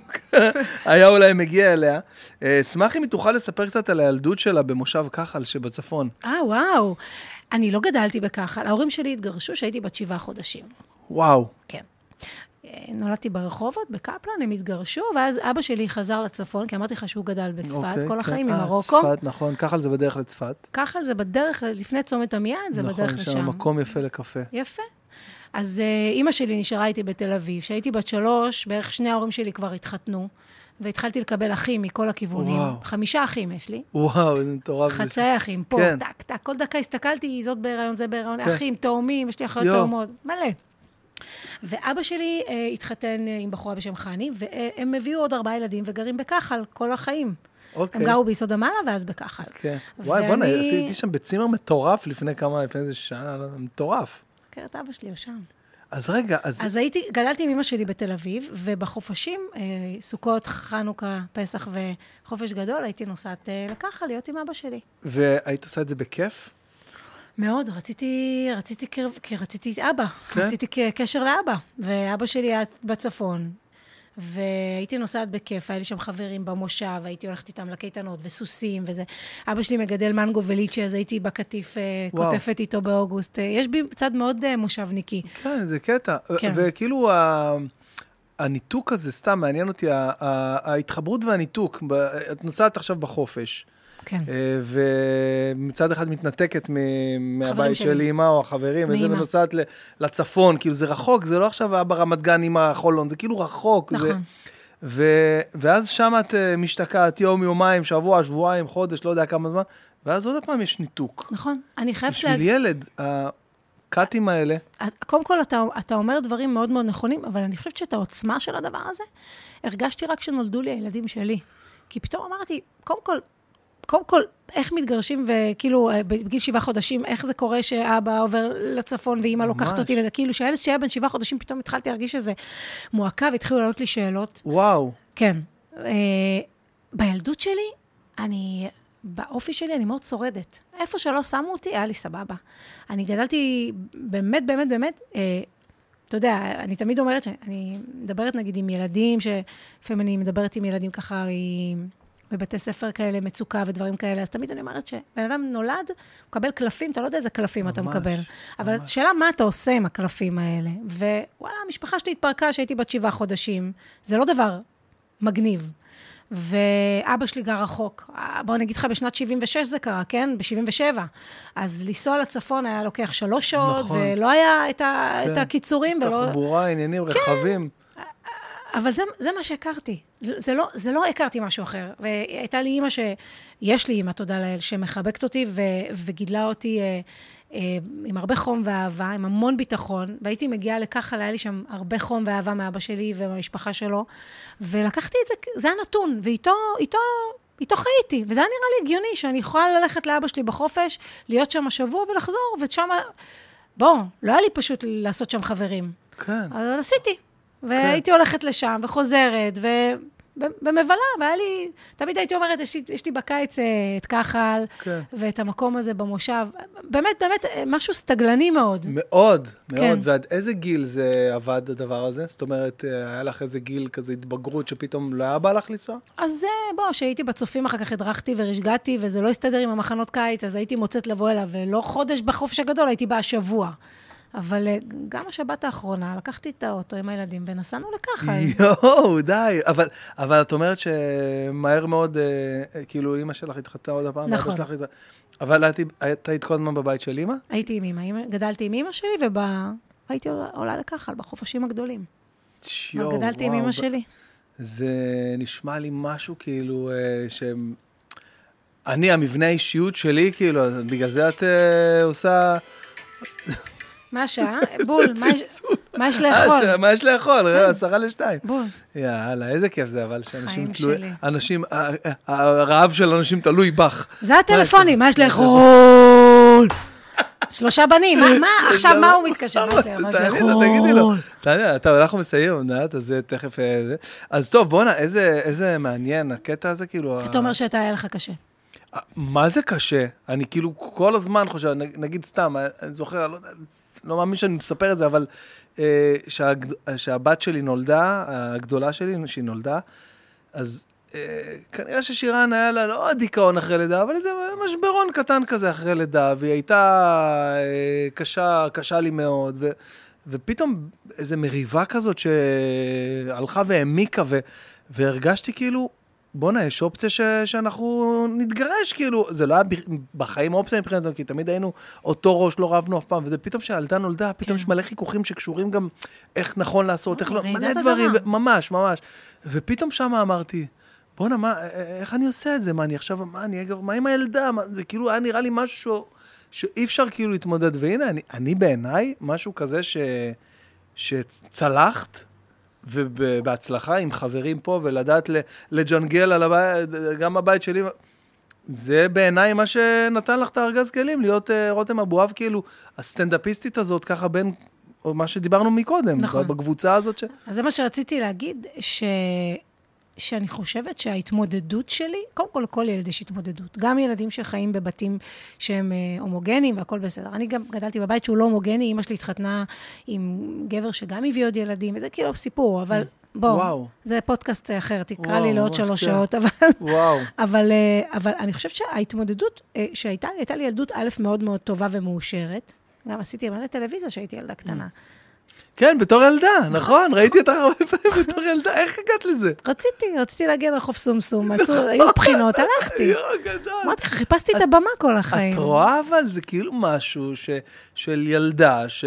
Speaker 2: היה אולי מגיע אליה. אה, אשמח אם היא תוכל לספר קצת על הילדות שלה במושב כחל שבצפון.
Speaker 1: אה, וואו. אני לא גדלתי בכחל. ההורים שלי התגרשו כשהייתי בת שבעה חודשים.
Speaker 2: וואו.
Speaker 1: כן. אה, נולדתי ברחובות, בקפלן, הם התגרשו, ואז אבא שלי חזר לצפון, כי אמרתי לך שהוא גדל בצפת
Speaker 2: אוקיי,
Speaker 1: כל
Speaker 2: כן.
Speaker 1: החיים,
Speaker 2: אה,
Speaker 1: ממרוקו.
Speaker 2: צפת, נכון, כחל זה בדרך לצפת.
Speaker 1: כחל זה בדרך, ל- לפני צומת עמיעד, זה בדרך
Speaker 2: נכון, יש שם
Speaker 1: לשם.
Speaker 2: מקום יפה לקפה.
Speaker 1: יפה. אז אה, אימא שלי נשארה איתי בתל אביב. כשהייתי בת שלוש, בערך שני ההורים שלי כבר התחתנו, והתחלתי לקבל אחים מכל הכיוונים.
Speaker 2: וואו.
Speaker 1: חמישה אחים יש לי.
Speaker 2: וואו, זה מטורף. זה.
Speaker 1: חצאי אחים, פה,
Speaker 2: כן.
Speaker 1: טק, טק, כל דקה הסתכלתי, זאת בהיריון, זה בהיריון,
Speaker 2: כן.
Speaker 1: אחים, תאומים, יש לי אחיות
Speaker 2: יואו.
Speaker 1: תאומות, מלא. ואבא שלי אה, התחתן אה, עם בחורה בשם חני, והם הביאו עוד ארבעה ילדים וגרים בכחל כל החיים.
Speaker 2: אוקיי.
Speaker 1: הם גרו ביסוד המעלה ואז בכחל.
Speaker 2: כן. וואי, בוא'נה,
Speaker 1: ואני-
Speaker 2: הייתי שם בצימר מטורף לפני כמה, לפני איזה שעה, לא יודע, מטורף.
Speaker 1: מכיר את אבא שלי, הוא שם.
Speaker 2: אז רגע, אז...
Speaker 1: אז הייתי, גדלתי עם אמא שלי בתל אביב, ובחופשים, אה, סוכות, חנוכה, פסח וחופש גדול, הייתי נוסעת אה, לכחל להיות עם אבא שלי.
Speaker 2: והיית עושה את זה בכיף?
Speaker 1: מאוד, רציתי, רציתי, קרב- כי רציתי את אבא.
Speaker 2: כן?
Speaker 1: כן? רציתי ק- קשר לאבא. ואבא שלי היה בצפון, והייתי נוסעת בכיף, היה לי שם חברים במושב, הייתי הולכת איתם לקייטנות, וסוסים וזה. אבא שלי מגדל מנגו וליצ'י, אז הייתי בקטיף, אה,
Speaker 2: וואו.
Speaker 1: קוטפת איתו באוגוסט. אה, יש בי צד מאוד אה, מושבניקי.
Speaker 2: כן, זה קטע.
Speaker 1: כן.
Speaker 2: ו- וכאילו, ה- הניתוק הזה, סתם מעניין אותי, ה- ה- ההתחברות והניתוק. ב- את נוסעת עכשיו בחופש,
Speaker 1: כן.
Speaker 2: אה, ומצד אחד מתנתקת מ- מהבית של
Speaker 1: שלי.
Speaker 2: אימא או החברים, וזה,
Speaker 1: מאמא.
Speaker 2: ונוסעת ל- לצפון, כאילו זה רחוק, זה לא עכשיו אבא רמת גן, אימא חולון, זה כאילו רחוק. זה-
Speaker 1: נכון.
Speaker 2: ו- ואז שם את אה, משתקעת יום, יומיים, שבוע, שבועיים, חודש, לא יודע כמה זמן, ואז עוד פעם יש ניתוק.
Speaker 1: נכון. אני חייבת
Speaker 2: בשביל ילד, הקאטים האלה,
Speaker 1: את- קודם כל, אתה, אתה אומר דברים מאוד מאוד נכונים, אבל אני חושבת שאת העוצמה של הדבר הזה, הרגשתי רק כשנולדו לי הילדים שלי. כי פתאום אמרתי, קודם כל, קודם כל, איך מתגרשים, וכאילו, אה, בגיל שבעה חודשים, איך זה קורה שאבא עובר לצפון ואימא לוקחת
Speaker 2: ממש.
Speaker 1: אותי, וזה כאילו, שהילד שהיה בן שבעה חודשים, פתאום התחלתי להרגיש איזה מועקה, והתחילו לעלות לי שאלות.
Speaker 2: וואו.
Speaker 1: כן. אה, בילדות שלי, אני, באופי שלי, אני מאוד שורדת. איפה שלא שמו אותי, היה לי סבבה. אני גדלתי באמת, באמת, באמת, אה, אתה יודע, אני תמיד אומרת שאני מדברת נגיד עם ילדים, שלפעמים אני מדברת עם ילדים ככה עם... בבתי ספר כאלה, מצוקה ודברים כאלה, אז תמיד אני אומרת שבן אדם נולד, הוא מקבל קלפים, אתה לא יודע איזה קלפים אתה
Speaker 2: ממש,
Speaker 1: מקבל. אבל השאלה, מה אתה עושה עם הקלפים האלה? ווואלה, המשפחה שלי התפרקה כשהייתי בת שבעה חודשים. זה לא דבר מגניב. ואבא שלי גר רחוק. אה, בוא נגיד לך, בשנת 76 זה קרה, כן? ב-77. אז לנסוע לצפון היה לוקח שלוש שעות,
Speaker 2: נכון.
Speaker 1: נכון. ולא היה את, ה...
Speaker 2: כן.
Speaker 1: את הקיצורים, ולא... כן.
Speaker 2: תחבורה, עניינים, רכבים.
Speaker 1: אבל זה, זה מה שהכרתי. זה, זה, לא, זה לא הכרתי משהו אחר. והייתה לי אימא ש... יש לי אימא, תודה לאל, שמחבקת אותי ו, וגידלה אותי אה, אה, עם הרבה חום ואהבה, עם המון ביטחון. והייתי מגיעה לכחל, היה לי שם הרבה חום ואהבה מאבא שלי ומהמשפחה שלו. ולקחתי את זה, זה הנתון, ואיתו... איתו, איתו חייתי, וזה היה נראה לי הגיוני שאני יכולה ללכת לאבא שלי בחופש, להיות שם השבוע ולחזור, ושם... בוא, לא היה לי פשוט לעשות שם חברים.
Speaker 2: כן.
Speaker 1: אבל עשיתי. והייתי הולכת לשם, וחוזרת, ו... ו- ומבלה, והיה לי... תמיד הייתי אומרת, יש לי, יש לי בקיץ אה, את כחל,
Speaker 2: כן.
Speaker 1: ואת המקום הזה במושב. באמת, באמת, אה, משהו סטגלני מאוד.
Speaker 2: מאוד, מאוד.
Speaker 1: כן.
Speaker 2: ועד איזה גיל זה עבד הדבר הזה? זאת אומרת, אה, היה לך איזה גיל כזה התבגרות שפתאום לא היה בא לך לנסוע?
Speaker 1: אז זה, בוא, כשהייתי בצופים, אחר כך הדרכתי ורשגעתי, וזה לא הסתדר עם המחנות קיץ, אז הייתי מוצאת לבוא אליו, ולא חודש בחופש הגדול, הייתי באה שבוע. אבל אה, גם השבת האחרונה, לקחתי את האוטו עם הילדים, ונסענו לכחל.
Speaker 2: יואו, די. אבל, אבל את אומרת שמהר מאוד, אה, אה, כאילו, אימא שלך התחתנה עוד הפעם, ואבא
Speaker 1: נכון.
Speaker 2: שלך התחתנה. אבל את היית היית כל הזמן בבית של אימא?
Speaker 1: הייתי עם אימא, גדלתי עם אימא שלי, והייתי עולה לכחל בחופשים הגדולים.
Speaker 2: יואו,
Speaker 1: כבר לא, גדלתי עם
Speaker 2: וואו,
Speaker 1: אימא
Speaker 2: ב-
Speaker 1: שלי.
Speaker 2: זה נשמע לי משהו כאילו אה, ש... אני, המבנה האישיות שלי, כאילו, אז בגלל זה את אה, עושה...
Speaker 1: מה השעה? בול, מה יש- מה יש לאכול? כן.
Speaker 2: אה, ש- מה יש לאכול? ראה, עשרה לשתיים.
Speaker 1: בול.
Speaker 2: יאללה, איזה כיף זה, אבל שאנשים
Speaker 1: חיים
Speaker 2: תלוי...
Speaker 1: שלי.
Speaker 2: אנשים, אה, ה- ה- הרעב של אנשים תלוי בך.
Speaker 1: זה הטלפונים, מה יש לאכול? שלושה בנים, מה- מה, עכשיו מה הוא מתקשר? מה זה, מה זה,
Speaker 2: לא- תעני לו,
Speaker 1: יכול?
Speaker 2: תגידי לו. תעני לו, טוב, אנחנו מסיימים, נת, אז אה, תכף... אה, זה. אז טוב, בואנה, איזה איזה מעניין הקטע הזה, כאילו... ה-
Speaker 1: אתה אומר שאתה, היה לך קשה.
Speaker 2: אה, מה זה קשה? אני כאילו כל הזמן חושב, נ- נגיד סתם, אה, אני זוכר, לא, יודע, לא מאמין שאני מספר את זה, אבל אה, שהגד, אה, שהבת שלי נולדה, הגדולה שלי, שהיא נולדה, אז אה, כנראה ששירן היה לה לא דיכאון אחרי לידה, אבל איזה משברון קטן כזה אחרי לידה, והיא הייתה אה, קשה, קשה לי מאוד, ו, ופתאום איזו מריבה כזאת שהלכה והעמיקה, ו, והרגשתי כאילו, בואנה, יש אופציה ש, שאנחנו נתגרש, כאילו, זה לא היה ב- בחיים אופציה מבחינתנו, כי תמיד היינו אותו ראש, לא רבנו אף פעם, וזה פתאום שהילדה נולדה, פתאום יש מלא חיכוכים שקשורים גם איך נכון לעשות, איך לא,
Speaker 1: כן. אה, רעידת
Speaker 2: מלא
Speaker 1: אדמה.
Speaker 2: דברים, ו- ממש, ממש. ופתאום שמה אמרתי, בואנה, מה, א- א- איך אני עושה את זה? מה, אני עכשיו, מה, אני, אגב, מה עם הילדה? מה, זה כאילו היה נראה לי משהו שאי אפשר כאילו להתמודד. והנה, אני, אני בעיניי, משהו כזה ש, שצלחת, ובהצלחה עם חברים פה, ולדעת ל- לג'נגל על הבית, גם הבית שלי. זה בעיניי מה שנתן לך את הארגז כלים, להיות אה, רותם אבואב, כאילו, הסטנדאפיסטית הזאת, ככה בין, או מה שדיברנו מקודם,
Speaker 1: נכון.
Speaker 2: בקבוצה הזאת ש...
Speaker 1: אז זה מה שרציתי להגיד, ש... שאני חושבת שההתמודדות שלי, קודם כל, לכל ילד יש התמודדות. גם ילדים שחיים בבתים שהם אה, הומוגניים והכול בסדר. אני גם גדלתי בבית שהוא לא הומוגני, אימא שלי התחתנה עם גבר שגם הביא עוד ילדים, וזה כאילו סיפור, אבל בוא,
Speaker 2: וואו.
Speaker 1: זה פודקאסט אחר, תקרא
Speaker 2: וואו,
Speaker 1: לי לעוד
Speaker 2: ממש,
Speaker 1: שלוש
Speaker 2: כן.
Speaker 1: שעות, אבל...
Speaker 2: וואו.
Speaker 1: אבל, אה, אבל אני חושבת שההתמודדות אה, שהייתה לי, הייתה לי ילדות א' מאוד מאוד טובה ומאושרת. גם עשיתי מלא טלוויזיה כשהייתי ילדה
Speaker 2: Mm.
Speaker 1: קטנה.
Speaker 2: כן, בתור ילדה, נכון, ראיתי אותך הרבה פעמים בתור ילדה, איך הגעת לזה?
Speaker 1: רציתי, רציתי להגיע לרחוב סומסום, עשו, היו בחינות, הלכתי.
Speaker 2: יואו, גדול.
Speaker 1: אמרתי לך, חיפשתי את הבמה כל החיים.
Speaker 2: את רואה, אבל זה כאילו משהו ש- של ילדה ש...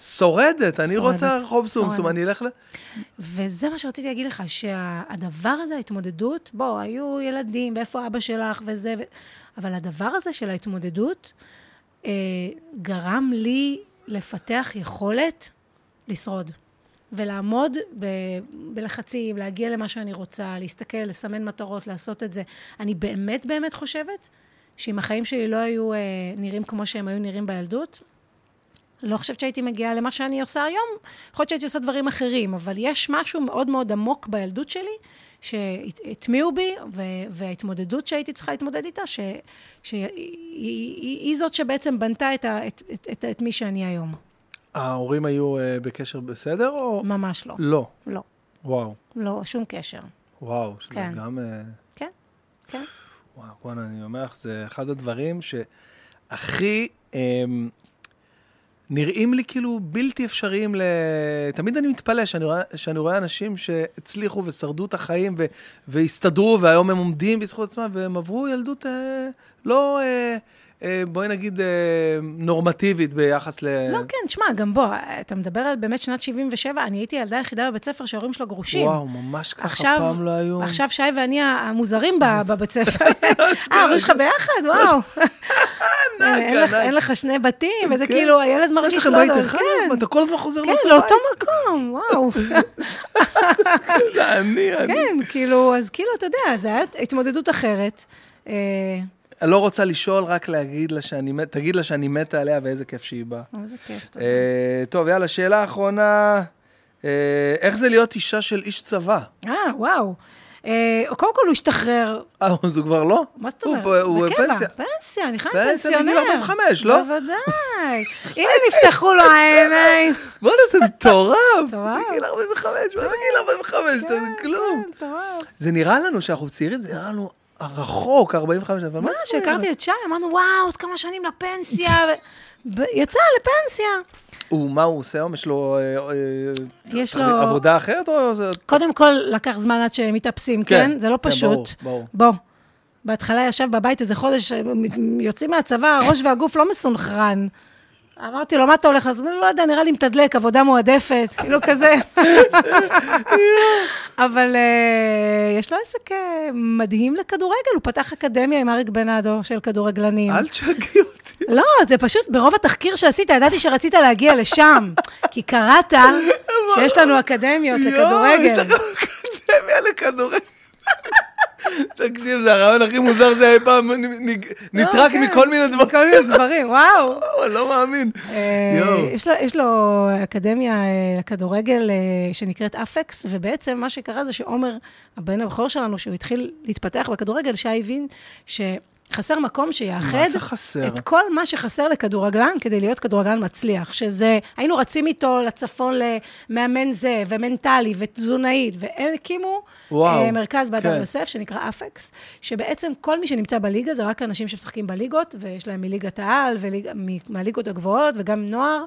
Speaker 2: שורדת, אני
Speaker 1: שורדת,
Speaker 2: רוצה רחוב סומסום,
Speaker 1: שורדת.
Speaker 2: אני אלך ל...
Speaker 1: וזה מה שרציתי להגיד לך, שהדבר הזה, ההתמודדות, בוא, היו ילדים, ואיפה אבא שלך וזה, ו... אבל הדבר הזה של ההתמודדות אה, גרם לי לפתח יכולת לשרוד. ולעמוד ב- בלחצים, להגיע למה שאני רוצה, להסתכל, לסמן מטרות, לעשות את זה. אני באמת באמת חושבת שאם החיים שלי לא היו אה, נראים כמו שהם היו נראים בילדות, לא חושבת שהייתי מגיעה למה שאני עושה היום, יכול להיות שהייתי עושה דברים אחרים, אבל יש משהו מאוד מאוד עמוק בילדות שלי, שהטמיעו בי, ו- וההתמודדות שהייתי צריכה להתמודד איתה, שהיא ש- היא- היא- היא- היא זאת שבעצם בנתה את, ה- את, את, את, את מי שאני היום.
Speaker 2: ההורים היו אה, בקשר בסדר או...
Speaker 1: ממש לא.
Speaker 2: לא.
Speaker 1: לא.
Speaker 2: וואו.
Speaker 1: לא, שום קשר.
Speaker 2: וואו, שזה
Speaker 1: כן.
Speaker 2: גם... אה,
Speaker 1: כן? כן.
Speaker 2: וואו, בואנה, אני אומר לך, זה אחד הדברים שהכי אמ, נראים לי כאילו בלתי אפשריים ל... תמיד אני מתפלא שאני רואה, שאני רואה אנשים שהצליחו ושרדו את החיים ו... והסתדרו, והיום הם עומדים בזכות עצמם, והם עברו ילדות אה, לא, אה, אה, בואי נגיד, אה, נורמטיבית ביחס ל...
Speaker 1: לא, כן, תשמע, גם בוא, אתה מדבר על באמת שנת 77, אני הייתי הילדה היחידה בבית ספר שההורים שלו גרושים.
Speaker 2: וואו, ממש ככה,
Speaker 1: עכשיו-
Speaker 2: פעם לא היו...
Speaker 1: עכשיו שי ואני המוזרים ב- בבית ספר. אה, ההורים שלך ביחד, וואו. אין- אין לך- אין לך שני בתים, וזה
Speaker 2: כן.
Speaker 1: כאילו, הילד
Speaker 2: אה, יש
Speaker 1: מרגיש
Speaker 2: לכם
Speaker 1: לא...
Speaker 2: בית
Speaker 1: לא-
Speaker 2: אחד?
Speaker 1: כן,
Speaker 2: אתה כל הזמן חוזר
Speaker 1: כן, לאותו מקום, וואו.
Speaker 2: כן. בית, לא, אני, אני.
Speaker 1: כן, כאילו, אז כאילו, אתה יודע, זו הייתה התמודדות אחרת. אה,
Speaker 2: אני לא רוצה לשאול, רק להגיד לה שאני מת, תגיד לה שאני מתה עליה ואיזה כיף שהיא באה.
Speaker 1: איזה כיף. תודה.
Speaker 2: אה, טוב, יאללה, שאלה אחרונה, אה, איך זה להיות אישה של איש צבא?
Speaker 1: אה, וואו. אה, קודם כל הוא השתחרר,
Speaker 2: אה, אז הוא כבר לא?
Speaker 1: מה זאת
Speaker 2: הוא
Speaker 1: אומרת?
Speaker 2: פה- הוא
Speaker 1: בקבע,
Speaker 2: בפנסיה.
Speaker 1: פנסיה, אני חייב
Speaker 2: פנסיה
Speaker 1: פנסיונר.
Speaker 2: בגיל 45, לא?
Speaker 1: בוודאי. הנה נפתחו לו העיניים.
Speaker 2: בוא'נה, זה מטורף.
Speaker 1: מטורף.
Speaker 2: בגיל 45, מה זה גיל 45? זה כלום.
Speaker 1: כן, מטורף.
Speaker 2: זה נראה לנו שאנחנו צעירים, זה נראה לנו רחוק, 45, אבל מה?
Speaker 1: מה, כשהכרתי את שי, אמרנו, וואו, עוד כמה שנים לפנסיה. ו- ב- יצא לפנסיה.
Speaker 2: הוא, מה הוא עושה היום? יש לו... אה, אה,
Speaker 1: יש
Speaker 2: תחביב-
Speaker 1: לו-
Speaker 2: עבודה אחרת או... זה-
Speaker 1: קודם כל, לקח זמן עד שמתאפסים,
Speaker 2: כן,
Speaker 1: כן? זה לא
Speaker 2: כן,
Speaker 1: פשוט.
Speaker 2: ברור, ברור.
Speaker 1: בוא. בהתחלה ישב בבית איזה חודש, אה, מ- יוצאים מהצבא, הראש והגוף לא מסונכרן. אמרתי לו, מה אתה הולך לעשות? הוא אומר, לא יודע, נראה לי מתדלק, עבודה מועדפת, כאילו כזה. אבל אה, יש לו עסק אה, מדהים לכדורגל, הוא פתח אקדמיה עם אריק בנאדו של כדורגלנים.
Speaker 2: אל תשגעי אותי.
Speaker 1: לא, זה פשוט, ברוב התחקיר שעשית, ידעתי שרצית להגיע לשם, כי קראת שיש לנו אקדמיות
Speaker 2: יואו, יש
Speaker 1: לכדורגל.
Speaker 2: לך אקדמיה לכדורגל. תקשיב, זה הרעיון הכי מוזר שאי פעם נ- נ- נטרק
Speaker 1: כן.
Speaker 2: מכל מיני דברים.
Speaker 1: כל מיני דברים, וואו.
Speaker 2: וואו, לא מאמין.
Speaker 1: אה,
Speaker 2: יואו.
Speaker 1: יש לו, יש לו אקדמיה אה, לכדורגל אה, שנקראת אפקס, ובעצם מה שקרה זה שעומר, הבן הבכור שלנו, שהוא התחיל להתפתח בכדורגל, שי הבין שחסר מקום שיאחד
Speaker 2: מה זה חסר?
Speaker 1: את כל מה שחסר לכדורגלן כדי להיות כדורגלן מצליח, שזה, היינו רצים איתו לצפון למאמן זה, ומנטלי, ותזונאית, והם הקימו
Speaker 2: וואו,
Speaker 1: אה, מרכז בהדר
Speaker 2: כן.
Speaker 1: כן. יוסף, שנקרא אפקס, שבעצם כל מי שנמצא בליגה זה רק אנשים שמשחקים בליגות, ויש להם מליגת העל ומהליגות הגבוהות, וגם נוער,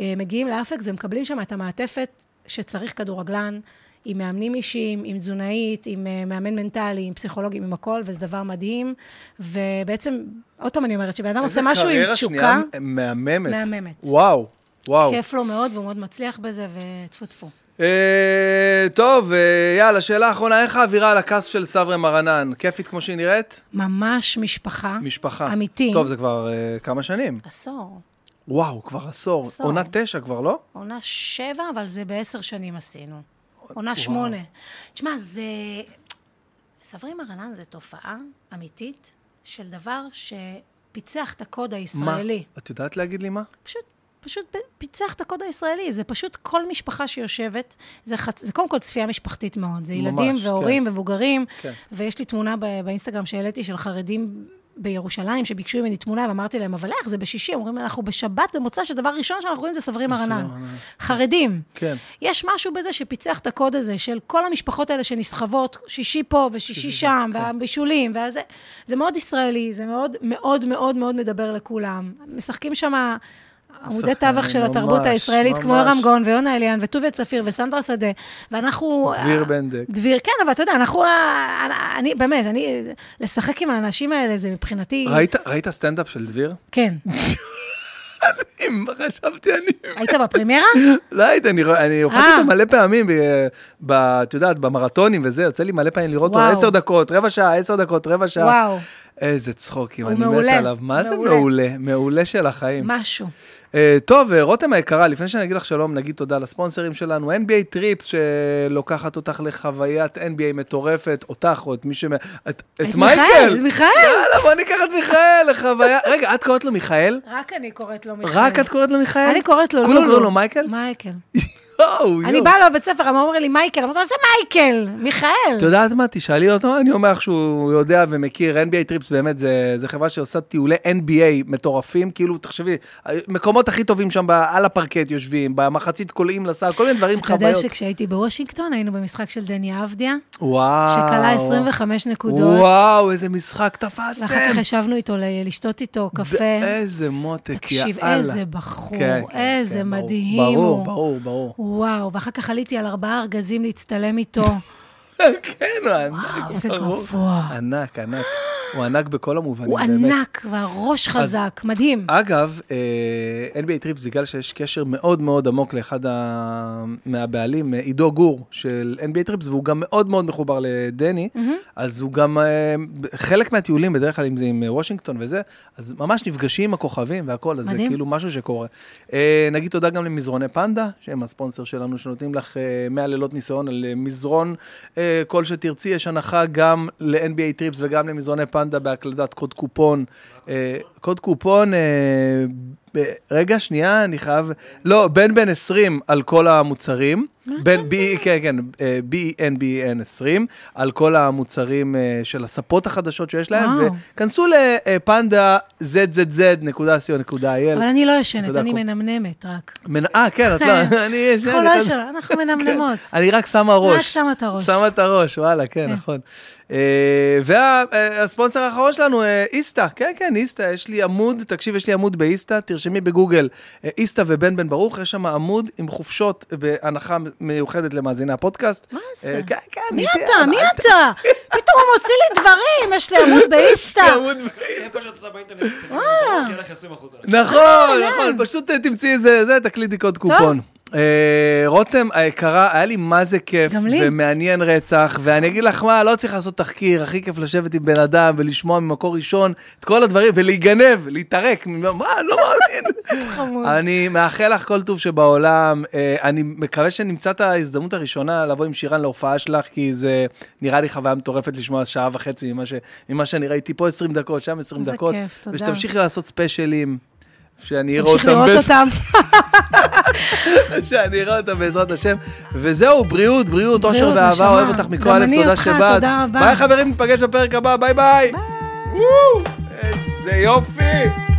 Speaker 1: אה, מגיעים לאפקס ומקבלים שם את המעטפת שצריך כדורגלן. עם מאמנים אישיים, עם תזונאית, עם אה, מאמן מנטלי, עם פסיכולוגים, עם הכל, וזה דבר מדהים. ובעצם, עוד פעם אני אומרת, שבן אדם עושה משהו עם
Speaker 2: איזה
Speaker 1: תשוקה,
Speaker 2: קריירה שנייה מהממת.
Speaker 1: מהממת.
Speaker 2: וואו, וואו.
Speaker 1: כיף לו מאוד, והוא מאוד מצליח בזה, וטפו טפו.
Speaker 2: אה, טוב, אה, יאללה, שאלה אחרונה, איך האווירה על הכס של סברה מרנן? כיפית כמו שהיא נראית?
Speaker 1: ממש משפחה.
Speaker 2: משפחה.
Speaker 1: אמיתי.
Speaker 2: טוב, זה כבר אה, כמה שנים.
Speaker 1: עשור.
Speaker 2: וואו, כבר עשור.
Speaker 1: עשור.
Speaker 2: עונה תשע כבר, לא?
Speaker 1: עונה שבע, אבל זה בעשר שנים עשינו. עונה שמונה. תשמע, זה... סברי מרנן זה תופעה אמיתית של דבר שפיצח את הקוד הישראלי.
Speaker 2: מה? את יודעת להגיד לי מה?
Speaker 1: פשוט, פשוט פ- פיצח את הקוד הישראלי. זה פשוט כל משפחה שיושבת, זה, חצ... זה קודם כל צפייה משפחתית מאוד. זה
Speaker 2: ממש,
Speaker 1: ילדים
Speaker 2: כן.
Speaker 1: והורים ומבוגרים,
Speaker 2: כן.
Speaker 1: ויש לי תמונה ב- באינסטגרם שהעליתי של חרדים. בירושלים, שביקשו ממני תמונה, ואמרתי להם, אבל איך, זה בשישי, אומרים, אנחנו בשבת, במוצא, שדבר ראשון שאנחנו רואים זה סברי מרנן. חרדים.
Speaker 2: כן.
Speaker 1: יש משהו בזה שפיצח את הקוד הזה של כל המשפחות האלה שנסחבות, שישי פה ושישי שם,
Speaker 2: כן.
Speaker 1: והבישולים, וזה. זה מאוד ישראלי, זה מאוד מאוד מאוד מאוד מדבר לכולם. משחקים שם עמודי
Speaker 2: שחקנים,
Speaker 1: תווך של התרבות
Speaker 2: ממש,
Speaker 1: הישראלית, כמו
Speaker 2: ממש.
Speaker 1: יורם גאון ויונה אליאן וטוביה צפיר וסנדרה שדה, ואנחנו...
Speaker 2: דביר בנדק.
Speaker 1: דביר, כן, אבל אתה יודע, אנחנו... ה- אני, באמת, אני... לשחק עם האנשים האלה זה מבחינתי...
Speaker 2: ראית- ראית סטנדאפ של דביר?
Speaker 1: כן.
Speaker 2: אם חשבתי אני...
Speaker 1: היית בפרימיירה?
Speaker 2: לא הייתי, אני רוא- אני הופעתי
Speaker 1: אה.
Speaker 2: אותו מלא פעמים, ב- ב- את יודעת, במרתונים וזה, יוצא לי מלא פעמים לראות אותו
Speaker 1: וואו.
Speaker 2: עשר דקות, רבע שעה, עשר דקות, רבע שעה.
Speaker 1: וואו.
Speaker 2: איזה צחוקים,
Speaker 1: הוא
Speaker 2: אני מת
Speaker 1: מעולה,
Speaker 2: עליו. מה זה
Speaker 1: מעולה.
Speaker 2: מעולה? מעולה של החיים.
Speaker 1: משהו.
Speaker 2: אה, טוב, אה, רותם היקרה, לפני שאני אגיד לך שלום, נגיד תודה לספונסרים שלנו, NBA טריפס, שלוקחת אותך לחוויית NBA מטורפת, אותך או את מי ש... את, את מייקל!
Speaker 1: את מיכאל, את מיכאל.
Speaker 2: יאללה, בוא ניקח את מיכאל לחוויה... רגע, את קוראת לו מיכאל?
Speaker 1: רק אני קוראת לו מיכאל.
Speaker 2: רק את קוראת לו מיכאל?
Speaker 1: אני קוראת לו לולו.
Speaker 2: כולם קוראים לו מייקל?
Speaker 1: מייקל.
Speaker 2: יואו, יואו.
Speaker 1: אני באה לבית ספר, אמרו לי מייקל, אמרתי לו, זה מייקל, מיכאל.
Speaker 2: את יודעת מה? תשאלי אותו, אני אומר לך שהוא יודע ומכיר, NBA טריפס באמת, זה, זה חברה שעושה טיולי NBA מטורפים, כאילו, תחשבי, מקומות הכי טובים שם, ב- על הפרקט יושבים, במחצית קולעים לסל, כל מיני דברים,
Speaker 1: אתה יודע
Speaker 2: חוויות.
Speaker 1: שכשהייתי בוושינגטון, היינו במשחק של דני עבדיה,
Speaker 2: אה, וואו.
Speaker 1: שכלה 25 נקודות,
Speaker 2: וואו, איזה משחק תפסתם.
Speaker 1: ואחר כך ישבנו איתו ל- לשתות איתו
Speaker 2: ד-
Speaker 1: קפה.
Speaker 2: איזה מותק, יאללה. כן,
Speaker 1: תקשיב, איזה בחור, איזה
Speaker 2: ברור.
Speaker 1: מדהים
Speaker 2: ברור,
Speaker 1: הוא.
Speaker 2: ברור, ברור.
Speaker 1: וואו, ואחר כך עליתי על ארבעה ארגזים להצטלם איתו.
Speaker 2: כן, הוא ענק,
Speaker 1: וואו, איזה
Speaker 2: ברור.
Speaker 1: גבוה.
Speaker 2: ענק, ענק. הוא ענק בכל המובנים,
Speaker 1: הוא
Speaker 2: באמת.
Speaker 1: ענק, והראש חזק, מדהים.
Speaker 2: אגב, אה, NBA טריפס, בגלל שיש קשר מאוד מאוד עמוק לאחד ה- מהבעלים, אה, עידו גור של NBA טריפס, והוא גם מאוד מאוד מחובר לדני,
Speaker 1: Mm-hmm.
Speaker 2: אז הוא גם, אה, חלק מהטיולים, בדרך כלל אם זה עם אה, וושינגטון וזה, אז ממש נפגשים עם הכוכבים והכול, אז זה
Speaker 1: מדהים.
Speaker 2: כאילו משהו שקורה. אה, נגיד תודה גם למזרוני פנדה, שהם הספונסר שלנו, שנותנים לך אה, 100 לילות ניסיון על אה, מזרון אה, כל שתרצי, יש הנחה גם ל-NBA טריפס וגם למזרוני פנדה בהקלדת קוד קופון. אה, קוד קופון, אה, ב- רגע, שנייה, אני חייב... לא, בן בן 20 על כל המוצרים. בין B, כן, כן, אה, BEN, BEN 20, על כל המוצרים אה, של הספות החדשות שיש להם,
Speaker 1: וואו.
Speaker 2: וכנסו אה, לפנדה zzz.co.il.
Speaker 1: אבל אני לא ישנת,
Speaker 2: תודה,
Speaker 1: אני
Speaker 2: קו-
Speaker 1: מנמנמת רק.
Speaker 2: מנ... אה, כן, את לא, אני יש...
Speaker 1: אנחנו לא ישנות, אנחנו מנמנמות.
Speaker 2: כן. אני רק שמה ראש.
Speaker 1: רק שמה את הראש.
Speaker 2: שמה את הראש, וואלה, כן, נכון. אה, והספונסר האחרון שלנו, אה, איסתא, כן, כן, איסתא, יש לי עמוד, תקשיב, יש לי עמוד באיסתא, תרשמי בגוגל, אה, איסתא ובן בן ברוך, יש שם עמוד עם חופשות בהנחה מיוחדת למאזיני הפודקאסט. מה
Speaker 1: זה?
Speaker 2: כן, כן.
Speaker 1: מי
Speaker 2: אני-
Speaker 1: אתה? מי אתה? פתאום הוא מוציא לי דברים, יש לי עמוד באיסטה.
Speaker 2: עמוד ב-
Speaker 3: איפה שאת עושה באינטרנט, תקבלי, יהיה לך 20% על
Speaker 1: לא כן.
Speaker 2: אה, נכון, נכון, פשוט אה, תמצאי איזה, זה, תקליטי קוד קופון. אה, רותם היקרה, היה לי מה זה כיף.
Speaker 1: גם לי.
Speaker 2: ומעניין רצח, ואני אגיד לך מה, לא צריך לעשות תחקיר, הכי כיף לשבת עם בן אדם ולשמוע ממקור ראשון את כל הדברים, ולהיגנב, להתערק, מה, לא מאמין.
Speaker 1: חמוד.
Speaker 2: אני מאחל לך כל טוב שבעולם. אה, אני מקווה שנמצא את ההזדמנות הראשונה לבוא עם שירן להופעה שלך, כי זה נראה לי חוויה מטורפת לשמוע שעה וחצי ממה, ש, ממה שאני ראיתי פה 20 דקות, שם 20
Speaker 1: איזה
Speaker 2: דקות.
Speaker 1: כיף, תודה.
Speaker 2: ושתמשיכי לעשות ספיישלים. שאני אראה
Speaker 1: תמשיך
Speaker 2: אותם,
Speaker 1: לראות
Speaker 2: בעז-
Speaker 1: אותם.
Speaker 2: שאני אראה אותם בעזרת השם. וזהו, בריאות, בריאות, אושר
Speaker 1: בריאות,
Speaker 2: ואהבה,
Speaker 1: נשמה.
Speaker 2: אוהב אותך מכל
Speaker 1: גם
Speaker 2: הלב,
Speaker 1: אני
Speaker 2: תודה
Speaker 1: אותך,
Speaker 2: שבאת.
Speaker 1: תודה רבה.
Speaker 2: ביי חברים, ניפגש בפרק הבא, ביי ביי. ביי. איזה יופי.